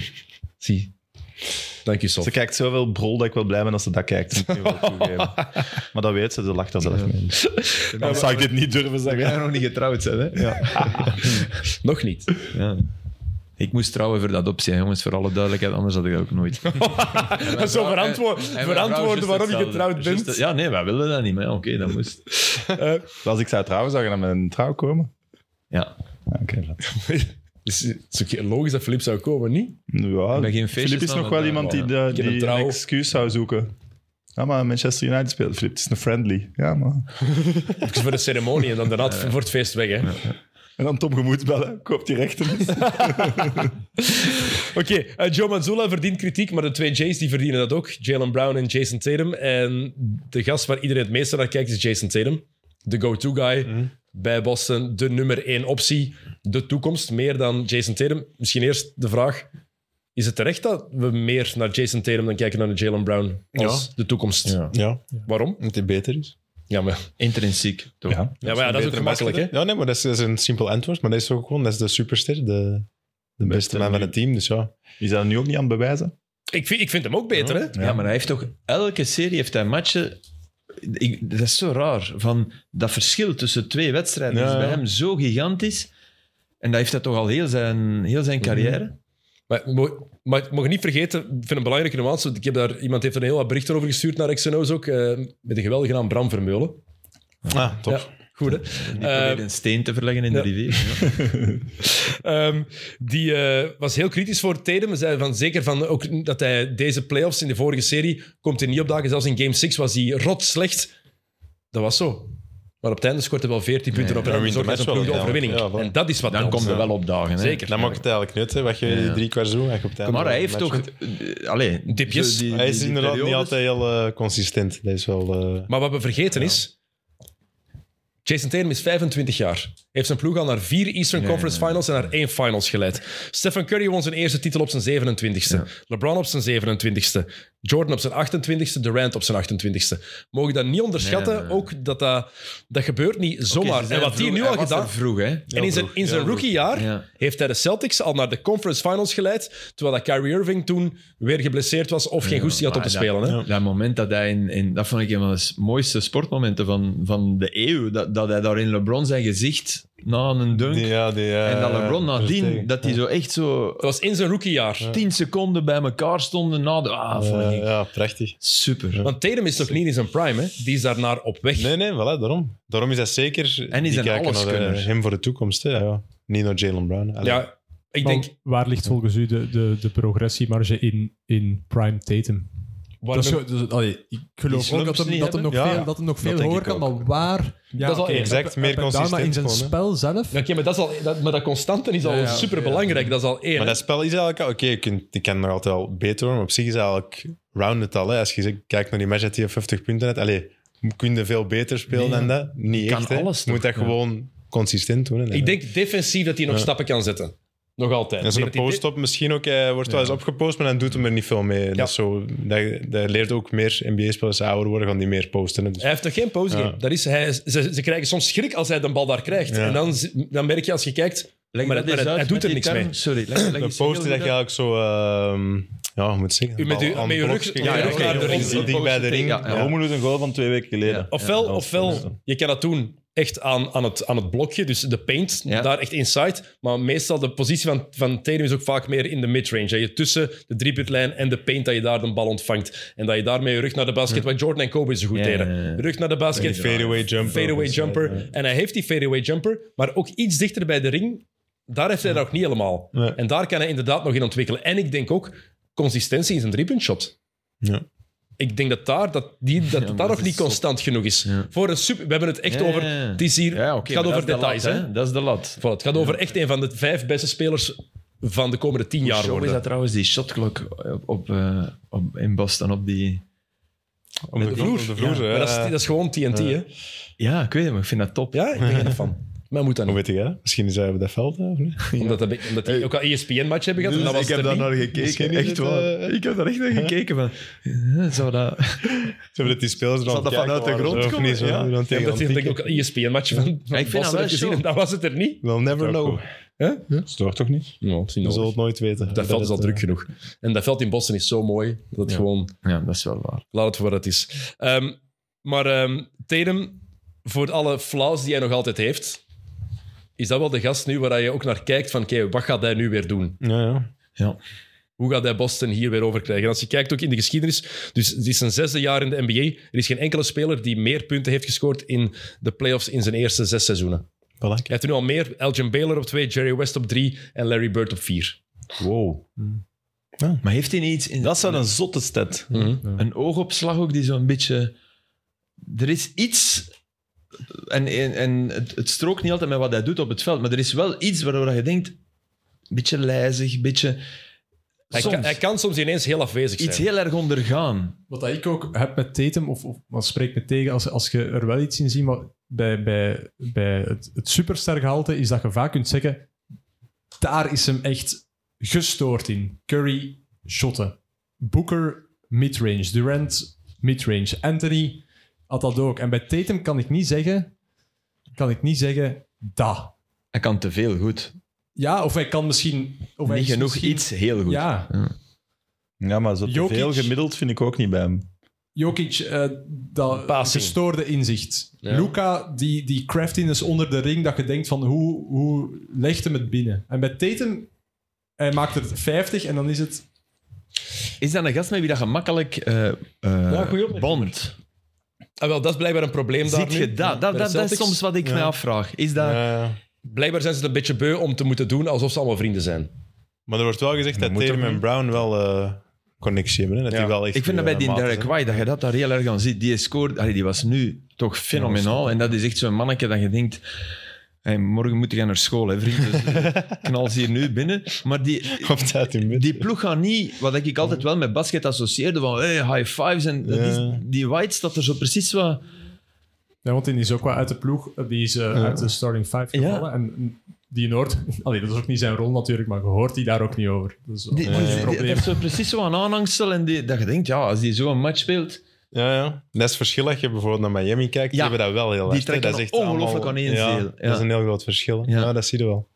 Zie. Dank je, Sof. Ze kijkt zoveel brol dat ik wel blij ben als ze dat kijkt. moet ik nu wel toegeven. maar dat weet ze, ze lacht daar zelf mee. Dan zou ik dit niet durven zeggen. Jij nog niet getrouwd zijn, hè? Nog niet. Ja. Ik moest trouwen voor dat optie, hè, jongens. Voor alle duidelijkheid, anders had ik dat ook nooit. En Zo mijn vrouw- verantwo- en- en mijn vrouw verantwoorden juist waarom je hetzelfde. getrouwd Juist- bent. ja, nee, wij wilden dat niet, maar ja, oké, dat moest. Als ik zou trouwen, zou je naar mijn trouw komen? Ja. Ah, Oké. laat. Dus het is ook logisch dat Filip zou komen, niet? Ja, Ik ben geen feestjes Filip is aan nog het wel iemand die, maken, de, Ik heb een die een trouw. excuus zou zoeken. Ja, maar Manchester United speelt. Filip, het is een friendly. Ja, maar... Even voor de ceremonie en dan daarna het- voor het feest weg. Hè. En dan Tom Gemoed bellen. Koop die rechten. Oké, eh, Joe Manzula verdient kritiek, maar de twee J's die verdienen dat ook. Jalen Brown en Jason Tatum. En de gast waar iedereen het meeste naar kijkt is Jason Tatum. De go-to guy Mhm. bij Boston. De nummer één optie. De toekomst, meer dan Jason Tatum. Misschien eerst de vraag... Is het terecht dat we meer naar Jason Tatum dan kijken dan naar Jalen Brown als de toekomst? Ja. Ja, Waarom? omdat hij beter is. Ja, maar Intrinsiek, toch? Ja. ja, maar ja, dat is ook gemakkelijk, hè? Ja, nee, maar dat is, dat is een simpel antwoord. Maar dat is ook gewoon, dat is de superster, de, de beste man van het team. Dus ja, Is dat nu ook niet aan het bewijzen? Ik vind, ik vind hem ook beter, hè? Ja. maar hij heeft toch... Elke serie heeft hij matchen... Ik, dat is zo raar. Van dat verschil tussen twee wedstrijden Ja, is bij ja. hem zo gigantisch. En dat heeft hij toch al heel zijn, heel Mhm. zijn carrière. Eh, Maar, mo- maar ik mag niet vergeten, ik vind het een belangrijke nuance. want Ik heb daar, iemand heeft er een heel wat berichten over gestuurd naar XNO's ook. eh, met de geweldige naam Bram Vermeulen. ah, top. Ja, goed hè. Die probeert een steen te verleggen in ja. de rivier. Ja. Ehm, die eh, was heel kritisch voor Tatum. Hij zei van, zeker van ook dat hij deze playoffs in de vorige serie komt hij niet opdagen. Zelfs in game 6 was hij rot slecht. Dat was zo. Maar op het einde scoort hij wel 14 punten Ja, op en dan dan zorgt hij wint de zijn ploeg de match wel, overwinning. ja. Ja, voilà. en dat is wat Dan telt. komt er wel opdagen. Hè. Zeker. Dan maakt het eigenlijk nut, hè, wat je Ja. drie kwart zo. Wat je op het einde Maar hij heeft match toch... wint. eh, Allee, Dipjes. zo die- die- Hij is die inderdaad niet periodes. altijd heel eh, consistent. Dat is wel... eh, Maar wat we vergeten is... Jason Tatum is 25 jaar. Heeft zijn ploeg al naar vier Eastern Ja, Conference Finals en naar één Finals geleid. Stephen Curry won zijn eerste titel op zijn 27ste. LeBron op zijn 27ste. Jordan op zijn 28ste. Durant op zijn 28ste. Mogen we dat niet onderschatten. Nee, nee, nee. Ook dat, dat dat gebeurt niet Oké, ze zomaar. zijn en wat hij vroeg- nu hij al was gedaan... er vroeg, hè? En in zijn, in zijn rookiejaar Ja. heeft hij de Celtics al naar de conference finals geleid. Terwijl dat Kyrie Irving toen weer geblesseerd was of geen goestie had om te Maar spelen. Dat, Hè? Ah, dat moment dat hij in, in- dat vond ik een van de mooiste sportmomenten van, van de eeuw. Dat, dat hij daar in LeBron zijn gezicht na een dunk. die, ja, die, eh, en dat LeBron nadien, tegen. dat hij zo echt zo eh, Dat was in zijn rookiejaar. tien seconden bij elkaar stonden na de. Ah, Eh, vond ik ja, prachtig. super. Want Tatum is toch niet in zijn prime, hè? Die is daarnaar op weg. Nee, nee, voilà, daarom. Daarom is dat zeker... En is die een kijken naar, eh, alleskunner. hem voor de toekomst, hè, ja. Niet naar Jalen Brown. Allee. Ja, ik Maar denk... Waar ligt volgens u de, de, de progressiemarge in, in prime Tatum? waar Dat is men- zo- dus, allee, ik geloof slumps ook dat hem, niet dat hem nog hebben? Ja, veel, dat hem nog veel denk hoger ik kan, ook. maar waar... Ja, is al oké, exact up- meer up en down, Maar in consistent zijn gewoon, hè. spel zelf... Ja, Oké, maar dat, is al, dat, maar dat constante is al Ja, ja, superbelangrijk. Dat is al één. Maar dat spel is eigenlijk... al- Oké, je kunt- die kan nog altijd wel beter worden, maar op zich is eigenlijk round het al. Hè. Als je zegt, kijkt naar die match dat hij 50 punten had. Allee, kun je veel beter spelen Nee, dan dat? Niet Kan echt. hè. alles je moet dat toch, ja. gewoon consistent doen. Hè. Ik denk defensief dat hij nog Ja. stappen kan zetten. Nog altijd. En zo'n Ik denk dat hij- post-op misschien ook, hij wordt wel eens opgepost, maar dan doet hem er niet veel mee. Dat, is zo, dat, dat leert ook meer NBA-spelers ouder worden, gaan die meer posten. hè. Dus Hij heeft nog geen postgame. Ja. Dat is, hij, ze, ze krijgen soms schrik als hij de bal daar krijgt. Ja. En dan, z- dan merk je als je kijkt, Leg maar, dat het- eens maar het- uit hij doet met er die niks term. mee. Sorry, leg, leg Een eens poster dat je heel eigenlijk zo, ehm, ja, hoe moet ik zeggen? U met Bal u- aan met de uw blok rug- schieten. ja, Ja, ja, oké, naar de ring. dicht- dicht bij de ring. Ja, ja. Ja. Rommel doet een goal van twee weken geleden. Ja. Ofwel, dat is ofwel je kan dat doen echt aan, aan, het, aan het blokje, dus de paint, Ja. daar echt inside. Maar meestal de positie van, van Tatum is ook vaak meer in de midrange. Dat je tussen de driepuntlijn en de paint, dat je daar de bal ontvangt. En dat je daarmee je rug naar de basket, wat Jordan en Kobe zo goed Ja, deden. ja, ja. Rug naar de basket, Fadeaway jumper. fadeaway Dus, jumper. ja. En hij heeft die fadeaway jumper, maar ook iets dichter bij de ring. Daar heeft hij dat nog niet helemaal. Nee. En daar kan hij inderdaad nog in ontwikkelen. En ik denk ook consistentie in zijn driepuntshot. Ja. Ik denk dat daar, dat die, dat, dat maar daar dat nog is niet zot. constant genoeg is. Ja. Voor een super, we hebben het echt Ja, over. ja, ja. Het, is hier, Ja, oké, het maar gaat dat over is de details. lat, hè? hè. Dat is de lat. Voilà, het gaat over echt een van de vijf beste spelers van de komende tien jaar. Show Worden. is dat trouwens die shotklok op, op, eh, op, in Boston op die... Op de vloer. Op de vloer, Maar hè. eh, dat, is, dat is gewoon TNT, hè? Ja, ik weet het, maar ik vind dat top. Ja, ik ben er van. Maar moet dat Hoe niet. weet je dat? Misschien zijn we dat veld, hè, of niet? Omdat, dat, omdat hij ook al E ESPN-match hebben Dus gehad. en dat was er niet. Misschien gekeken, is echt het, waar. eh, Ik heb daar echt naar gekeken van... Zou dat... Ze hebben dat die spelers er Zal aan dat het vanuit kijken de waren, grond zo, of komen? niet, zo, Ja. die er aan het Ja, tegen dat aan is het denk ik ook pieken. een E ESPN-match van, van ik vind dat Boston wel heb gezien show. en dat was het er niet. We'll never know. Dat stoort toch niet? Ja, het is niet We zullen nodig. het nooit weten. Dat veld is al het, druk eh, genoeg. En dat veld in Boston is zo mooi dat het Ja. gewoon... Ja, dat is wel waar. Laat het voor wat het is. Ehm, maar ehm Tatum, voor alle flaws die hij nog altijd heeft, is dat wel de gast nu waar je ook naar kijkt van oké, wat gaat hij nu weer doen? Ja, ja. Hoe gaat hij Boston hier weer overkrijgen? En als je kijkt ook in de geschiedenis, dus het is zijn zesde jaar in de NBA, er is geen enkele speler die meer punten heeft gescoord in de playoffs in zijn eerste zes seizoenen. Voilà, Hij heeft er nu al meer Elgin Baylor op twee, Jerry West op drie en Larry Bird op vier. Wow. Maar heeft hij niet iets... In, Dat is wel een zotte stat. Een oogopslag ook die zo'n beetje... Er is iets... En, en, en het, het strookt niet altijd met wat hij doet op het veld, maar er is wel iets waardoor je denkt... Een beetje lijzig, een beetje... Hij, soms kan, hij kan soms ineens heel afwezig zijn. iets heel erg ondergaan. Wat dat ik ook heb met Tatum, of, of wat spreekt me tegen, als, als je er wel iets in ziet, wat bij, bij, bij het, het superstergehalte is dat je vaak kunt zeggen, daar is hem echt gestoord in. Curry, shotten. Booker, midrange. Durant, midrange. Anthony had dat ook. En bij Tatum kan ik niet zeggen, kan ik niet zeggen, dat. Hij kan te veel goed. Ja, of hij kan misschien... Of hij Niet is genoeg, misschien- iets heel goed. Ja, Ja, maar zo te Jokic. veel gemiddeld vind ik ook niet bij hem. Jokic, eh dat Passing. gestoorde inzicht. Ja. Luca, die, die craftiness onder de ring, dat je denkt van hoe, hoe legt hem het binnen? En bij Tatum, hij maakt er 50 en dan is het... Is dat een gast met wie dat gemakkelijk eh eh goeie opmerking. bond? Ah, wel, dat is blijkbaar een probleem daar Ziet nu. je Bij dat? Dat, de dat, dat is Celtics. soms wat ik me afvraag. Is dat... Ja. Blijkbaar zijn ze het een beetje beu om te moeten doen alsof ze allemaal vrienden zijn. Maar er wordt wel gezegd dat moet Tatum ook en niet. Brown wel eh, connectie hebben. Hè? Dat Ja. die wel echt Ik vind dat bij eh, die maten Derek zijn. White, dat je dat daar heel erg aan ziet. Die scoort, allee, die was nu toch fenomenaal. En dat is echt zo'n manneke dat je denkt... hey, morgen moet je naar school, hè, vriend. Dus eh, knal ze hier nu binnen. Maar die, Op tijd in bed. die ploeg gaat niet... Wat ik altijd wel met basket associeerde, van hey, high fives. En dat Ja. is, die White staat er zo precies wat... Ja, want die is ook wel uit de ploeg, die is eh, uit de starting five Ja. gevallen. En die Noord, allee, dat is ook niet zijn rol natuurlijk, maar je hoort die daar ook niet over. Dat is wel Die, een die- die- probleem. dat is zo precies zo'n aanhangsel. En die, dat je denkt, ja, als die zo'n match speelt... Ja, ja. Dat is het verschil als je bijvoorbeeld naar Miami kijkt. Die Ja. hebben dat wel heel erg. Die hè. trekken dat is echt ongelooflijk allemaal- aan één ja, ziel. Dat Ja. is een heel groot verschil. Ja. Ja, dat zie je wel.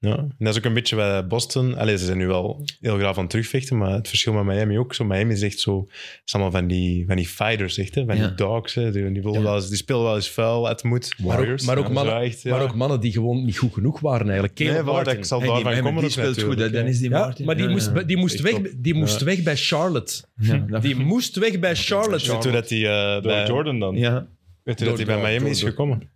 Ja. En dat is ook een beetje bij Boston. Allee, ze zijn nu wel heel graag aan het terugvechten, maar het verschil met Miami ook. Zo, Miami is echt zo... Het is allemaal van die, van die fighters, echt. Hè? Van Ja. die dogs. Hè? Die, die, willen wel eens- die spelen wel eens vuil, het moet. Maar ook, maar, ook Ja, mannen, zo echt, ja. maar ook mannen die gewoon niet goed genoeg waren eigenlijk. Caleb Nee, voilà, Martin. ik zal Hey, die, daarvan hey, maar komen. die ook speelt goed, hè, natuurlijk, dan is die Ja, Martin. maar die Ja, ja. moest, die moest, Echt weg, top. die moest Ja. weg bij Charlotte. Ja, dat- Die moest weg bij Weet je Charlotte. hoe dat die, eh, Door bij, Jordan dan. ja. weet je dat die bij Door- Miami door- is door- gekomen?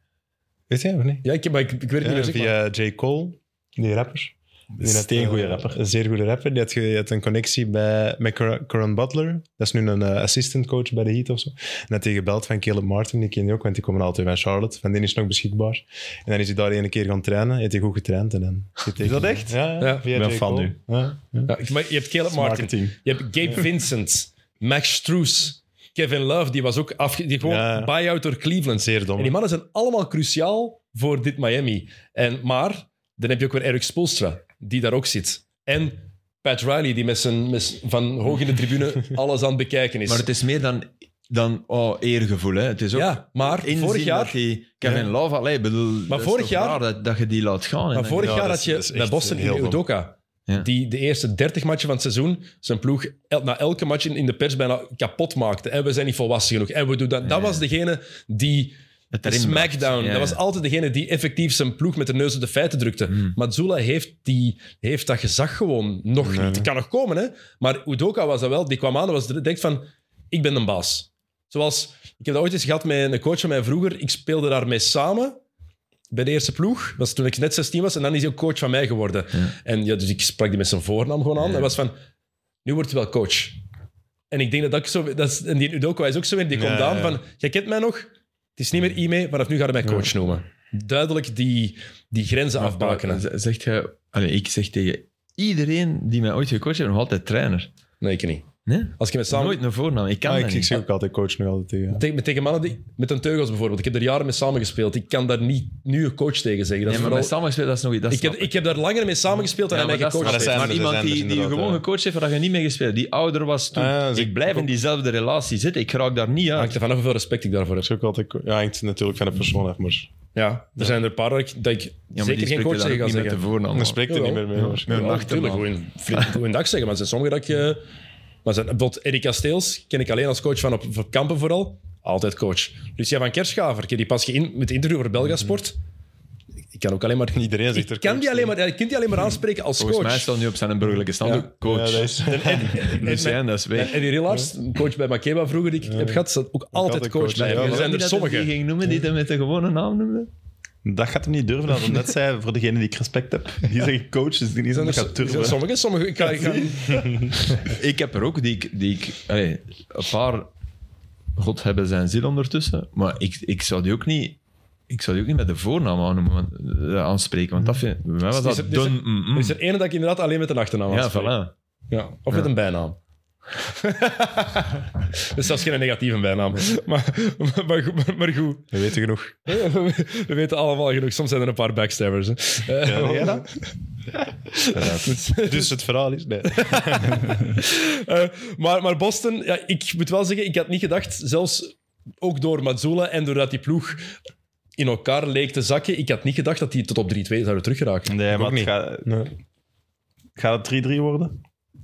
Weet jij of niet? Ja, ik, maar ik, ik weet het niet meer Ja, zeg maar. via J. Cole, die rapper. Die had, Steengoeie eh, rapper. Een zeer goede rapper. Die had, ge- die had een connectie bij, met Cor- Coran Butler. Dat is nu een eh, assistant coach bij de Heat of zo. En had hij gebeld van Caleb Martin, die ken je ook, want die komen altijd bij Charlotte. Van die is nog beschikbaar. En dan is hij daar ene keer gaan trainen. Heeft hij goed getraind. En dan is dat echt? Ja, ja, Ja. via Ik ben J. fan Cole. nu. Ja, ja. Ja, ik- maar je hebt Caleb Martin. Marketing. Je hebt Gabe Vincent. Max Struess, Kevin Love, die was ook afge- die gewoon Ja. buy-out door Cleveland. Zeer dom. En die mannen zijn allemaal cruciaal voor dit Miami. En, maar dan heb je ook weer Eric Spoelstra, die daar ook zit. En Pat Riley, die met zijn, met zijn- van hoog in de tribune alles aan het bekijken is. Maar het is meer dan, dan oh, eergevoel. Hè. Het is ook ja, maar inzien vorig jaar... dat die Kevin Love... Allee, ik bedoel, dat is vorig toch jaar- raar dat, dat je die laat gaan. en Maar dan- vorig ja, jaar dat had is- je dat is bij echt Boston in heel dom. Udoka. Ja. Die de eerste 30 matchen van het seizoen zijn ploeg el- na elke match in in de pers bijna kapot maakte. En we zijn niet volwassen genoeg. En we doen dat. Dat was degene die. Het De erin bracht. Smackdown. Ja, Dat ja. was altijd degene die effectief zijn ploeg met de neus op de feiten drukte. Hmm. Mazzula heeft, die, heeft dat gezag gewoon nog niet. Het kan nog komen, hè? Maar Udoka was dat wel. Die kwam aan en was denkt van: ik ben een baas. Zoals, ik heb dat ooit eens gehad met een coach van mij vroeger. Ik speelde daarmee samen bij de eerste ploeg. Dat was toen ik net 16 was. En dan is hij ook coach van mij geworden. En ja, dus ik sprak die met zijn voornaam gewoon aan. En was van, nu wordt hij wel coach. En ik denk dat dat ook zo... Dat is, en die Udoka is ook zo weer. Die komt Ja, aan ja. van, jij kent mij nog? Het is niet meer Ime, vanaf nu ga je mij coach noemen. Duidelijk die, die grenzen afbakenen. Z- Zegt je... Allee, ik zeg tegen iedereen die mij ooit gecoacht heeft, nog altijd trainer. Nee, ik niet. Nee? Als ik met samen... Nooit een voornaam. Ik kan Ah, dat ik, ik niet. zeg ook altijd coach nu altijd tegen. Tegen, met- tegen mannen die... Met een teugels bijvoorbeeld. Ik heb er jaren mee samengespeeld. Ik kan daar niet nu een coach tegen zeggen. Dat Nee, is maar vooral- met samengespeeld, dat is nog iets. Dat ik, heb, snap ik heb daar langer mee samengespeeld dan Ja, hij mij dat is- gecoacht maar dat heeft. zijn maar er, iemand die, zijn er die je inderdaad, gewoon ja. gecoacht heeft, waar je niet mee gespeeld hebt, die ouder was toen. Ah, dus ik ik- blijf in diezelfde relatie zitten. Ik raak daar niet uit. Hangt er vanaf hoeveel respect ik daarvoor heb. Ik zeg ook altijd, co- ja, hangt natuurlijk van de persoon af, maar Ja, er zijn er een paar dat ik, dat ik Ja, maar die zeker geen spreekt coach daar tegen ook ga niet met de zeggen. voornaam. dan spreekt er niet meer mee. hoor. Ja, nacht natuurlijk, erna. goeien- vriend- goeiendag zeggen. Maar er zijn sommige dat ik... eh, maar zijn, bijvoorbeeld Erik Kasteels ken ik alleen als coach van op, op kampen vooral. Altijd coach. Lucia van Kerschaver, ik heb die pas geïn, met interview over Mhm. Belgasport. Ik kan ook alleen maar... Iedereen Ik zegt er kan coach die alleen maar, ik kan die alleen maar aanspreken als Volgens mij coach. staat nu op zijn burgerlijke stand ook coach. Ja, dat is- Lucien, dat is weg. En Eddie Rillaars, coach bij Makeba vroeger die ik heb gehad, staat ook altijd altijd coach coach, bij. ja, Er maar- zijn Niet er dat sommigen. hij Die ging noemen die dat met de gewone naam noemde. Dat gaat hem niet durven, dat ik net zei, voor degene die ik respect heb. Die zeggen coach, dus die is aan Er de zijn gaat er durven. sommigen, sommigen. Ik ga, ik ga- Ik heb er ook die ik... Die ik allee, een paar... God hebben zijn zin ondertussen. Maar ik, ik zou die ook niet... Ik zou die ook niet met de voornaam aannoemen, want, eh, aanspreken. Want dat vind, bij mij was Dus dat... is er- dus dun, mm, mm. Er is er ene dat ik inderdaad alleen met een achternaam ja, aanspreek. voilà. Ja, of met een bijnaam. dus dat is geen negatieve bijnaam. Maar, maar, maar, goed- maar goed, We weten genoeg. we weten allemaal genoeg. Soms zijn er een paar backstabbers. hè. Eh, Ja, dat? Dus het verhaal is... Nee. eh, maar, maar Boston, ja, ik moet wel zeggen, ik had niet gedacht, zelfs ook door Mazzula en doordat die ploeg in elkaar leek te zakken, ik had niet gedacht dat die tot op 3-2 zouden teruggeraken. Nee, maar ook het niet. gaat, Nee. gaat het 3-3 worden?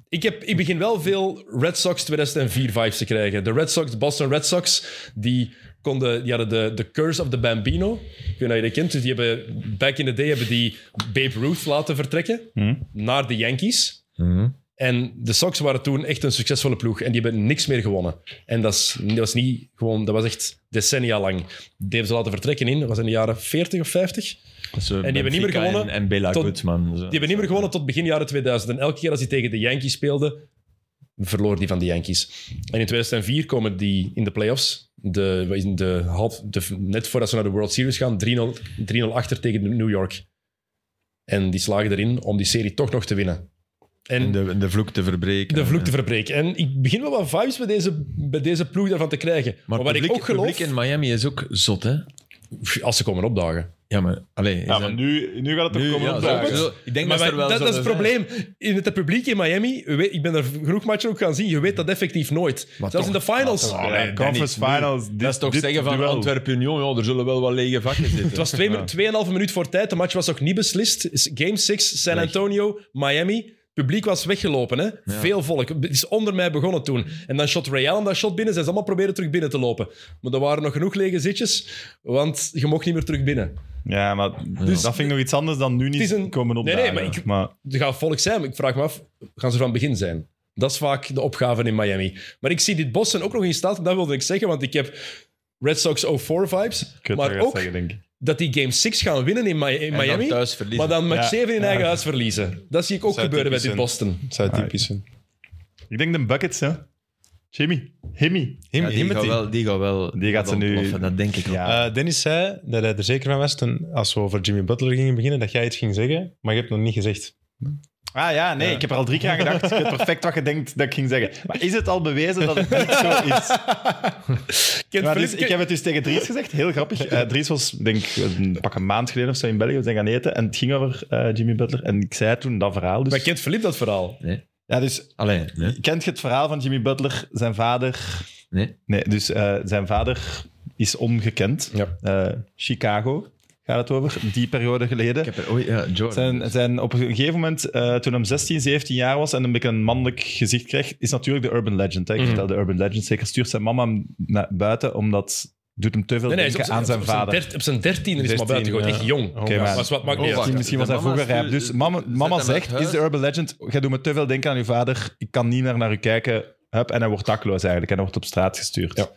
Ik, heb, ik begin wel veel Red Sox 2004-vibes te krijgen. De Red Sox, de Boston Red Sox, die, konden, die hadden de, de Curse of the Bambino. Ik weet niet of je dat kent. Dus die hebben, back in the day hebben die Babe Ruth laten vertrekken naar de Yankees. En de Sox waren toen echt een succesvolle ploeg. En die hebben niks meer gewonnen. En dat, is, dat was niet gewoon... Dat was echt decennia lang. Die hebben ze laten vertrekken in... Dat was in de jaren 40 of 50. Dus, eh, die hebben niet meer Benfica gewonnen En, en Bela tot- Goodman. Zo. Die hebben niet meer gewonnen tot begin jaren 2000. En elke keer als hij tegen de Yankees speelde, verloor die van de Yankees. En in 2004 komen die in de playoffs. De, wat is het, de half, de, net voordat ze naar de World Series gaan, 3-0 3-0 achter tegen New York. En die slagen erin om die serie toch nog te winnen. En En de, de, de vloek te verbreken. vloek te verbreken. En ik begin wel wat vibes bij deze, bij deze ploeg daarvan te krijgen. Maar, Maar, wat publiek, ik ook geloof, publiek in Miami is ook zot, hè? pff, als ze komen opdagen. Ja, maar... Allee, is Ja, dat- maar nu, nu gaat het Nu, er komen ja, opdagen. zo- zo- ik denk Maar dat ze er wij- wel dat, dat is het zullen probleem. In het publiek in Miami, je weet- ik ben er genoeg matchen ook gaan zien, je weet dat effectief nooit. Maar Zelfs in toch. de finals. Ja, Allee, conference Danny, finals. Dit, Dat is toch dit zeggen van duel. Antwerpen-Union, ja, er zullen wel wat lege vakken zitten. Het was twee, minu- tweeënhalve minuut voor tijd. De match was nog niet beslist. Is Game 6, San Antonio, Miami. Het publiek was weggelopen. Hè? Veel volk. Het is onder mij begonnen toen. En dan shot Ray Allen dat shot binnen. Zijn ze allemaal proberen terug binnen te lopen. Maar er waren nog genoeg lege zitjes, want je mocht niet meer terug binnen. Ja, maar dat vind ik nog iets anders dan nu niet Het is een- komen Nee, opdagen. nee, maar ik- Er gaat volk zijn, maar ik vraag me af, gaan ze van begin zijn? Dat is vaak de opgave in Miami. Maar ik zie dit Boston ook nog in staat, en dat wilde ik zeggen, want ik heb Red Sox 04-vibes, Ik weet wat maar je gaat ook zeggen, denk ik. dat die Game 6 gaan winnen in, Mi- in En dan Miami, thuis verliezen. maar dan match Ja. 7 in Ja. eigen huis verliezen. Dat zie ik ook Zou gebeuren met dit typisch Boston. Het zou typisch zijn. Ik denk de Buckets, hè. Jimmy. Himmy. Him, Ja, die, him het gaat ding. wel, die gaat wel... Die gaat ze nu- ontploffen, Dat denk ik wel. Ja. Eh, Dennis zei dat hij er zeker van was toen, als we over Jimmy Butler gingen beginnen, dat jij iets ging zeggen, maar je hebt nog niet gezegd. Ah ja, nee, ik heb er al drie keer aan gedacht. Ik weet perfect wat je denkt dat ik ging zeggen. Maar is het al bewezen dat het niet zo is? Kent Maar Filip- dus, ik heb het dus tegen Dries gezegd, heel grappig. Eh, Dries was, denk ik, een pak een maand geleden of zo in België. We zijn gaan eten en het ging over eh, Jimmy Butler. En ik zei toen dat verhaal. Maar Dus, kent Filip dat verhaal? ja, dus Alleen, nee. kent je het verhaal van Jimmy Butler? Zijn vader... Nee. Nee, dus eh, zijn vader is ongekend. Ja. Eh, Chicago gaat het over, die periode geleden. Ik heb er ooit... Ja, Jordan. dus. Zijn, zijn op een gegeven moment, eh, toen hij 16, 17 jaar was en een beetje een mannelijk gezicht kreeg, is natuurlijk de urban legend. Hè? Ik Mhm. vertel de urban legend zeker. Stuurt zijn mama hem naar buiten, omdat doet hem te veel Nee, nee, hij is denken op zijn- aan zijn op vader. dert- Op zijn dertiende is hij maar buiten 13, gewoon ja. echt jong. Oké, Oké, maar- maar wat maakt Oh, niet uit. wacht. Misschien was De hij mama vroeger rijp. stuurt- Dus mama, mama hem uit zegt, huis. is de urban legend, jij doet me te veel denken aan je vader, ik kan niet meer naar u kijken. Hup, en hij wordt dakloos eigenlijk en hij wordt op straat gestuurd.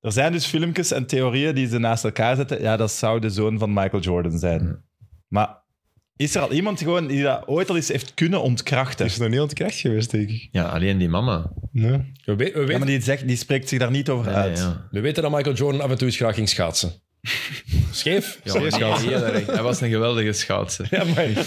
Er zijn dus filmpjes en theorieën die ze naast elkaar zetten. Ja, dat zou de zoon van Michael Jordan zijn. Hmm. Maar is er al iemand gewoon die dat ooit al eens heeft kunnen ontkrachten? Is het nog niet aan het krijgen geweest, denk ik. Ja, alleen die mama. Nee. We, we- we- Ja, maar die, zegt, die spreekt zich daar niet over Nee, uit. ja. we weten dat Michael Jordan af en toe eens graag ging schaatsen. Scheef? Ja, maar die- heel erg. Hij was een geweldige schaatser. Ja, maar... Echt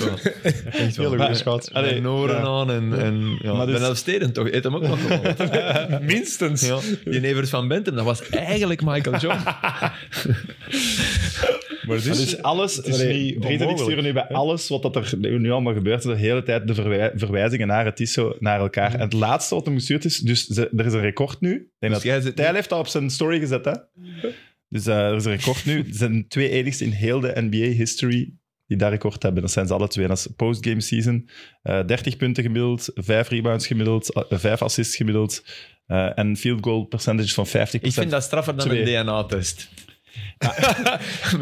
Heel wel. goede schat. Allee, en oren aan en... en ja. Maar dus- Ben Elfsteden toch? Eet hem ook nog gewoon. Minstens. ja. Die Evert van Bentham, dat was eigenlijk Michael Jordan. Maar dus, alles is Allee, niet Dries en ik onmogelijk, sturen nu bij alles wat dat er nu nu allemaal gebeurt, de hele tijd de verwij- verwijzingen naar het is zo naar elkaar. En het laatste wat hem gestuurd is, dus ze- er is een record nu. Ik Denk Mm. Dus dat, jij zit Tijl heeft dat op zijn story gezet, hè? Dus eh, er is een record nu. Er zijn twee enigste in heel de NBA-history die dat record hebben. Dat zijn ze alle twee. Dat is postgame season. Eh 30 punten gemiddeld, 5 rebounds gemiddeld, 5 assists gemiddeld. eh, en field goal percentage van 50%. Ik vind dat straffer dan Twee. een DNA-test.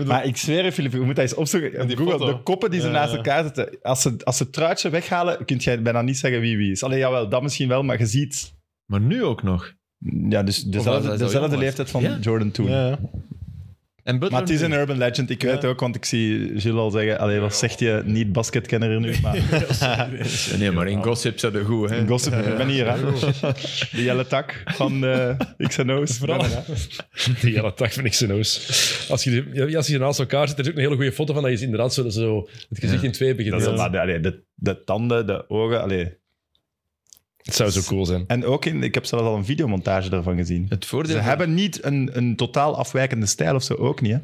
Maar ik zweer je, Filip, je moet dat eens opzoeken. op Google, foto. de koppen die ze Ja, naast ja. elkaar zetten. Als ze, als ze het truitje weghalen, kun jij bijna niet zeggen wie wie is. Alleen jawel, dat misschien wel, maar je ziet... Maar nu ook nog. Ja, dus was dezelfde, hij zo dezelfde jong was. leeftijd van Ja. Jordan toen. Ja, ja. En Butler Maar het is nu. een urban legend, ik weet het ook, want ik zie Gilles al zeggen... Allee, wat zegt je niet-basketkenner hier nu? Maar Nee, maar in gossip zat het goed, hè. gossip, ik ben hier, hè. De jelle tak van eh XNO's. Vooral. Die hele dag van XNO's. Als je, die- als je die naast elkaar zit, er is ook een hele goede foto van dat je inderdaad zo, zo het gezicht Ja. in twee begint. Dat is te- al- maar, allee, de, de tanden, de ogen, allee. Het zou zo cool zijn. En ook in... Ik heb zelfs al een videomontage daarvan gezien. Het Ze voordeel van- hebben niet een, een totaal afwijkende stijl of zo, ook niet, hè?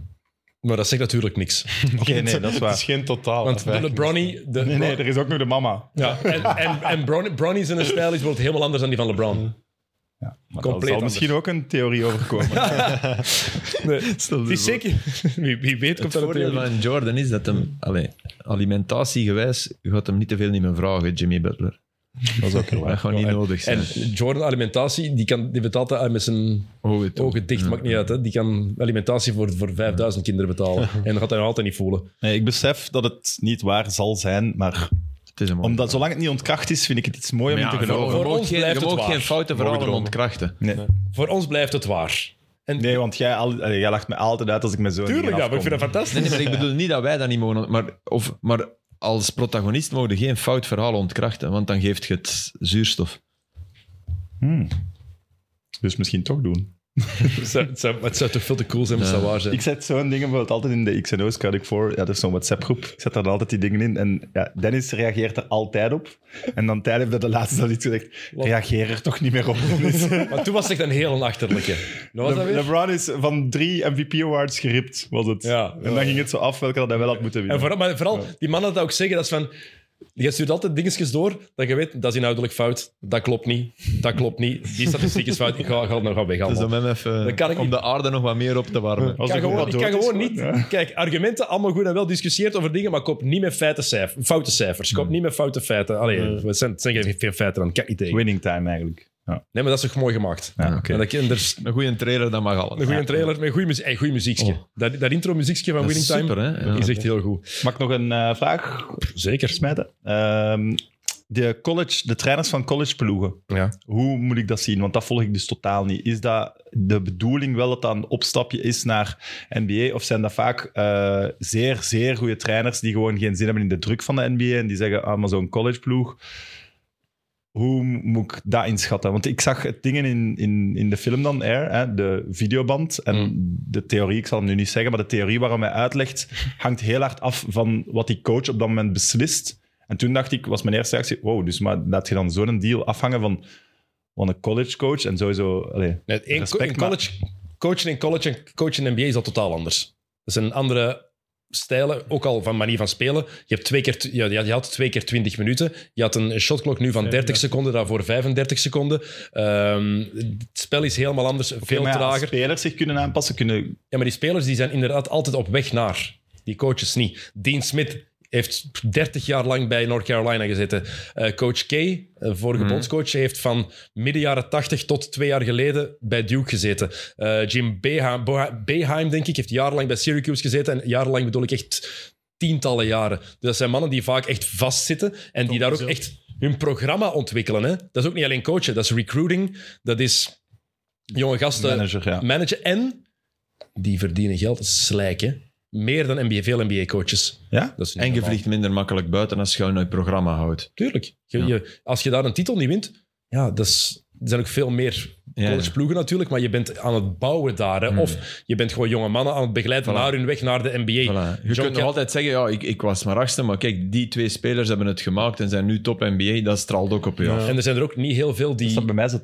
Maar dat zegt natuurlijk niks. Oké, nee, dat is Het is waar. geen totaal. Want de afwijking. Bronny... De Nee, nee, er is ook nog de mama. ja, en, en, en Bronny, Bronny zijn stijl is bijvoorbeeld helemaal anders dan die van LeBron. Maar Compleet daar zal anders. misschien ook een theorie over komen. Nee, het is zeker... Wie, wie weet komt Het dat voordeel natuurlijk. van Jordan is dat hem... Allee, alimentatiegewijs gaat hem niet te veel niet meer vragen, Jimmy Butler. dat is ook heel Dat gaat niet nodig zijn. En Jordan alimentatie, die, kan, die betaalt dat eh, met zijn Ogen toe. ogen dicht, maakt niet uit. Hè. Die kan alimentatie voor, voor 5000 kinderen betalen. En dat gaat hij nog altijd niet voelen. Nee, ik besef dat het niet waar zal zijn, maar Het is een mooi omdat zolang het niet ontkracht is, vind ik het iets mooi om Maar in te ja, geloven. voor je mag ons geen, blijft je het mag waar. geen foute verhalen ontkrachten. Nee. Voor ons blijft het waar. En Nee, want jij, al, allee, jij lacht me altijd uit als ik met zo'n tuurlijk, dingen ja, maar ik vind dat afkom. fantastisch. Nee, nee, maar ik bedoel niet dat wij dat niet mogen... ont- Maar, of, maar als protagonist mogen we geen fout verhaal ontkrachten, want dan geeft je het zuurstof. Dus misschien toch doen. Het zou, het zou- het zou toch veel te cool zijn als dat waar zijn. Ik zet zo'n dingen bijvoorbeeld altijd in de XNO's, code ik voor. Ja, er is zo'n WhatsApp-groep. Ik zet daar dan altijd die dingen in. En ja, Dennis reageert er altijd op. En dan Tijl heeft dat de laatste al iets gezegd. Reageer er toch niet meer op. Dennis. Maar toen was het echt een heel achterlijke. Nou, was dat Le- weer? LeBron is van drie MVP-awards geript, was het. Ja. en dan ging het zo af welke dat hij wel had moeten En winnen. vooral, maar vooral, die mannen dat ook zeggen, dat is van... Je stuurt altijd dingetjes door dat je weet, dat is inhoudelijk fout, dat klopt niet, dat klopt niet, die statistiek is fout, ik ga, ga, nou, ga weg Dus allemaal. om hem even... Dat kan ik om niet. de aarde nog wat meer op te warmen. Als Ik kan er gewoon, wat ik kan dood is, gewoon niet. Kijk, argumenten allemaal goed en wel discussieerd over dingen, maar koop niet met feiten cijf- foute cijfers. Koop niet met foute feiten. Allee, het zijn, het zijn geen geen feiten dan. Kijk niet tegen. Winning time eigenlijk. Ja. Nee, maar dat is toch mooi gemaakt. Ja, En dat kinders, Een goede trailer, dat mag alles. een goede trailer met goede muziek. muziekje. Dat, dat intro muziekje van Dat Winning is Time super, hè? Ja. is echt heel goed. Mag ik nog een eh, vraag Zeker. smijten? Ehm, de, college, de trainers van collegeploegen, Ja. hoe moet ik dat zien? Want dat volg ik dus totaal niet. Is dat de bedoeling wel dat dat een opstapje is naar NBA? Of zijn dat vaak eh, zeer, zeer goede trainers die gewoon geen zin hebben in de druk van de NBA en die zeggen, ah, maar zo'n collegeploeg... Hoe moet ik dat inschatten? Want ik zag het dingen in, in, in de film dan, Air, hè, de videoband. En Mm. de theorie, ik zal hem nu niet zeggen, maar de theorie waarom hij uitlegt, hangt heel hard af van wat die coach op dat moment beslist. En toen dacht ik, was mijn eerste reactie, wow, dus maar laat je dan zo'n deal afhangen van, van een college coach en sowieso... Allee, Nee, in, Respect, in college, Coachen in college en coachen in NBA is dat totaal anders. Dat zijn andere stijlen, ook al van manier van spelen. Je, hebt twee keer, tw- ja, je had twee keer 20 minuten. Je had een shotklok nu van 30 seconden, daarvoor 35 seconden. Ehm, het spel is helemaal anders, veel maar ja, als trager. spelers zich kunnen aanpassen, kunnen... Ja, maar die spelers die zijn inderdaad altijd op weg naar. Die coaches niet. Dean Smith heeft 30 jaar lang bij North Carolina gezeten. Eh, coach K, eh, vorige bondscoach, heeft van midden jaren 80 tot twee jaar geleden bij Duke gezeten. Eh, Jim Beha- Boha- Beheim, denk ik, heeft jarenlang bij Syracuse gezeten. En jarenlang bedoel ik echt tientallen jaren. Dus dat zijn mannen die vaak echt vastzitten en die daar ook echt hun programma ontwikkelen. Hè? Dat is ook niet alleen coachen, dat is recruiting, dat is jonge gasten Manager, ja. Mm. managen. En die verdienen geld als slijk, hè? Meer dan NBA, veel NBA-coaches. Ja? Dat is niet En je normaal. vliegt minder makkelijk buiten als je gewoon uit programma houdt. Tuurlijk. Je- Ja. je- als je daar een titel niet wint, ja, dat is, er zijn ook veel meer Ja, Hmm. collegeploegen natuurlijk, maar je bent aan het bouwen daar. Hè? Of je bent gewoon jonge mannen aan het begeleiden Voilà. naar hun weg naar de NBA. John Voilà. Je kunt nog Cal- altijd zeggen, ja, ik, ik was maar achtste, maar kijk, die twee spelers hebben het gemaakt en zijn nu top NBA. Dat straalt ook op je af. En er zijn er ook niet heel veel Dus die... dat bij mij ze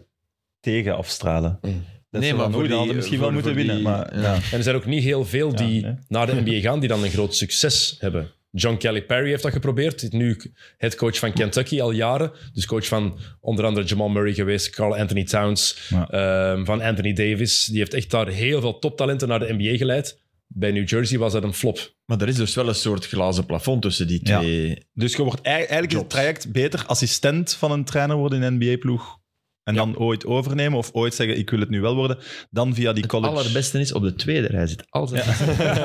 tegen afstralen. Dat Mm. Nee, ze maar dan voor ook- die- die hadden misschien voor- wel moeten voor die- winnen, maar... ja. Ja. En er zijn ook niet heel veel die nee. naar de NBA gaan, die dan een groot succes hebben. John Calipari heeft dat geprobeerd. Hij is Nu headcoach van Kentucky al jaren. Dus coach van onder andere Jamal Murray geweest, Carl Anthony Towns, Ja. ehm, van Anthony Davis. Die heeft echt daar heel veel toptalenten naar de NBA geleid. Bij New Jersey was dat een flop. Maar er is dus wel een soort glazen plafond tussen die Ja. twee. Dus je wordt ei- eigenlijk is het traject beter assistent van een trainer worden in een NBA-ploeg. En dan ooit overnemen of ooit zeggen: Ik wil het nu wel worden. Dan via die college. allerbeste is op de tweede rij zit altijd. en dan een heel,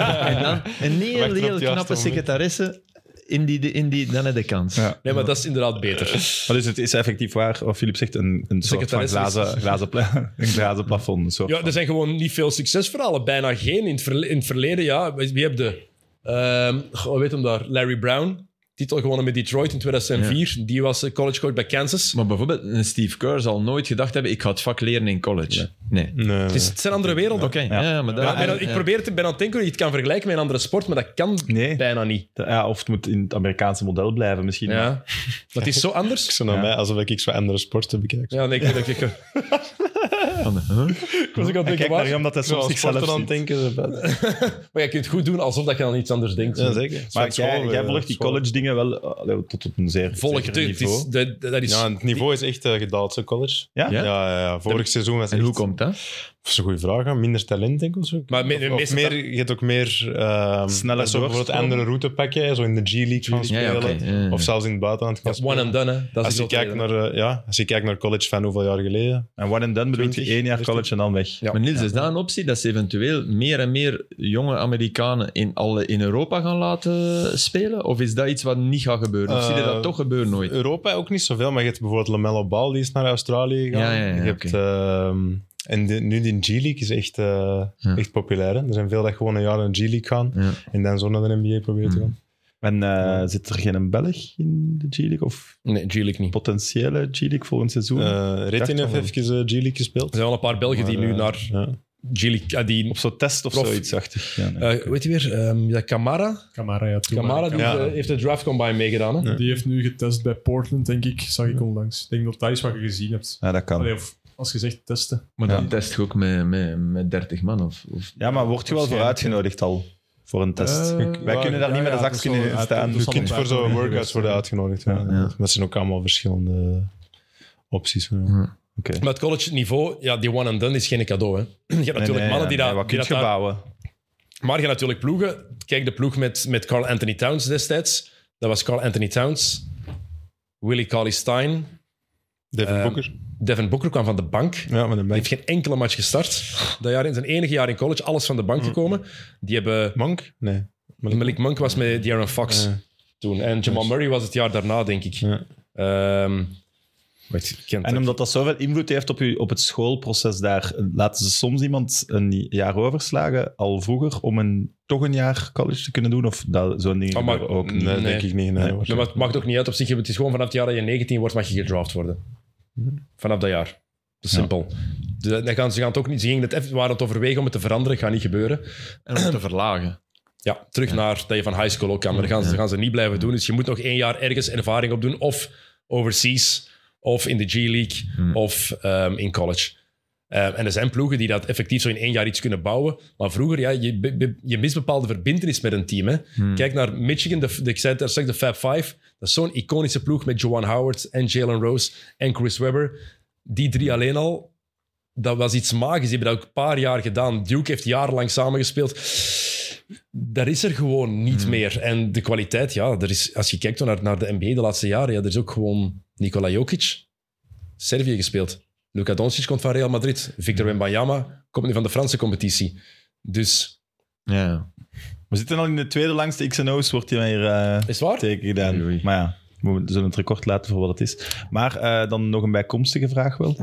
Wachten op heel het juiste knappe moment. secretaresse. In die, in die, dan heb je de kans. Ja. Nee, maar dat is inderdaad beter. Maar dus het is effectief waar, wat Filip zegt, een, een soort van Secretaris is- glazen, glazen, pla- een glazen plafond. Een soort Ja, er zijn gewoon niet veel succesverhalen. Bijna geen. In het, verle- in het verleden, ja. Wie heb de... ehm goh, weet hem daar? Larry Brown. Titel gewonnen met Detroit in 2004. Die was eh, collegecoach bij Kansas. Maar bijvoorbeeld een Steve Kerr zal nooit gedacht hebben, ik ga het vak leren in college. Nee. Nee, Het, is, het zijn andere werelden. Oké, ja. maar daar- Ja, ik ben aan- ja. ik probeer het, ben aan het denken hoe je het kan vergelijken met een andere sport, maar dat kan Nee. bijna niet. van- ja, of het moet in het Amerikaanse model blijven misschien. Ja. Dat is zo Ik anders. zo naar Ja. mij alsof ik zo andere sporten bekijk. Ja, nee, ik, weet dat ik, Van, huh? ik was ook aan het Ik denken, kijk waar- naar hem dat hij soms zichzelf dan ziet. denken ze buiten. Maar je kunt goed doen alsof dat je aan iets anders denkt. Ja, zeker. eh, Maar jij, jij volgt die college dingen wel eh, allee, tot op een zeer Volg zeker het. Het niveau. is, dat, dat is, Ja, en het niveau is echt eh, gedaald, zo college. Ja? Ja, ja, ja. Vorig seizoen was En hoe echt- komt dat? Dat is een goede vraag. hè. Minder talent, denk ik. Of, zo. Maar me- Of- of meestal- meer, je hebt ook meer... ehm Sneller zo bijvoorbeeld doorstromen. andere route pakken. hè, Zo in de G-League gaan Ja, spelen. ja, oké, ja, ja. Of zelfs in het buitenland gaan ja, one and done, hè. Dat als is je, het kijkt naar, eh, ja, als je kijkt naar college van hoeveel jaar geleden. En one and done bedoelt je 20, één jaar 15. college en dan weg. Ja. Maar Niels, is dat een optie dat ze eventueel meer en meer jonge Amerikanen in, alle, in Europa gaan laten spelen? Of is dat iets wat niet gaat gebeuren? Of zie je dat Eh, toch gebeuren nooit? Europa ook niet zoveel, maar je hebt bijvoorbeeld Lamello Ball, die is naar Australië gegaan. Ja, ja, ja, je hebt, oké. ehm, en de- nu die G-League is echt, eh, Ja. echt populair. Hè? Er zijn veel dat gewoon een jaar in de G-League gaan Ja. en dan zo naar de NBA proberen Mm. te gaan. En eh, zit er geen Belg in de G-League? Of Nee, G-League niet. potentiële G-League volgend seizoen. Eh Retin dacht heeft wel. even eh, G-League gespeeld. Er zijn wel een paar Belgen die Maar, nu eh, naar ja. G-League... ah, die, op zo'n test of Prof. zoiets, dacht ik. Ja, nee. eh, weet je weer? ehm, dat Kamara? Camara, ja. toen Kamara maar- die Ja. heeft, eh, heeft de draft combine meegedaan, hè. Die heeft nu getest bij Portland, denk ik. Zag ik onlangs. Ik denk dat dat is wat je gezien hebt. ja, dat kan. Allee, of als je zegt testen. Maar Ja. dan test je ook met, met, met 30 man? Of, of... Ja, maar word je wel voor uitgenodigd al voor een test? Eh, Wij ja, kunnen daar ja, niet met de ja, zak dat kunnen zal wel- staan. dat Je zal kunt wel Dus voor zo'n uitnodiging workouts geweest worden zijn. uitgenodigd. Ja. Ja. Mm. Ja. Dat zijn ook allemaal verschillende opties. Ja. Oké. Maar het college niveau, ja, die one and done is geen cadeau. Hè. Je hebt natuurlijk Nee, nee, mannen die nee, dat, Wat die kun je dat daar- bouwen? Maar je hebt natuurlijk ploegen. Kijk, de ploeg met, met Carl Anthony Towns destijds. Dat was Carl Anthony Towns, Willie Carly Stein. Devin Eh, Ehm, Booker. Devin Booker kwam van de bank. Die Ja, met een heeft bank. geen enkele match gestart. Dat jaar in zijn enige jaar in college, alles van de bank gekomen. Die hebben... Mm. Monk? Nee. Malik Monk was met De'Aaron Fox Ja. toen. En Jamal Murray was het jaar daarna, denk ik. Ja. Ehm, wacht, ik ken En het. omdat dat zoveel invloed heeft op, u, op het schoolproces daar, laten ze soms iemand een jaar overslagen, al vroeger, om een, toch een jaar college te kunnen doen? Of dat, zo'n ding Oh, maar- gebeuren ook niet? Nee, Nee. denk ik niet. Nee, Nee, hoor. Nee, maar het maakt ook niet uit op zich. Het is gewoon vanaf het jaar dat je 19 wordt, mag je gedraft worden. Vanaf dat jaar. Dat is Ja. simpel. Dus dat- dat gaan, ze gaan het ook niet, ze gingen het even, waren het overwegen om het te veranderen, gaat niet gebeuren. En om te verlagen. Ja, terug naar dat je van high school ook kan. Maar dat gaan ze, dat gaan ze niet blijven doen. Dus je moet nog één jaar ergens ervaring opdoen. Of overseas, of in de G-League, of ehm, in college. Eh, en er zijn ploegen die dat effectief zo in één jaar iets kunnen bouwen. Maar vroeger, ja, je, be- be- je mist bepaalde verbindenis met een team. Hè. Kijk naar Michigan, de, de, ik zei het daar straks, de Fab Five. Dat is zo'n iconische ploeg met Joan Howard en Jalen Rose en Chris Webber. Die drie alleen al, dat was iets magisch. Die hebben dat ook een paar jaar gedaan. Duke heeft jarenlang samengespeeld. Dat is er gewoon niet meer. En de kwaliteit, ja, er is, als je kijkt naar, naar de NBA de laatste jaren, ja, er is ook gewoon Nikola Jokic, Servië gespeeld. Luka Doncic komt van Real Madrid. Victor Wembanyama komt nu van de Franse competitie. Dus, Ja. We zitten al in de tweede langste X&O's, wordt hier weer eh, is het waar? teken gedaan. Oei. Maar ja, we zullen het record laten voor wat het is. Maar eh, dan nog een bijkomstige vraag wel.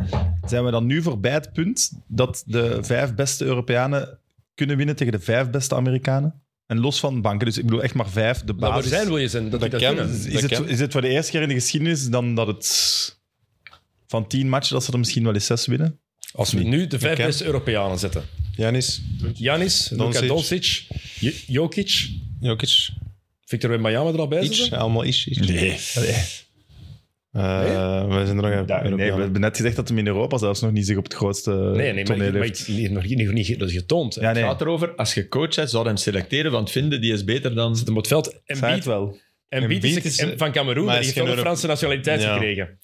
Zijn we dan nu voorbij het punt dat de vijf beste Europeanen kunnen winnen tegen de vijf beste Amerikanen? En los van banken, dus ik bedoel echt maar vijf, de Nou, Maar waar basis. zijn wil je zijn? Dat, dat die dat kan. kunnen. Is, Dat het, kan. is het voor de eerste keer in de geschiedenis dan dat het van tien matchen, dat ze er misschien wel eens zes winnen? Als we nu de vijf kan. beste Europeanen zetten. Janis, Janis, Luka Doncic. Doncic, Jo- Jokic, Jokic, Victor Wembanyama er al bij. Iets, zitten? allemaal iets. iets. Nee. Eh, We zijn er nog even. Ja, nee, we Europeanen. hebben net gezegd dat hem in Europa zelfs nog niet zich op het grootste Nee, nee, maar, eh, toneel maar heeft. iets- niet- nog niet, nog niet dat is getoond. hè. Ja, Ze nee, Het gaat erover, als je coach bent, zou je hem selecteren, want vinden die is beter dan... zitten op Dus het veld. En zei Beat, het wel. en Beat Embiid is is- en van Cameroen, maar maar die heeft is geen wel de Euro- Franse nationaliteit Ja. gekregen.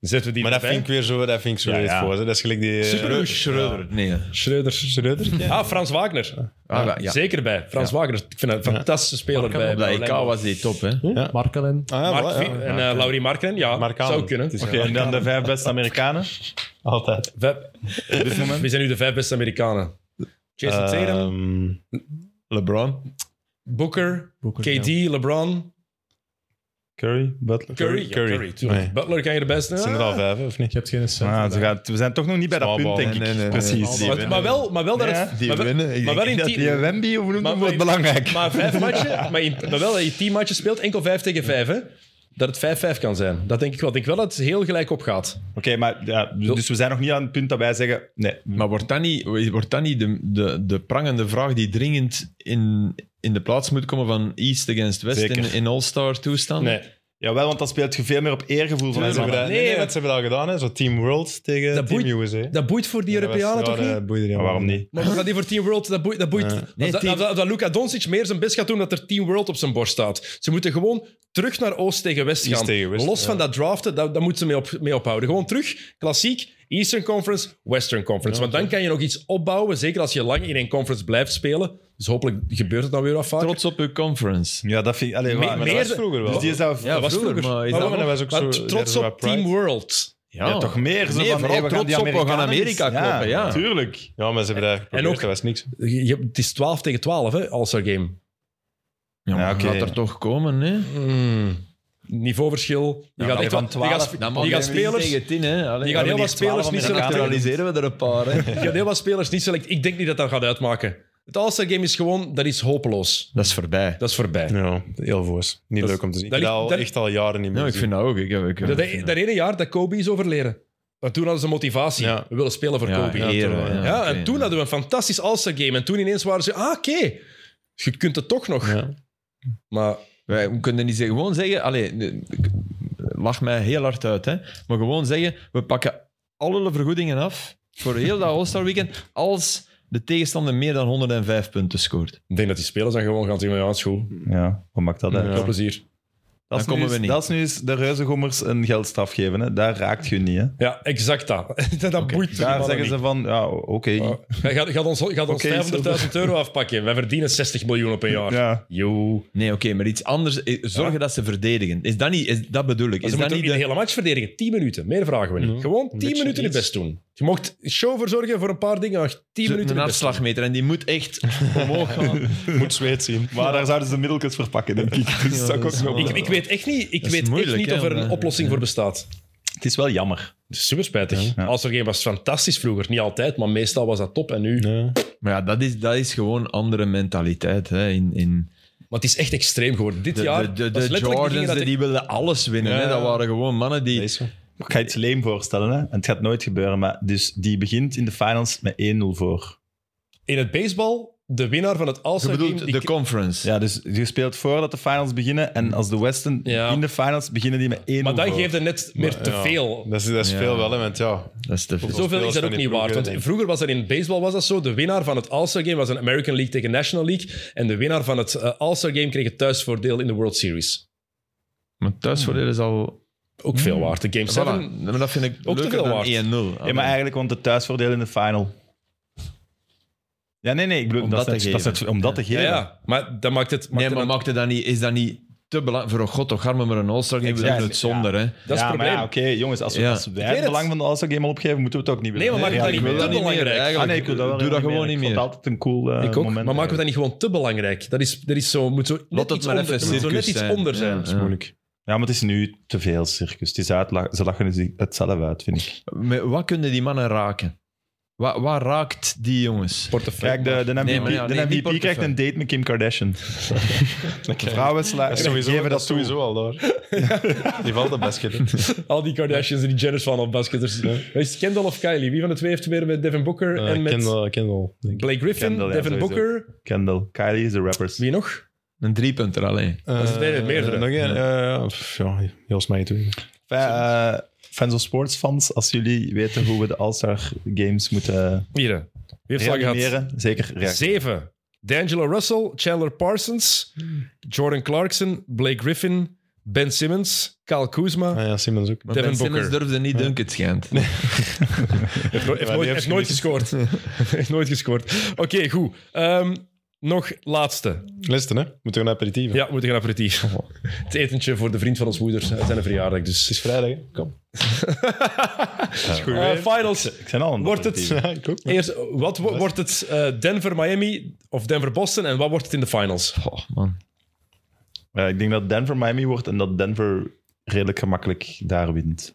Zetten we die Maar dat erbij? vind ik weer zo, dat vind ik zo Ja, leed ja. voor. Hè. Dat is gelijk die... eh, Super- Schreuder. Ah, Nee. Schreuder. Schreuder? Ah, Frans Wagner. Ah, ja. ja. Eh, Zeker bij. Frans Wagner. Ik vind dat een fantastische speler bij. Op dat bij EK Orlando. was die top, hè. Ja. Markelen. Ah, ja, Mark voilà, ja. Vi- en eh Laurie Marken, ja, Markkanen. zou kunnen. Het is Oké. En dan de vijf beste Amerikanen. Altijd. Vijf- Op dit moment. Wie zijn nu de vijf beste Amerikanen? Jason Tatum, Ehm, LeBron. Booker, Booker, KD, LeBron, Curry, Butler. Curry. Ja, Curry. tuurlijk. Nee. Butler kan je er best zijn er al nemen. vijf, of Je niet? hebt geen cent. Ah, ze gaat, we zijn toch nog niet bij dat Small punt, denk ball. ik. Nee, nee, nee, Precies. nee. Maar, maar wel, maar wel dat Ja. het... maar wel- Ik Maar wel in denk dat team- Wemby, hoe noemt Maar- hem, maar- belangrijk. Maar vijf matchen, maar, in, maar wel dat je tien matchen speelt, enkel vijf tegen vijf, hè? Dat het 5-5 kan zijn. Dat denk ik wel. Ik denk wel dat het heel gelijk opgaat. Oké, maar ja, dus we zijn nog niet aan het punt dat wij zeggen... Nee, Maar wordt dat niet, wordt dat niet de, de, de prangende vraag die dringend in, in de plaats moet komen van East against West Zeker. in, in All-Star toestand? jawel, want dan speelt je veel meer op eergevoel van Ze hebben mannen. dat- Nee, Nee, maar- want ze hebben dat al gedaan, hè. Zo Team World tegen Dat Team boeit- USA. Dat boeit voor die Europeanen toch eh, niet? Maar waarom niet? Maar wat gaat die voor Team World? Dat boeit. Dat boeit. Als Nee, dat, Team- als dat- als dat Luka Doncic meer zijn best gaat doen dat er Team World op zijn borst staat. Ze moeten gewoon terug naar Oost tegen West East gaan. tegen West, Los ja. van dat draften, daar, daar moeten ze mee, op, mee ophouden. Gewoon terug, klassiek, Eastern Conference, Western Conference. Want dan kan je nog iets opbouwen, zeker als je lang in één conference blijft spelen. Dus hopelijk gebeurt het dan weer wat vaker. Trots op uw conference. Ja, dat vind ik... Allee, Me- waar- maar meer- dat was- vroeger wel. Dus die zou... Ja, was vroeger, vroeger. maar is Maar dat waarom- maar dat was ook Maar zo... trots daar is op wat Team pride. World. Ja, toch meer zo Nee, van... vooral hey, we gaan die trots op, we gaan Amerikanen Amerika eens- kloppen, ja. Tuurlijk. Ja, maar ze hebben dat geprobeerd, En ook- dat was niks. Je, je- het is 12 tegen 12, hè, All-Star Game. Ja, maar Ja, oké. gaat er toch komen, hè? Niveauverschil. Je maar gaat echt van wat- 12 je Nou, gaat, je gaat spelers... tegen tien, hè? Allee, Je gaat hebben heel wat hier spelers 12 niet Amerikanen. selecteren. Naturaliseren we er een paar, hè? Je gaat heel wat spelers niet selecteren. Ik denk niet dat dat gaat uitmaken. Het All-Star Game is gewoon, dat is hopeloos. Dat is voorbij. Dat is voorbij. Ja, heel voors. Niet leuk om te zien. Ik dat heb dat ligt- dat- al echt al jaren niet meer Ja, Nou, ik gezien. vind dat ook. Ik, ik, Dat, dat, dat ene jaar dat Kobe is overleden. Want toen hadden ze motivatie. Ja. We willen spelen voor Ja, Kobe. ja, Ja, eer, ja, oké, en toen ja. hadden we een fantastisch All-Star Game. En toen ineens waren ze, ah, oké. Je kunt het toch nog. Ja. Maar Wij we kunnen niet zeggen, gewoon zeggen, allee, nu, ik- lach mij heel hard uit, hè, maar gewoon zeggen, we pakken alle vergoedingen af voor heel dat All-Star weekend als de tegenstander meer dan 105 punten scoort. ik denk dat die spelers dan gewoon gaan zeggen, ja, het is goed. Ja, wat maakt dat uit? Veel plezier. Dat is Dan nu komen we eens- niet. Dat is nu eens de reuzengommers een geldstraf geven. Hè. Daar raakt je niet. Hè. Ja, exact dat. dat boeit die Daar mannen zeggen niet. Oh. ze van, ja, oké. Ja. Hij gaat, gaat ons, gaat ons Oké, 500.000 euro afpakken. Wij verdienen 60 miljoen op een jaar. Ja. Yo. Nee, oké, maar iets anders. eh, Zorgen dat ze verdedigen. Is dat niet... Is, dat bedoel ik. Maar Is ze dat moeten niet ook niet de de... hele match verdedigen. 10 minuten. Meer vragen we niet. Gewoon 10 beetje minuten je iets. best doen. Je mocht show verzorgen voor een paar dingen. maar 10 minuten Een je best afslagmeter. En die moet echt omhoog gaan. Moet zweet zien. Maar daar zouden ze de middeltjes verpakken, denk ik. Dus dat zou ik ook doen. nog- Ik, ik weet echt niet, ik is weet echt moeilijk, niet hè, of er om, een eh, oplossing voor bestaat. Het is wel jammer. Het is super spijtig. Als er geen was, fantastisch vroeger. Niet altijd, maar meestal was dat top. En nu. Ja. Maar ja, dat is, dat is gewoon andere mentaliteit. Hè, in, in Maar het is echt extreem geworden. Dit de jaar. de, de, was de letterlijk dingen Jordans, dat ik- die wilden alles winnen. Ja, hè. Dat ja. waren gewoon mannen die... Dat is zo. Ik ga iets leem voorstellen, hè. en het gaat nooit gebeuren. Maar dus die begint in de finals met 1-0 voor. In het baseball de winnaar van het Je All-Star Game... bedoelt die de k- conference. Ja, dus je speelt voordat de finals beginnen. En als de Westen Ja. in de finals beginnen die met één maar dan voor. geeft het net meer te ja. veel. Dat is, dat is Ja. veel wel, hè, want ja. Dat is te veel. spelers Zoveel is dat van ook die niet waard. ploegen, Want vroeger was dat in baseball was dat zo. De winnaar van het All-Star Game was een American League tegen National League. En de winnaar van het eh, All-Star Game kreeg het thuisvoordeel in de World Series. Maar thuisvoordeel is al... Ook veel waard. De Game Ah, Voilà. 7. Maar dat vind ik Ook te leuker veel dan waard. 1-0. Ja, maar eigenlijk, want het thuisvoordeel in de final. Ja, nee, nee. Ik bedoel, Om dat dat is te net- dat is geven. net- om dat te Ja, geven. ja, maar dat maakt het... Maakt Nee, het maar dan- maakt het dan niet... Is dat niet te belangrijk? Voor een god toch, armen maar een All-Star Game. We Exact, doen het ja. zonder, hè. dat is Ja, het maar probleem. ja, oké, jongens, als, we- Ja. als wij weet het het. belang van de All-Star Game al opgeven, moeten we het ook niet willen. Nee, maar maak het ja, dan niet ik wil te dat meer, belangrijk. eigenlijk. Ah, nee, ik wil dat wel Doe dat gewoon niet Ik meer. vond altijd een cool eh, Ik ook. moment. maar maken we dat niet gewoon te belangrijk? Dat is, dat is zo, moet zo net Laat het iets maar onder, even er moet zo net circus iets zijn. onder zijn. Ja, Dat is ja. moeilijk. Ja, maar het is nu te veel circus. Het is uitla- ze lachen het- het zelf uit, vind ik. Met- Wat kunnen die mannen raken? Wat, wat raakt die jongens? Portefeuille. Kijk, de, de MVP, Nee, maar ja, de nee, die MVP krijgt portefeuille. een date met Kim Kardashian. De vrouwenslaar. Dat is sowieso, geven dat dat is toe. sowieso al daar. Die valt de basket. in. Al die Kardashians en die Jenners van al basketters. Is het Kendall of Kylie? Wie van de twee heeft meer met Devin Booker Eh, en met Kendall, Kendall, denk ik. Blake Griffin? Kendall, ja, Devin sowieso. Booker? Kendall. Kylie is de rappers. Wie nog? Een driepunter alleen. is het meerdere, Eh, meerdere. Nog een? Ja, ja heel mij toe. Enfin, eh, fans of sportsfans, als jullie weten hoe we de All-Star Games moeten Hier. hè. Wie heeft slag gehad? reanimeren, zeker reageren. Zeven. D'Angelo Russell, Chandler Parsons, Jordan Clarkson, Blake Griffin, Ben Simmons, Kyle Kuzma. Ah ja, Simmons ook. Maar Devin ben Simmons Booker. durfde niet dunken, het schijnt. Heeft, nooit- heeft Ja, die nooit, heeft heeft nooit gescoord. heeft nooit gescoord. Oké, goed. Ehm, nog laatste. Lesten, hè? Moeten we een aperitieven? Ja, we moeten gaan aperitief. Het etentje voor de vriend van ons moeder. Het zijn een verjaardag, Het dus... is vrijdag, hè? Kom. Eh, finals. Ik zijn al een Wordt het- positieve. Ja, ik ook. Eerst, wat wo- wordt het eh, Denver-Miami of Denver-Boston en wat wordt het in de finals? Goh, man. Eh, ik denk dat Denver Miami wordt en dat Denver redelijk gemakkelijk daar wint.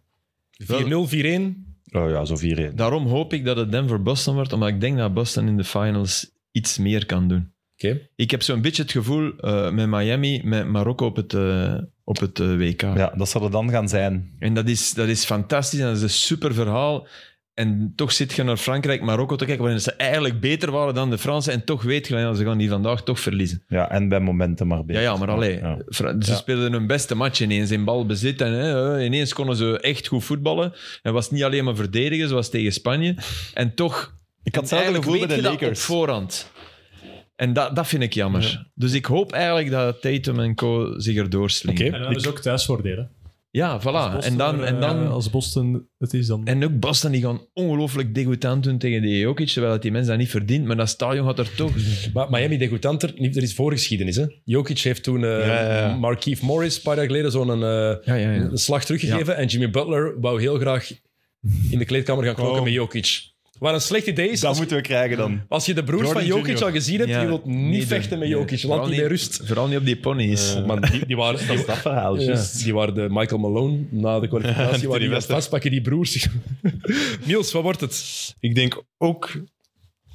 4-0, 4-1? Oh ja, zo 4-1. Daarom hoop ik dat het Denver-Boston wordt, omdat ik denk dat Boston in de finals iets meer kan doen. Oké. Ik heb zo'n beetje het gevoel eh, met Miami, met Marokko op het, eh, op het eh, WK. Ja, dat zal er dan gaan zijn. En dat is, dat is fantastisch en dat is een super verhaal. En toch zit je naar Frankrijk, Marokko te kijken, waarin ze eigenlijk beter waren dan de Fransen. En toch weet je, ja, ze gaan die vandaag toch verliezen. Ja, en bij momenten maar Ja, beter. ja, maar allee. Ja. Fra- Ze Ja. speelden hun beste match ineens in balbezit. En hè, eh, ineens konden ze echt goed voetballen. En was het niet alleen maar verdedigen, zoals tegen Spanje. En toch... Ik had hetzelfde eigenlijk gevoel bij weet de je dat op Lakers. voorhand. En dat, dat vind ik jammer. Dus ik hoop eigenlijk dat Tatum en Co. zich erdoor slingen. Oké. En dan is ook thuisvoordelen. Ja, Ah, voilà. en dan... En dan eh, als Boston het is, dan... en ook Boston, die gaan ongelooflijk degoutant doen tegen die Jokic, terwijl dat die mensen dat niet verdient. Maar dat stadion gaat er toch... Maar Miami degoutanter, niet- er is voorgeschiedenis. Hè? Jokic heeft toen eh Ja, ja, ja. Markieff Morris een paar jaar geleden zo'n eh, Ja, ja, ja. een slag teruggegeven. En Jimmy Butler wou heel graag in de kleedkamer gaan knokken Oh. met Jokic. Wat een slecht idee is, Dat als, moeten we krijgen dan. als je de broers Jordan van Jokic Junior. al gezien hebt, Ja, je wilt niet nee, vechten nee. met Jokic. Laat Vooral die bij rust. Eh, Vooral niet op die pony's. Maar die, die waren... Dat is dat verhaal. Ja. juist. Die waren de Michael Malone na de kwalificatie. die waren die aan het wedstrijd. vastpakken, die broers. Niels, wat wordt het? Ik denk ook...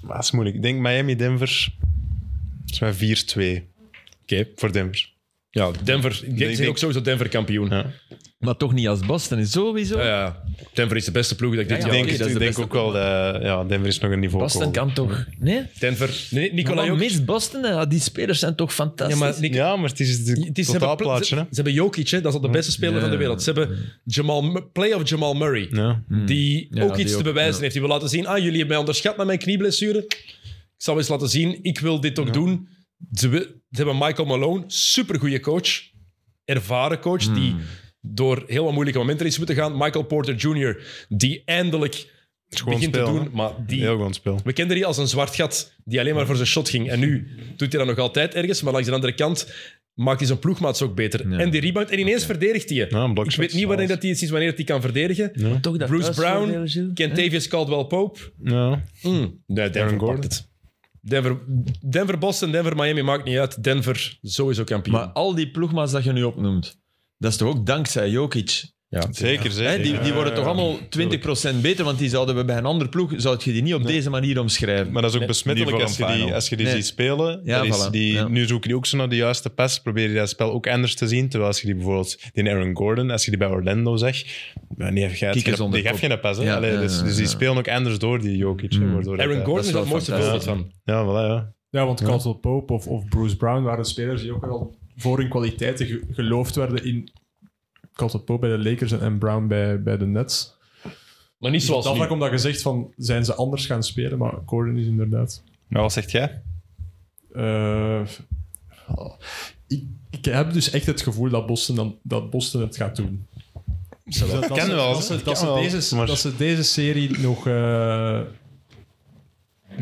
Maar dat is moeilijk. Ik denk Miami-Denver... Het is maar 4-2 Oké. voor Denver. Ja, Denver. Ik denk, denk- ook sowieso Denver kampioen. Ja. Ja. Maar toch niet als Boston, is sowieso. ja. Denver is de beste ploeg dat ik dit Ja, ik jaar denk, oké, dat is ik de denk beste ook wel... dat ja, Denver is nog een niveau Boston hoger. kan toch? Nee? Denver. Nee, Nicola Nicola Jokic. mist Boston, hè? Ah, die spelers zijn toch fantastisch. Ja, maar Nick- Ja, maar het is het het is, ze, hebben, pla- totaalplaatje, ze, hè? Hm. ze hebben Jokic, hè, dat is al de beste speler Ja. van de wereld. Ze hebben Jamal, Mu- playoff Jamal Murray, Ja. die Ja, ook die iets ook, te bewijzen ja. heeft. Die wil laten zien, ah, jullie hebben mij onderschat met mijn knieblessure. Ik zal eens laten zien, ik wil dit ook doen. Ze, wi- ze hebben Michael Malone, supergoeie coach. Ervaren coach, die Hm. door heel wat moeilijke momenten is moeten gaan. Michael Porter Jr., die eindelijk gewoon begint te spelen, doen, hè? maar die Heel goed spel. we kenden die als een zwart gat die alleen maar voor zijn shot ging. En nu doet hij dat nog altijd ergens, maar langs de andere kant maakt hij zijn ploegmaats ook beter. Ja. En die rebound, en ineens verdedigt hij je. Ja, een ik blockshot, weet niet wanneer alles. dat hij het is, wanneer dat hij kan verdedigen. toch dat Bruce thuisvoordeel, Brown, Gilles? Kentavious Caldwell Pope. Ja. Mm. Nee, Denver Aaron pakt Gordon. het. Denver, Denver, Boston, Denver, Miami, maakt niet uit. Denver, sowieso kampioen. Maar al die ploegmaats dat je nu opnoemt, dat is toch ook dankzij Jokic. Zeker, zeker. Hè? Die, die worden toch allemaal 20% beter, want die zouden we bij een andere ploeg zou je die niet op deze manier omschrijven. Maar dat is ook niet besmettelijk voor als je een die, final. als je die Nee. ziet spelen. Ja, dat is voilà. die, Ja. Nu zoeken die ook zo naar de juiste pas. Probeer je dat spel ook anders te zien. Terwijl als je die bijvoorbeeld, die Aaron Gordon, als je die bij Orlando zag, ja, die heeft Kiekers geen, onder die heeft kop. geen pas. hè. Ja, Allee, ja, dus, ja, Hmm. dus die ja. spelen ook anders door die Jokic. hè, waardoor dat- Aaron Gordon is is wel het mooiste fantastisch. voorbeeld van. Ja, voilà, ja. Ja, want Caldwell Pope of, of Bruce Brown waren spelers die ook al voor hun kwaliteiten ge- geloofd werden in Caldwell Pope bij de Lakers en, en Brown bij, bij de Nets. Maar niet zoals dat nu. vlak omdat je zegt van, zijn ze anders gaan spelen? Maar Gordon is inderdaad... Maar wat zegt jij? Eh, ik, ik heb dus echt het gevoel dat Boston, dan, dat Boston het gaat doen. Dus dat- dat Kan ze- wel, dat hè? ze- Dat Kan ze wel, deze- maar- dat ze deze serie nog... eh,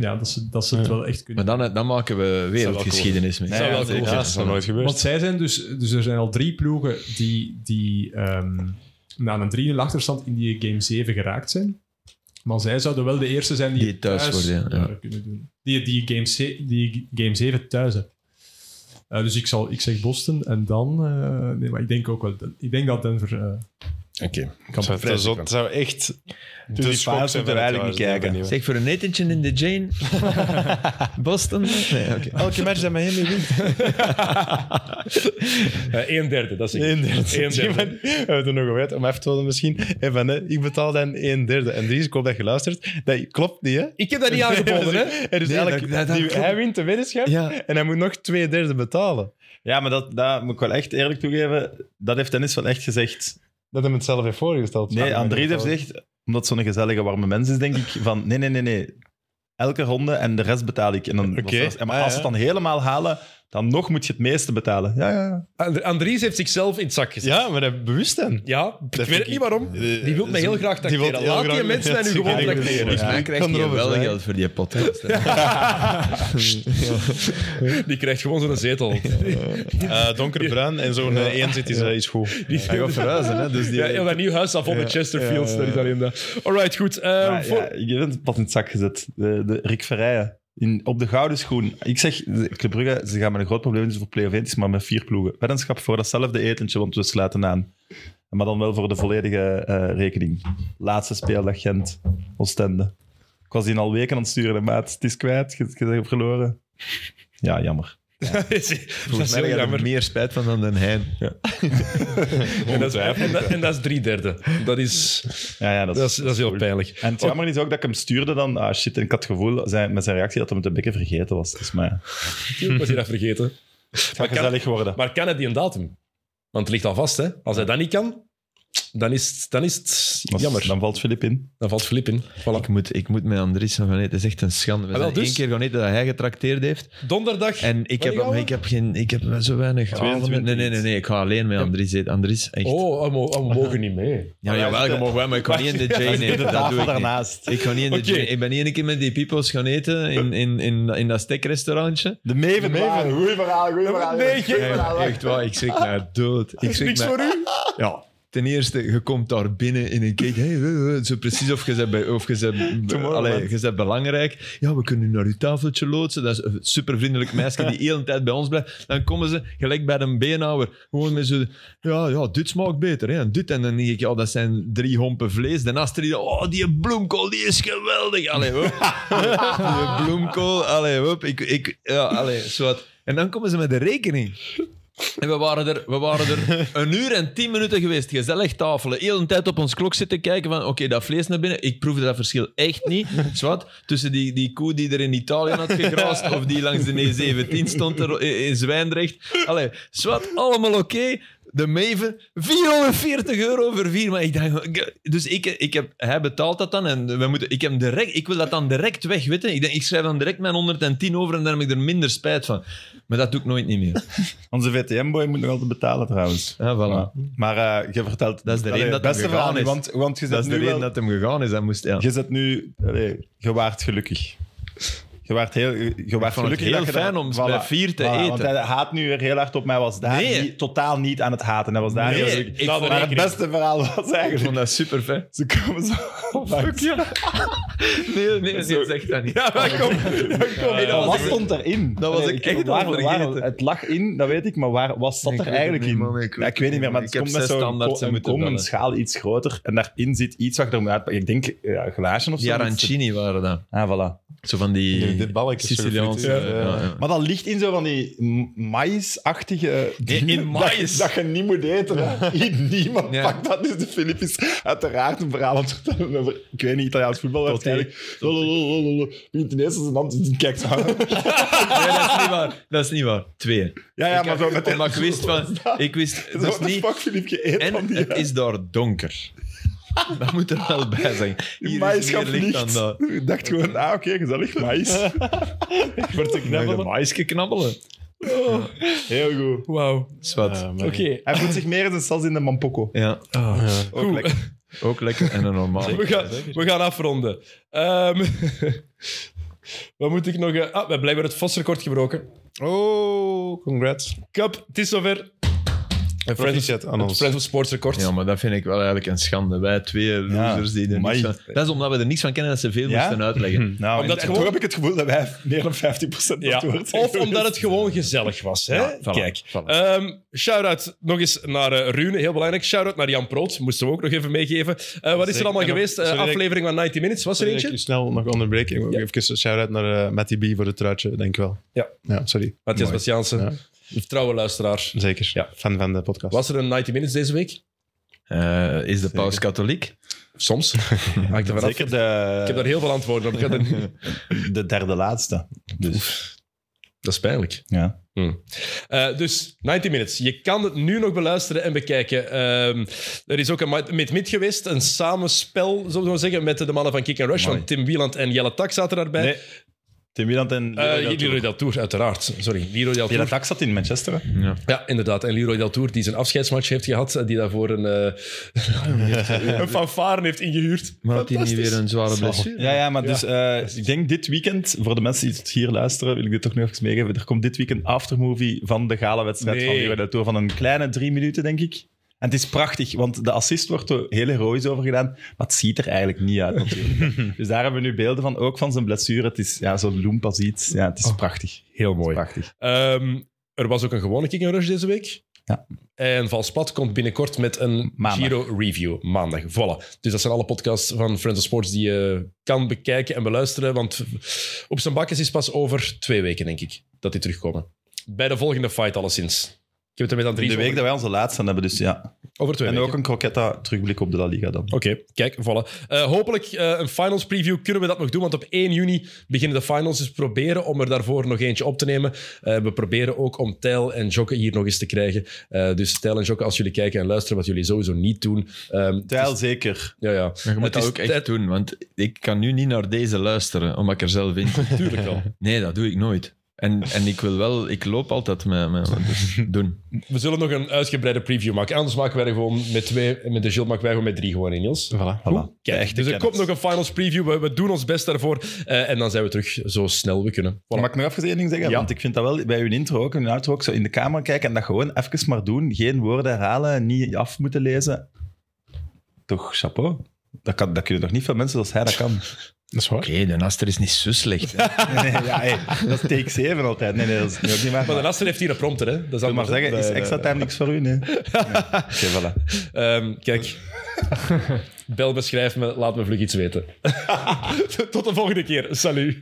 ja, dat ze, dat ze het wel echt kunnen Maar dan, dan maken we wereldgeschiedenis mee. Zou wel cool zeker. Ja, zijn. dat is nog nooit gebeurd. Want zij zijn dus, dus er zijn al drie ploegen die, die ehm, na een 3-0 achterstand in die game 7 geraakt zijn. Maar zij zouden wel de eerste zijn die, Die thuis worden, ja. zouden kunnen doen. Die, die, game, ze- die game 7 thuis hebben. Eh, dus ik, zal, ik zeg Boston en dan. eh, nee, maar ik denk ook wel. Ik denk dat Denver. eh, Oké. kan Zou- vrij dat zou, zeker. zou echt die de finals schok moeten zijn we van het eigenlijk jaar. niet kijken. Ik ben Zeg, voor een etentje in de Jane? Boston? Nee, oké. benieuwd. Elke match dat Miami wint. Eh, een derde, dat is Een Een derde. Die man- We hebben het er nog over uit, om even te houden misschien. Hey, van, hè, ik betaal dan een derde. En Dries, ik hoop dat je luistert. Dat klopt niet, hè? Ik heb dat niet aangeboden, hè? Er is Nee, eigenlijk, dat- dat- die- dat- hij wint de weddenschap Ja. en hij moet nog twee derde betalen. Ja, maar dat, dat moet ik wel echt eerlijk toegeven. Dat heeft Dennis wel echt gezegd. Dat hem het zelf heeft voorgesteld. Nee, Ja, André maar heeft dat- gezegd, omdat zo'n gezellige warme mens is, denk ik, van nee, nee, nee, nee. Elke ronde en de rest betaal ik. En dan, was Oké. dat- en maar Ah, als ja. ze het dan helemaal halen, dan nog moet je het meeste betalen. Ja, ja, ja. And- Andries heeft zichzelf in het zak gezet. Ja, maar dat bewust dan. Ja, ik vind weet het ik- niet waarom. Die wil mij heel graag die wil tracteren. heel Laat die graag- mensen mij nu Ja, gewoon zeker. tracteren. Ja. Volgens mij ik krijgt kan hij erover wel zwijgen. geld voor die podcast. hè. Die krijgt gewoon zo'n zetel. Eh, donkerbruin en zo'n eh, één zit is, eh, is goed. Die Hij gaat verhuizen, hè. Dus die, Ja, heel dat nieuw huis af op de Chesterfields. ja, Dat is alleen dat. Alright, goed. eh, Ja, voor- ja, je bent pas in het zak gezet. De, de Rick Verrijen. In, op de gouden schoen. Ik zeg, de- Club Brugge, ze gaan met een groot probleem zitten voor play-off 1. Het is maar met vier ploegen. Weddenschap voor datzelfde etentje, want we sluiten aan. Maar dan wel voor de volledige eh, rekening. Laatste speeldag Gent, Oostende. Ik was die al weken aan het sturen, maat. Het is kwijt, je, je hebt verloren. Ja, jammer. dat Volgens is mij heel had hij er jammer. meer spijt van dan Den Heijn. En dat, is, en, dat, en dat is drie derde. Dat is, Ja, ja, dat is, dat is heel pijnlijk. En het jammer is ook dat ik hem stuurde dan. Ah shit, en ik had het gevoel zijn, met zijn reactie dat hij het een beetje vergeten was. Dus, maar ja, Ik was hier dat vergeten. het gaat gezellig worden. Maar kan het die een datum? Want het ligt al vast, hè? Als hij dat niet kan, dan is het, dan is het Als- jammer. Dan valt Filip in. Dan valt Filip in. Voilà. Ik moet, ik moet met Andries gaan eten. Het is echt een schande. We Ah, wel, zijn dus? één keer gaan eten dat hij getrakteerd heeft. Donderdag. En ik Waar heb, gaan hem, we? ik heb, geen, ik heb zo weinig avonden. Nee, nee, nee, nee. Ik ga alleen met Andries eten. Andries, echt. Oh, Ah, eh, we mo- we mogen niet mee. Ja, jawel, je mag wel, maar ik ga niet in de Jane eten. Dat doe ik niet. daarnaast. Ik, ga niet in de Oké. Jane- ik ben niet een keer met die people's gaan eten in, in, in, in dat stekrestaurantje. De Maven. Ah. Goeie verhaal, goeie verhaal. Nee, geen- Echt waar, ik schrik naar dood. Ik schrik Ah. Niks naar- voor u? Ja. Ten eerste, je komt daar binnen in een keek. Hey, eh, eh, zo precies of je bent, bij- of je bent, allee, je bent belangrijk. Ja, we kunnen u naar uw tafeltje loodsen. Dat is een supervriendelijk meisje die heel de tijd bij ons blijft. Dan komen ze gelijk bij een beenhouwer. Gewoon met zo... Ja, ja, dit smaakt beter. Hè, en dit. En dan denk ik, ja, dat zijn drie hompen vlees. Daarnaast die... Oh, die bloemkool, die is geweldig. Allee, hop. Die bloemkool. Allee, hop. Ik, ik, ja, allee, zwart. En dan komen ze met de rekening. En we waren, er, we waren er een uur en tien minuten geweest. Gezellig tafelen. Heel een tijd op ons klok zitten kijken van oké, dat vlees naar binnen. Ik proefde dat verschil echt niet. Zwat, tussen die, die koe die er in Italië had gegraast of die langs de E17 stond er eh, in- in Zwijndrecht. Allee, zwat, allemaal oké. De Maven, 440 euro voor vier. Maar ik dacht, ik- dus ik, ik heb, hij betaalt dat dan en we moeten, ik, heb hem direct, ik wil dat dan direct weg, weet je. Ik, denk, ik schrijf dan direct mijn 110 over en daar heb ik er minder spijt van. Maar dat doe ik nooit niet meer. Onze VTM-boy moet nog altijd betalen trouwens. Ja, voilà. Maar eh je vertelt... Dat is de reden dat beste hem verhaal gegaan nu, is. Want, want je Dat zet is de nu reden wel- dat hem gegaan is. Hij moest, ja. Je zet nu... Allee, je waart gelukkig. Je waart heel, je waart vond het gelukkig heel dat je fijn dat- om bij vier te Want eten. hij haat nu weer heel hard op mij. was daar Nee. niet- totaal niet aan het haten. Hij was daar Nee, heel ik gelukkig. vond- maar het beste verhaal was Ik eigenlijk... vond dat super fijn. Ze komen zo... langs. Nee, nee, nee, zeg dat niet. Ja, maar kom. Nee, dat was- Wat stond erin? dat was Allee, ik echt al waar, waar- vergeten. Het lag in, dat weet ik, maar waar, wat zat Ik er weet het eigenlijk niet, in? man, ik weet Ja, ik weet niet meer, maar het het niet. komt Ik met heb zes zo'n standaard, ko- ze een moeten kom, een bellen. schaal iets groter en daarin zit iets wat je er moet uitpakken. Ik denk ja, glaasje of zo. Die arancini waren dat. Ah, voilà. Zo van die... Dit balkje. Siciliaanse. surfeit, eh, ja. ja, ja. Maar dat ligt in zo van die maïsachtige dingen. in maïs? Dat, dat je niet moet eten. hè. Hier niemand Ja. pakt dat. Dus de Filip is uiteraard een verhaal aan het vertellen over, ik weet niet, Italiaans voetbal. Waarschijnlijk. Lololololol. Begint ineens als een hand te zien, kijkt zo aan. Nee, dat is niet waar. Dat is niet waar. Twee. Ja, ja, Ik maar heb- zo met omdat ik wist van... Ik wist... Zo, Dat is what the niet... fuck, Filip, je eet van En die... het is daar donker. Dat moet er wel bij zijn. Hier Die is maïs meer gaat licht dan niet. dat. Ik dacht gewoon, ah, oké, gezellig, maïs. Wordt te Mag je knabbelen. maïsje knabbelen? Heel goed. Wauw. Zwat. Oké. Ah. Hij voelt zich meer als een sas in de mampoko. Ja, Ook Goed. lekker. ook lekker en een normale. We gaan, we gaan afronden. Ehm, wat moet ik nog... eh, ah, we hebben blijkbaar het vosrecord gebroken. Oh, congrats. Kap, het is zover. En Friends, Proficiat het aan ons. Friends of Sports record. Ja, maar dat vind ik wel eigenlijk een schande. Wij twee losers die er niks amai. van... Dat is omdat we er niks van kennen dat ze veel Ja? moesten uitleggen. Nou, Omdat en, en gewoon- toch heb ik het gevoel dat wij meer dan 50% Ja, antwoord Of omdat het gewoon gezellig was. Hè? Ja, voilà, Kijk. voilà. Ehm, shout-out nog eens naar eh, Rune, heel belangrijk. Shout-out naar Jan Proot, moesten we ook nog even meegeven. Eh, wat is er Zeker. allemaal En nog- geweest? Eh, sorry dat ik- aflevering van 90 Minutes, was er Sorry dat ik eentje? u snel nog onderbreek. Ik wil Ja. Even een shout-out naar eh, Matty B voor het truitje, denk ik wel. Ja. Ja, sorry. Matthias Mooi. Bastiaanse, trouwe luisteraar. Zeker. Ja. Fan van de podcast. Was er een 90 Minutes deze week? Eh, is de paus katholiek? Soms. Hangt er vanaf. Zeker de, Ik heb daar heel veel antwoorden op. Ik had een- de derde laatste. Dus, Dat is pijnlijk. ja. Eh, dus 90 Minutes. Je kan het nu nog beluisteren en bekijken. Ehm, er is ook een mid-mid geweest. Een samenspel, zullen we maar zeggen, met de mannen van Kick and Rush. Mooi. Want Tim Wieland en Jelle Tak zaten daarbij. Nee. Tim Wieland en Leroy Eh, Del Tour. Leroy Del Tour, uiteraard. Sorry, Leroy Del Tour. Die dat dak zat in Manchester. hè? Ja, inderdaad. En Leroy Del Tour, die zijn afscheidsmatch heeft gehad, eh, die daarvoor een, eh, een fanfare heeft ingehuurd. Maar had hij niet weer een zware blessure? Ja, ja, maar dus eh, ik denk dit weekend, voor de mensen die het hier luisteren, wil ik dit toch nog eens meegeven. Er komt dit weekend een aftermovie van de galawedstrijd Nee. van Leeuwen Tour van een kleine drie minuten, denk ik. En het is prachtig, want de assist wordt er heel heroïs over gedaan, maar het ziet er eigenlijk niet uit natuurlijk. dus daar hebben we nu beelden van, ook van zijn blessure. Het is ja, zo'n loemp als iets. Ja, het is prachtig. Oh, Heel Het is mooi. prachtig. Ehm, er was ook een gewone Kick and Rush deze week. Ja. En Valsplat komt binnenkort met een Maandag. Giro-review. Maandag, voilà. Dus dat zijn alle podcasts van Friends of Sports die je kan bekijken en beluisteren. Want op zijn bakjes is pas over twee weken, denk ik, dat die terugkomen. Bij de volgende fight, alleszins. Ik heb het er met Andries De week over, dat wij onze laatste hebben, dus ja. over twee En weken. ook een croquetta terugblik op de La Liga dan. Oké, kijk, voilà. Eh, hopelijk eh, een finals preview kunnen we dat nog doen, want op 1 juni beginnen de finals. Dus proberen om er daarvoor nog eentje op te nemen. Eh, we proberen ook om Tijl en Jokke hier nog eens te krijgen. Eh, dus Tijl en Jokke, als jullie kijken en luisteren, wat jullie sowieso niet doen. ehm, Tijl zeker. ja, ja. Maar je moet Het dat is ook echt tijd- doen, want ik kan nu niet naar deze luisteren, omdat ik er zelf in zit. Tuurlijk wel. Nee, dat doe ik nooit. En, en ik wil wel, ik loop altijd met, met dus doen. We zullen nog een uitgebreide preview maken. Anders maken wij er gewoon met twee, en met de Gilles maken wij gewoon met drie gewoon in, Niels. Voilà. Voilà. Kijk, Echte dus er kennis. komt nog een finals preview. We, we doen ons best daarvoor. Eh, en dan zijn we terug zo snel we kunnen. Voilà. Mag ik nog even één ding zeggen? Ja. Want ik vind dat wel bij uw intro ook en uw outro ook zo in de camera kijken en dat gewoon even maar doen. Geen woorden herhalen, niet af moeten lezen. Toch, chapeau. Dat, kan, dat kunnen toch niet veel mensen zoals hij dat kan? Dat is waar. Oké, de Naster is niet zo slecht. hè. Nee, ja, hey, dat is take 7 altijd. Nee, nee, dat is ook niet waar. Maar de Maar, Nasser heeft hier een prompter, hè? Dat is eh, wil maar anders, hè? zeggen, is Bij- extra time niks voor u? Nee. nee. Oké, voilà. Ehm, kijk. Bel me, schrijf me, laat me vlug iets weten. Tot de volgende keer. Salut.